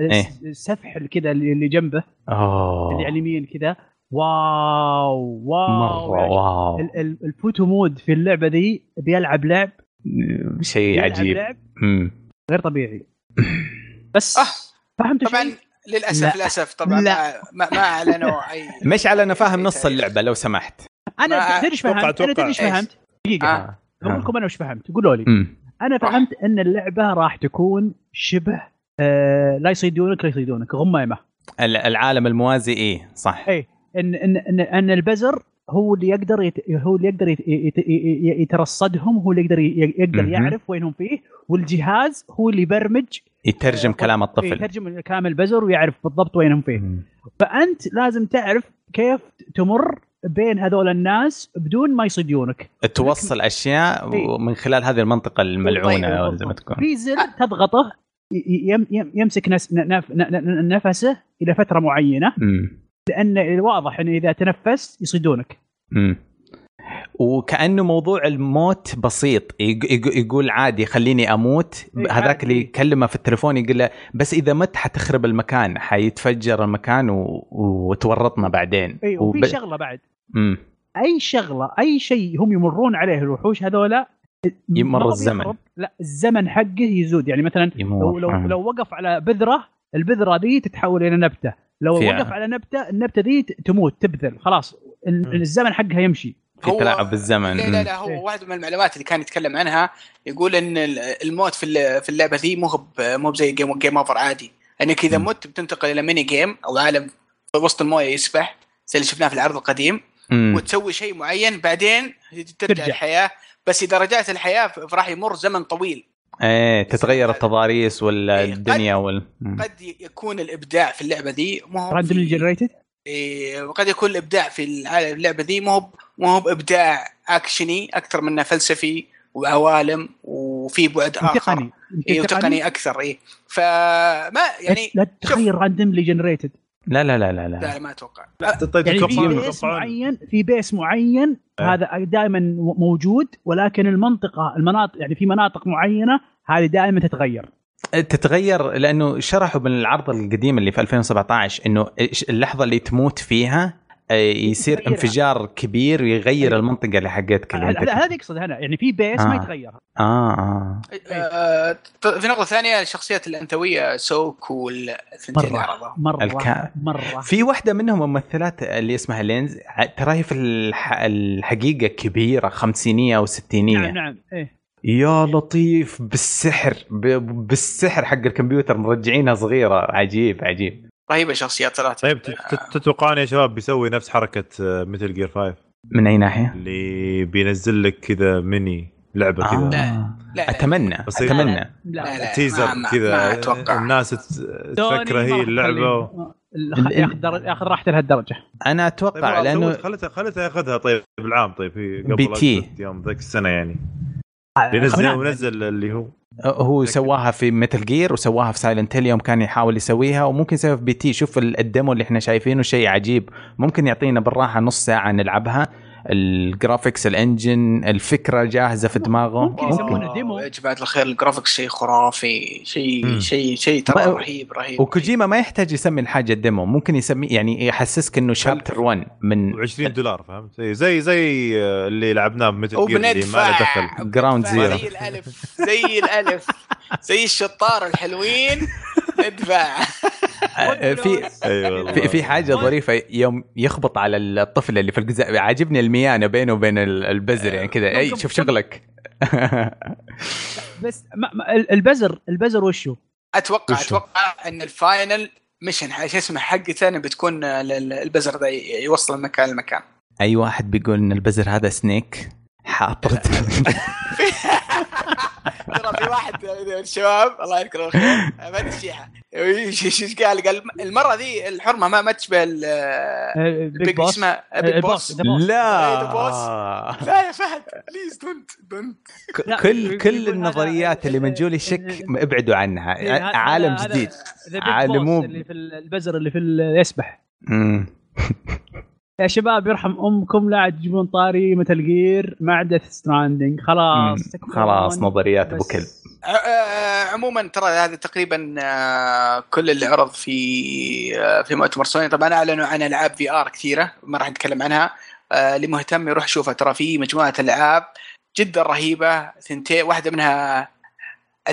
Speaker 4: ال-
Speaker 2: إيه.
Speaker 4: السفح اللي كذا اللي اللي جنبه اللي يعني- على
Speaker 2: اوه
Speaker 4: اليمين كذا واو واو
Speaker 2: مره واو
Speaker 4: يعني ال- ال- الفوتو مود في اللعبه ذي بيلعب لعب
Speaker 2: شيء
Speaker 4: بيلعب
Speaker 2: إيه، عجيب
Speaker 4: لعب
Speaker 2: مم.
Speaker 4: غير طبيعي بس
Speaker 3: آه.
Speaker 4: فهمت يعني؟
Speaker 3: طبعا
Speaker 4: شيء؟
Speaker 3: للاسف
Speaker 2: لا.
Speaker 3: للاسف طبعا
Speaker 2: لا.
Speaker 3: ما ما- ما اعلنوا اي
Speaker 2: مش على انا فاهم
Speaker 3: أي
Speaker 2: نص
Speaker 3: تاريخ.
Speaker 2: اللعبه لو سمحت
Speaker 4: انا
Speaker 3: ما-
Speaker 4: تدري ايش
Speaker 1: أتوقع-
Speaker 4: فهمت؟ انا
Speaker 1: أتوقع.
Speaker 4: تدري ايش
Speaker 3: إيش؟
Speaker 4: فهمت؟ دقيقه
Speaker 3: آه.
Speaker 4: بقول لكم انا وش فهمت قولوا لي
Speaker 2: مم.
Speaker 4: انا
Speaker 3: راح.
Speaker 4: فهمت ان اللعبه راح تكون شبه آه لا يصيدونك لا يصيدونك غمامه
Speaker 2: ال- العالم الموازي ايه صح
Speaker 4: إيه. ان ان ان, إن البزر هو اللي يقدر يت... هو اللي يقدر يت... يت... ي- يترصدهم هو اللي يقدر ي... يقدر
Speaker 2: مهم.
Speaker 4: يعرف وين هم فيه والجهاز هو اللي يبرمج
Speaker 2: يترجم
Speaker 4: إيه.
Speaker 2: كلام الطفل
Speaker 4: يترجم كلام البزر ويعرف بالضبط وين هم فيه
Speaker 2: مم.
Speaker 4: فانت لازم تعرف كيف تمر بين هذول الناس بدون ما يصيدونك
Speaker 2: توصل اشياء
Speaker 4: إيه.
Speaker 2: من خلال هذه المنطقه الملعونه
Speaker 4: ويطيحوا.
Speaker 2: أو زي ما تكون
Speaker 4: في زر تضغطه ي- يم- يم- يمسك نس... ن- نف... ن- ن- نفسه الى فتره معينه
Speaker 2: مم.
Speaker 4: لان الواضح انه اذا تنفست يصيدونك
Speaker 2: مم. وكانه موضوع الموت بسيط يق- يق- يقول عادي خليني اموت
Speaker 4: إيه،
Speaker 2: هذاك
Speaker 4: عادي.
Speaker 2: اللي يكلمه في التليفون يقول له بس اذا مت حتخرب المكان حيتفجر المكان و... وتورطنا بعدين
Speaker 3: إيه،
Speaker 4: اي وفي
Speaker 2: وب-
Speaker 4: شغله بعد
Speaker 2: مم.
Speaker 4: اي شغله اي شيء هم يمرون عليه الوحوش هذولا
Speaker 2: يمر
Speaker 4: ما هو
Speaker 2: الزمن.
Speaker 4: بيهرب، لا الزمن حقه يزود يعني مثلا لو
Speaker 2: يموت
Speaker 4: لو,
Speaker 2: آه.
Speaker 4: لو وقف على بذره البذره دي تتحول الى نبته لو
Speaker 2: في-
Speaker 4: وقف على نبته النبته دي ت- تموت تبذر خلاص ال-
Speaker 1: مم.
Speaker 4: الزمن حقها يمشي
Speaker 2: في
Speaker 3: هو-
Speaker 2: تلاعب بالزمن
Speaker 3: لا لا
Speaker 2: مم.
Speaker 3: لا
Speaker 4: إيه.
Speaker 3: هو واحد من المعلومات اللي كان يتكلم عنها يقول ان ال- الموت في ال- في اللعبه ذي مو هو ب- مو زي جيم جيم اوفر عادي انك اذا
Speaker 2: مم.
Speaker 3: مت بتنتقل الى ميني جيم او عالم في وسط المويه يسبح زي اللي شفناه في العرض القديم
Speaker 2: مم.
Speaker 3: وتسوي شيء معين بعدين ترجع,
Speaker 4: ترجع.
Speaker 3: ترجع الحياه بس اذا رجعت الحياه ف- راح يمر زمن طويل
Speaker 2: ايه تتغير التضاريس
Speaker 3: إيه، قد-
Speaker 2: والدنيا وال مم.
Speaker 3: قد ي- يكون الابداع في اللعبه ذي مو هو
Speaker 4: راندوم
Speaker 3: في-
Speaker 4: جنريتد
Speaker 3: إيه، وقد يكون الابداع في العالم- اللعبه ذي مو هو- مو هو بابداع اكشني اكثر منه فلسفي وعوالم وفي بعد إيه، اخر
Speaker 4: تقني
Speaker 3: اي وتقني اكثر اي فما أيوه، يعني
Speaker 4: لا تتخيل راندوملي جنريتد
Speaker 2: لا لا لا لا
Speaker 3: لا
Speaker 2: لا
Speaker 3: لا، ما اتوقع
Speaker 1: طيب
Speaker 4: يعني في
Speaker 1: تتوقعون-
Speaker 4: بيس
Speaker 1: تتوقعون-
Speaker 4: معين في بيس معين
Speaker 1: إيه.
Speaker 4: هذا دائما موجود ولكن المنطقه المناطق يعني في مناطق معينه هذه دائما تتغير
Speaker 2: تتغير لانه شرحوا من العرض القديم اللي في 2017 انه إيش اللحظه اللي تموت فيها آه، يصير
Speaker 4: يغيرها.
Speaker 2: انفجار كبير ويغير
Speaker 4: أيوة.
Speaker 2: المنطقه اللي حقتك اللي
Speaker 4: هذا
Speaker 2: انت
Speaker 4: هذا يقصد هنا يعني في بيس
Speaker 2: آه.
Speaker 4: ما يتغير
Speaker 2: اه اه
Speaker 3: آه، ط- في نقطه ثانيه الشخصيات الانثويه سوك والثنتين
Speaker 4: مرة.
Speaker 3: العرضة.
Speaker 4: مره
Speaker 2: الك-
Speaker 4: مره
Speaker 2: في واحده منهم ممثلات اللي اسمها لينز ع- ترى هي في الح... الحقيقه كبيره خمسينيه او ستينيه
Speaker 4: نعم نعم ايه
Speaker 2: يا لطيف بالسحر ب... بالسحر حق الكمبيوتر مرجعينها صغيره عجيب عجيب
Speaker 3: رهيبه الشخصيات صراحه
Speaker 1: طيب تت- تت- تتوقعون يا شباب بيسوي نفس حركه مثل جير 5
Speaker 2: من اي ناحيه؟
Speaker 1: اللي بينزل لك كذا ميني لعبه
Speaker 2: آه.
Speaker 1: كذا
Speaker 3: لا، لا،
Speaker 2: اتمنى
Speaker 1: نعم. بسيط.
Speaker 4: طيب،
Speaker 2: اتمنى
Speaker 3: لا،
Speaker 4: لا
Speaker 3: لا، ما-
Speaker 1: تيزر
Speaker 3: ما- ما
Speaker 1: كذا
Speaker 3: اتوقع
Speaker 1: الناس تت- تفكر هي طيب، اللعبه
Speaker 2: ال- ال-
Speaker 4: ياخذ ياخذ راحته لهالدرجه
Speaker 2: انا
Speaker 1: طيب
Speaker 2: اتوقع لانه
Speaker 1: خلتها خلتها ياخذها طيب بالعام طيب هي قبل
Speaker 2: بي تي.
Speaker 1: أجهزة يوم ذاك السنه يعني بينزل
Speaker 4: آه، خلينا-
Speaker 1: ونزل اللي هو
Speaker 2: هو سواها في ميتال جير وسواها في سايلنت هيل يوم كان يحاول يسويها وممكن يسويها في بي تي شوف ال- الديمو اللي احنا شايفينه شيء عجيب ممكن يعطينا بالراحه نص ساعه نلعبها الجرافيكس الانجن الفكره جاهزه في دماغه
Speaker 4: ممكن يسوونه ديمو.
Speaker 3: يا جماعه الخير الجرافيكس شيء خرافي شيء
Speaker 1: مم.
Speaker 3: شيء شيء ترى
Speaker 2: طيب.
Speaker 3: رهيب رهيب
Speaker 2: وكوجيما ما يحتاج يسمي الحاجه ديمو ممكن يسمي يعني يحسسك انه شابتر 1 من
Speaker 1: و20 دولار فهمت زي زي زي آه، اللي لعبناه بمتل جير اللي ما له
Speaker 3: وبندفع
Speaker 1: دخل
Speaker 2: جراوند زيرو
Speaker 3: زي الالف زي الالف زي الشطار الحلوين ندفع
Speaker 2: آه، في
Speaker 1: اي أيوة والله
Speaker 2: في في حاجه ظريفه يوم يخبط على الطفل اللي في الجزء عاجبني الميانه بينه وبين ال- البزر يعني كذا اي شوف شغلك
Speaker 4: بس ما ما ال- البزر البزر وشو؟
Speaker 3: اتوقع
Speaker 2: وشو؟
Speaker 3: اتوقع ان الفاينل ميشن شو اسمه حقي ثاني بتكون ال- ال- البزر ده ي- يوصل من مكان لمكان
Speaker 2: اي واحد بيقول ان البزر هذا سنيك حاطط
Speaker 3: ترى في واحد من الشباب الله يذكره بالخير ما تشيحه ايش قال قال المره ذي الحرمه ما ما تشبه ال-
Speaker 4: آه،
Speaker 3: بيج اسمه بيج بوس
Speaker 4: ذا بوس.
Speaker 3: إيه، ده
Speaker 2: لا
Speaker 3: لا يا فهد بليز دونت دونت
Speaker 2: ك-
Speaker 4: لا،
Speaker 2: كل كل
Speaker 4: يقول
Speaker 2: النظريات
Speaker 4: هذا-
Speaker 2: اللي من جول الشك
Speaker 4: ال-
Speaker 2: ابعدوا عنها
Speaker 4: إيه، هذا-
Speaker 2: عالم
Speaker 4: هذا-
Speaker 2: جديد
Speaker 4: ذا بيج
Speaker 2: عالمو-
Speaker 4: بوس اللي في ال- البزر اللي في ال- يسبح
Speaker 2: مم.
Speaker 4: يا شباب يرحم امكم لا عاد تجيبون طاري متل جير مع ديث ستراندنج خلاص
Speaker 2: مم.
Speaker 4: تكفون.
Speaker 2: خلاص نظريات ابو
Speaker 4: بس-
Speaker 2: كلب
Speaker 3: عموما آه، ترى هذا تقريبا آه، كل اللي عرض في آه، في مؤتمر سوني طبعا اعلنوا عن العاب في ار كثيره ما راح نتكلم عنها آه، اللي مهتم يروح يشوفها ترى في مجموعه العاب جدا رهيبه ثنتين واحده منها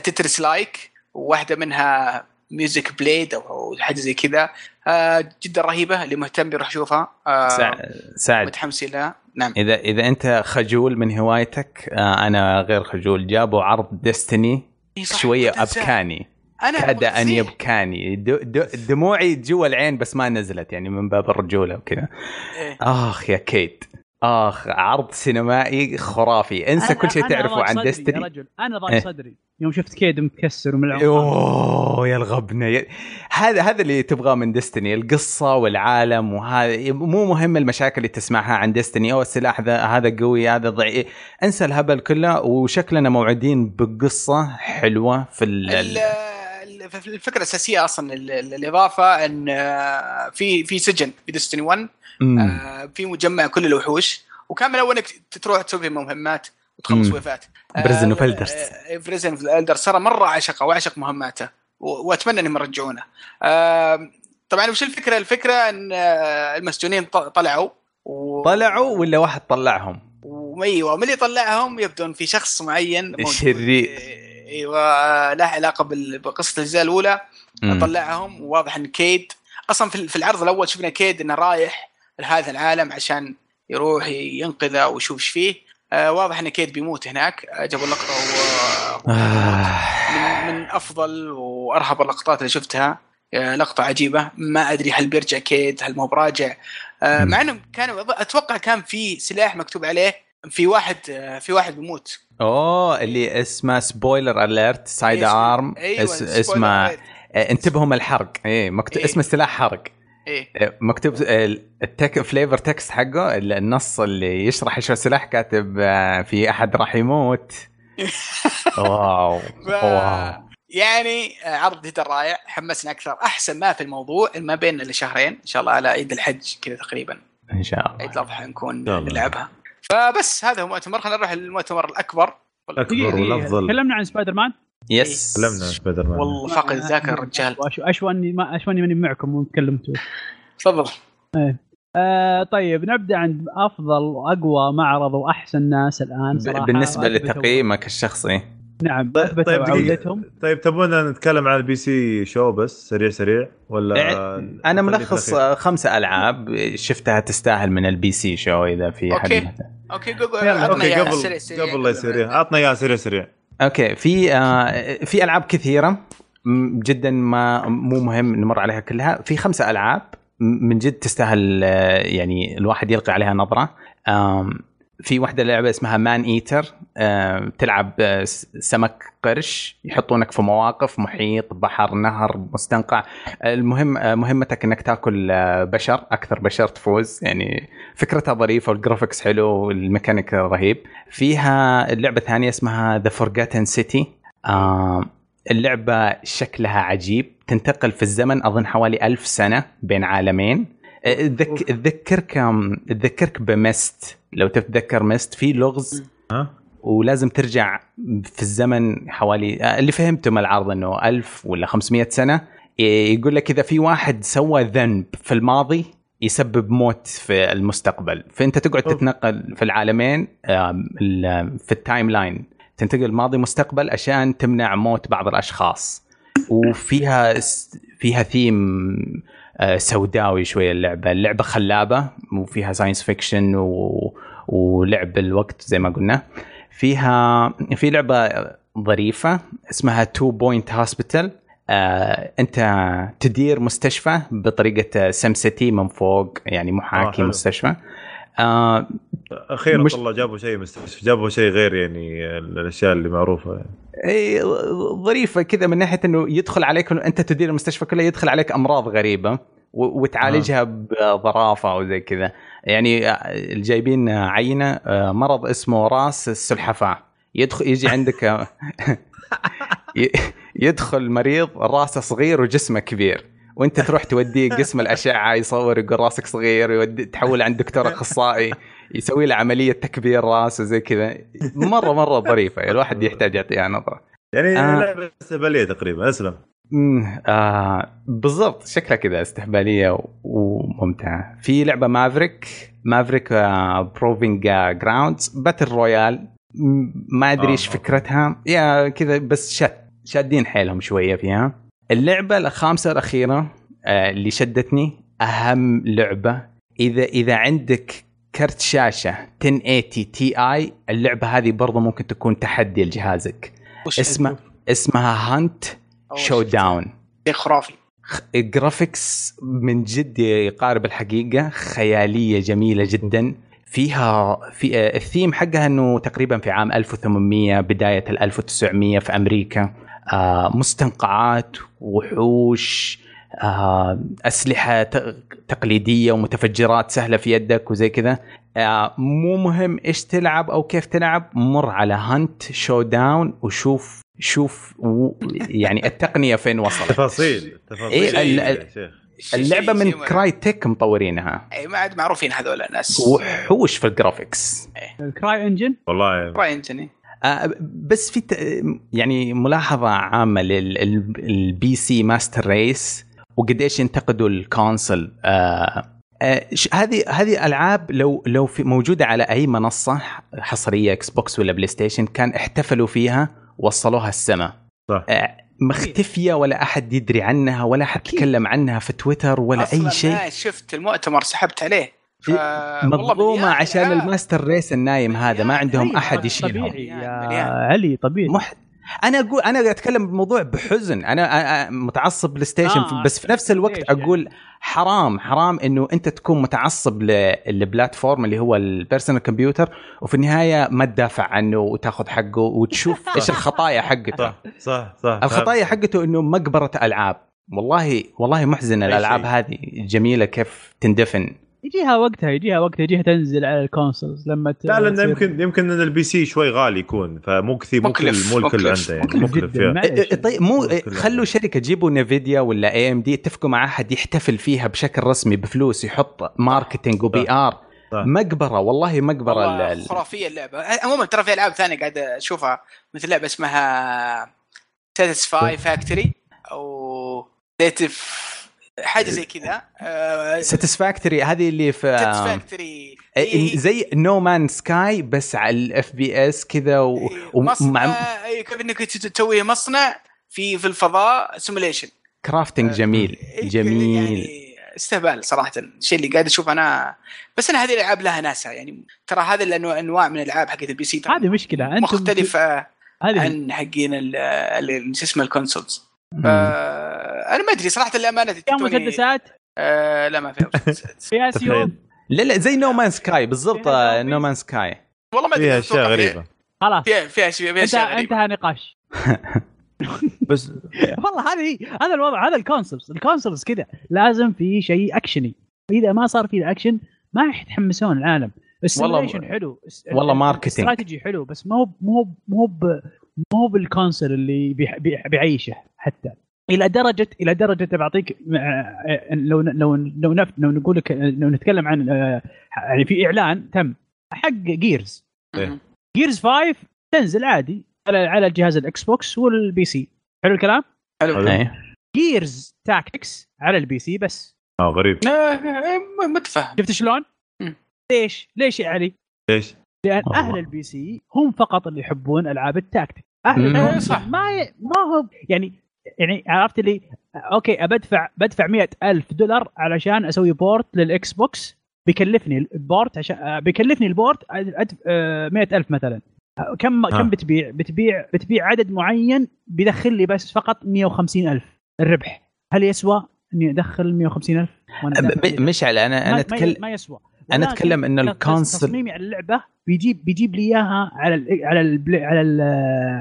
Speaker 3: تترس لايك وواحده منها ميوزك بليد او أو حاجه زي كذا آه، جدا رهيبه اللي مهتم يروح يشوفها آه،
Speaker 2: سع- سعد
Speaker 3: متحمسين لها نعم
Speaker 2: اذا اذا انت خجول من هوايتك آه، انا غير خجول جابوا عرض ديستني
Speaker 3: إيه صح،
Speaker 2: شويه
Speaker 3: ما تنسى.
Speaker 2: ابكاني
Speaker 3: انا
Speaker 2: كاد ان
Speaker 3: متصيح.
Speaker 2: يبكاني دو- دو- دموعي جوا العين بس ما نزلت يعني من باب الرجوله وكذا
Speaker 3: إيه.
Speaker 2: اخ يا كيد اخ عرض سينمائي خرافي انسى
Speaker 4: أنا-
Speaker 2: كل شيء
Speaker 4: أنا
Speaker 2: تعرفه
Speaker 4: ضاق
Speaker 2: عن
Speaker 4: صدري يا
Speaker 2: ديستني
Speaker 4: رجل انا
Speaker 2: إيه.
Speaker 4: ضاق صدري يوم شفت كيد متكسر وملعون
Speaker 2: اوه يا الغبنه يا- هذا هذا اللي تبغاه من ديستني القصه والعالم وهذا مو مهم المشاكل اللي تسمعها عن ديستني او السلاح ذا هذا قوي هذا ضعيف انسى الهبل كله وشكلنا موعدين بقصه حلوه في ال-
Speaker 3: ال-
Speaker 2: ال-
Speaker 3: ال- ف- الفكره الاساسيه اصلا ال- ال- الاضافه ان آه، في في سجن في ديستني 1
Speaker 2: مم.
Speaker 3: آه، في مجمع كل الوحوش وكان من اول انك ت- تروح تسوي فيه مهمات وتخلص آه،
Speaker 2: مم.
Speaker 3: ويفات
Speaker 2: Prison of Elders.
Speaker 3: بريزن اوف الدرز ترى مره عشقه وعشق مهماته و- واتمنى انهم يرجعونه آه، طبعا وش الفكره؟ الفكره ان آه، المسجونين ط- طلعوا و-
Speaker 2: طلعوا ولا واحد طلعهم
Speaker 3: وايوه من اللي طلعهم يبدو ان في شخص معين موجود.
Speaker 2: الشرير.
Speaker 3: ايوه له علاقه بال- بقصه الاجزاء الاولى
Speaker 2: مم.
Speaker 3: طلعهم وواضح ان كيد اصلا في في العرض الاول شفنا كيد انه رايح لهذا العالم عشان يروح ينقذه ويشوف ايش فيه آه واضح ان كيد بيموت هناك آه، جابوا لقطه و-
Speaker 2: آه.
Speaker 3: من, من افضل وارهب اللقطات اللي شفتها آه، لقطة عجيبة ما ادري هل بيرجع كيد هل مو براجع آه،
Speaker 2: مم.
Speaker 3: مع انهم كانوا أظ- اتوقع كان في سلاح مكتوب عليه في واحد آه، في واحد بيموت
Speaker 2: اوه اللي اسمه سبويلر اليرت سايد
Speaker 3: إيش-
Speaker 2: ارم
Speaker 3: أيوة،
Speaker 2: اس
Speaker 3: سبويلر
Speaker 2: اسمه
Speaker 3: أليرت.
Speaker 2: آه، انتبهوا من الحرق ايه مكتوب
Speaker 3: إيه.
Speaker 2: اسمه سلاح حرق
Speaker 3: إيه.
Speaker 2: آه، مكتوب آه، التك فليفر تكست حقه ال- النص اللي يشرح شو السلاح كاتب آه، في احد راح يموت واو
Speaker 3: ف-
Speaker 2: واو
Speaker 3: يعني آه، عرض جدا رائع حمسنا اكثر احسن ما في الموضوع ما بين لشهرين ان شاء الله على عيد الحج كذا تقريبا
Speaker 2: ان شاء الله
Speaker 3: عيد الاضحى نكون
Speaker 1: شاء الله.
Speaker 3: نلعبها فبس هذا هو مؤتمر خلينا نروح للمؤتمر الاكبر
Speaker 1: أكبر والأفضل.
Speaker 4: تكلمنا طيب، إيه، عن سبايدر مان
Speaker 3: إيه.
Speaker 2: يس
Speaker 1: تكلمنا عن سبايدر مان
Speaker 3: والله فاقد الذاكره الرجال
Speaker 4: أشو- اشو اني ما اشو اني ماني معكم وتكلمتوا
Speaker 3: تفضل
Speaker 4: آه طيب نبدا عند افضل واقوى معرض واحسن ناس الان صراحه
Speaker 2: ب- بالنسبه
Speaker 4: وأثبتوا-
Speaker 2: لتقييمك الشخصي
Speaker 4: نعم
Speaker 1: طيب-
Speaker 4: اثبتوا
Speaker 1: طيب دقيقة.
Speaker 4: عودتهم
Speaker 1: طيب تبون نتكلم عن البي سي شو بس سريع سريع ولا
Speaker 2: انا
Speaker 1: نخليه
Speaker 2: إيه، ملخص
Speaker 1: في الأخير؟
Speaker 2: آه، خمسه العاب شفتها تستاهل من البي سي شو اذا في حد
Speaker 3: أوكي.
Speaker 2: مهتم.
Speaker 3: اوكي جوجل
Speaker 4: يلا،
Speaker 3: عطنا
Speaker 1: اوكي
Speaker 3: إياه
Speaker 1: قبل
Speaker 3: سريع- سريع.
Speaker 1: قبل لا يصير إيه. عطنا اياها سريع سريع
Speaker 2: اوكي في آه في العاب كثيره م- جدا ما مو مهم نمر عليها كلها في خمسه العاب م- من جد تستاهل آه، يعني الواحد يلقي عليها نظره آم، في واحده لعبه اسمها مان ايتر آه، تلعب آه، س- سمك قرش يحطونك في مواقف محيط بحر نهر مستنقع المهم آه، مهمتك انك تاكل آه، بشر اكثر بشر تفوز يعني فكرتها ظريفه والجرافكس حلو والميكانيك رهيب فيها اللعبه الثانيه اسمها ذا فورغاتن سيتي اللعبه شكلها عجيب تنتقل في الزمن اظن حوالي ألف سنه بين عالمين آه، تذك- تذكرك تذكرك بمست لو تتذكر مست في لغز
Speaker 1: ها؟
Speaker 2: ولازم ترجع في الزمن حوالي آه، اللي فهمته من العرض انه 1000 ولا 500 سنه ي- يقول لك اذا في واحد سوى ذنب في الماضي يسبب موت في المستقبل فانت تقعد
Speaker 1: أوف.
Speaker 2: تتنقل في العالمين آم، ال- في التايم لاين تنتقل ماضي مستقبل عشان تمنع موت بعض الاشخاص وفيها س- فيها ثيم آه، سوداوي شويه اللعبه اللعبه خلابه وفيها ساينس فيكشن و... ولعب الوقت زي ما قلنا فيها في لعبه ظريفه اسمها تو بوينت هوسبيتال آه، انت تدير مستشفى بطريقه سمسيتي من فوق يعني
Speaker 1: آه،
Speaker 2: محاكي
Speaker 1: حلو.
Speaker 2: مستشفى آه،
Speaker 1: اخيرا
Speaker 2: مش-
Speaker 1: والله جابوا شيء مستشفى جابوا شيء غير يعني ال- الاشياء اللي معروفه يعني.
Speaker 2: إيه، ظريفه كذا من ناحيه انه يدخل عليك إنه انت تدير المستشفى كله يدخل عليك امراض غريبه و- وتعالجها بظرافه او زي كذا يعني آه، جايبين عينه آه، مرض اسمه راس السلحفاه يدخل يجي عندك آه، ي- يدخل مريض راسه صغير وجسمه كبير وانت تروح توديه قسم الاشعه يصور يقول راسك صغير يودي تحول عند دكتور اخصائي يسوي له عمليه تكبير راس وزي كذا مره مره ظريفه الواحد يحتاج يعطيها نظره
Speaker 1: يعني
Speaker 2: آه.
Speaker 1: لعبه استهباليه تقريبا اسلم
Speaker 2: امم آه بالضبط شكلها كذا استهباليه و- وممتعه في لعبه مافريك مافريك آه بروفينج آه جراوندز باتل رويال مم، ما ادري
Speaker 1: آه،
Speaker 2: ايش
Speaker 1: آه.
Speaker 2: فكرتها يا كذا بس شد شادين حيلهم شويه فيها اللعبه الخامسه الاخيره آه اللي شدتني اهم لعبه اذا اذا عندك كرت شاشه 1080 تي اي اللعبه هذه برضه ممكن تكون تحدي لجهازك
Speaker 3: وش
Speaker 2: اسمها اسمها هانت
Speaker 3: أول
Speaker 2: شو
Speaker 3: شيء.
Speaker 2: داون
Speaker 3: شيء خرافي
Speaker 2: الجرافيكس من جد يقارب الحقيقه خياليه جميله جدا فيها في آه، الثيم حقها انه تقريبا في عام 1800 بدايه ال 1900 في امريكا آه، مستنقعات وحوش آه، اسلحه ت- تقليديه ومتفجرات سهله في يدك وزي كذا آه، مو مهم ايش تلعب او كيف تلعب مر على هانت شو داون وشوف شوف و- يعني التقنيه فين وصلت
Speaker 1: تفاصيل تفاصيل
Speaker 2: إيه، ال-
Speaker 1: يا شيخ
Speaker 2: اللعبه
Speaker 3: شيء-
Speaker 2: من
Speaker 3: شيء-
Speaker 2: كراي تيك مطورينها
Speaker 3: اي ما عاد معروفين هذول الناس
Speaker 2: وحوش في الجرافيكس
Speaker 4: إيه. الكراي انجن
Speaker 1: والله
Speaker 3: راين جني
Speaker 2: آه، بس في ت- يعني ملاحظه عامه للبي سي ماستر ريس وقد ايش ينتقدوا الكونسل آه، آه، ش- هذه هذه العاب لو لو في موجوده على اي منصه حصريه اكس بوكس ولا بلاي ستيشن كان احتفلوا فيها وصلوها السماء
Speaker 1: صح.
Speaker 2: آه، مختفيه ولا احد يدري عنها ولا احد تكلم عنها في تويتر ولا
Speaker 3: أصلاً
Speaker 2: اي شيء
Speaker 3: ما شفت المؤتمر سحبت عليه ف... والله آه.
Speaker 2: مظلومه
Speaker 3: مليان
Speaker 2: عشان
Speaker 3: ألعاب.
Speaker 2: الماستر ريس النايم هذا ما
Speaker 3: مليان
Speaker 2: عندهم
Speaker 3: ألعاب.
Speaker 2: احد يشيلهم
Speaker 4: طبيعي يعني يا
Speaker 3: مليان.
Speaker 4: آه، علي طبيعي
Speaker 2: مح... انا اقول انا قاعد اتكلم بالموضوع بحزن انا أنا متعصب بلاي ستيشن
Speaker 4: آه،
Speaker 2: بس في نفس الوقت
Speaker 4: ليش يعني؟
Speaker 2: اقول حرام حرام انه انت تكون متعصب ل- للبلاتفورم اللي هو البيرسونال كمبيوتر وفي النهايه ما تدافع عنه وتاخذ حقه وتشوف ايش الخطايا حقته
Speaker 1: صح صح صح
Speaker 2: الخطايا حقته انه مقبره العاب والله والله محزن
Speaker 1: أي
Speaker 2: الالعاب
Speaker 1: شيء.
Speaker 2: هذه جميله كيف تندفن
Speaker 4: يجيها وقتها يجيها وقتها يجيها تنزل على الكونسولز لما ت-
Speaker 1: لا لانه
Speaker 4: تصير-
Speaker 1: يمكن يمكن ان البي سي شوي غالي يكون فمو كثير مو كل
Speaker 3: مكلف،
Speaker 1: مو الكل
Speaker 3: مكلف،
Speaker 1: عنده يعني
Speaker 4: مكلف
Speaker 1: مكلف
Speaker 4: جداً،
Speaker 1: يا.
Speaker 4: معلش.
Speaker 2: إيه، إيه، طيب مو إيه،
Speaker 1: كلها.
Speaker 2: خلوا شركه جيبوا نفيديا ولا اي ام دي اتفقوا مع احد يحتفل فيها بشكل رسمي بفلوس يحط ماركتينج وبي ار
Speaker 1: صح.
Speaker 2: مقبره والله مقبره
Speaker 3: والله
Speaker 2: ال- ال-
Speaker 3: خرافيه اللعبه عموما ترى في العاب ثانيه قاعد اشوفها مثل لعبه اسمها
Speaker 2: طيب.
Speaker 3: ساتيسفاي فاكتوري او ديتف حاجه زي كذا آه،
Speaker 2: ساتسفاكتوري هذه اللي في آم،
Speaker 3: ساتيسفاكتوري
Speaker 2: إيه، زي نو مان سكاي بس على الاف بي اس كذا و-
Speaker 3: إيه،
Speaker 2: ومع
Speaker 3: مصنع إيه، كيف انك تت- تسوي مصنع في في الفضاء سيموليشن
Speaker 2: كرافتنج إيه، جميل جميل
Speaker 3: آه، إيه، يعني استهبال صراحه الشيء اللي قاعد اشوف انا بس انا هذه الالعاب لها ناسها يعني ترى هذه الأنواع- انواع من الالعاب حقت البي سي ترى
Speaker 4: هذه مشكله انتم
Speaker 3: مختلفه
Speaker 4: هذه
Speaker 3: عن حقين ال- ال- شو اسمه الكونسولز
Speaker 2: مم.
Speaker 3: آه، انا ما ادري صراحه الامانه
Speaker 4: فيها
Speaker 3: توني-
Speaker 4: مسدسات
Speaker 3: آه لا ما فيها مسدسات
Speaker 4: فيها سيوف
Speaker 1: تخيل.
Speaker 2: لا لا زي نو مان سكاي بالضبط آه،
Speaker 4: فيها
Speaker 2: نو مان سكاي
Speaker 3: والله ما ادري
Speaker 1: فيها اشياء
Speaker 3: أتوقع فيها-
Speaker 1: غريبه
Speaker 4: خلاص
Speaker 3: فيها فيها اشياء فيها
Speaker 4: انت-
Speaker 3: اشياء غريبه
Speaker 4: انتهى نقاش
Speaker 1: بس
Speaker 4: والله هذه هي، هذا الوضع هذا الكونسبت الكونسبت كذا لازم في شيء اكشني اذا ما صار في اكشن ما يتحمسون العالم
Speaker 2: والله-
Speaker 4: السيميليشن حلو
Speaker 2: والله marketing.
Speaker 4: استراتيجي حلو بس مو مو مو ب- مو بالكونسل اللي بيح- بيح- بيعيشه حتى الى درجه الى درجه بعطيك آه، لو لو لو نف- لو نقول لك لو نتكلم عن آه، يعني في اعلان تم حق جيرز
Speaker 1: إيه.
Speaker 4: جيرز 5 تنزل عادي على على جهاز الاكس بوكس والبي سي حلو الكلام
Speaker 1: حلو.
Speaker 2: إيه.
Speaker 4: جيرز تاكتكس على البي سي بس
Speaker 1: اه غريب
Speaker 3: آه، آه، م- متفهم
Speaker 4: شفت شلون
Speaker 3: مم.
Speaker 4: ليش ليش يعني؟ يا علي
Speaker 1: ليش؟
Speaker 4: لان
Speaker 2: والله.
Speaker 4: اهل البي سي هم فقط اللي يحبون العاب التاكتيك اهل
Speaker 2: مم.
Speaker 4: الكونسول
Speaker 3: إيه، صح.
Speaker 4: ما ي... ما هو يعني يعني عرفت اللي اوكي بدفع بدفع مئة ألف دولار علشان اسوي بورت للاكس بوكس بيكلفني البورت عشان آه، بيكلفني البورت أدف... آه، مئة ألف مثلا آه، كم
Speaker 1: آه.
Speaker 4: كم بتبيع بتبيع بتبيع عدد معين بيدخل لي بس فقط 150 ألف الربح هل يسوى اني ادخل 150 ألف
Speaker 2: ب- ب- مشعل انا انا
Speaker 4: ما, ما,
Speaker 2: اتكلم
Speaker 4: ي- ما يسوى
Speaker 2: انا
Speaker 4: ولكن
Speaker 2: اتكلم انه
Speaker 4: تص-
Speaker 2: الكونسبت
Speaker 4: تصميمي على اللعبه يعني بيجيب بيجيب لي اياها على ال على ال على ال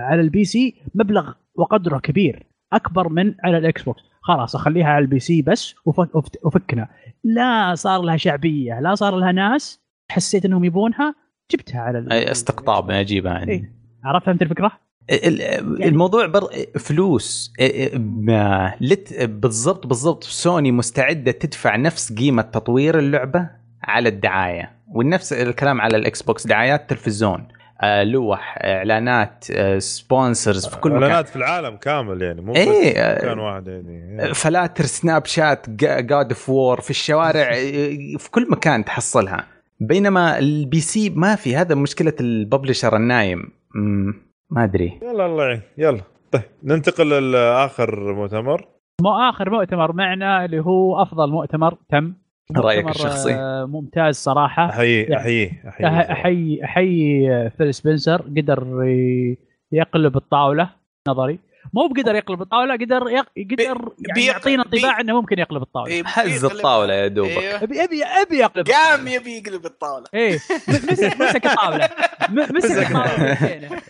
Speaker 4: على البي سي مبلغ وقدره كبير اكبر من على الاكس بوكس خلاص اخليها على البي سي بس وف- وفت- وفكنا لا صار لها شعبيه لا صار لها ناس حسيت انهم يبونها جبتها على ال-
Speaker 2: استقطاب اجيبها عندي
Speaker 4: إيه. عرفت فهمت الفكره؟
Speaker 2: ال- الموضوع بر... فلوس إيه، إيه، ما- لت... بالضبط بالضبط سوني مستعده تدفع نفس قيمه تطوير اللعبه على الدعايه والنفس الكلام على الاكس بوكس دعايات تلفزيون آه، لوح اعلانات آه، سبونسرز في كل مكان
Speaker 1: اعلانات في العالم كامل يعني مو
Speaker 2: إيه،
Speaker 1: بس
Speaker 2: آه.
Speaker 1: كان واحد يعني
Speaker 2: فلاتر سناب شات جاد اوف وور في الشوارع إيه، في كل مكان تحصلها بينما البي سي ما في هذا مشكله الببلشر النايم مم، ما ادري
Speaker 1: يلا الله يعين يلا طيب ننتقل لاخر مؤتمر
Speaker 4: مو اخر مؤتمر معنا اللي هو افضل مؤتمر تم
Speaker 2: رأيك
Speaker 4: مؤتمر،
Speaker 2: الشخصي.
Speaker 4: آه، ممتاز صراحه
Speaker 1: احييه احييه
Speaker 4: أح- احيي احيي فيل سبنسر قدر ي- يقلب الطاوله نظري مو بقدر يقلب الطاوله قدر يق... قدر يعني
Speaker 3: بيق-
Speaker 4: يعطينا انطباع
Speaker 3: بي- إيه.
Speaker 4: انه ممكن يقلب الطاوله
Speaker 2: هز الطاوله يا دوبك
Speaker 3: أيوه.
Speaker 4: ابي ابي ابي يقلب
Speaker 3: قام يبي يقلب الطاوله
Speaker 4: ايه مسك مسك الطاوله م- مسك الطاوله بيدينه.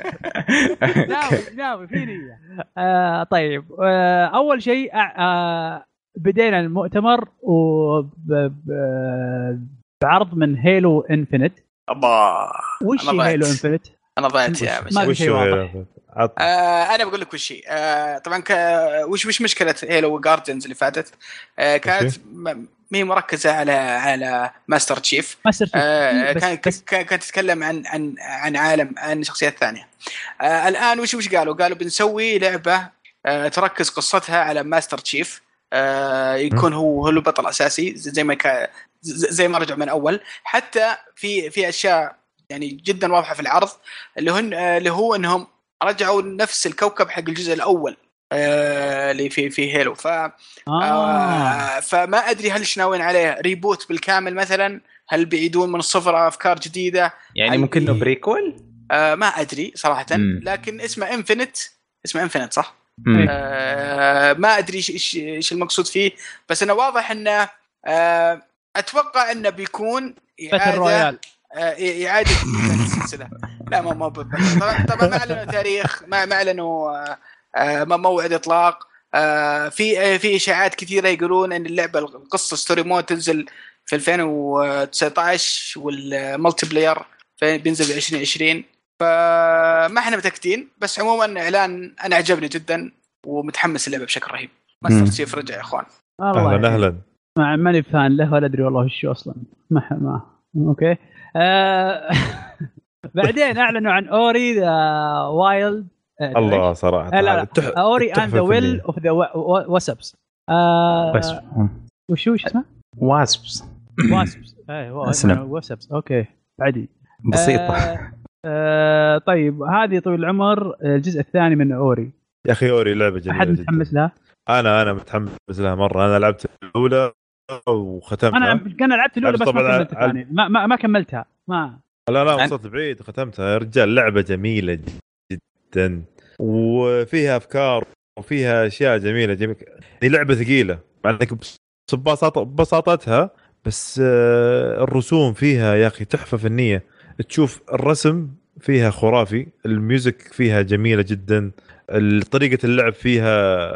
Speaker 4: ناوي ناوي في نيه آه طيب آه اول شيء آه، آه بدينا المؤتمر وب- ب- بعرض من هيلو انفنت
Speaker 3: ابا
Speaker 4: وش
Speaker 3: أنا ضعت.
Speaker 4: هيلو انفنت؟
Speaker 3: انا ضيعت يا
Speaker 4: ما
Speaker 3: مشعل
Speaker 4: في
Speaker 1: وش
Speaker 4: شيء
Speaker 1: هو يا
Speaker 4: واضح.
Speaker 1: أخي؟ عط-
Speaker 3: آه انا بقول لك وش هي. آه طبعا ك- وش وش مشكله هيلو جاردنز اللي فاتت آه كانت
Speaker 1: أوكي.
Speaker 3: م- ما هي مركزه على على ماستر تشيف
Speaker 4: ماستر شيف
Speaker 3: آه،
Speaker 4: بس-
Speaker 3: كان
Speaker 4: بس-
Speaker 3: كان كان تتكلم عن عن عن عالم عن شخصيات ثانيه. آه، الان وش وش قالوا؟ قالوا بنسوي لعبه آه، تركز قصتها على ماستر تشيف آه، يكون هو هو البطل الاساسي زي ما كان زي ما رجع من اول حتى في في اشياء يعني جدا واضحه في العرض اللي هن آه، اللي هو انهم رجعوا نفس الكوكب حق الجزء الاول آه، اللي في في هيلو ف
Speaker 4: آه.
Speaker 3: آه، فما ادري هل ايش ناويين عليه ريبوت بالكامل مثلا هل بيعيدون من الصفر افكار جديده
Speaker 2: يعني ممكن انه بريكول؟
Speaker 3: آه ما ادري صراحه
Speaker 2: مم.
Speaker 3: لكن اسمه انفينيت اسمه انفينيت صح
Speaker 2: مم.
Speaker 3: آه ما ادري إيش- ايش ايش المقصود فيه بس انا واضح انه آه اتوقع انه بيكون
Speaker 4: باتل
Speaker 3: اعاده
Speaker 4: رويال
Speaker 3: آه اعاده السلسله لا ما مو بالباتل. طبعا طبعا ما اعلنوا تاريخ ما ما اعلنوا آه، آه ما موعد اطلاق آه في آه في اشاعات كثيره يقولون ان اللعبه القصه ستوري مود تنزل في 2019 والملتي بلاير في- بينزل في 2020 فما احنا متاكدين بس عموما اعلان انا عجبني جدا ومتحمس اللعبه بشكل رهيب ماستر
Speaker 2: مم.
Speaker 3: تشيف رجع يا اخوان
Speaker 1: اهلا اهلا
Speaker 4: ما آه، ماني فان له ولا ادري والله شو اصلا ما ح- ما اوكي آه بعدين اعلنوا عن آه، اوري ذا وايلد
Speaker 1: الله صراحه
Speaker 4: لا، لا.
Speaker 1: تح-
Speaker 4: اوري اند
Speaker 1: تحفة
Speaker 4: ذا ويل
Speaker 1: فنية.
Speaker 4: اوف ذا واسبس آه
Speaker 2: بس
Speaker 4: وشو وش اسمه؟
Speaker 2: واسبس
Speaker 4: واسبس ايوه
Speaker 2: أسلم.
Speaker 4: واسبس اوكي عادي
Speaker 2: بسيطة
Speaker 4: آه آه طيب هذه طويل العمر الجزء الثاني من اوري
Speaker 1: يا اخي اوري لعبه جميله
Speaker 4: احد
Speaker 1: جدا
Speaker 4: متحمس لها؟
Speaker 1: انا انا متحمس لها مره انا لعبت الاولى وختمتها
Speaker 4: انا
Speaker 1: انا
Speaker 4: انا لعبت الاولى بس
Speaker 1: لعبت
Speaker 4: ما
Speaker 1: طبعاً
Speaker 4: كملت
Speaker 1: على-
Speaker 4: الثانية ما, ما, ما كملتها ما
Speaker 1: لا لا
Speaker 2: أنا-
Speaker 1: وصلت بعيد ختمتها يا رجال لعبه جميله جدا وفيها افكار وفيها اشياء جميله جميله هي لعبه ثقيله مع انك بس- ببساطة ببساطتها بس آه، الرسوم فيها يا اخي تحفه فنيه تشوف الرسم فيها خرافي الميوزك فيها جميله جدا طريقه اللعب فيها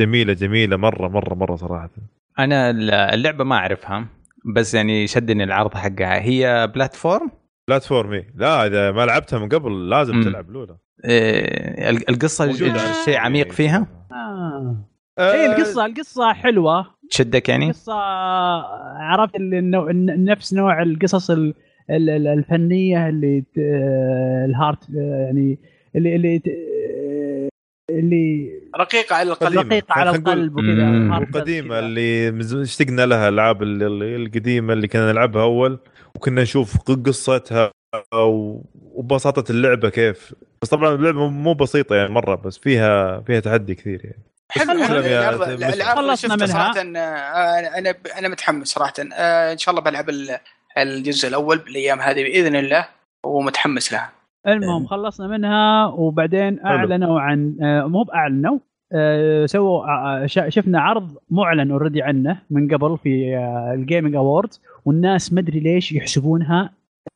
Speaker 1: جميله جميله مره مره مره صراحه
Speaker 2: انا اللعبه ما اعرفها بس يعني شدني العرض حقها هي بلاتفورم
Speaker 1: بلاتفورمي إيه. لا اذا ما لعبتها من قبل لازم
Speaker 2: مم.
Speaker 1: تلعب لولا
Speaker 2: إيه، القصه
Speaker 1: موجودة على
Speaker 2: شيء
Speaker 1: Steam.
Speaker 2: عميق فيها
Speaker 4: آه.
Speaker 1: آه،
Speaker 4: اي القصه القصه حلوه
Speaker 2: تشدك يعني
Speaker 4: قصه آه، عرفت اللي النوع الن- نفس نوع القصص ال- ال- ال- الفنيه اللي ت- آه، الهارت يعني اللي اللي ت- آه، اللي
Speaker 3: رقيقه على الاقل
Speaker 1: قديمة.
Speaker 4: رقيقه على
Speaker 1: خلينا نقول
Speaker 4: القلب وكذا
Speaker 2: مم.
Speaker 4: هارت تاتش
Speaker 1: القديمه
Speaker 4: كذا.
Speaker 1: اللي من زمان اشتقنا لها الالعاب ال- ال- القديمه اللي كنا نلعبها اول وكنا نشوف ق- قصتها و- وبساطه اللعبه كيف بس طبعا اللعبه مو بسيطه يعني مره بس فيها فيها تحدي كثير يعني
Speaker 3: حلو حلو
Speaker 1: خلصنا يا
Speaker 3: الألعاب-
Speaker 1: مسلم.
Speaker 3: الالعاب اللي
Speaker 4: خلصنا
Speaker 3: شفتها
Speaker 4: منها.
Speaker 3: صراحه آه، انا انا متحمس صراحه آه، ان شاء الله بلعب ال- الجزء الاول بالايام هذه باذن الله ومتحمس لها
Speaker 4: المهم خلصنا منها وبعدين اعلنوا عن آه، مو باعلنوا آه، سووا آه، ش- شفنا عرض معلن اوريدي عنه من قبل في الجيمنج اوورد والناس ما ادري ليش يحسبونها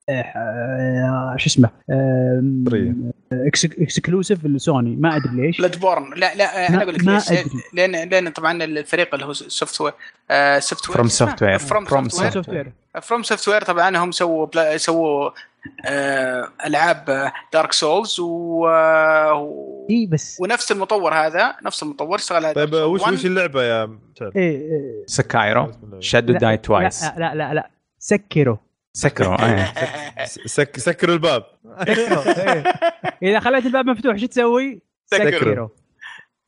Speaker 4: آه، آه، شو اسمه
Speaker 1: طرية.
Speaker 4: اكسكلوسيف لسوني ما ادري ليش
Speaker 3: بلاتفورم لا لا آه،
Speaker 4: ما-
Speaker 3: انا اقول لك
Speaker 4: ما
Speaker 3: ليش
Speaker 4: أدري.
Speaker 3: لان لان طبعا الفريق اللي هو سوفت وير آه، سوفت وير
Speaker 2: From Software. From
Speaker 3: فروم سوفت وير
Speaker 4: سوفت وير
Speaker 3: فروم سوفت وير طبعا هم سووا بلا سووا آه، العاب دارك سولز و آه،
Speaker 4: اي بس
Speaker 3: ونفس المطور هذا نفس المطور اشتغل على
Speaker 1: طيب
Speaker 3: Dark Souls
Speaker 1: وش
Speaker 3: 1.
Speaker 1: وش اللعبه يا شعر؟
Speaker 4: إيه، إيه،
Speaker 2: سكايرو
Speaker 1: بسم الله.
Speaker 2: شادو
Speaker 4: لا، آه.
Speaker 2: داي توايس
Speaker 4: لا لا لا لا سكروا
Speaker 2: سكروا آه.
Speaker 1: س- سك سكروا الباب
Speaker 4: سكروا إيه. اذا خليت الباب مفتوح شو تسوي؟
Speaker 3: سكروا.
Speaker 4: سكروا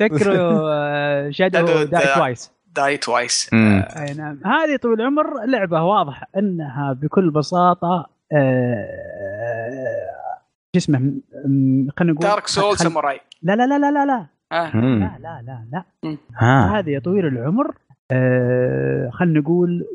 Speaker 4: سكروا آه، شادو
Speaker 3: شادو
Speaker 4: دارك
Speaker 3: دا-
Speaker 4: توايس
Speaker 3: داي توايس
Speaker 2: أمم.
Speaker 4: اي نعم هذه طول العمر لعبه واضح انها بكل بساطه آه، شو اسمه م- خلينا نقول
Speaker 3: دارك سول
Speaker 4: خل-
Speaker 3: ساموراي
Speaker 4: لا لا لا لا لا لا
Speaker 3: آه.
Speaker 4: لا
Speaker 2: أمم.
Speaker 4: لا لا, لا.
Speaker 2: ها
Speaker 4: هذه يا طويل العمر آه، خلينا نقول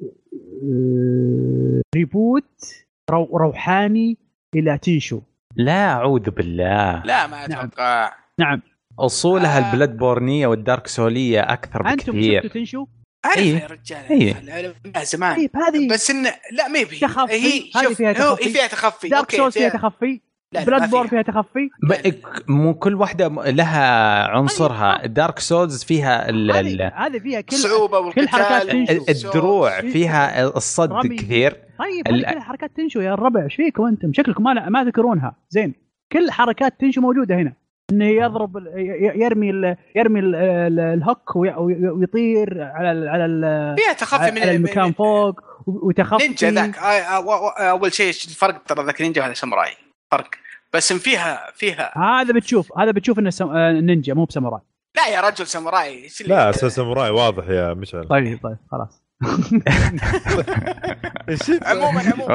Speaker 4: آه، ريبوت رو روحاني الى تنشو
Speaker 2: لا اعوذ بالله
Speaker 3: لا ما
Speaker 4: نعم.
Speaker 3: اتوقع
Speaker 4: نعم
Speaker 2: اصولها
Speaker 3: آه.
Speaker 2: البلاد بورنيه والدارك سوليه اكثر
Speaker 4: انتم
Speaker 2: بكثير
Speaker 4: شفتوا تنشو؟
Speaker 3: اعرفها
Speaker 2: إيه.
Speaker 3: يا رجال
Speaker 2: إيه.
Speaker 3: أعرفها زمان
Speaker 4: طيب هذه
Speaker 3: آه. بس إن لا ما يبي
Speaker 4: تخفي.
Speaker 3: هي
Speaker 4: هذه
Speaker 3: شوف
Speaker 4: فيها
Speaker 3: هو-
Speaker 4: تخفي.
Speaker 3: هي فيها تخفي
Speaker 4: دارك
Speaker 3: أوكي،
Speaker 4: سولز فيها
Speaker 3: فيها-
Speaker 4: تخفي
Speaker 3: لا، لا، ما
Speaker 4: بلاد بور
Speaker 3: فيها.
Speaker 4: فيها تخفي
Speaker 2: ب- مو كل واحده م- لها عنصرها دارك سولز فيها ال- ال-
Speaker 4: هذه هذه فيها كل
Speaker 3: الصعوبه
Speaker 4: حركات
Speaker 3: والقتال
Speaker 4: تنشو.
Speaker 2: ال- الدروع
Speaker 4: سولز.
Speaker 2: فيها الصد
Speaker 4: رمي.
Speaker 2: كثير
Speaker 4: طيب
Speaker 2: ال-
Speaker 4: هذه كل حركات تنشو يا الربع ايش فيكم انتم شكلكم ما ما تذكرونها زين كل حركات تنشو موجوده هنا انه يضرب ال- ي- يرمي ال يرمي ال ال الهوك وي- وي- ويطير على ال على ال
Speaker 3: فيها تخفي من
Speaker 4: على آه. المكان
Speaker 3: من-
Speaker 4: فوق و- وتخفي
Speaker 3: نينجا ذاك آه، آه، و- و- اول شيء الفرق ترى ذاك نينجا وهذا ساموراي فرق بس إن فيها فيها
Speaker 4: هذا بتشوف هذا بتشوف انه سم... آه، نينجا مو بساموراي
Speaker 3: لا يا رجل ساموراي إيش اللي-
Speaker 1: لا اساس ساموراي واضح يا مشعل
Speaker 4: طيب طيب خلاص
Speaker 3: عموما عموما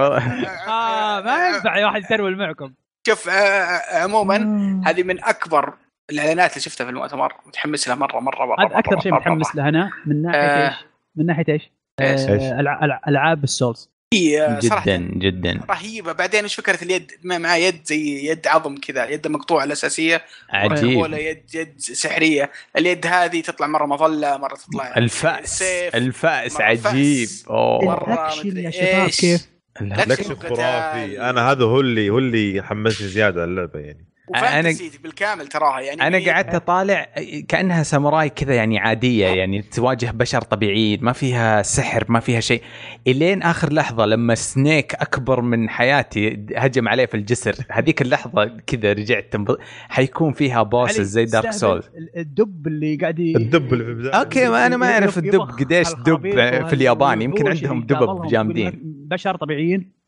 Speaker 4: آه ما ينفع يا واحد يترول معكم
Speaker 3: شوف آه، آه، عموما هذه من اكبر الاعلانات اللي شفتها في المؤتمر متحمس لها مره مره مره
Speaker 4: هذا اكثر
Speaker 3: مرة،
Speaker 4: شيء
Speaker 3: مرة،
Speaker 4: متحمس
Speaker 3: مرة.
Speaker 4: له انا من ناحيه
Speaker 3: آه.
Speaker 4: ايش؟ من ناحيه ايش؟
Speaker 3: إيش؟
Speaker 4: آه، ألع- ألع- العاب السولز
Speaker 3: هي، آه،
Speaker 2: جدا
Speaker 3: صراحه
Speaker 2: جدا
Speaker 3: رهيبه بعدين ايش فكره اليد ما معاه يد زي يد عظم كذا يد مقطوعه الاساسيه ولا
Speaker 2: عجيب
Speaker 3: يد يد سحريه اليد هذه تطلع مره مظله مره تطلع
Speaker 2: الفأس
Speaker 3: سيف.
Speaker 2: الفأس
Speaker 3: مرة
Speaker 2: عجيب
Speaker 3: فأس.
Speaker 2: اوه
Speaker 3: مرة
Speaker 4: الاكشن
Speaker 3: مدري
Speaker 4: يا شباب
Speaker 3: إيش.
Speaker 4: كيف
Speaker 1: لكش خرافي انا هذا هو اللي هو اللي حمسني زياده على اللعبه يعني
Speaker 3: وفانتسي بالكامل تراها يعني
Speaker 2: انا
Speaker 3: هي-
Speaker 2: قعدت اطالع كانها ساموراي كذا يعني عاديه يعني تواجه بشر طبيعيين ما فيها سحر ما فيها شيء الين اخر لحظه لما سنيك اكبر من حياتي هجم عليه في الجسر هذيك اللحظه كذا رجعت تنبض حيكون فيها بوسز
Speaker 4: علي،
Speaker 2: زي دارك
Speaker 4: استهبل
Speaker 2: سولز
Speaker 4: ال- الدب اللي قاعد ي-
Speaker 1: الدب اللي في البدايه
Speaker 2: اوكي ما انا ما اعرف الدب
Speaker 4: يبخ
Speaker 2: قديش دب
Speaker 4: الخبيث وهال-
Speaker 2: في اليابان يمكن
Speaker 4: والوحوش
Speaker 2: عندهم
Speaker 4: اللي
Speaker 2: دبب
Speaker 4: قابلهم
Speaker 2: جامدين
Speaker 4: يقول لك بشر طبيعيين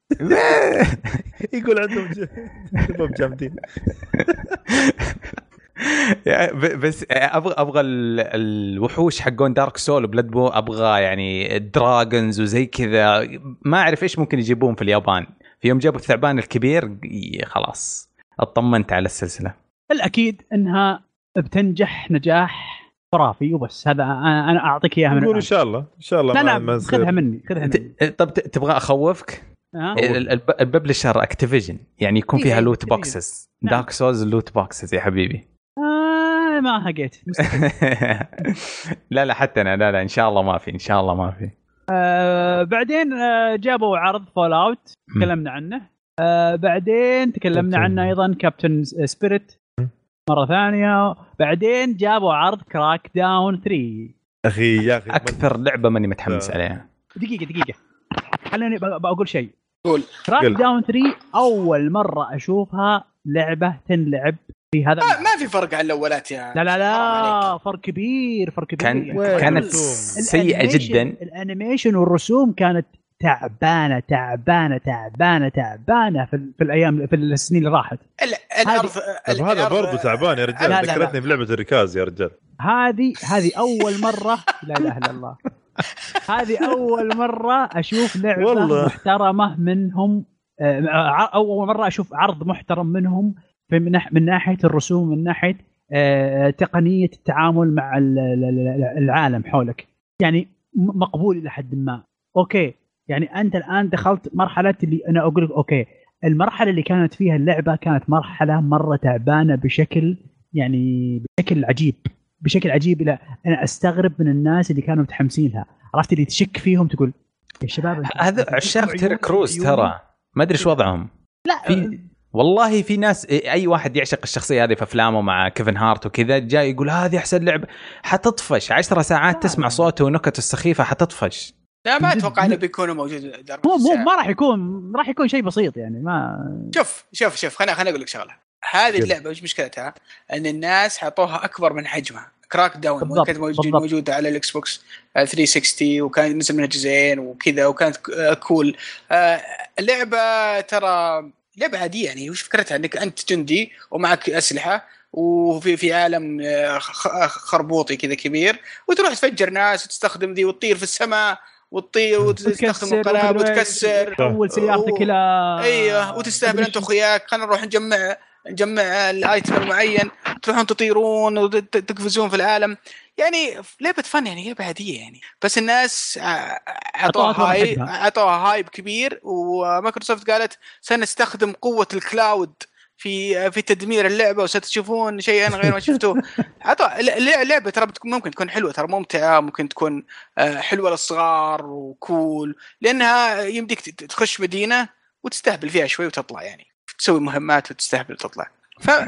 Speaker 1: يقول عندهم ج- دبب جامدين
Speaker 2: يا- ب- بس ابغى ابغى ال- الوحوش حقون دارك سول وبلاد بو ابغى يعني دراجونز وزي كذا ما اعرف ايش ممكن يجيبون في اليابان في يوم جابوا الثعبان الكبير ي- خلاص اطمنت على السلسله
Speaker 4: الاكيد انها بتنجح نجاح خرافي وبس هذا انا أنا اعطيك اياها من
Speaker 1: نقول ان
Speaker 4: الآن.
Speaker 1: شاء الله ان شاء الله
Speaker 4: لا
Speaker 1: ما- ما
Speaker 4: لا
Speaker 1: يصير.
Speaker 4: خذها مني خذها مني
Speaker 2: ت- آه، طب ت- تبغى اخوفك
Speaker 4: ها؟
Speaker 1: أوه.
Speaker 2: ال- الب- الببلشر اكتيفيجن يعني يكون
Speaker 4: إيه،
Speaker 2: فيها لوت
Speaker 4: Activision.
Speaker 2: بوكسز
Speaker 4: نعم.
Speaker 2: دارك سولز لوت بوكسز يا حبيبي
Speaker 4: آه ما هقيت
Speaker 2: لا لا حتى انا لا لا ان شاء الله ما في ان شاء الله ما في
Speaker 4: آه بعدين آه جابوا عرض فول اوت
Speaker 2: مم.
Speaker 4: تكلمنا عنه آه بعدين تكلمنا
Speaker 1: كابتن.
Speaker 4: عنه ايضا كابتن سبيريت مره ثانيه بعدين جابوا عرض كراك داون 3
Speaker 1: اخي يا اخي
Speaker 2: اكثر لعبه ماني متحمس
Speaker 1: آه.
Speaker 2: عليها
Speaker 4: دقيقه دقيقه خليني ب- بقول شيء
Speaker 3: قول.
Speaker 4: كراك
Speaker 1: قل.
Speaker 4: داون 3 اول مره اشوفها لعبه تنلعب في هذا
Speaker 3: آه، ما, ما في فرق عن يعني. الاولات يا
Speaker 4: لا لا
Speaker 3: حرام
Speaker 4: لا
Speaker 3: عليك.
Speaker 4: فرق كبير فرق كبير
Speaker 2: كان
Speaker 4: يعني
Speaker 2: كانت
Speaker 4: الرسوم-
Speaker 1: الرسوم.
Speaker 2: سيئه
Speaker 4: الأنيميشن-
Speaker 2: جدا
Speaker 4: الانيميشن والرسوم كانت تعبانه تعبانه تعبانه تعبانه في, في الايام في السنين اللي راحت
Speaker 3: ال- الارض
Speaker 1: طب هذا
Speaker 3: الأرض-
Speaker 1: برضه تعبان يا
Speaker 3: لا،
Speaker 1: رجال
Speaker 3: لا، لا.
Speaker 1: ذكرتني بلعبه الركاز يا رجال
Speaker 4: هذه هذه اول مره لا اله الا الله هذه اول مره اشوف لعبه
Speaker 1: والله.
Speaker 4: والله. محترمه منهم آه، ع- اول مره اشوف عرض محترم منهم في- من ناح- من ناحيه الرسوم من ناحيه آه، تقنيه التعامل مع ال- ال- ال- العالم حولك يعني م- مقبول الى حد ما اوكي يعني انت الان دخلت مرحله اللي انا اقول لك اوكي المرحله اللي كانت فيها اللعبه كانت مرحله مره تعبانه بشكل يعني بشكل عجيب بشكل عجيب الى انا استغرب من الناس اللي كانوا متحمسين لها عرفت اللي تشك فيهم تقول يا شباب أنتم-
Speaker 2: هذا
Speaker 4: أنتم
Speaker 2: عشاق
Speaker 4: عيون-
Speaker 2: تيرا كروز
Speaker 4: عيون-
Speaker 2: ترى ما ادري ايش وضعهم
Speaker 4: لا
Speaker 2: في والله في ناس اي واحد يعشق الشخصيه هذه في افلامه مع كيفن هارت وكذا جاي يقول هذه احسن لعبه حتطفش 10 ساعات تسمع صوته ونكته السخيفه حتطفش
Speaker 3: لا ما اتوقع انه بيكونوا موجود درب
Speaker 4: مو مو
Speaker 3: الساعة.
Speaker 4: ما راح يكون راح يكون شيء بسيط يعني ما
Speaker 3: شوف شوف شوف خليني خليني اقول لك شغله هذه
Speaker 1: يلا.
Speaker 3: اللعبه وش مشكلتها؟ ان الناس حطوها اكبر من حجمها كراك داون
Speaker 4: بالضبط،
Speaker 3: كانت موجوده
Speaker 4: بالضبط.
Speaker 3: موجوده على الاكس بوكس آه، 360 وكان نزل منها جزئين وكذا وكانت ك- آه، كول آه، اللعبه ترى لعبه عاديه يعني وش فكرتها انك انت جندي ومعك اسلحه وفي في عالم آه، خ- خربوطي كذا كبير وتروح تفجر ناس وتستخدم ذي وتطير في السماء
Speaker 4: آه،
Speaker 3: وتطير وتستخدم القنابل وتكسر
Speaker 4: تحول سيارتك الى آه،
Speaker 3: ايوه وتستهبل انت واخوياك خلينا نروح نجمع نجمع الايتم المعين تروحون تطيرون وتقفزون في العالم يعني لعبه فن يعني لعبه عاديه يعني بس الناس ع-
Speaker 4: أعطوها
Speaker 3: عطوها
Speaker 4: أكبر
Speaker 3: هاي
Speaker 4: حجمها.
Speaker 3: عطوها هايب كبير ومايكروسوفت قالت سنستخدم قوه الكلاود في في تدمير اللعبه وستشوفون شيئا غير ما شفتوه عطوا اللعبه ترى بتكون ممكن تكون حلوه ترى ممتعه ممكن تكون آه، حلوه للصغار وكول لانها يمديك ت- تخش مدينه وتستهبل فيها شوي وتطلع يعني تسوي مهمات وتستهبل وتطلع ف آه،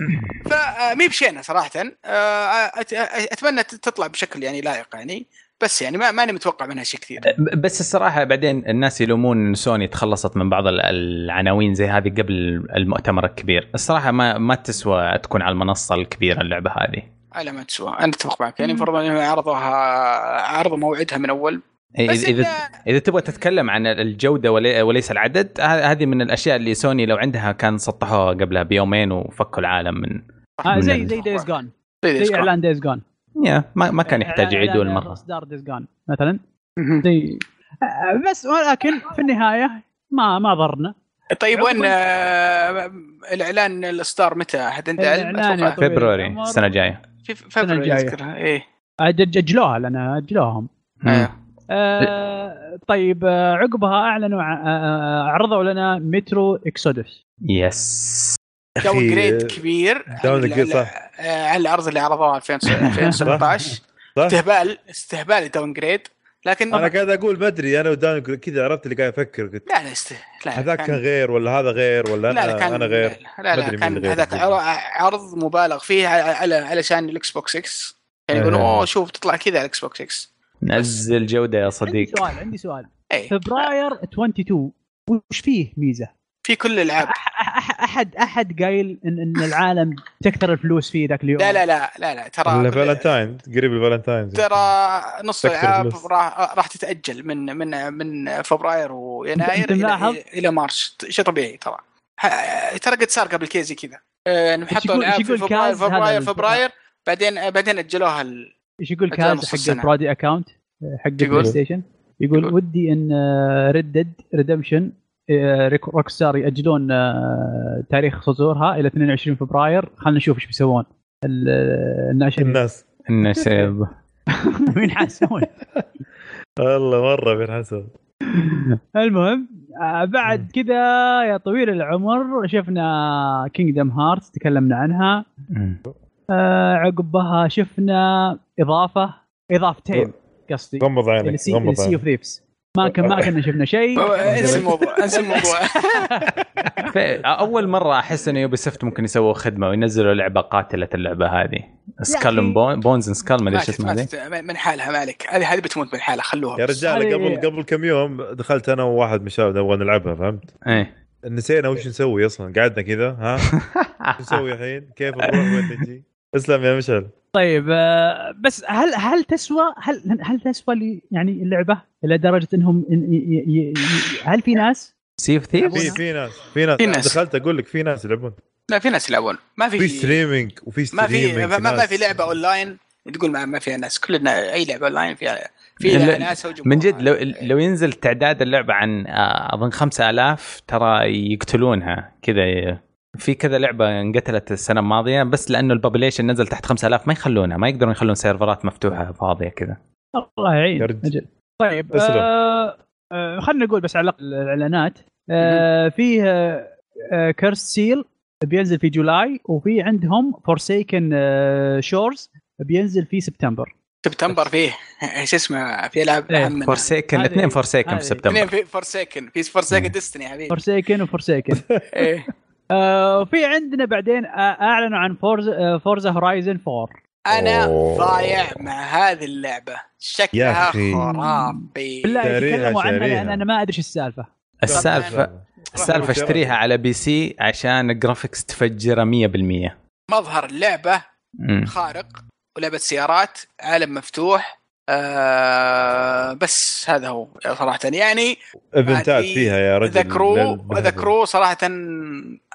Speaker 3: فمي بشينه صراحه آه، أت- اتمنى تطلع بشكل يعني لائق يعني بس يعني ما ماني متوقع منها شيء كثير
Speaker 2: ب- بس الصراحه بعدين الناس يلومون ان سوني تخلصت من بعض ال- العناوين زي هذه قبل المؤتمر الكبير الصراحه ما ما تسوى تكون على المنصه الكبيره اللعبه هذه
Speaker 3: على ما تسوى انا اتفق معك يعني المفروض انهم عرضوها عرضوا موعدها من اول بس
Speaker 2: إيه، إذا,
Speaker 3: إن-
Speaker 2: اذا اذا تبغى تتكلم عن الجوده ولي- وليس العدد ه- هذه من الاشياء اللي سوني لو عندها كان سطحوها قبلها بيومين وفكوا العالم من
Speaker 4: آه زي
Speaker 2: من
Speaker 4: زي دايز جون
Speaker 3: Days
Speaker 4: زي
Speaker 3: Gone.
Speaker 4: اعلان دايز جون
Speaker 2: يا ما, ما كان يحتاج يعيدون مره
Speaker 4: اصدار دايز جون مثلا
Speaker 3: مهم.
Speaker 4: زي آه، بس ولكن في النهايه ما ما ضرنا
Speaker 3: طيب
Speaker 4: عقب-
Speaker 3: وين آه، الاعلان الاصدار متى؟ حد عنده علم؟
Speaker 4: الإعلان يا
Speaker 3: اتوقع
Speaker 4: طويل
Speaker 2: فبرايري
Speaker 4: العمر.
Speaker 2: السنه الجاي
Speaker 3: في في فبراير
Speaker 4: الجاية.
Speaker 3: اذكرها ايه
Speaker 4: عاد اجلوها لان اجلوهم
Speaker 3: أيوه.
Speaker 4: آه طيب آه، عقبها اعلنوا ع- آه، عرضوا لنا مترو اكسودس
Speaker 2: يس
Speaker 3: داون جريد
Speaker 1: آه،
Speaker 3: كبير
Speaker 1: داون
Speaker 3: على-
Speaker 1: جريد، صح.
Speaker 3: على- آه، على العرض اللي عرضوه 2017
Speaker 1: صح؟
Speaker 3: استهبال استهبال داون جريد لكن
Speaker 1: انا
Speaker 3: لا
Speaker 1: قاعد اقول ما ادري انا ودان كذا عرفت اللي قاعد افكر قلت
Speaker 3: لا است... لا
Speaker 1: هذاك كان غير ولا هذا غير ولا
Speaker 3: لا لا
Speaker 1: انا
Speaker 3: كان
Speaker 1: انا غير
Speaker 3: لا
Speaker 1: ما
Speaker 3: لا
Speaker 1: أدري مين
Speaker 3: كان
Speaker 1: اللي غير.
Speaker 3: هذاك عر- عرض مبالغ فيه على على- علشان الاكس بوكس 6 يعني يقولون
Speaker 2: إيه.
Speaker 3: اوه شوف تطلع كذا على الاكس بوكس 6
Speaker 2: نزل جوده يا
Speaker 4: عندي
Speaker 2: صديق
Speaker 4: سؤال عندي سؤال
Speaker 3: اي
Speaker 4: فبراير 22 وش فيه ميزه؟
Speaker 3: في كل الالعاب
Speaker 4: أح- أح- احد احد قايل ان ان العالم تكثر الفلوس فيه ذاك اليوم
Speaker 3: لا لا لا لا لا ترى كل-
Speaker 1: الفالنتاين قريب الفالنتاين
Speaker 3: ترى نص
Speaker 1: تكثر
Speaker 3: الالعاب
Speaker 1: فلوس.
Speaker 3: راح راح تتاجل من من من فبراير ويناير
Speaker 4: أنت ملاحظ؟
Speaker 3: الى, إلى مارس شيء طبيعي ترى ح- ترى قد صار قبل كذي كذا آه، إنهم
Speaker 4: إيش
Speaker 3: حطوا
Speaker 4: يقول- إيش
Speaker 3: العاب في
Speaker 4: يقول
Speaker 3: فبراير
Speaker 4: كاز هذا
Speaker 3: فبراير
Speaker 4: الفكرة؟
Speaker 3: فبراير بعدين آه، بعدين اجلوها ال...
Speaker 4: ايش يقول
Speaker 3: أجل
Speaker 4: كاز
Speaker 3: نص
Speaker 4: حق
Speaker 3: السنة.
Speaker 4: البرودي اكاونت حق البلاي
Speaker 3: يقول؟
Speaker 4: ستيشن يقول
Speaker 3: يقول.
Speaker 4: ودي آه، ان ردد ريدمشن روك ستار ياجلون آه، تاريخ صدورها الى 22 فبراير خلينا نشوف ايش بيسوون ال- آه، الناشئين
Speaker 1: الناس
Speaker 2: النسب
Speaker 4: مين حاسون
Speaker 1: والله مره بين حسن
Speaker 4: المهم آه، بعد كذا يا طويل العمر شفنا كينجدم هارتس تكلمنا عنها آه، عقبها شفنا اضافه اضافتين قصدي
Speaker 1: غمض عينك غمض
Speaker 4: سي
Speaker 1: عينك
Speaker 4: اوف ثيفز ما كان ما كنا شفنا شيء
Speaker 3: انسى الموضوع انسى الموضوع
Speaker 2: ف- اول مره احس انه يوبي سوفت ممكن يسووا خدمه وينزلوا لعبه قاتله اللعبه هذه سكال بون بونز اند سكال ما ادري ايش
Speaker 3: ماتت
Speaker 2: اسمها هذه
Speaker 3: ماتت من حالها ما عليك هذه هذه بتموت من حالها خلوها
Speaker 1: يا
Speaker 3: بس.
Speaker 1: رجال
Speaker 4: هذه-
Speaker 1: قبل قبل كم يوم دخلت انا وواحد من الشباب نبغى نلعبها فهمت؟
Speaker 2: ايه
Speaker 1: نسينا وش نسوي اصلا قعدنا كذا ها وش نسوي الحين؟ كيف نروح وين نجي؟ اسلم يا مشعل
Speaker 4: طيب آه، بس هل هل تسوى هل هل تسوى لي يعني اللعبه الى درجه انهم إن- ي- ي- ي- هل في ناس
Speaker 2: سي اوف
Speaker 1: في
Speaker 2: ثيفز
Speaker 1: في ناس في ناس
Speaker 3: في ناس.
Speaker 1: دخلت اقول لك في ناس يلعبون
Speaker 3: لا في ناس يلعبون ما في
Speaker 1: في ستريمينج وفي
Speaker 3: ما
Speaker 1: ستريمينج
Speaker 3: في ما, ما
Speaker 1: ناس.
Speaker 3: في لعبه اونلاين تقول ما, ما فيها ناس كل النا- اي لعبه اونلاين فيها
Speaker 2: لا-
Speaker 3: فيها ناس وجمهور.
Speaker 2: من جد لو لو ينزل تعداد اللعبه عن آه، اظن 5000 ترى يقتلونها كذا ي- في كذا لعبه انقتلت السنه الماضيه بس لانه البوبليشن نزل تحت 5000 ما يخلونها ما يقدرون يخلون سيرفرات مفتوحه فاضيه كذا
Speaker 4: الله يعين
Speaker 1: يا رجل.
Speaker 4: أجل. طيب
Speaker 1: اسلم.
Speaker 4: آه آه خلينا نقول بس على الأقل الاعلانات آه فيه آه آه كيرس سيل بينزل في جولاي وفي عندهم فورسيكن آه شورز بينزل في سبتمبر
Speaker 3: سبتمبر فيه ايش اسمه في العاب
Speaker 4: إيه،
Speaker 3: اهم منها.
Speaker 2: فورسيكن
Speaker 4: هذه-
Speaker 2: الاثنين فورسيكن
Speaker 4: هذه.
Speaker 2: في
Speaker 3: اثنين
Speaker 2: سبتمبر
Speaker 3: في فورسيكن في
Speaker 2: إيه.
Speaker 3: فورسيكن ديستني يا حبيبي
Speaker 4: فورسيكن وفورسيكن
Speaker 3: إيه.
Speaker 4: آه وفي عندنا بعدين آه اعلنوا عن فورزا آه فورزا هورايزن 4
Speaker 3: انا
Speaker 1: أوه.
Speaker 3: ضايع مع هذه اللعبه
Speaker 1: يا
Speaker 3: شكلها
Speaker 1: أخي.
Speaker 3: خرافي
Speaker 4: بالله
Speaker 1: شاريها-
Speaker 4: يتكلموا عنها
Speaker 1: شاريها.
Speaker 4: لان انا ما ادري ايش السالفه
Speaker 2: السالفه
Speaker 1: آه.
Speaker 2: السالفه اشتريها على بي سي عشان الجرافكس تفجره 100%
Speaker 3: مظهر اللعبه
Speaker 2: مم.
Speaker 3: خارق ولعبه سيارات عالم مفتوح آه بس هذا هو صراحه يعني
Speaker 1: ايفنتات
Speaker 3: هذه
Speaker 1: فيها يا رجل
Speaker 3: ذا كرو
Speaker 1: لا-
Speaker 3: ذا كرو صراحه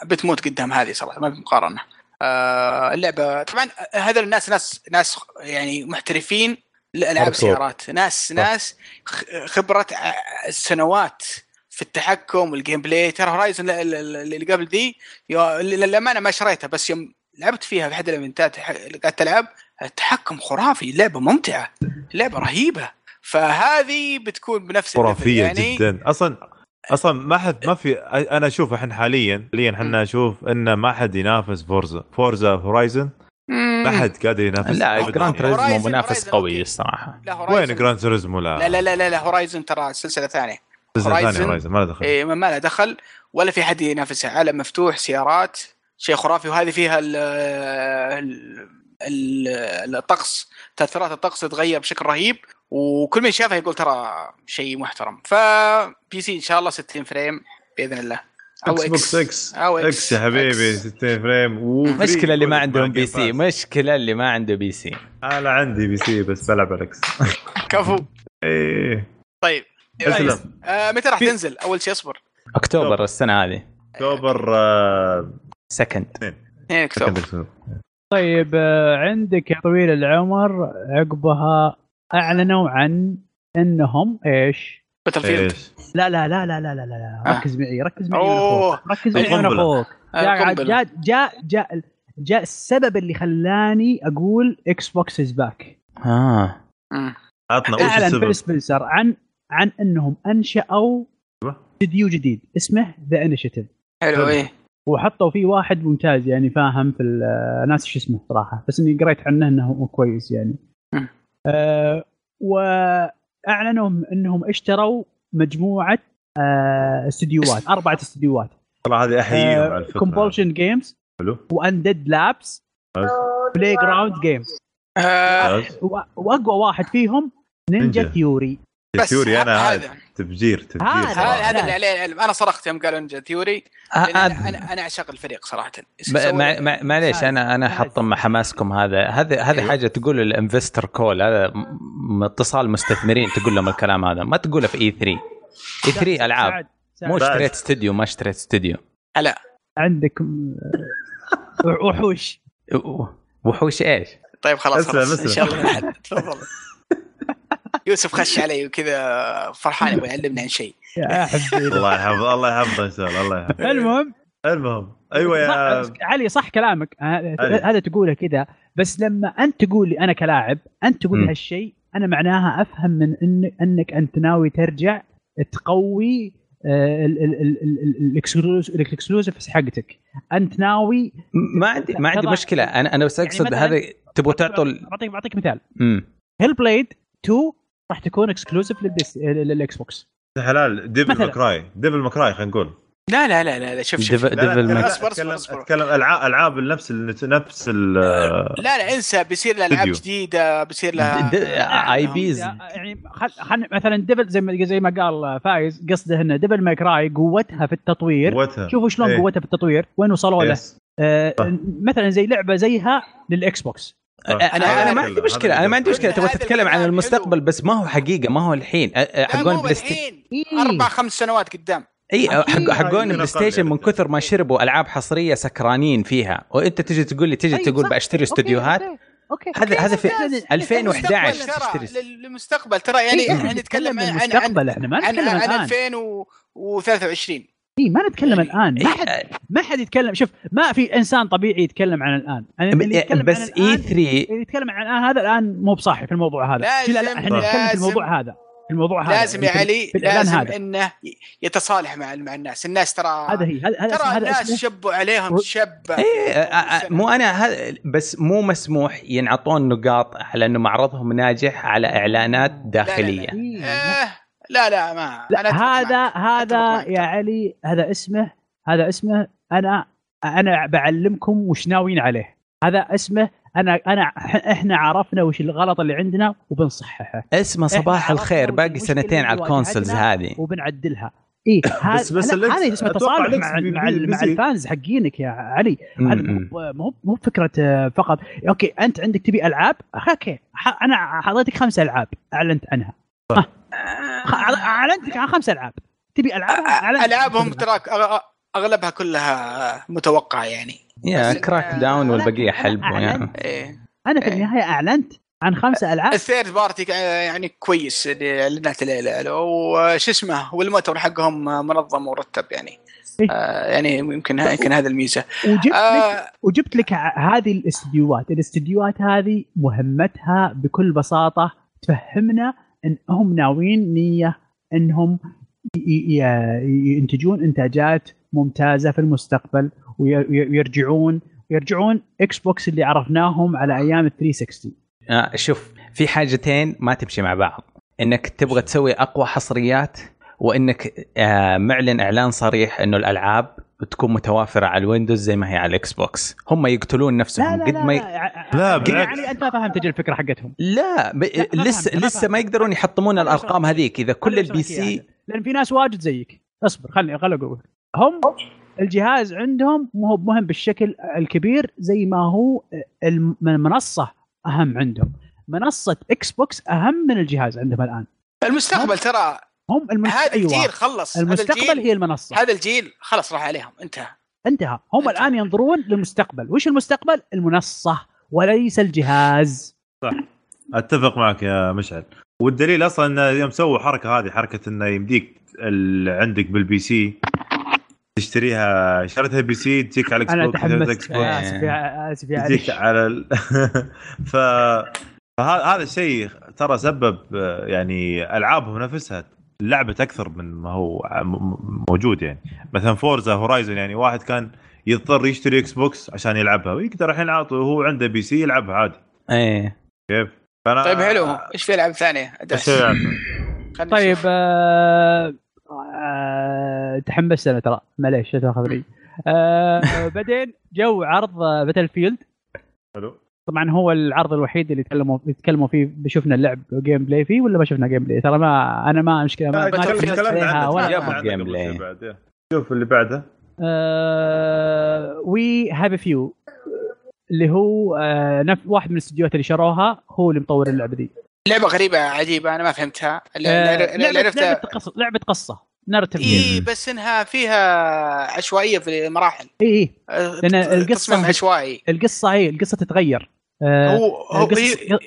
Speaker 3: بتموت قدام هذه صراحه ما في مقارنه آه اللعبه طبعا هذول الناس ناس ناس يعني محترفين لالعاب
Speaker 1: Hardcore.
Speaker 3: سيارات ناس ناس خ- خبره ع- سنوات في التحكم والجيم بلاي ترى هورايزن اللي قبل دي يا- للامانه ما شريتها بس يوم لعبت فيها في احد الايفنتات ح- اللي قاعد تلعب التحكم خرافي لعبه ممتعه لعبه رهيبه فهذه بتكون بنفس الليفل.
Speaker 1: خرافيه يعني جدا اصلا اصلا ما حد ما في انا اشوف احنا حاليا حاليا احنا اشوف انه ما حد ينافس فورزا فورزا هورايزن ما
Speaker 3: مم.
Speaker 1: حد قادر ينافس
Speaker 2: لا
Speaker 1: أبداً.
Speaker 2: جراند
Speaker 3: Horizon-
Speaker 2: تريزمو منافس
Speaker 3: Horizon
Speaker 2: قوي
Speaker 3: أوكي.
Speaker 2: الصراحه
Speaker 3: لا هورايزن
Speaker 1: وين جراند توريزمو لا
Speaker 3: لا لا لا لا, لا هورايزن ترى سلسله ثانيه
Speaker 1: لا
Speaker 3: Horizon.
Speaker 1: هورايزن ما له دخل
Speaker 3: إيه ما ما لها دخل ولا في حد ينافسها عالم مفتوح سيارات شيء خرافي وهذه فيها ال ال- ال- الطقس تاثيرات الطقس تتغير بشكل رهيب وكل من شافها يقول ترى شيء محترم ف بي سي ان شاء الله 60 فريم باذن الله
Speaker 5: اكس بوكس اكس
Speaker 3: او
Speaker 5: اكس يا حبيبي 60 فريم وفري.
Speaker 2: مشكلة اللي ما عندهم
Speaker 1: مع
Speaker 2: بي
Speaker 1: Game
Speaker 2: سي
Speaker 1: Pass.
Speaker 2: مشكلة اللي ما عنده بي سي
Speaker 1: انا عندي بي سي بس بلعب على اكس
Speaker 3: كفو
Speaker 1: ايه
Speaker 3: طيب
Speaker 1: اسلم
Speaker 3: آه متى راح
Speaker 1: في-
Speaker 3: تنزل اول شيء اصبر
Speaker 2: اكتوبر السنة هذه
Speaker 1: اكتوبر آه،
Speaker 2: سكند
Speaker 3: 2 اكتوبر
Speaker 4: طيب آه، عندك يا طويل العمر عقبها اعلنوا عن انهم ايش؟
Speaker 3: باتل فيلد
Speaker 1: ايش
Speaker 4: لا لا لا لا لا لا لا
Speaker 3: آه.
Speaker 4: ركز معي ركز معي أنا
Speaker 3: أوه.
Speaker 4: أخوك. ركز معي انا
Speaker 1: القنبلة.
Speaker 4: اخوك جاء
Speaker 3: القنبلة.
Speaker 4: جاء جاء جاء جاء السبب اللي خلاني اقول اكس بوكس از باك
Speaker 2: اه
Speaker 3: مم.
Speaker 1: عطنا وش
Speaker 4: اعلن بيل
Speaker 1: السبب
Speaker 4: سبنسر عن عن انهم انشأوا
Speaker 1: أيوة.
Speaker 4: استديو جديد اسمه ذا انشيتيف
Speaker 3: حلو
Speaker 1: حلو.
Speaker 3: ايه
Speaker 4: وحطوا فيه واحد ممتاز يعني فاهم في ال- آه، ناس ايش اسمه صراحه بس اني قريت عنه انه هو كويس يعني
Speaker 3: مم.
Speaker 4: آه واعلنوا انهم اشتروا مجموعه آه استديوهات اربعه استديوهات
Speaker 1: والله هذه
Speaker 4: آه،
Speaker 1: احييهم أيوة، على الفكره
Speaker 4: كومبولشن جيمز
Speaker 1: حلو.
Speaker 4: واندد لابس
Speaker 1: ممتاز.
Speaker 4: بلاي جراوند جيمز
Speaker 3: آه
Speaker 1: ممتاز.
Speaker 4: واقوى واحد فيهم نينجا
Speaker 1: نينجا.
Speaker 4: ثيوري
Speaker 3: بس
Speaker 1: ثيوري انا
Speaker 3: هذا
Speaker 1: هذا تفجير تفجير
Speaker 4: هذا-
Speaker 1: صراحة.
Speaker 3: هذا هذا
Speaker 4: لا.
Speaker 3: اللي عليه العلم انا صرخت يوم قالوا نينجا ثيوري
Speaker 2: آه،
Speaker 3: لأن انا
Speaker 2: آه،
Speaker 3: انا انا اعشق الفريق صراحه إيش
Speaker 2: ب-
Speaker 3: يسوي؟
Speaker 2: مع- مع- معليش انا انا
Speaker 4: هذا.
Speaker 2: حطم حماسكم هذا هذا هذه
Speaker 3: أيوة.
Speaker 2: حاجه تقول الانفستر كول هذا م- م- اتصال مستثمرين تقول لهم الكلام هذا ما تقوله في E اي 3 اي 3 العاب
Speaker 4: سعد- سعد.
Speaker 2: مو
Speaker 1: بعد.
Speaker 2: اشتريت استوديو ما اشتريت استوديو
Speaker 3: هلا
Speaker 4: عندك م- وحوش
Speaker 2: وحوش ايش؟
Speaker 3: طيب خلاص
Speaker 1: أسلم،
Speaker 3: خلاص ان
Speaker 1: أسلم.
Speaker 3: شاء الله نحل. تفضل يوسف خش علي وكذا فرحان يبغى يعلمني عن شيء
Speaker 4: يا حبيبي
Speaker 1: الله يحفظه الله يحفظه ان شاء الله الله يحفظه
Speaker 4: المهم
Speaker 1: المهم ايوه يا
Speaker 4: صح- أه، علي صح كلامك ه-
Speaker 1: علي.
Speaker 4: هذا تقوله كذا بس لما انت تقول لي انا كلاعب انت
Speaker 2: مم.
Speaker 4: تقول هالشيء انا معناها افهم من إن انك انت ناوي ترجع تقوي آه، ال- ال- ال- ال- ال- الإكسكلوز- الاكسكلوسيفز حقتك انت ناوي
Speaker 2: ما عندي ما عندي
Speaker 4: تضع-
Speaker 2: مشكله انا انا بس
Speaker 4: يعني
Speaker 2: اقصد
Speaker 4: مثلاً-
Speaker 2: هذا تبغوا تعطوا ال-
Speaker 4: بعطيك بعطيك مثال
Speaker 2: مم.
Speaker 4: هيل بليد 2 راح تكون اكسكلوسيف للاكس بوكس
Speaker 1: حلال ديفل
Speaker 4: مثلاً.
Speaker 1: ماكراي ديفل ماكراي خلينا نقول
Speaker 3: لا لا لا لا, لا شوف شوف
Speaker 2: ديف- ديفل
Speaker 3: لا،
Speaker 2: ماكس.
Speaker 3: أصبر، أصبر،
Speaker 5: اتكلم
Speaker 3: أصبر.
Speaker 5: اتكلم العاب العاب نفس نفس ال-
Speaker 3: لا لا انسى بيصير لها العاب
Speaker 1: استوديو.
Speaker 3: جديده بيصير لها آه،
Speaker 2: اي بيز
Speaker 4: يعني خل... خل... مثلا ديفل زي ما زي ما قال فايز قصده انه ديفل ماي كراي قوتها في التطوير
Speaker 5: قوتها
Speaker 4: شوفوا شلون
Speaker 5: إيه.
Speaker 4: قوتها في التطوير وين وصلوا
Speaker 1: إيه.
Speaker 4: له
Speaker 5: يس.
Speaker 4: آه، مثلا زي لعبه زيها للاكس بوكس
Speaker 2: انا انا ما عندي
Speaker 5: آه. هذا
Speaker 2: مشكله انا ما عندي
Speaker 3: هذا
Speaker 2: مشكله تبغى
Speaker 3: الكلام
Speaker 2: تتكلم عن
Speaker 3: حلو.
Speaker 2: المستقبل بس ما هو حقيقه ما هو الحين أ- أ-
Speaker 3: لا،
Speaker 2: حقون
Speaker 3: مو
Speaker 2: بلاي ستيشن
Speaker 3: الحين
Speaker 4: إيه.
Speaker 3: اربع خمس سنوات قدام
Speaker 2: اي حق
Speaker 4: أكيد.
Speaker 2: حقون
Speaker 5: أيوة.
Speaker 2: بلاي ستيشن من كثر ما شربوا العاب حصريه سكرانين فيها وانت تجي تقول لي تجي
Speaker 4: أيوة،
Speaker 2: تقول
Speaker 4: صح.
Speaker 2: بشتري استوديوهات
Speaker 4: اوكي, أوكي.
Speaker 2: هذا هذا في
Speaker 4: ممتاز.
Speaker 2: 2011
Speaker 3: المستقبل ترى،
Speaker 2: تشتري
Speaker 3: للمستقبل ترى يعني
Speaker 4: إيه، إحنا
Speaker 3: احنا نتكلم عن عن عن
Speaker 4: المستقبل احنا ما
Speaker 3: عن,
Speaker 4: نتكلم
Speaker 3: عن
Speaker 4: الان
Speaker 3: 2023
Speaker 4: اي ما نتكلم الان ما حد
Speaker 2: إيه،
Speaker 4: ما حد يتكلم شوف ما في انسان طبيعي يتكلم عن الان أنا اللي يتكلم عن
Speaker 2: إيه، بس E
Speaker 4: الآن-
Speaker 2: اي 3
Speaker 4: اللي يتكلم عن الان هذا الان مو بصح في الموضوع هذا
Speaker 3: لازم-
Speaker 4: لا لا احنا نتكلم في
Speaker 3: لازم-
Speaker 4: الموضوع هذا في الموضوع هذا
Speaker 3: لازم يا
Speaker 4: في-
Speaker 3: علي
Speaker 4: في الإعلان
Speaker 3: لازم
Speaker 4: هذا.
Speaker 3: انه يتصالح مع مع الناس الناس ترى
Speaker 4: هذا هي هذا هذا
Speaker 3: ترى
Speaker 4: هذا
Speaker 3: الناس
Speaker 4: اسمه-
Speaker 3: شبوا عليهم شب
Speaker 2: إيه،
Speaker 4: آه،
Speaker 2: أ- أ- مو انا هذا بس مو مسموح ينعطون نقاط على انه معرضهم ناجح على اعلانات داخليه
Speaker 4: إيه،
Speaker 3: إيه، لا لا ما
Speaker 4: لا
Speaker 3: أنا أتفق معك.
Speaker 4: هذا هذا
Speaker 3: معك.
Speaker 4: يا علي هذا اسمه هذا اسمه انا انا بعلمكم وش ناويين عليه هذا اسمه انا انا احنا عرفنا وش الغلط اللي عندنا وبنصححه
Speaker 2: اسمه
Speaker 4: إحنا
Speaker 2: صباح
Speaker 4: عرفنا
Speaker 2: الخير باقي
Speaker 4: المشكلة
Speaker 2: سنتين
Speaker 4: اللي
Speaker 2: على الكونسلز
Speaker 4: واجهتنا
Speaker 2: هذه
Speaker 4: وبنعدلها اي هذا
Speaker 5: بس- بس
Speaker 4: لا،
Speaker 5: الإكس-
Speaker 4: هذا اسمه
Speaker 5: أتوقع
Speaker 4: تصالح
Speaker 5: الإكس
Speaker 4: مع
Speaker 5: بي-
Speaker 4: مع,
Speaker 5: بي-
Speaker 4: مع
Speaker 5: بيزيد.
Speaker 4: الفانز حقينك يا علي
Speaker 2: م-
Speaker 4: هذا
Speaker 2: م.
Speaker 4: مو مو- مو فكره آه، فقط اوكي انت عندك تبي العاب أخ، اوكي ح- انا حطيتك خمس العاب اعلنت عنها ها. خ- اعلنت لك عن خمس العاب تبي العاب أعلنت-
Speaker 3: العابهم تراك أغ- اغلبها كلها متوقعه يعني
Speaker 2: يا
Speaker 3: بس-
Speaker 2: كراك داون
Speaker 4: أنا-
Speaker 2: والبقيه
Speaker 4: أنا
Speaker 2: حلب
Speaker 4: أعلنت.
Speaker 3: إيه.
Speaker 4: انا في
Speaker 3: إيه.
Speaker 4: النهايه اعلنت عن خمس العاب
Speaker 3: الثيرد بارتي كا- يعني كويس اللي اعلنت الليله له. وش اسمه والمؤتمر حقهم منظم ومرتب يعني
Speaker 4: إيه.
Speaker 3: آه يعني يمكن يمكن هذا الميزه
Speaker 4: وجبت لك
Speaker 3: آه
Speaker 4: وجبت لك ع- هذه الاستديوهات، الاستديوهات هذه مهمتها بكل بساطه تفهمنا انهم ناويين نيه انهم ي- ي- ي- ينتجون انتاجات ممتازه في المستقبل وي- وي- ويرجعون يرجعون اكس بوكس اللي عرفناهم على ايام ال 360
Speaker 2: آه، شوف في حاجتين ما تمشي مع بعض انك تبغى تسوي اقوى حصريات وانك آه، معلن اعلان صريح انه الالعاب تكون متوافره على الويندوز زي ما هي على الاكس بوكس هم يقتلون نفسهم
Speaker 4: لا لا
Speaker 2: قد
Speaker 4: لا,
Speaker 2: ما ي...
Speaker 4: لا, ع-
Speaker 1: لا،
Speaker 4: ع-
Speaker 1: بالعكس.
Speaker 4: يعني انت ما فهمت تجي الفكره حقتهم
Speaker 2: لا, ب...
Speaker 4: لا، ما
Speaker 2: لسه
Speaker 4: فهمت، ما
Speaker 2: لسه
Speaker 4: فهمت.
Speaker 2: ما يقدرون يحطمون
Speaker 4: أنا
Speaker 2: الارقام
Speaker 4: فهمت.
Speaker 2: هذيك اذا كل
Speaker 4: أنا
Speaker 2: البي
Speaker 4: شرحت إياها.
Speaker 2: سي
Speaker 4: لان في ناس واجد زيك اصبر خلني خلني اقول هم الجهاز عندهم مو هو مهم بالشكل الكبير زي ما هو الم- المنصه اهم عندهم منصه اكس بوكس اهم من الجهاز عندهم الان
Speaker 3: المستقبل ترى
Speaker 4: هم المنصه
Speaker 3: هذا الجيل
Speaker 4: ايوه
Speaker 3: خلص هذا
Speaker 4: المستقبل
Speaker 3: الجيل
Speaker 4: هي المنصه
Speaker 3: هذا الجيل خلص راح عليهم انتهى
Speaker 4: انتهى هم الان ينظرون للمستقبل وش المستقبل المنصه وليس الجهاز
Speaker 5: اتفق معك يا مشعل والدليل اصلا انه يوم سووا حركه هذه حركه انه يمديك اللي عندك بالبي سي تشتريها شريتها بي سي تجيك على
Speaker 4: انا
Speaker 5: الاكس بوكس
Speaker 4: تحمست
Speaker 5: اكس بوكس
Speaker 4: يا اسف آه، يا اسف يا علي
Speaker 5: تجيك على ال... ف فه- هذا الشيء ترى سبب آه، يعني العابهم نفسها لعبت اكثر من ما هو م- م- موجود يعني مثلا فورزا هورايزون يعني واحد كان يضطر يشتري اكس بوكس عشان يلعبها ويقدر الحين عاطه هو عنده بي سي يلعبها عادي
Speaker 2: ايه
Speaker 1: آه.
Speaker 5: فانا
Speaker 3: طيب حلو ايش في العاب ثانيه؟ أدعس.
Speaker 5: بس يعني، يلعب.
Speaker 3: خلنا
Speaker 4: طيب
Speaker 3: نشوف.
Speaker 4: آه آه تحمست انا ترى معليش لا تاخذ لي آه آه، بعدين جو عرض باتل فيلد
Speaker 5: حلو
Speaker 4: طبعا هو العرض الوحيد اللي يتكلموا يتكلموا فيه شفنا اللعب جيم بلاي فيه ولا ما شفنا جيم بلاي ترى ما انا ما مشكله ما, ما
Speaker 5: تكلم-
Speaker 4: تكلمت
Speaker 5: تكلمنا
Speaker 4: عليها
Speaker 5: عنه،
Speaker 4: ولا
Speaker 5: تكلمنا
Speaker 2: ما-
Speaker 4: ما.
Speaker 5: عنه
Speaker 2: جيم
Speaker 5: قبل
Speaker 2: بلاي.
Speaker 5: شوي بعد، يا. شوف اللي بعده
Speaker 4: آه وي هاف فيو اللي هو آه نف- واحد من الاستديوهات اللي شروها هو اللي مطور اللعبه دي
Speaker 3: لعبه غريبه عجيبه انا ما فهمتها اللي-
Speaker 4: آه،
Speaker 3: اللي- اللي
Speaker 4: لعبه لعبه
Speaker 3: عرفتها إيه.
Speaker 4: قصه لعبه قصه نارتيف
Speaker 3: اي بس انها فيها عشوائيه في المراحل
Speaker 4: اي اي
Speaker 3: آه،
Speaker 4: إيه، لأن القصة-
Speaker 3: تصميم عشوائي
Speaker 4: القصه هي القصه تتغير آه
Speaker 3: هو هو
Speaker 4: القصة-
Speaker 3: هي-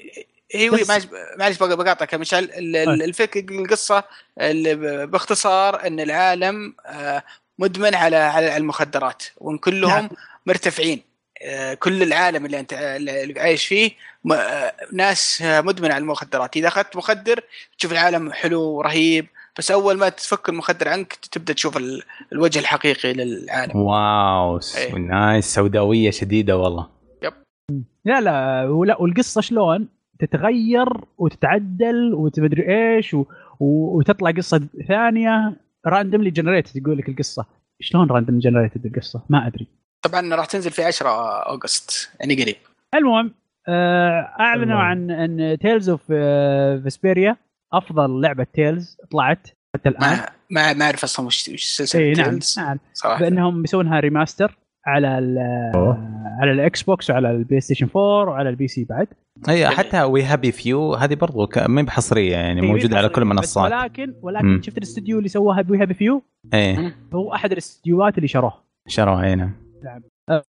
Speaker 3: هي وي
Speaker 4: قصة-
Speaker 3: معلش معلش بق- بقاطعك يا مشعل ال-
Speaker 4: طيب.
Speaker 3: ال- الفكر القصه اللي ب- باختصار ان العالم آه، مدمن على على على المخدرات وان
Speaker 4: نعم.
Speaker 3: كلهم مرتفعين آه، كل العالم اللي انت اللي عايش فيه م- آه، ناس آه، مدمنه على المخدرات اذا اخذت مخدر تشوف العالم حلو ورهيب بس اول ما تفك المخدر عنك تبدا تشوف ال- الوجه الحقيقي للعالم
Speaker 2: واو س-
Speaker 3: إيه.
Speaker 2: نايس سوداويه شديده والله
Speaker 4: لا لا ولا والقصه شلون تتغير وتتعدل وتمدري ايش و... و... وتطلع قصه ثانيه راندملي جنريت تقول لك القصه شلون راندم جنريتد القصه ما ادري
Speaker 3: طبعا راح تنزل في 10 اوغست يعني قريب
Speaker 4: المهم آه، اعلنوا
Speaker 5: المهم.
Speaker 4: عن ان تيلز اوف آه، فيسبيريا افضل لعبه تيلز طلعت حتى الان
Speaker 3: ما ما ما اعرف اصلا وش وش سلسله
Speaker 4: اي آه. نعم
Speaker 3: Tales
Speaker 4: نعم
Speaker 3: صراحه
Speaker 4: بانهم بيسوونها ريماستر على ال
Speaker 5: أوه.
Speaker 4: على الاكس بوكس وعلى البلاي ستيشن 4 وعلى البي سي بعد
Speaker 2: هي إيه، حتى وي هابي فيو هذه برضو ك- ما هي بحصريه
Speaker 4: إيه،
Speaker 2: يعني موجوده على كل
Speaker 4: بس
Speaker 2: المنصات
Speaker 4: ولكن ولكن
Speaker 2: مم.
Speaker 4: شفت الاستديو اللي سواها بويها بفيو
Speaker 2: ايه
Speaker 4: هو احد الاستديوهات اللي شروها
Speaker 2: شروها هنا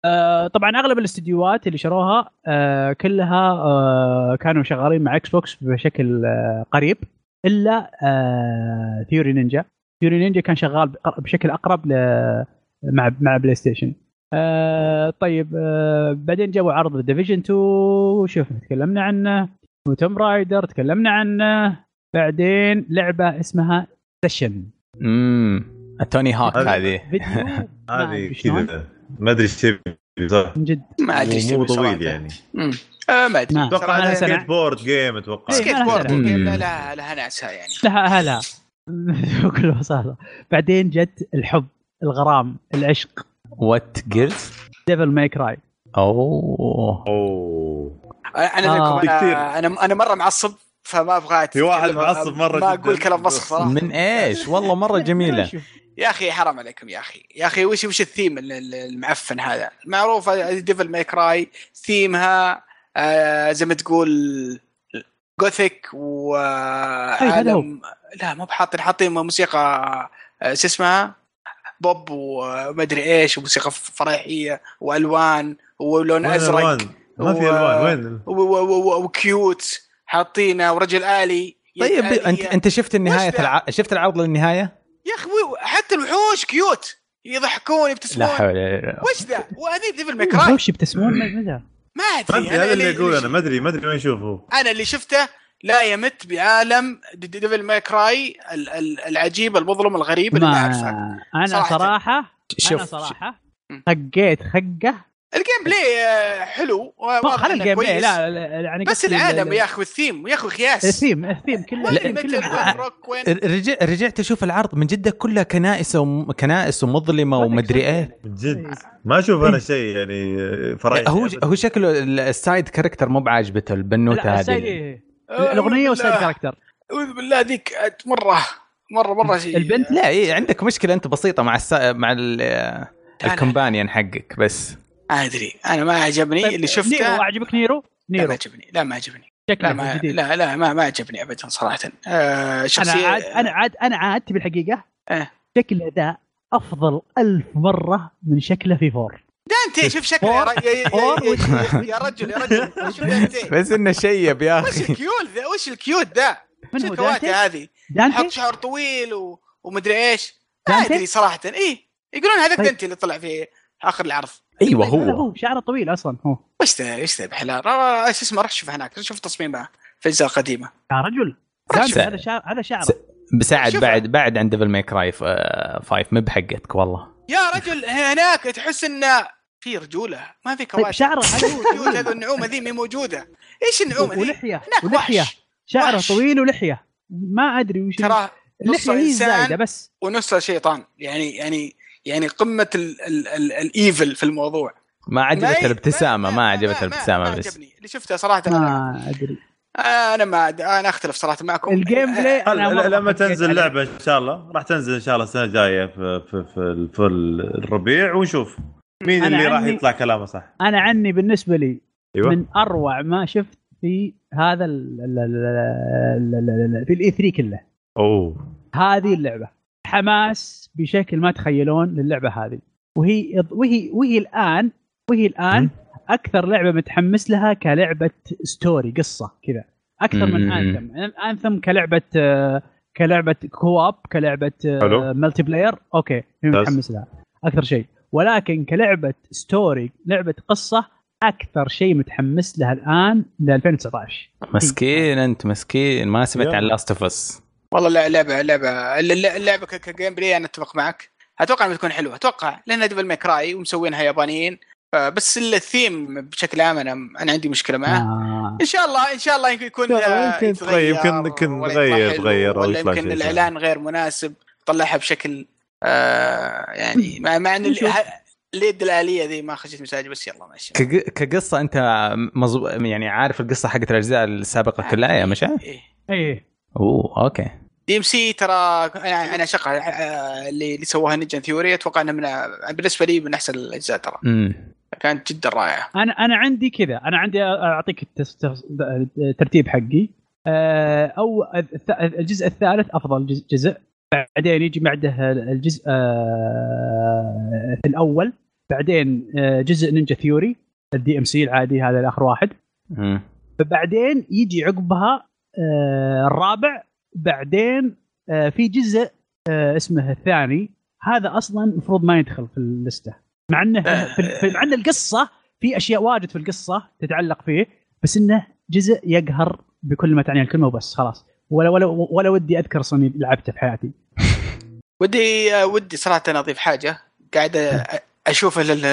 Speaker 4: آه، طبعا اغلب الاستديوهات اللي شروها آه، كلها آه، كانوا شغالين مع اكس بوكس بشكل آه، قريب الا آه، ثيوري نينجا ثيوري نينجا كان شغال بق- بشكل اقرب ل- مع مع بلاي ستيشن آه، طيب آه، بعدين جابوا عرض ديفيجن 2 وشفنا تكلمنا عنه وتوم رايدر تكلمنا عنه بعدين لعبه اسمها سيشن
Speaker 2: امم توني هوك
Speaker 5: هذه-
Speaker 2: هذه
Speaker 4: فيديو ما أدري
Speaker 5: هذه
Speaker 4: شلون.
Speaker 5: كذا ما ادري ايش تبي بالضبط.
Speaker 4: من جد
Speaker 3: ما ادري ايش
Speaker 5: مو
Speaker 3: تبي صراحة.
Speaker 5: طويل يعني
Speaker 3: مم. آه ما ادري
Speaker 4: ما-
Speaker 5: اتوقع
Speaker 4: ما لها
Speaker 5: هذا
Speaker 4: سنة.
Speaker 5: سكيت بورد جيم اتوقع
Speaker 4: نعم. إيه.
Speaker 3: سكيت بورد
Speaker 2: مم.
Speaker 3: يعني لا لا لها ناسها يعني
Speaker 4: لها اهلها بكل بساطه بعدين جت الحب الغرام العشق
Speaker 2: وات جيرز
Speaker 4: ديفل ماي كراي
Speaker 2: اوه
Speaker 5: اوه
Speaker 3: انا
Speaker 4: آه.
Speaker 3: منكم
Speaker 5: كثير.
Speaker 3: انا انا انا مره معصب فما ابغى أتكلم.
Speaker 5: في واحد معصب مرة
Speaker 3: ما
Speaker 5: جداً.
Speaker 3: اقول كلام مسخ صراحه
Speaker 2: من ايش والله مره جميله
Speaker 3: يا اخي حرام عليكم يا اخي يا اخي وش وش الثيم ال- ال- المعفن هذا معروف ديفل ماي كراي ثيمها آه زي ما تقول جوثيك
Speaker 4: هذا هو.
Speaker 3: وعالم آه، لا مو بحاطين حاطين موسيقى آه، شو اسمها بوب ومدري ايش وموسيقى فرايحيه والوان ولون
Speaker 5: وين
Speaker 3: ازرق
Speaker 5: الوان؟ ما في
Speaker 3: و-
Speaker 5: الوان وين؟
Speaker 3: و- و- و- و- وكيوت حاطينه ورجل الي يد
Speaker 2: طيب
Speaker 3: آلية.
Speaker 2: انت انت شفت النهايه
Speaker 3: وش
Speaker 2: الع... شفت العرض للنهايه؟
Speaker 3: يا اخي و- حتى الوحوش كيوت يضحكون
Speaker 2: لا
Speaker 3: يبتسمون
Speaker 2: حول ولا قوة.
Speaker 3: وش ذا؟ وهذه ديفل ماكراي
Speaker 4: وش بتسمون ما أدري.
Speaker 3: ما
Speaker 5: ما
Speaker 3: ادري
Speaker 5: ادري
Speaker 4: يعني
Speaker 5: هذا اللي اقول انا
Speaker 3: اللي
Speaker 5: ما ادري ما ادري وين اشوفه
Speaker 3: انا اللي شفته لا يمت بعالم دي- دي- ديفل ماكراي ال- ال- العجيب المظلم الغريب اللي ما اعرفه
Speaker 4: ما انا
Speaker 3: صراحة.
Speaker 4: صراحه انا
Speaker 2: شوف
Speaker 4: صراحه
Speaker 3: مم.
Speaker 4: طقيت خقه
Speaker 3: الجيم بلاي آه، حلو
Speaker 4: ما
Speaker 3: واضح إنه
Speaker 4: خلي الجيم بلاي
Speaker 3: كويس.
Speaker 4: لا لا، يعني
Speaker 3: بس
Speaker 4: قصدي
Speaker 3: العالم
Speaker 4: ال-
Speaker 3: يا اخي والثيم يا اخي خياس
Speaker 4: الثيم الثيم كله
Speaker 3: وين
Speaker 4: الثيم
Speaker 3: المتل
Speaker 4: كله
Speaker 3: وين روك وين
Speaker 2: رجع رجعت اشوف العرض من جده كلها كنائس وم... كنائس ومظلمه ومدري ايه
Speaker 5: من جد
Speaker 3: إيه.
Speaker 5: ما اشوف انا شيء يعني فرايح
Speaker 2: هو هو شكله ال- السايد كاركتر مو بعاجبته البنوته
Speaker 4: لا،
Speaker 2: هذه
Speaker 4: السايد-
Speaker 2: اللي-
Speaker 3: أعوذ
Speaker 4: الاغنيه
Speaker 3: بالله-
Speaker 4: والسايد كاركتر
Speaker 3: اعوذ بالله ذيك أت- مره مره مره شيء
Speaker 4: البنت
Speaker 2: لا إيه عندك مشكله انت بسيطه مع السا... مع ال...
Speaker 3: أنا-
Speaker 2: الكومبانيون حقك بس
Speaker 3: ما ادري انا ما عجبني
Speaker 4: طيب،
Speaker 3: إيه، اللي شفته
Speaker 4: نيرو اعجبك نيرو
Speaker 3: لا ما
Speaker 4: نيرو
Speaker 3: عجبني لا ما عجبني لا
Speaker 4: شكله
Speaker 3: ما
Speaker 4: جديد
Speaker 3: لا لا ما ما عجبني ابدا صراحه آه
Speaker 4: انا
Speaker 3: شخصيه
Speaker 4: عاد انا عاد انا عاد تبي الحقيقه
Speaker 3: إيه.
Speaker 4: شكل اداء افضل ألف مره من شكله في فور
Speaker 3: دانتي شوف شكله يا, ر- يا, يا, يا, يا رجل يا رجل شوف دانتي
Speaker 2: بس انه شيب يا
Speaker 3: وش
Speaker 2: اخي
Speaker 3: الكيوت ذا وش الكيوت ذا
Speaker 4: من
Speaker 3: وش
Speaker 4: هو
Speaker 3: الكواتي
Speaker 4: دانتي؟
Speaker 3: هذه حط
Speaker 4: دانتي
Speaker 3: شعر طويل و... ومدري ايش ما
Speaker 4: دانتي؟
Speaker 3: ادري صراحه ايه يقولون هذاك
Speaker 4: طيب.
Speaker 3: دانتي اللي طلع في اخر العرض
Speaker 2: ايوه
Speaker 4: لا،
Speaker 2: هو
Speaker 4: هو شعره طويل اصلا هو
Speaker 3: وش ذا ايش ذا بحلال آه، ايش اسمه روح شوف هناك شوف تصميمها في الاجزاء القديمه
Speaker 4: يا رجل
Speaker 2: دانتي.
Speaker 4: دانتي هذا شعر هذا شعره
Speaker 2: س- بساعد
Speaker 3: شوف.
Speaker 2: بعد بعد عن ديفل ماي كراي 5 مب حقتك والله
Speaker 3: يا رجل هناك تحس انه في رجوله ما في
Speaker 4: طيب
Speaker 3: كواتي
Speaker 4: شعره
Speaker 3: كيوت كيوت هذا النعومه ذي مي موجوده ايش النعومه ذي؟
Speaker 4: ولحيه
Speaker 3: هناك
Speaker 4: ولحيه
Speaker 3: وحش
Speaker 4: شعره
Speaker 3: وحش.
Speaker 4: طويل ولحيه ما ادري وش
Speaker 3: تراه
Speaker 4: اللحيه
Speaker 3: نصه
Speaker 4: هي
Speaker 3: إنسان.
Speaker 4: زايده بس
Speaker 3: ونصها شيطان يعني يعني يعني قمه ال- ال- ال- الايفل في الموضوع
Speaker 2: ما
Speaker 3: ما-
Speaker 2: عجبت الابتسامه ما عجبت
Speaker 3: ما
Speaker 2: الابتسامه بس
Speaker 3: عجبني اللي شفته صراحه انا
Speaker 4: ما ادري
Speaker 3: انا ما انا اختلف صراحه معكم أه،
Speaker 4: الجيم بلاي
Speaker 5: هل-
Speaker 4: أنا مرة
Speaker 5: لما
Speaker 4: حكيت
Speaker 5: تنزل
Speaker 4: عليه.
Speaker 5: لعبه ان شاء الله راح تنزل ان شاء الله السنه الجايه في, في, في, ال- في الربيع ونشوف مين
Speaker 4: أنا
Speaker 5: اللي راح
Speaker 4: عني-
Speaker 5: يطلع كلامه صح
Speaker 4: انا عني بالنسبه لي
Speaker 2: أيوة.
Speaker 5: ايوه
Speaker 4: من اروع ما شفت في هذا ال- ال- ال- ال- ال- ال- في الاي 3 كله
Speaker 5: اوه آه.
Speaker 4: هذه اللعبه حماس بشكل ما تخيلون للعبه هذه وهي وهي وهي الان وهي الان
Speaker 5: مم.
Speaker 4: اكثر لعبه متحمس لها كلعبه ستوري قصه كذا اكثر من
Speaker 2: مم.
Speaker 4: انثم انثم كلعبه آه، كلعبه كواب كلعبه
Speaker 2: آه،
Speaker 5: حلو.
Speaker 4: ملتي بلاير اوكي أنا
Speaker 5: بس.
Speaker 4: متحمس لها اكثر شيء ولكن كلعبه ستوري لعبه قصه اكثر شيء متحمس لها الان ل 2019
Speaker 2: مسكين انت مسكين ما سمعت
Speaker 5: يلا.
Speaker 2: عن لاست اوف اس
Speaker 3: والله لا لعبه لعبه الل- الل- اللعبه ك- كجيم بلاي انا اتفق معك اتوقع انها بتكون حلوه اتوقع لانها ديفل ماي كراي ومسوينها يابانيين آه، فبس الثيم بشكل عام انا انا عندي مشكله معه
Speaker 4: آه.
Speaker 3: ان شاء الله ان شاء الله يكون
Speaker 5: إن شاء الله
Speaker 3: آه،
Speaker 5: يمكن
Speaker 3: يتغير
Speaker 5: يمكن- يمكن
Speaker 3: ولا يطلع
Speaker 5: يتغير-
Speaker 3: حلو
Speaker 5: يتغير أو
Speaker 3: ولا
Speaker 5: يطلع
Speaker 3: يمكن
Speaker 5: شيء
Speaker 3: الاعلان غير مناسب طلعها بشكل آه يعني مع, مع ان ال- ه- اليد الاليه ذي ما خشيت مزاجي بس يلا ماشي
Speaker 2: كق- كقصه انت مزب... يعني عارف القصه حقت الاجزاء السابقه كلها يا مشعل؟
Speaker 3: إيه.
Speaker 4: ايه
Speaker 2: اوه اوكي
Speaker 3: دي ام سي ترى انا انا شقة آه، اللي اللي سواها نينجا ثيوري اتوقع انها من بالنسبه لي من احسن الاجزاء ترى
Speaker 2: امم
Speaker 3: كانت جدا رائعه
Speaker 4: انا انا عندي كذا انا عندي اعطيك التس- تس- الترتيب حقي آه، او الث- الجزء الثالث افضل جز- جزء بعدين يجي بعده الجزء آه، الاول بعدين آه، جزء نينجا ثيوري الدي ام سي العادي هذا الاخر واحد
Speaker 2: امم
Speaker 4: بعدين يجي عقبها آه، الرابع بعدين آه، في جزء آه، اسمه الثاني هذا اصلا المفروض ما يدخل في اللسته مع انه في في- مع ان القصه في اشياء واجد في القصه تتعلق فيه بس انه جزء يقهر بكل ما تعني الكلمه وبس خلاص ولا ولا ولا ودي اذكر أصلاً اني لعبته في حياتي
Speaker 3: ودي آه، ودي صراحه أنا اضيف حاجه قاعد أ- اشوف ال- ال-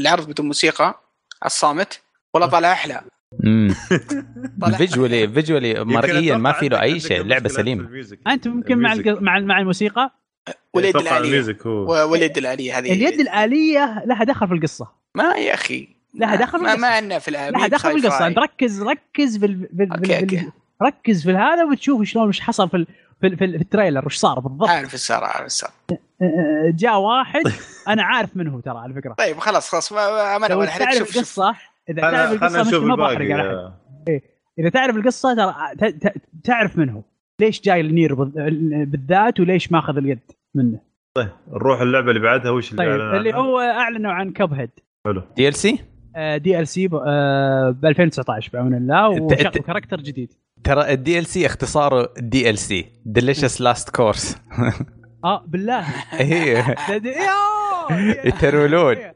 Speaker 3: العرض بدون موسيقى الصامت ولا طالع احلى
Speaker 2: امم
Speaker 3: طالع
Speaker 2: فيجولي فيجولي مرئيا ما في له اي شيء لعبه سليمه
Speaker 4: انت ممكن مع
Speaker 5: الميوزك.
Speaker 4: الق- مع مع الموسيقى
Speaker 3: واليد
Speaker 5: اتوقع
Speaker 3: الاليه
Speaker 5: الميوزك هو
Speaker 3: و- واليد الاليه هذه
Speaker 4: اليد الاليه لها دخل في القصه
Speaker 3: ما يا اخي
Speaker 4: لها دخل
Speaker 3: ما, ما
Speaker 4: بالقصة.
Speaker 3: عندنا في الآ-
Speaker 4: لا
Speaker 3: مين
Speaker 4: دخل
Speaker 3: ساي
Speaker 4: بالقصه
Speaker 3: فاي.
Speaker 4: انت ركز يعني ركز بال بال بال
Speaker 3: أوكي،
Speaker 4: بال-
Speaker 3: أوكي.
Speaker 4: ركز في هذا وتشوف شلون وش حصل في ال- في, ال- في, ال- في التريلر وش صار بالضبط آه.
Speaker 3: عارف السر عارف السر
Speaker 4: آه، جاء واحد انا عارف من هو ترى على فكره
Speaker 3: طيب خلاص خلاص ما- ما ما انا
Speaker 4: لو
Speaker 3: ولا حرك
Speaker 4: تعرف
Speaker 3: شوف شوف
Speaker 4: القصه اذا تعرف القصه مش- ما بحرق على احد اذا تعرف القصه ترى ت- ت- تعرف من هو ليش جاي النير بال- بالذات وليش ماخذ اليد منه
Speaker 5: نروح اللعبه اللي بعدها وش اللي
Speaker 4: طيب
Speaker 5: أعلن
Speaker 4: اللي
Speaker 5: عنها؟
Speaker 4: هو اعلنوا عن كب هيد
Speaker 2: دي ال سي
Speaker 4: دي ال سي ب أه، 2019 بعون الله
Speaker 2: الت- الت-
Speaker 4: وشافوا كاركتر جديد
Speaker 2: ترى الدي ال سي اختصاره دي ال سي ديليشس لاست كورس
Speaker 4: اه بالله
Speaker 2: ايه
Speaker 4: ده- ده- يوه!
Speaker 2: يترولون.
Speaker 4: إي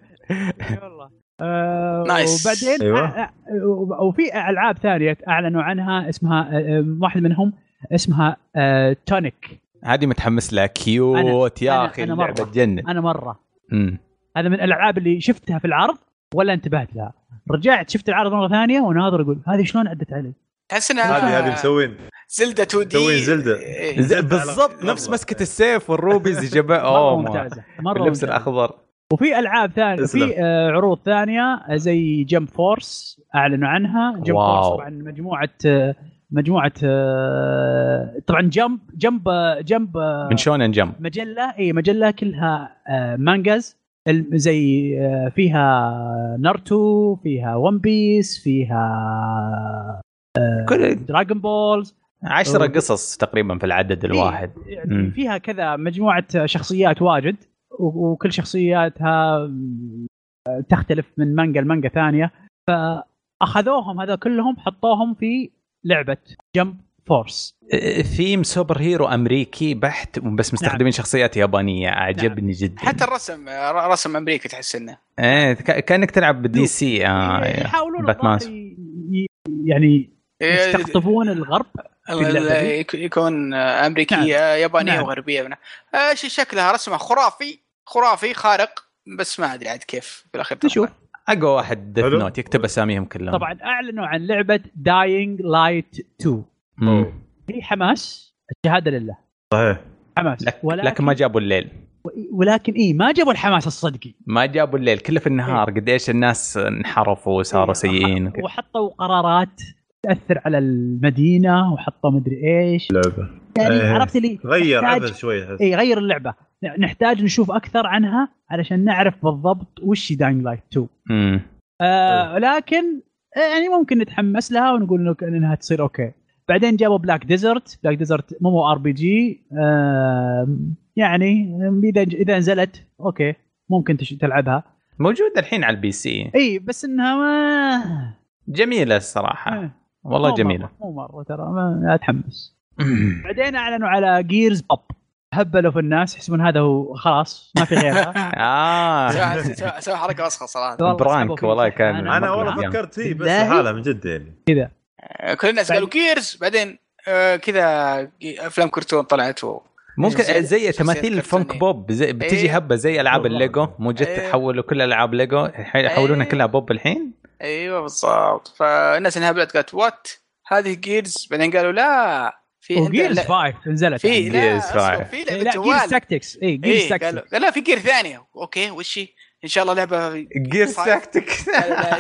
Speaker 4: والله آه،
Speaker 3: نايس.
Speaker 4: وبعدين
Speaker 5: أيوة.
Speaker 4: أ- أ- وب- وفي العاب ثانيه اعلنوا عنها اسمها آه، آه، واحد منهم اسمها آه، تونيك
Speaker 2: هذه متحمس لها كيوت
Speaker 4: أنا-
Speaker 2: يا اخي
Speaker 4: أنا
Speaker 2: اللعبه
Speaker 4: مرة.
Speaker 2: تجنن
Speaker 4: انا مره
Speaker 2: أمم.
Speaker 4: هذا من الالعاب اللي شفتها في العرض ولا انتبهت لها رجعت شفت العرض مره ثانيه وناظر اقول هذه شلون عدت علي؟
Speaker 3: تحس
Speaker 5: هذه
Speaker 4: آه،
Speaker 5: هذه
Speaker 3: انها
Speaker 5: مسوين
Speaker 3: زلده 2 دي إيه.
Speaker 5: مسوين زلدة.
Speaker 2: ز-
Speaker 5: زبدة
Speaker 2: بالضبط
Speaker 5: على-
Speaker 2: نفس مسكه السيف والروبيز اللي جابها
Speaker 4: مره
Speaker 2: اوه ما.
Speaker 4: ممتازه مره
Speaker 2: اللبس
Speaker 4: ممتازه
Speaker 2: الاخضر
Speaker 4: وفي العاب ثانيه
Speaker 5: تسلم.
Speaker 4: في آه، عروض ثانيه زي جمب فورس اعلنوا عنها جمب
Speaker 2: واو.
Speaker 4: فورس طبعا مجموعه آه، مجموعه آه، طبعا جمب جمب آه، جمب آه،
Speaker 2: من شونن جمب
Speaker 4: مجله اي مجله كلها آه، مانجاز الم- زي آه، فيها ناruto فيها ون بيس فيها
Speaker 2: كل
Speaker 4: دراغون بولز
Speaker 2: عشرة قصص تقريبا آه. في العدد الواحد
Speaker 4: يعني
Speaker 2: مم.
Speaker 4: فيها كذا مجموعه شخصيات واجد و- وكل شخصياتها م- تختلف من مانجا لمانجا ثانيه فاخذوهم هذا كلهم حطوهم في لعبه جمب فورس
Speaker 2: آه، ثيم سوبر هيرو امريكي بحت بس مستخدمين شخصيات يابانيه اعجبني جدا
Speaker 3: حتى الرسم آه، رسم امريكي تحس انه
Speaker 2: ايه ك- كانك تلعب بدي سي آه يا.
Speaker 4: يعني يحاولون
Speaker 2: باتمان.
Speaker 4: الظاهر ي- ي- يعني
Speaker 3: إيه،
Speaker 4: يستقطبون الغرب اللعبة
Speaker 3: ال-
Speaker 4: دي.
Speaker 3: يك- يكون آه، امريكيه
Speaker 4: نعم.
Speaker 3: آه، يابانيه
Speaker 4: نعم.
Speaker 3: وغربيه منها. آه، شي شكلها رسمها خرافي خرافي خارق بس ما ادري عاد كيف بالاخير طلع.
Speaker 4: نشوف.
Speaker 2: اقوى واحد ديث
Speaker 5: حلو.
Speaker 2: نوت يكتب اساميهم كلهم
Speaker 4: طبعا اعلنوا عن لعبه داينج لايت 2
Speaker 2: مم.
Speaker 4: هي حماس الشهاده لله
Speaker 5: صحيح
Speaker 4: حماس
Speaker 2: لك
Speaker 4: ولكن
Speaker 2: لكن ما جابوا الليل
Speaker 4: ولكن اي ما جابوا الحماس الصدقي
Speaker 2: ما جابوا الليل كله في النهار قديش الناس انحرفوا وصاروا سيئين
Speaker 4: إيه، وح- وحطوا قرارات تاثر على المدينه وحطوا مدري ايش
Speaker 5: لعبه
Speaker 4: يعني
Speaker 5: إيه.
Speaker 4: عرفت اللي
Speaker 5: غير
Speaker 4: نحتاج-
Speaker 5: عبث شويه
Speaker 4: اي غير اللعبه ن- نحتاج نشوف اكثر عنها علشان نعرف بالضبط وش داينج لايت 2
Speaker 2: مم.
Speaker 4: آه لكن آه، يعني ممكن نتحمس لها ونقول إنه- انها تصير اوكي بعدين جابوا بلاك ديزرت بلاك ديزرت مومو ار بي جي آه، يعني آم، اذا اذا نزلت اوكي ممكن تش- تلعبها
Speaker 2: موجود الحين على البي سي
Speaker 4: اي بس انها ما
Speaker 2: جميله الصراحه
Speaker 4: آه،
Speaker 2: والله
Speaker 4: مو
Speaker 2: جميله
Speaker 4: مرة- مو مره ترى ما لا اتحمس بعدين اعلنوا على جيرز باب هبلوا في الناس يحسبون هذا هو خلاص ما في غيرها
Speaker 2: اه
Speaker 3: سوى- سوى- سوى حركه وسخه صراحه
Speaker 4: والله
Speaker 2: برانك
Speaker 4: سحبوا فيه
Speaker 2: والله
Speaker 4: صح.
Speaker 2: كان
Speaker 5: انا
Speaker 2: مرة
Speaker 5: والله
Speaker 2: أيام.
Speaker 5: فكرت فيه بس
Speaker 4: بالله؟
Speaker 5: لحالها من جد يعني
Speaker 3: آه، كل الناس
Speaker 4: بعد-
Speaker 3: قالوا جيرز بعدين آه، كذا افلام كرتون طلعت و...
Speaker 2: ممكن
Speaker 3: شخصيات-
Speaker 2: زي تماثيل
Speaker 3: شخصيات
Speaker 2: الفونك
Speaker 3: كرتونية.
Speaker 2: بوب زي بتجي
Speaker 3: إيه.
Speaker 2: هبه زي العاب
Speaker 5: والله.
Speaker 2: الليجو مو جد
Speaker 3: إيه.
Speaker 2: تحولوا كل العاب ليجو الحين يحولونها
Speaker 3: إيه.
Speaker 2: كلها بوب الحين
Speaker 4: أيوة،
Speaker 3: ايوه بالضبط فالناس انهبلت قالت وات هذه جيرز بعدين قالوا لا في عندنا-
Speaker 4: وجيرز
Speaker 3: لا،
Speaker 4: 5 نزلت
Speaker 3: في لا
Speaker 2: Gears
Speaker 3: أصبر،
Speaker 2: 5.
Speaker 3: في
Speaker 4: إيه،
Speaker 3: لعبه
Speaker 4: لا جيرز
Speaker 3: جوال
Speaker 4: تاكتكس اي جيرز
Speaker 3: إيه،
Speaker 4: تاكتكس
Speaker 3: قالوا- لا في جير ثانيه اوكي وش هي؟ ان شاء الله لعبه
Speaker 2: جير
Speaker 3: Five.
Speaker 2: ساكتك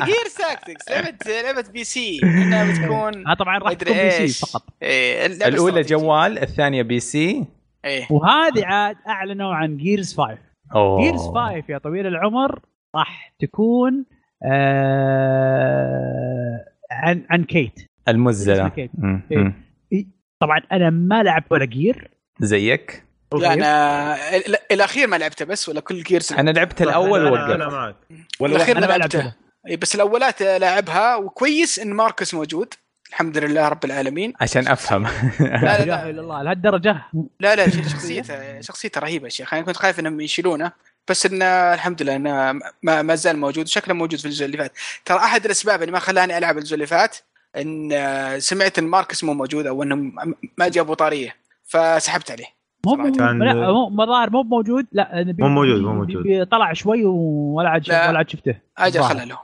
Speaker 3: جير تاكتكس لعبه لعبه بي سي انها بتكون
Speaker 4: آه، طبعا راح تكون بي سي فقط
Speaker 3: إيه اللعبة
Speaker 2: الاولى
Speaker 3: استراتيجية.
Speaker 2: جوال الثانيه بي سي
Speaker 3: إيه.
Speaker 4: وهذه عاد اعلنوا عن جيرز 5
Speaker 2: اوه
Speaker 4: جيرز 5 يا طويل العمر راح تكون آه عن عن كيت
Speaker 2: المزله
Speaker 4: Gears Arcade.
Speaker 2: مم.
Speaker 4: إيه.
Speaker 2: مم.
Speaker 4: طبعا انا ما لعبت ولا جير
Speaker 2: زيك
Speaker 3: لا انا ال- ال- الاخير ما لعبته بس ولا كل جيرز
Speaker 2: انا لعبت الاول
Speaker 5: أنا- انا
Speaker 2: ووقفت
Speaker 5: معك
Speaker 3: الاخير ما
Speaker 4: أنا ما
Speaker 3: لعبته
Speaker 4: لعبته.
Speaker 3: إيه، بس الاولات لاعبها وكويس ان ماركوس موجود الحمد لله رب العالمين
Speaker 2: عشان افهم
Speaker 4: لا
Speaker 3: لا
Speaker 4: اله
Speaker 3: لا
Speaker 4: الا الله لهالدرجه
Speaker 3: لا, لا ش- شخصيته شخصيته رهيبه يا شيخ انا كنت خايف انهم يشيلونه بس انه الحمد لله انه ما, ما زال موجود شكله موجود في الجزء اللي فات ترى احد الاسباب اللي ما خلاني العب الجزء اللي فات ان آه، سمعت ان ماركوس مو موجود او انهم ما جابوا طاريه فسحبت عليه
Speaker 4: مو
Speaker 3: صراحة.
Speaker 5: كان-
Speaker 4: لا مو مظاهر مو موجود لا أنا بي-
Speaker 5: مو موجود،
Speaker 4: بي-
Speaker 5: مو موجود.
Speaker 4: بي- طلع شوي ولا عاد شف-
Speaker 3: لا.
Speaker 4: ولا عاد شفته
Speaker 3: اجل
Speaker 4: ظاهر.
Speaker 3: خلها لهم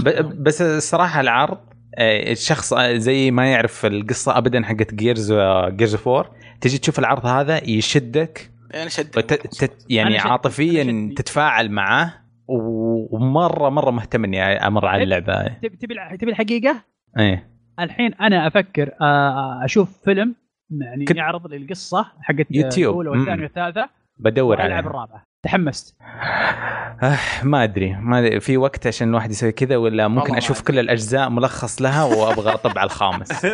Speaker 2: ب- بس الصراحه العرض آه، الشخص آه، زي ما يعرف القصه ابدا حقت جيرز جيرز 4 تجي تشوف العرض هذا يشدك
Speaker 3: انا شد
Speaker 2: وت- تت يعني
Speaker 4: أنا شد- أنا
Speaker 2: عاطفيا
Speaker 4: شد-
Speaker 2: تتفاعل معاه و- ومره مره مهتم اني امر على اللعبه
Speaker 4: تبي تبي الع- تبي الحقيقه
Speaker 2: ايه
Speaker 4: الحين انا افكر آه، اشوف فيلم يعني
Speaker 2: كنت-
Speaker 4: يعرض لي القصه حقت آه،
Speaker 2: يوتيوب.
Speaker 4: الاولى والثانيه
Speaker 2: مم.
Speaker 4: والثالثه
Speaker 2: بدور
Speaker 4: والعب
Speaker 2: على
Speaker 4: الرابعه تحمست
Speaker 2: ما ادري ما أدري، في وقت عشان الواحد يسوي كذا ولا ممكن
Speaker 3: والله ما
Speaker 2: اشوف
Speaker 3: أدري.
Speaker 2: كل الاجزاء ملخص لها وابغى اطبع الخامس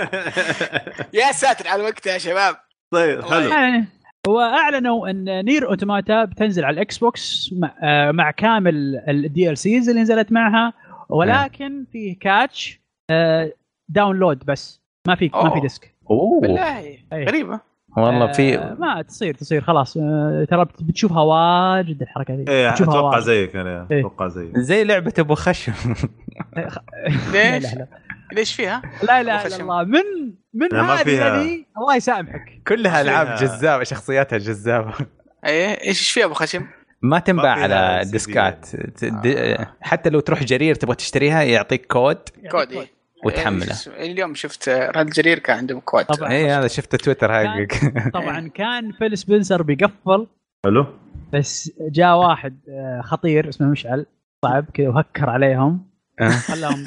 Speaker 3: يا ساتر على الوقت يا شباب
Speaker 5: طيب
Speaker 3: الله
Speaker 5: حلو
Speaker 4: يعني واعلنوا ان نير اوتوماتا بتنزل على الاكس بوكس مع, آه، مع كامل الدي ال سيز اللي نزلت معها ولكن فيه كاتش آه، داونلود بس ما في ما
Speaker 3: أوه.
Speaker 4: في ديسك
Speaker 2: اوه
Speaker 3: بالله
Speaker 4: إيه.
Speaker 3: غريبه
Speaker 2: والله
Speaker 4: آه،
Speaker 2: في
Speaker 4: ما تصير تصير خلاص آه، ترى بت- بتشوفها واجد الحركه ذي
Speaker 5: ايه
Speaker 4: بتشوفها
Speaker 5: اتوقع
Speaker 4: واجد.
Speaker 5: زيك انا
Speaker 4: إيه.
Speaker 5: اتوقع زيك
Speaker 2: زي لعبه ابو خشم
Speaker 4: لا
Speaker 3: ليش؟
Speaker 4: لا لا.
Speaker 3: ليش فيها؟
Speaker 4: لا لا
Speaker 3: وخشم.
Speaker 4: إلا الله من من
Speaker 5: لا، إيه، ما
Speaker 4: هذه
Speaker 5: فيها.
Speaker 4: هذه الله يسامحك
Speaker 2: كلها العاب
Speaker 5: فيها-
Speaker 2: جذابه شخصياتها جذابه
Speaker 3: ايه ايش ايش فيها ابو خشم؟
Speaker 2: ما تنباع
Speaker 5: ما فيها
Speaker 2: على
Speaker 5: CD.
Speaker 2: ديسكات ت- د-
Speaker 3: آه.
Speaker 2: حتى لو تروح جرير تبغى تشتريها يعطيك كود
Speaker 4: يعني
Speaker 3: كود ايه إيه،
Speaker 2: وتحمله
Speaker 3: شو اسمه؟ اليوم شفت آه، رد جرير كان عندهم كود
Speaker 4: طبعا
Speaker 2: اي هذا شفت تويتر
Speaker 4: كان-
Speaker 2: حقك
Speaker 4: طبعا كان فيل سبنسر بيقفل
Speaker 5: حلو
Speaker 4: بس جاء واحد آه، خطير اسمه مشعل صعب كذا وهكر عليهم
Speaker 2: آه.
Speaker 4: خلاهم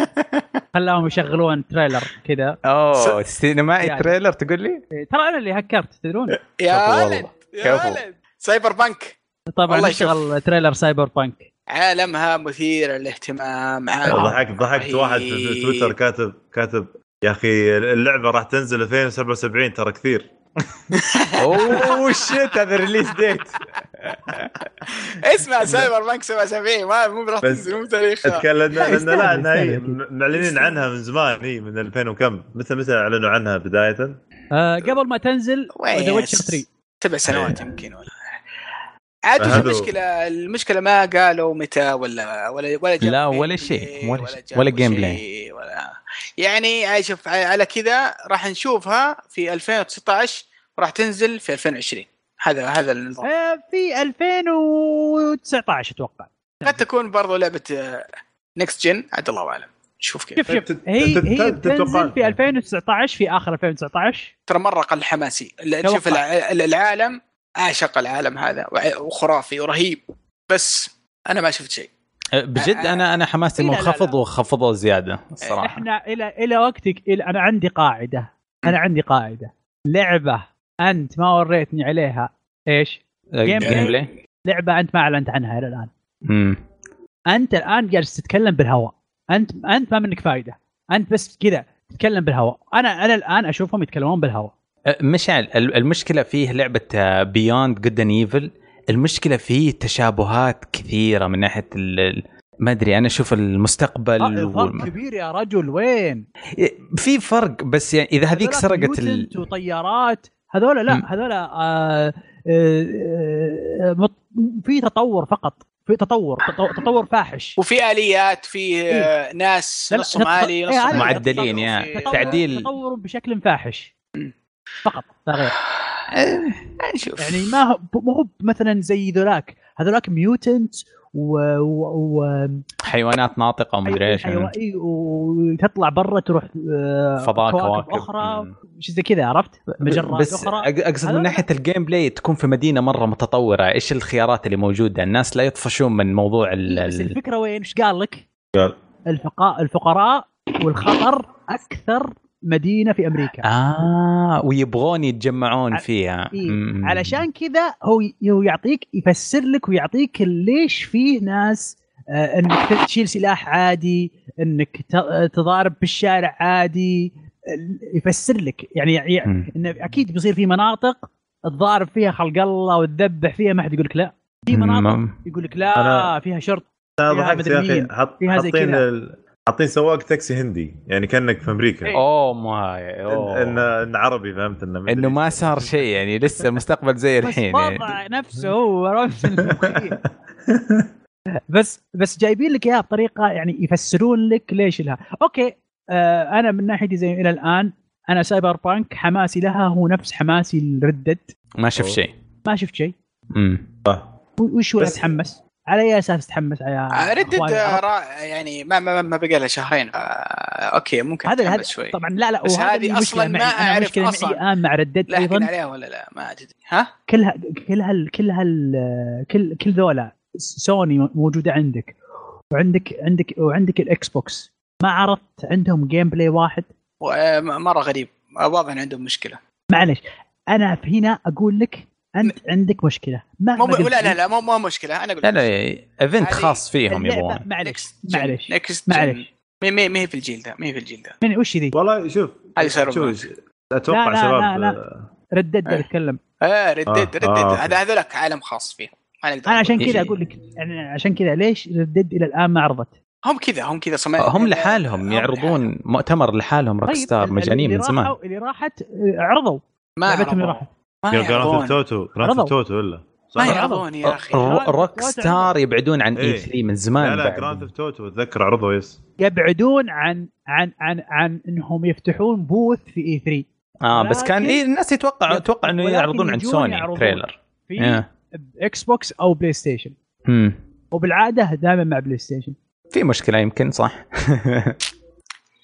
Speaker 4: خلاهم يشغلون تريلر كذا
Speaker 2: اوه سينمائي
Speaker 4: يعني.
Speaker 2: تريلر تقول لي
Speaker 4: ترى انا اللي هكرت تدرون
Speaker 3: يا
Speaker 2: كفو
Speaker 3: ولد
Speaker 2: والله.
Speaker 3: يا
Speaker 2: كفو.
Speaker 3: ولد سايبر بانك
Speaker 4: طبعا
Speaker 3: والله شوف.
Speaker 4: اشتغل تريلر سايبر بانك
Speaker 3: عالمها مثير للاهتمام عالم
Speaker 5: ضحكت ضحكت
Speaker 3: رهيب.
Speaker 5: واحد في تويتر كاتب كاتب يا اخي اللعبه راح تنزل 2077 ترى كثير
Speaker 2: اوه شيت هذا ريليز ديت
Speaker 3: اسمع سايبر بانك 77 ما مو
Speaker 5: بس-
Speaker 3: راح تنزل مو تاريخها
Speaker 5: تكلمنا لان
Speaker 4: يستاهل،
Speaker 5: لا إنها هي
Speaker 4: يستاهل
Speaker 5: معلنين عنها من زمان هي من 2000 وكم متى متى اعلنوا عنها بدايه؟
Speaker 4: آه، قبل ما تنزل ذا ويتشر
Speaker 3: ويس.
Speaker 4: 3
Speaker 2: إيه.
Speaker 3: سبع سنوات يمكن ولا عاد وش
Speaker 5: فهذا-
Speaker 3: المشكله المشكله ما قالوا متى ولا ولا ولا جاب
Speaker 2: لا،
Speaker 3: gameplay
Speaker 2: ولا شيء، ولا شيء،
Speaker 3: جابوا
Speaker 2: ولا gameplay.
Speaker 3: شيء، ولا يعني شوف على كذا راح نشوفها في 2019 وراح تنزل في 2020 هذا هذا النظام
Speaker 4: آه، في 2019 اتوقع
Speaker 3: قد تكون برضو لعبه نكست جن عاد الله اعلم نشوف كيف
Speaker 4: شوف شوف
Speaker 5: تت-
Speaker 4: هي
Speaker 5: تت-
Speaker 4: هي
Speaker 5: تت- تتوقع-
Speaker 4: بتنزل في 2019 في اخر 2019
Speaker 3: ترى مره قل حماسي ال-
Speaker 4: توقع.
Speaker 3: شوف الع- ال- العالم اعشق العالم هذا وع- وخرافي ورهيب بس انا ما شفت شيء
Speaker 2: أه، بجد انا انا حماسي
Speaker 4: لا، لا،
Speaker 2: منخفض
Speaker 4: لا.
Speaker 2: وخفضه زياده الصراحه
Speaker 4: احنا الى الى وقتك إلى انا عندي قاعده انا عندي قاعده لعبه انت ما وريتني عليها ايش؟
Speaker 2: جيم
Speaker 4: Gameplay.
Speaker 2: بلاي
Speaker 4: لعبه انت ما اعلنت عنها الى الان
Speaker 2: أمم.
Speaker 4: انت الان جالس تتكلم بالهواء انت انت ما منك فائده انت بس كذا تتكلم بالهواء انا انا الان اشوفهم يتكلمون بالهواء
Speaker 2: أه، مشعل ال- المشكله فيه آه، لعبه بيوند جود اند ايفل المشكله فيه تشابهات كثيره من ناحيه ال- ال- ما ادري انا اشوف المستقبل
Speaker 4: آه، فرق
Speaker 2: وال-
Speaker 4: كبير يا رجل وين؟
Speaker 2: في فرق بس يعني اذا هذيك
Speaker 4: هذولا
Speaker 2: سرقت ال...
Speaker 4: ميوتنت وطيارات هذول
Speaker 2: مم.
Speaker 4: لا هذول آه، آه، آه، مط- في تطور فقط في تطور تطو- تطور فاحش
Speaker 3: وفي اليات في آه، ناس
Speaker 4: إيه. لا، لا،
Speaker 3: نص
Speaker 4: لا،
Speaker 3: صومالي
Speaker 4: إيه،
Speaker 3: نص
Speaker 4: هذا
Speaker 2: معدلين، يا.
Speaker 3: وفي-
Speaker 4: تطور-
Speaker 2: تعديل.
Speaker 4: تطور بشكل فاحش فقط لا غير
Speaker 3: نشوف
Speaker 2: يعني
Speaker 4: يعني ما هو ما هو مثلا زي ذولاك هذولاك ميوتنت و... و... و...
Speaker 2: حيوانات ناطقه ومدري ايش
Speaker 4: أيوة أيوة، وتطلع برا تروح آه،
Speaker 2: فضاء
Speaker 4: كواكب
Speaker 2: كواكب.
Speaker 4: اخرى
Speaker 2: مم.
Speaker 4: شيء زي كذا عرفت مجرات
Speaker 2: بس
Speaker 4: اخرى
Speaker 2: أق- اقصد
Speaker 4: هذا-
Speaker 2: من ناحيه الجيم بلاي تكون في مدينه مره متطوره ايش الخيارات اللي موجوده الناس لا يطفشون من موضوع ال
Speaker 4: إيه، بس
Speaker 2: ال-
Speaker 4: الفكره وين ايش قال لك؟
Speaker 1: قال.
Speaker 4: الفقراء الفقراء والخطر اكثر مدينه في امريكا
Speaker 2: اه ويبغون يتجمعون
Speaker 4: ع-
Speaker 2: فيها
Speaker 4: إيه،
Speaker 2: م- م-
Speaker 4: علشان كذا هو ي- هو يعطيك يفسر لك ويعطيك ليش فيه ناس آه، انك ت- تشيل سلاح عادي انك ت- آه، تضارب بالشارع عادي ال- يفسر لك يعني, يعني
Speaker 2: م.
Speaker 4: انه اكيد بيصير في مناطق تضارب فيها خلق الله وتذبح فيها ما حد يقول لك لا في مناطق
Speaker 2: م-
Speaker 4: يقول لك لا
Speaker 1: أنا-
Speaker 4: فيها شرطه
Speaker 1: انا
Speaker 4: فيها
Speaker 1: ضحكت يا اخي
Speaker 4: مدنيين،
Speaker 1: حط-
Speaker 4: فيها زي
Speaker 1: حاطين
Speaker 4: كذا.
Speaker 1: ال- حاطين سواق تاكسي هندي يعني كانك في
Speaker 4: إيه.
Speaker 1: امريكا
Speaker 2: اوه ماي
Speaker 1: إن- ان
Speaker 2: أوه.
Speaker 1: ان عربي فهمت انه مدري.
Speaker 2: انه ما صار شيء يعني لسه المستقبل زي
Speaker 4: بس
Speaker 2: الحين يعني.
Speaker 4: وضع نفسه هو نفس المخيل. بس بس جايبين لك اياها بطريقه يعني يفسرون لك ليش لها اوكي آه انا من ناحيتي زي الى الان انا سايبر بانك حماسي لها هو نفس حماسي لردد
Speaker 2: ما شفت
Speaker 1: أوه.
Speaker 2: شيء
Speaker 4: ما شفت شيء
Speaker 2: مم.
Speaker 4: و- وش هو
Speaker 1: بس-
Speaker 4: تتحمس على اي اساس تتحمس يا
Speaker 3: ردد
Speaker 4: أخواني العرب؟
Speaker 3: يعني ما ما, ما بقى لها شهرين آه، اوكي ممكن
Speaker 4: هذا
Speaker 3: أتحمس
Speaker 4: هذا
Speaker 3: شوي
Speaker 4: طبعا لا لا
Speaker 3: بس
Speaker 4: وهذا
Speaker 3: هذه
Speaker 4: اللي مشكلة
Speaker 3: أصلاً ما
Speaker 4: معي. أنا
Speaker 3: أعرف
Speaker 4: مشكلة معي
Speaker 3: أصلاً.
Speaker 4: الان مع ردد
Speaker 3: لا
Speaker 4: ايضا
Speaker 3: احكي عليها ولا لا ما ادري ها
Speaker 4: كلها كلها كلها ال- كل كل ذولا سوني موجوده عندك وعندك عندك وعندك الاكس بوكس ما عرضت عندهم جيم بلاي واحد
Speaker 3: و- آه، م- مره غريب آه، واضح إن عندهم مشكله
Speaker 4: معلش انا في هنا اقول لك انت عندك مشكله ما
Speaker 3: مو لا لا لا مو مو مشكله انا اقول
Speaker 2: لا لا ايفنت
Speaker 3: هذه
Speaker 2: خاص فيهم يبغون
Speaker 4: معلش معلش
Speaker 3: نكست
Speaker 4: معلش.
Speaker 3: معلش ما هي- ما هي في الجيل ده ما هي في الجيل ده
Speaker 4: من وش ذي
Speaker 1: والله شوف
Speaker 3: هذه سيرفر.
Speaker 1: شوف اتوقع
Speaker 4: لا، لا،
Speaker 1: شباب
Speaker 4: لا، ردد
Speaker 3: إيه.
Speaker 4: اتكلم
Speaker 3: آه ردد
Speaker 1: آه، آه،
Speaker 3: ردد
Speaker 1: أوكي.
Speaker 3: هذا هذولك عالم خاص فيه ما نقدر
Speaker 4: انا عشان
Speaker 3: نقول.
Speaker 4: كذا
Speaker 2: إيه.
Speaker 4: اقول لك يعني عشان كذا ليش ردد الى الان ما عرضت
Speaker 3: هم كذا هم كذا صمع
Speaker 2: آه، هم لحالهم
Speaker 3: هم
Speaker 2: يعرضون مؤتمر لحالهم
Speaker 1: طيب،
Speaker 2: روك ستار
Speaker 4: ال-
Speaker 2: مجانين
Speaker 4: طيب، اللي
Speaker 2: من زمان
Speaker 4: راحوا- اللي راحت آه، عرضوا
Speaker 3: ما
Speaker 4: لعبتهم اللي
Speaker 3: يعرضون
Speaker 4: راحت
Speaker 3: ما
Speaker 1: جراند
Speaker 3: يعرضون
Speaker 1: توتو جراند
Speaker 4: عرضوا.
Speaker 1: توتو ولا صح؟
Speaker 3: ما يعرضون
Speaker 2: آه،
Speaker 3: يا اخي
Speaker 2: رو- روك ستار يبعدون عن اي
Speaker 1: إيه.
Speaker 2: 3 من
Speaker 1: لا
Speaker 2: زمان
Speaker 1: لا
Speaker 2: بعد.
Speaker 1: جراند توتو اتذكر عرضه يس
Speaker 4: يبعدون عن عن عن عن انهم يفتحون بوث في اي 3
Speaker 2: اه بس كان
Speaker 4: ولكن-
Speaker 2: اي الناس يتوقع اتوقع انه
Speaker 4: ولكن
Speaker 2: يعرضون عند
Speaker 4: يجون
Speaker 2: سوني
Speaker 4: يعرضون.
Speaker 2: تريلر
Speaker 4: في
Speaker 2: إيه.
Speaker 4: اكس بوكس او بلاي ستيشن
Speaker 2: مم.
Speaker 4: وبالعاده دائما مع بلاي ستيشن
Speaker 2: في مشكله يمكن صح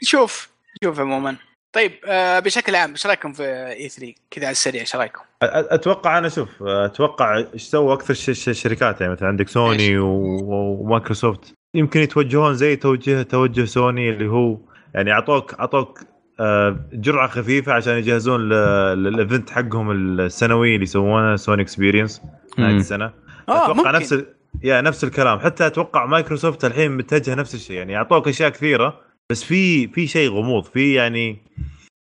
Speaker 3: شوف شوف عموما طيب آه بشكل عام ايش رايكم في اي 3 كذا على السريع ايش رايكم؟
Speaker 1: أ- اتوقع انا شوف اتوقع ايش سوى اكثر ش- ش- شركات يعني مثلا عندك سوني و- ومايكروسوفت يمكن يتوجهون زي توجه توجه سوني اللي هو يعني اعطوك اعطوك آه، جرعه خفيفه عشان يجهزون ل- للايفنت حقهم السنوي اللي يسوونه سوني اكسبيرينس نهايه
Speaker 2: مم.
Speaker 1: السنه
Speaker 3: آه،
Speaker 1: اتوقع
Speaker 3: ممكن.
Speaker 1: نفس ال... يا نفس الكلام حتى اتوقع مايكروسوفت الحين متجه نفس الشيء يعني اعطوك اشياء كثيره بس في في شيء غموض في يعني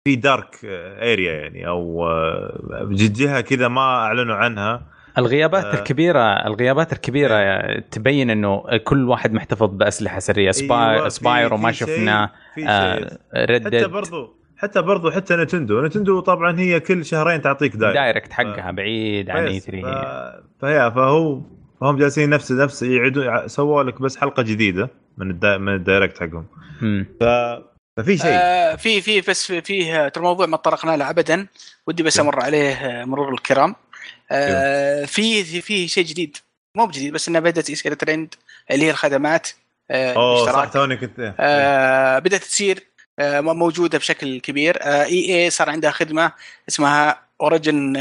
Speaker 1: في دارك اريا يعني او آه، جهه كذا ما اعلنوا عنها
Speaker 2: الغيابات
Speaker 1: آه. إيه.
Speaker 2: الكبيره الغيابات الكبيره تبين انه كل واحد محتفظ باسلحه سريه سباي
Speaker 1: أيوة، في-
Speaker 2: سبايرو ما
Speaker 1: في شيء-
Speaker 2: شفناه
Speaker 1: في
Speaker 2: آه،
Speaker 1: شيء
Speaker 2: ريد
Speaker 1: حتى
Speaker 2: ديد
Speaker 1: برضو حتى برضو حتى نتندو نتندو طبعا هي كل شهرين تعطيك دايركت
Speaker 2: دايركت حقها بعيد عن E اي
Speaker 1: آه. بس، آه.
Speaker 2: 3
Speaker 1: ف... فيا فهو فهم جالسين نفس نفس يعيدوا سووا لك بس حلقه جديده من الدا... من الدايركت حقهم ففي شيء
Speaker 3: آه في في بس فيه ترى موضوع ما تطرقنا له ابدا ودي بس
Speaker 1: نعم.
Speaker 3: امر عليه آه، مرور الكرام
Speaker 1: إيه.
Speaker 3: آه في في- في شيء جديد مو بجديد بس انه بدات يصير ترند اللي هي الخدمات آه
Speaker 1: اوه
Speaker 3: الاشتراك.
Speaker 1: صح توني كنت إيه.
Speaker 3: آه، بدات تصير آه، مو- موجوده بشكل كبير اي اي صار عندها خدمه اسمها اوريجن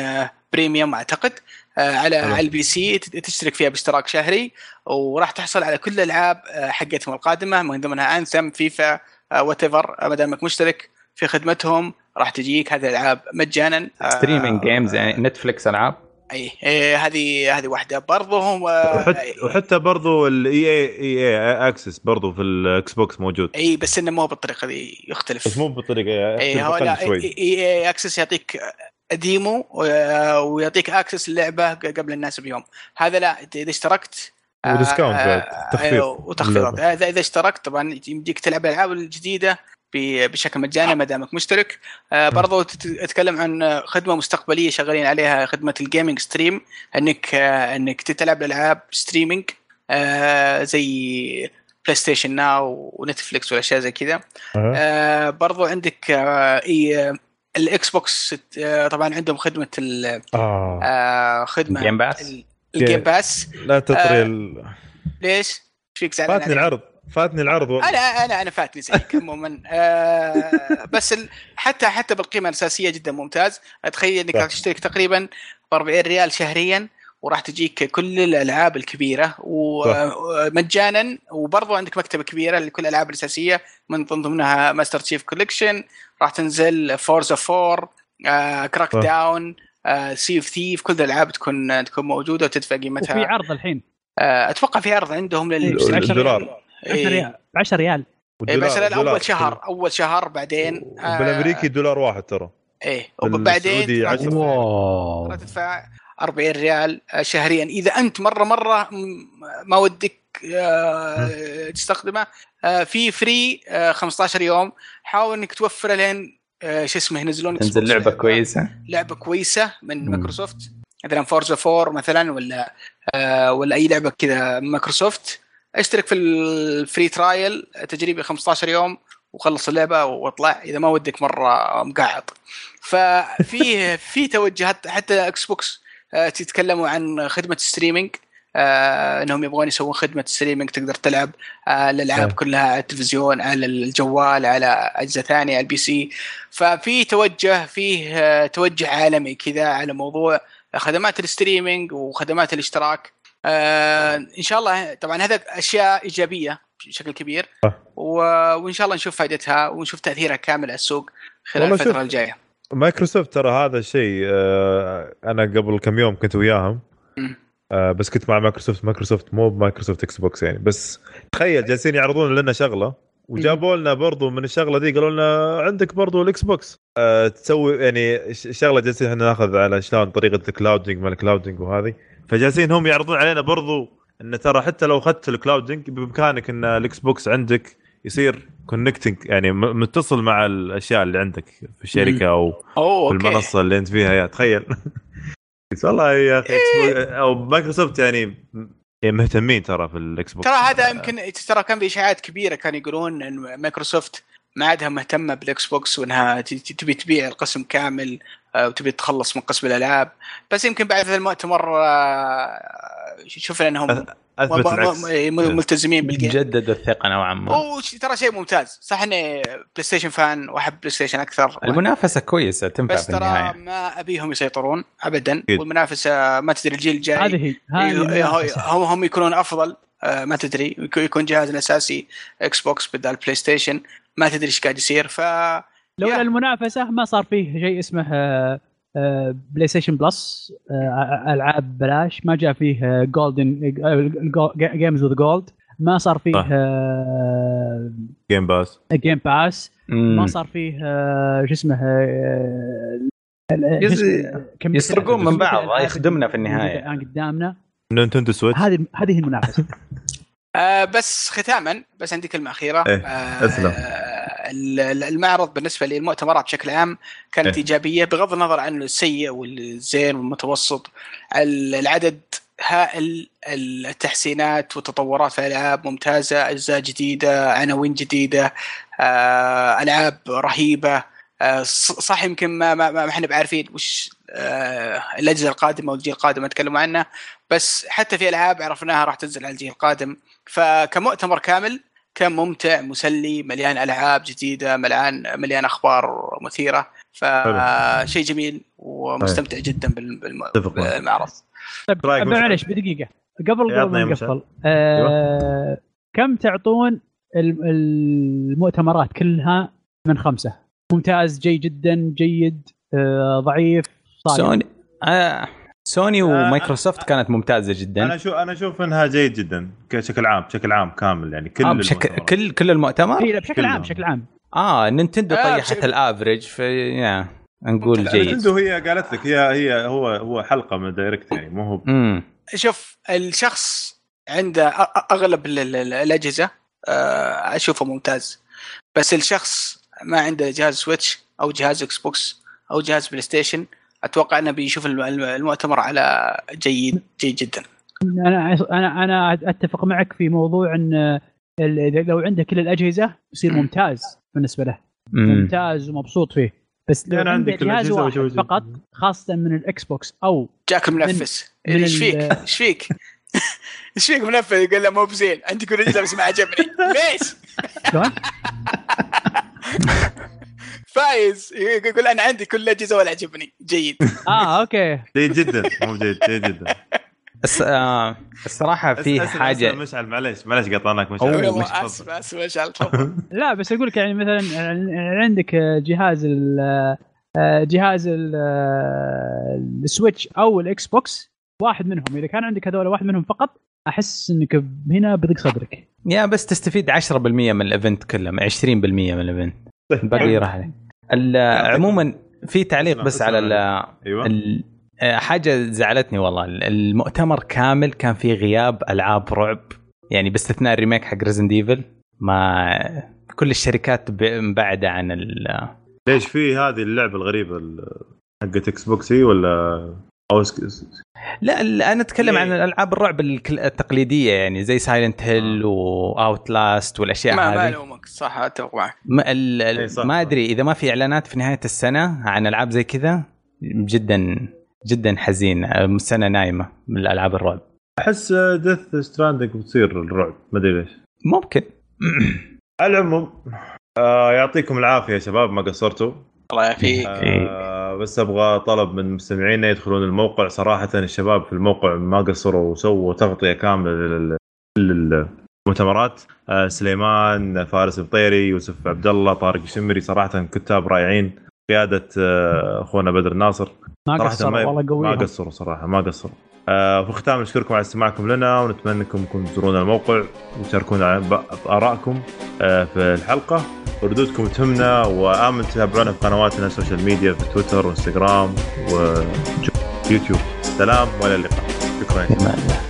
Speaker 3: بريميوم اعتقد آه، على
Speaker 1: حلو.
Speaker 3: على البي سي ت- تشترك فيها باشتراك شهري وراح تحصل على كل الالعاب آه، حقتهم القادمه من ضمنها انثم فيفا وات ايفر آه، ما دامك مشترك في خدمتهم راح تجيك هذه الالعاب مجانا آه،
Speaker 2: ستريمينج جيمز يعني نتفلكس العاب
Speaker 3: اي إيه، هذه هذه واحده برضه هم آه،
Speaker 1: وحت...
Speaker 3: إيه.
Speaker 1: وحتى برضو E الاي اي اي اكسس برضو في الاكس بوكس موجود
Speaker 3: اي بس انه مو بالطريقه ذي يختلف
Speaker 1: بس مو بالطريقه
Speaker 3: اي إيه، هو لا اي اي اكسس يعطيك ديمو و- ويعطيك اكسس اللعبه ق- قبل الناس بيوم هذا لا إنت اذا اشتركت آه،
Speaker 1: وديسكاونت بعد،
Speaker 3: آه،
Speaker 1: تخفيض.
Speaker 3: أيوه، وتخفيض
Speaker 1: اللعبة.
Speaker 3: هذا اذا اشتركت طبعا يمديك تلعب الالعاب الجديده ب- بشكل مجاني ما دامك مشترك آه، برضو تت- اتكلم عن خدمه مستقبليه شغالين عليها خدمه الجيمنج ستريم انك آه، انك تلعب الالعاب ستريمينج آه، زي بلاي ستيشن ناو ونتفلكس والاشياء زي كذا آه برضو عندك آه اي آه، الاكس بوكس آه طبعا عندهم خدمه ال-
Speaker 6: آه.
Speaker 3: آه خدمه
Speaker 2: Game Pass؟
Speaker 3: ال- الجيم باس
Speaker 6: لا تطري
Speaker 3: آه.
Speaker 6: ال-
Speaker 3: ليش؟ ايش فيك زعلان
Speaker 1: فاتني
Speaker 3: علي؟
Speaker 1: العرض فاتني العرض والله
Speaker 3: انا انا انا فاتني زيك عموما آه بس ال... حتى حتى بالقيمه الاساسيه جدا ممتاز اتخيل انك
Speaker 1: صح.
Speaker 3: تشترك تقريبا ب 40 ريال شهريا وراح تجيك كل الالعاب الكبيره
Speaker 1: صح.
Speaker 3: ومجانا وبرضو عندك مكتبه كبيره لكل الالعاب الاساسيه من ضمن ضمنها ماستر تشيف كوليكشن راح تنزل فورزا 4 آه كراك
Speaker 1: صح.
Speaker 3: داون آه سي اوف ثيف كل الالعاب تكون تكون موجوده وتدفع
Speaker 4: وفي
Speaker 3: قيمتها
Speaker 4: عرض الحين
Speaker 3: آه اتوقع في عرض عندهم لل 10
Speaker 4: إيه،
Speaker 1: الدولار.
Speaker 4: 10 ريال 10 ريال
Speaker 3: إيه
Speaker 1: والدولار-
Speaker 3: بس لا،
Speaker 1: الدولار.
Speaker 3: اول شهر اول شهر بعدين آه،
Speaker 1: بالامريكي دولار واحد ترى
Speaker 3: ايه
Speaker 1: بالسعودي
Speaker 3: وبعدين راح
Speaker 1: عشرة.
Speaker 3: تدفع-
Speaker 2: واو
Speaker 3: راح تدفع 40 ريال آه، شهريا اذا انت مره مره م- ما ودك آه، تستخدمه آه، في فري آه، 15 يوم حاول انك توفره لين آه، شو اسمه ينزلون
Speaker 2: تنزل
Speaker 3: Xbox.
Speaker 2: لعبه كويسه
Speaker 3: لعبه كويسه من
Speaker 2: مم.
Speaker 3: مايكروسوفت مثلا فورزا 4 مثلا ولا آه، ولا اي لعبه كذا من مايكروسوفت اشترك في الفري ترايل تجريبي 15 يوم وخلص اللعبه واطلع اذا ما ودك مره مقعد ففي في توجهات حتى اكس بوكس آه، تتكلموا عن خدمه ستريمينج انهم آه، يبغون يسوون خدمه ستريمينج تقدر تلعب آه، الالعاب
Speaker 1: صحيح.
Speaker 3: كلها على التلفزيون على الجوال على اجهزه ثانيه على البي سي ففي توجه فيه آه، توجه عالمي كذا على موضوع خدمات الستريمينج وخدمات الاشتراك آه، ان شاء الله طبعا هذا اشياء ايجابيه بشكل كبير
Speaker 1: آه.
Speaker 3: و- وان شاء الله نشوف فائدتها ونشوف تاثيرها كامل على السوق خلال
Speaker 1: والله شوف.
Speaker 3: الفتره الجايه
Speaker 1: مايكروسوفت ترى هذا الشيء آه، انا قبل كم يوم كنت وياهم
Speaker 3: مم.
Speaker 1: آه، بس كنت مع مايكروسوفت مايكروسوفت مو بمايكروسوفت اكس بوكس يعني بس تخيل جالسين يعرضون لنا شغله وجابوا لنا برضو من الشغله دي قالوا لنا عندك برضو الاكس بوكس آه، تسوي يعني ش- شغله جالسين احنا ناخذ على شلون طريقه الكلاودنج ما الكلاودنج وهذه فجالسين هم يعرضون علينا برضو ان ترى حتى لو اخذت الكلاودنج بامكانك ان الاكس بوكس عندك يصير كونكتنج يعني م- متصل مع الاشياء اللي عندك في الشركه او
Speaker 3: اوه
Speaker 1: في المنصه اللي انت فيها يا تخيل بس والله يا اخي
Speaker 3: إيه.
Speaker 1: إكس بوك- او مايكروسوفت يعني مهتمين ترى في الاكس بوكس
Speaker 3: ترى هذا يمكن ترى كان في اشاعات كبيره كانوا يقولون ان مايكروسوفت ما عادها مهتمه بالاكس بوكس وانها ت- ت- تبي تبيع القسم كامل آه، وتبي تتخلص من قسم الالعاب بس يمكن بعد هذا المؤتمر آه، شفنا انهم
Speaker 1: اثبت
Speaker 3: مب-
Speaker 1: العكس
Speaker 3: م- م- إيه، ملتزمين بالجيم
Speaker 2: جدد الثقه نوعا ما
Speaker 3: وش- ترى شيء ممتاز صح اني بلاي ستيشن فان واحب بلاي ستيشن اكثر
Speaker 2: المنافسه كويسه تنفع
Speaker 3: بس
Speaker 2: في
Speaker 3: ترى
Speaker 2: النهايه
Speaker 3: ما ابيهم يسيطرون ابدا
Speaker 1: أكيد.
Speaker 3: والمنافسه ما تدري الجيل الجاي
Speaker 4: هذه هي
Speaker 3: إيه.
Speaker 4: هذه المنافسة.
Speaker 3: هم هم يكونون افضل آه، ما تدري يك- يكون جهاز الاساسي اكس بوكس بدل بلاي ستيشن ما تدري ايش قاعد يصير ف
Speaker 4: لولا
Speaker 3: يا.
Speaker 4: المنافسه ما صار فيه شيء اسمه آه، آه، بلاي ستيشن بلس آه، العاب بلاش ما جاء فيه آه، جولدن جيمز وذ جولد ما صار فيه آه،
Speaker 1: صح. جيم باس
Speaker 4: جيم باس ما
Speaker 2: مم.
Speaker 4: صار فيه آه، شو اسمه آه، ال- ال-
Speaker 2: يز-
Speaker 4: شو اسمه؟ كمية
Speaker 2: يسرقون
Speaker 4: الألعاب-
Speaker 2: من بعض، آه،
Speaker 4: كمية الألعاب
Speaker 2: يخدمنا في
Speaker 4: اللي
Speaker 2: النهاية.
Speaker 4: الآن قدامنا
Speaker 1: نينتندو سويتش
Speaker 4: هذه هذه المنافسه
Speaker 3: آه، بس ختاما بس عندي كلمه اخيره
Speaker 5: إيه،
Speaker 3: آه،
Speaker 5: أسلم.
Speaker 3: آه، ال- ال- المعرض بالنسبه للمؤتمرات بشكل عام كانت
Speaker 5: إيه.
Speaker 3: ايجابيه بغض النظر عن السيء والزين والمتوسط ال- العدد هائل التحسينات والتطورات في الالعاب ممتازه اجزاء جديده عناوين جديده آه، العاب رهيبه آه، ص- صح يمكن ما ما ما ما احنا بعارفين وش آه، الاجهزه القادمه والجيل القادم اتكلم عنه بس حتى في العاب عرفناها راح تنزل على الجيل القادم فكمؤتمر كامل كان ممتع مسلي مليان العاب جديده مليان مليان اخبار مثيره فشيء جميل ومستمتع جدا بالم- بالم-
Speaker 5: اتفق معك.
Speaker 3: بالمعرض
Speaker 4: طيب
Speaker 5: رأيك مشعل؟
Speaker 4: معلش بدقيقه قبل قبل
Speaker 5: يعطنا
Speaker 4: ما
Speaker 5: يا مشعل.
Speaker 4: نقفل آه كم تعطون الم- المؤتمرات كلها من خمسه؟ ممتاز جيد جدا جيد آه ضعيف صالح
Speaker 2: سوني آه. سوني ومايكروسوفت كانت ممتازه
Speaker 5: انا
Speaker 2: جدا
Speaker 5: اشوف انا اشوف انها جيد جدا كشكل عام بشكل عام كامل يعني كل
Speaker 2: آه بشكل
Speaker 5: المؤتمرات.
Speaker 2: كل كل المؤتمر
Speaker 4: إيه، لا بشكل عام
Speaker 5: كلهم.
Speaker 4: بشكل عام
Speaker 2: اه نينتندو
Speaker 3: آه،
Speaker 2: طيحت
Speaker 3: بشكل-
Speaker 2: الافرج في يا نقول
Speaker 3: لا،
Speaker 2: جيد
Speaker 5: نتندو هي قالت لك هي هي هو هو حلقه من دايركت يعني مو هو
Speaker 2: امم
Speaker 3: شوف الشخص عنده أ- أ- اغلب ال- ال- ال- الاجهزه آه، اشوفه ممتاز بس الشخص ما عنده جهاز سويتش او جهاز اكس بوكس او جهاز بلاي ستيشن اتوقع انه بيشوف الم- الم- المؤتمر على جيد جيد جدا
Speaker 4: انا انا انا اتفق معك في موضوع ان آه، ال- لو عنده كل الاجهزه يصير ممتاز بالنسبه له
Speaker 2: أمم.
Speaker 4: ممتاز ومبسوط فيه بس لو
Speaker 5: يعني
Speaker 4: عنده
Speaker 5: عندي كل
Speaker 4: جهاز
Speaker 5: الأجهزة
Speaker 4: واحد
Speaker 5: وجوجل.
Speaker 4: فقط خاصه من الاكس بوكس او
Speaker 3: جاك المنفس
Speaker 4: من
Speaker 3: ايش
Speaker 4: ال-
Speaker 3: فيك؟ ايش فيك؟ ايش فيك منفذ؟ قال لا مو بزين عندي كل اجزاء بس ما عجبني ليش؟
Speaker 4: شلون؟
Speaker 3: فايز يقول انا عندي كل اجهزه ولا عجبني جيد
Speaker 4: اه اوكي
Speaker 1: جيد جدا مو جيد جيد جدا
Speaker 2: الس- آه، الصراحه في
Speaker 1: أس- أسف- أسف،
Speaker 2: حاجه
Speaker 1: مشعل معليش معليش قطعناك
Speaker 2: أوه،
Speaker 1: مشعل
Speaker 2: مش
Speaker 1: تفضل.
Speaker 3: يلا اسف اسف ايش تفضل
Speaker 4: لا بس اقول لك يعني مثلا عندك جهاز ال- آه، جهاز ال- آه، السويتش او الاكس بوكس واحد منهم اذا كان عندك هذول واحد منهم فقط احس انك هنا بضيق صدرك
Speaker 2: يا بس تستفيد 10% من الايفنت كله 20% من الايفنت باقي راح عليك. ال- عموما في تعليق
Speaker 1: اسمع،
Speaker 2: بس
Speaker 1: اسمع
Speaker 2: على
Speaker 1: منك.
Speaker 2: ال-
Speaker 5: أيوة.
Speaker 1: ايوه
Speaker 2: ال- آه، حاجه زعلتني والله المؤتمر كامل كان فيه غياب العاب رعب يعني باستثناء الريميك حق ريزن ديفل ما كل الشركات ب- مبعده عن ال-
Speaker 1: ليش في هذه اللعبه الغريبه ال- حقت اكس بوكس هي ولا او اس
Speaker 2: لا لا، انا اتكلم
Speaker 1: ليه؟
Speaker 2: عن الالعاب الرعب الكل- التقليديه يعني زي سايلنت
Speaker 1: آه.
Speaker 2: هيل واوت لاست والاشياء
Speaker 3: ما ما
Speaker 2: هذه
Speaker 3: الومك صح اتفق معك
Speaker 2: ما, ال... ال-
Speaker 1: إيه صح.
Speaker 2: ما ادري اذا ما في اعلانات في نهايه السنه عن العاب زي كذا جدا جدا حزين السنه نايمه من الالعاب الرعب
Speaker 1: احس ديث ستراندنج بتصير الرعب ما ادري ليش
Speaker 2: ممكن
Speaker 1: على العموم آه يعطيكم العافيه يا شباب ما قصرتوا
Speaker 3: الله يعافيك
Speaker 1: آه بس ابغى طلب من مستمعينا يدخلون الموقع صراحه الشباب في الموقع ما قصروا وسووا تغطيه كامله لل- لل- للمؤتمرات آه سليمان فارس البطيري يوسف عبد الله طارق الشمري صراحه كتاب رائعين قياده آه، اخونا بدر ناصر
Speaker 4: ما
Speaker 1: صراحه
Speaker 4: قصروا
Speaker 1: ما
Speaker 4: والله
Speaker 1: ما
Speaker 4: قوي
Speaker 1: قصروا صراحه ما قصروا آه في الختام نشكركم على استماعكم لنا ونتمنى انكم تكونوا تزورونا الموقع وتشاركونا ب- بارائكم آه في الحلقه وردودكم تهمنا وامن تتابعونا في قنواتنا السوشيال ميديا في تويتر وانستغرام ويوتيوب سلام والى اللقاء شكرا
Speaker 2: تمام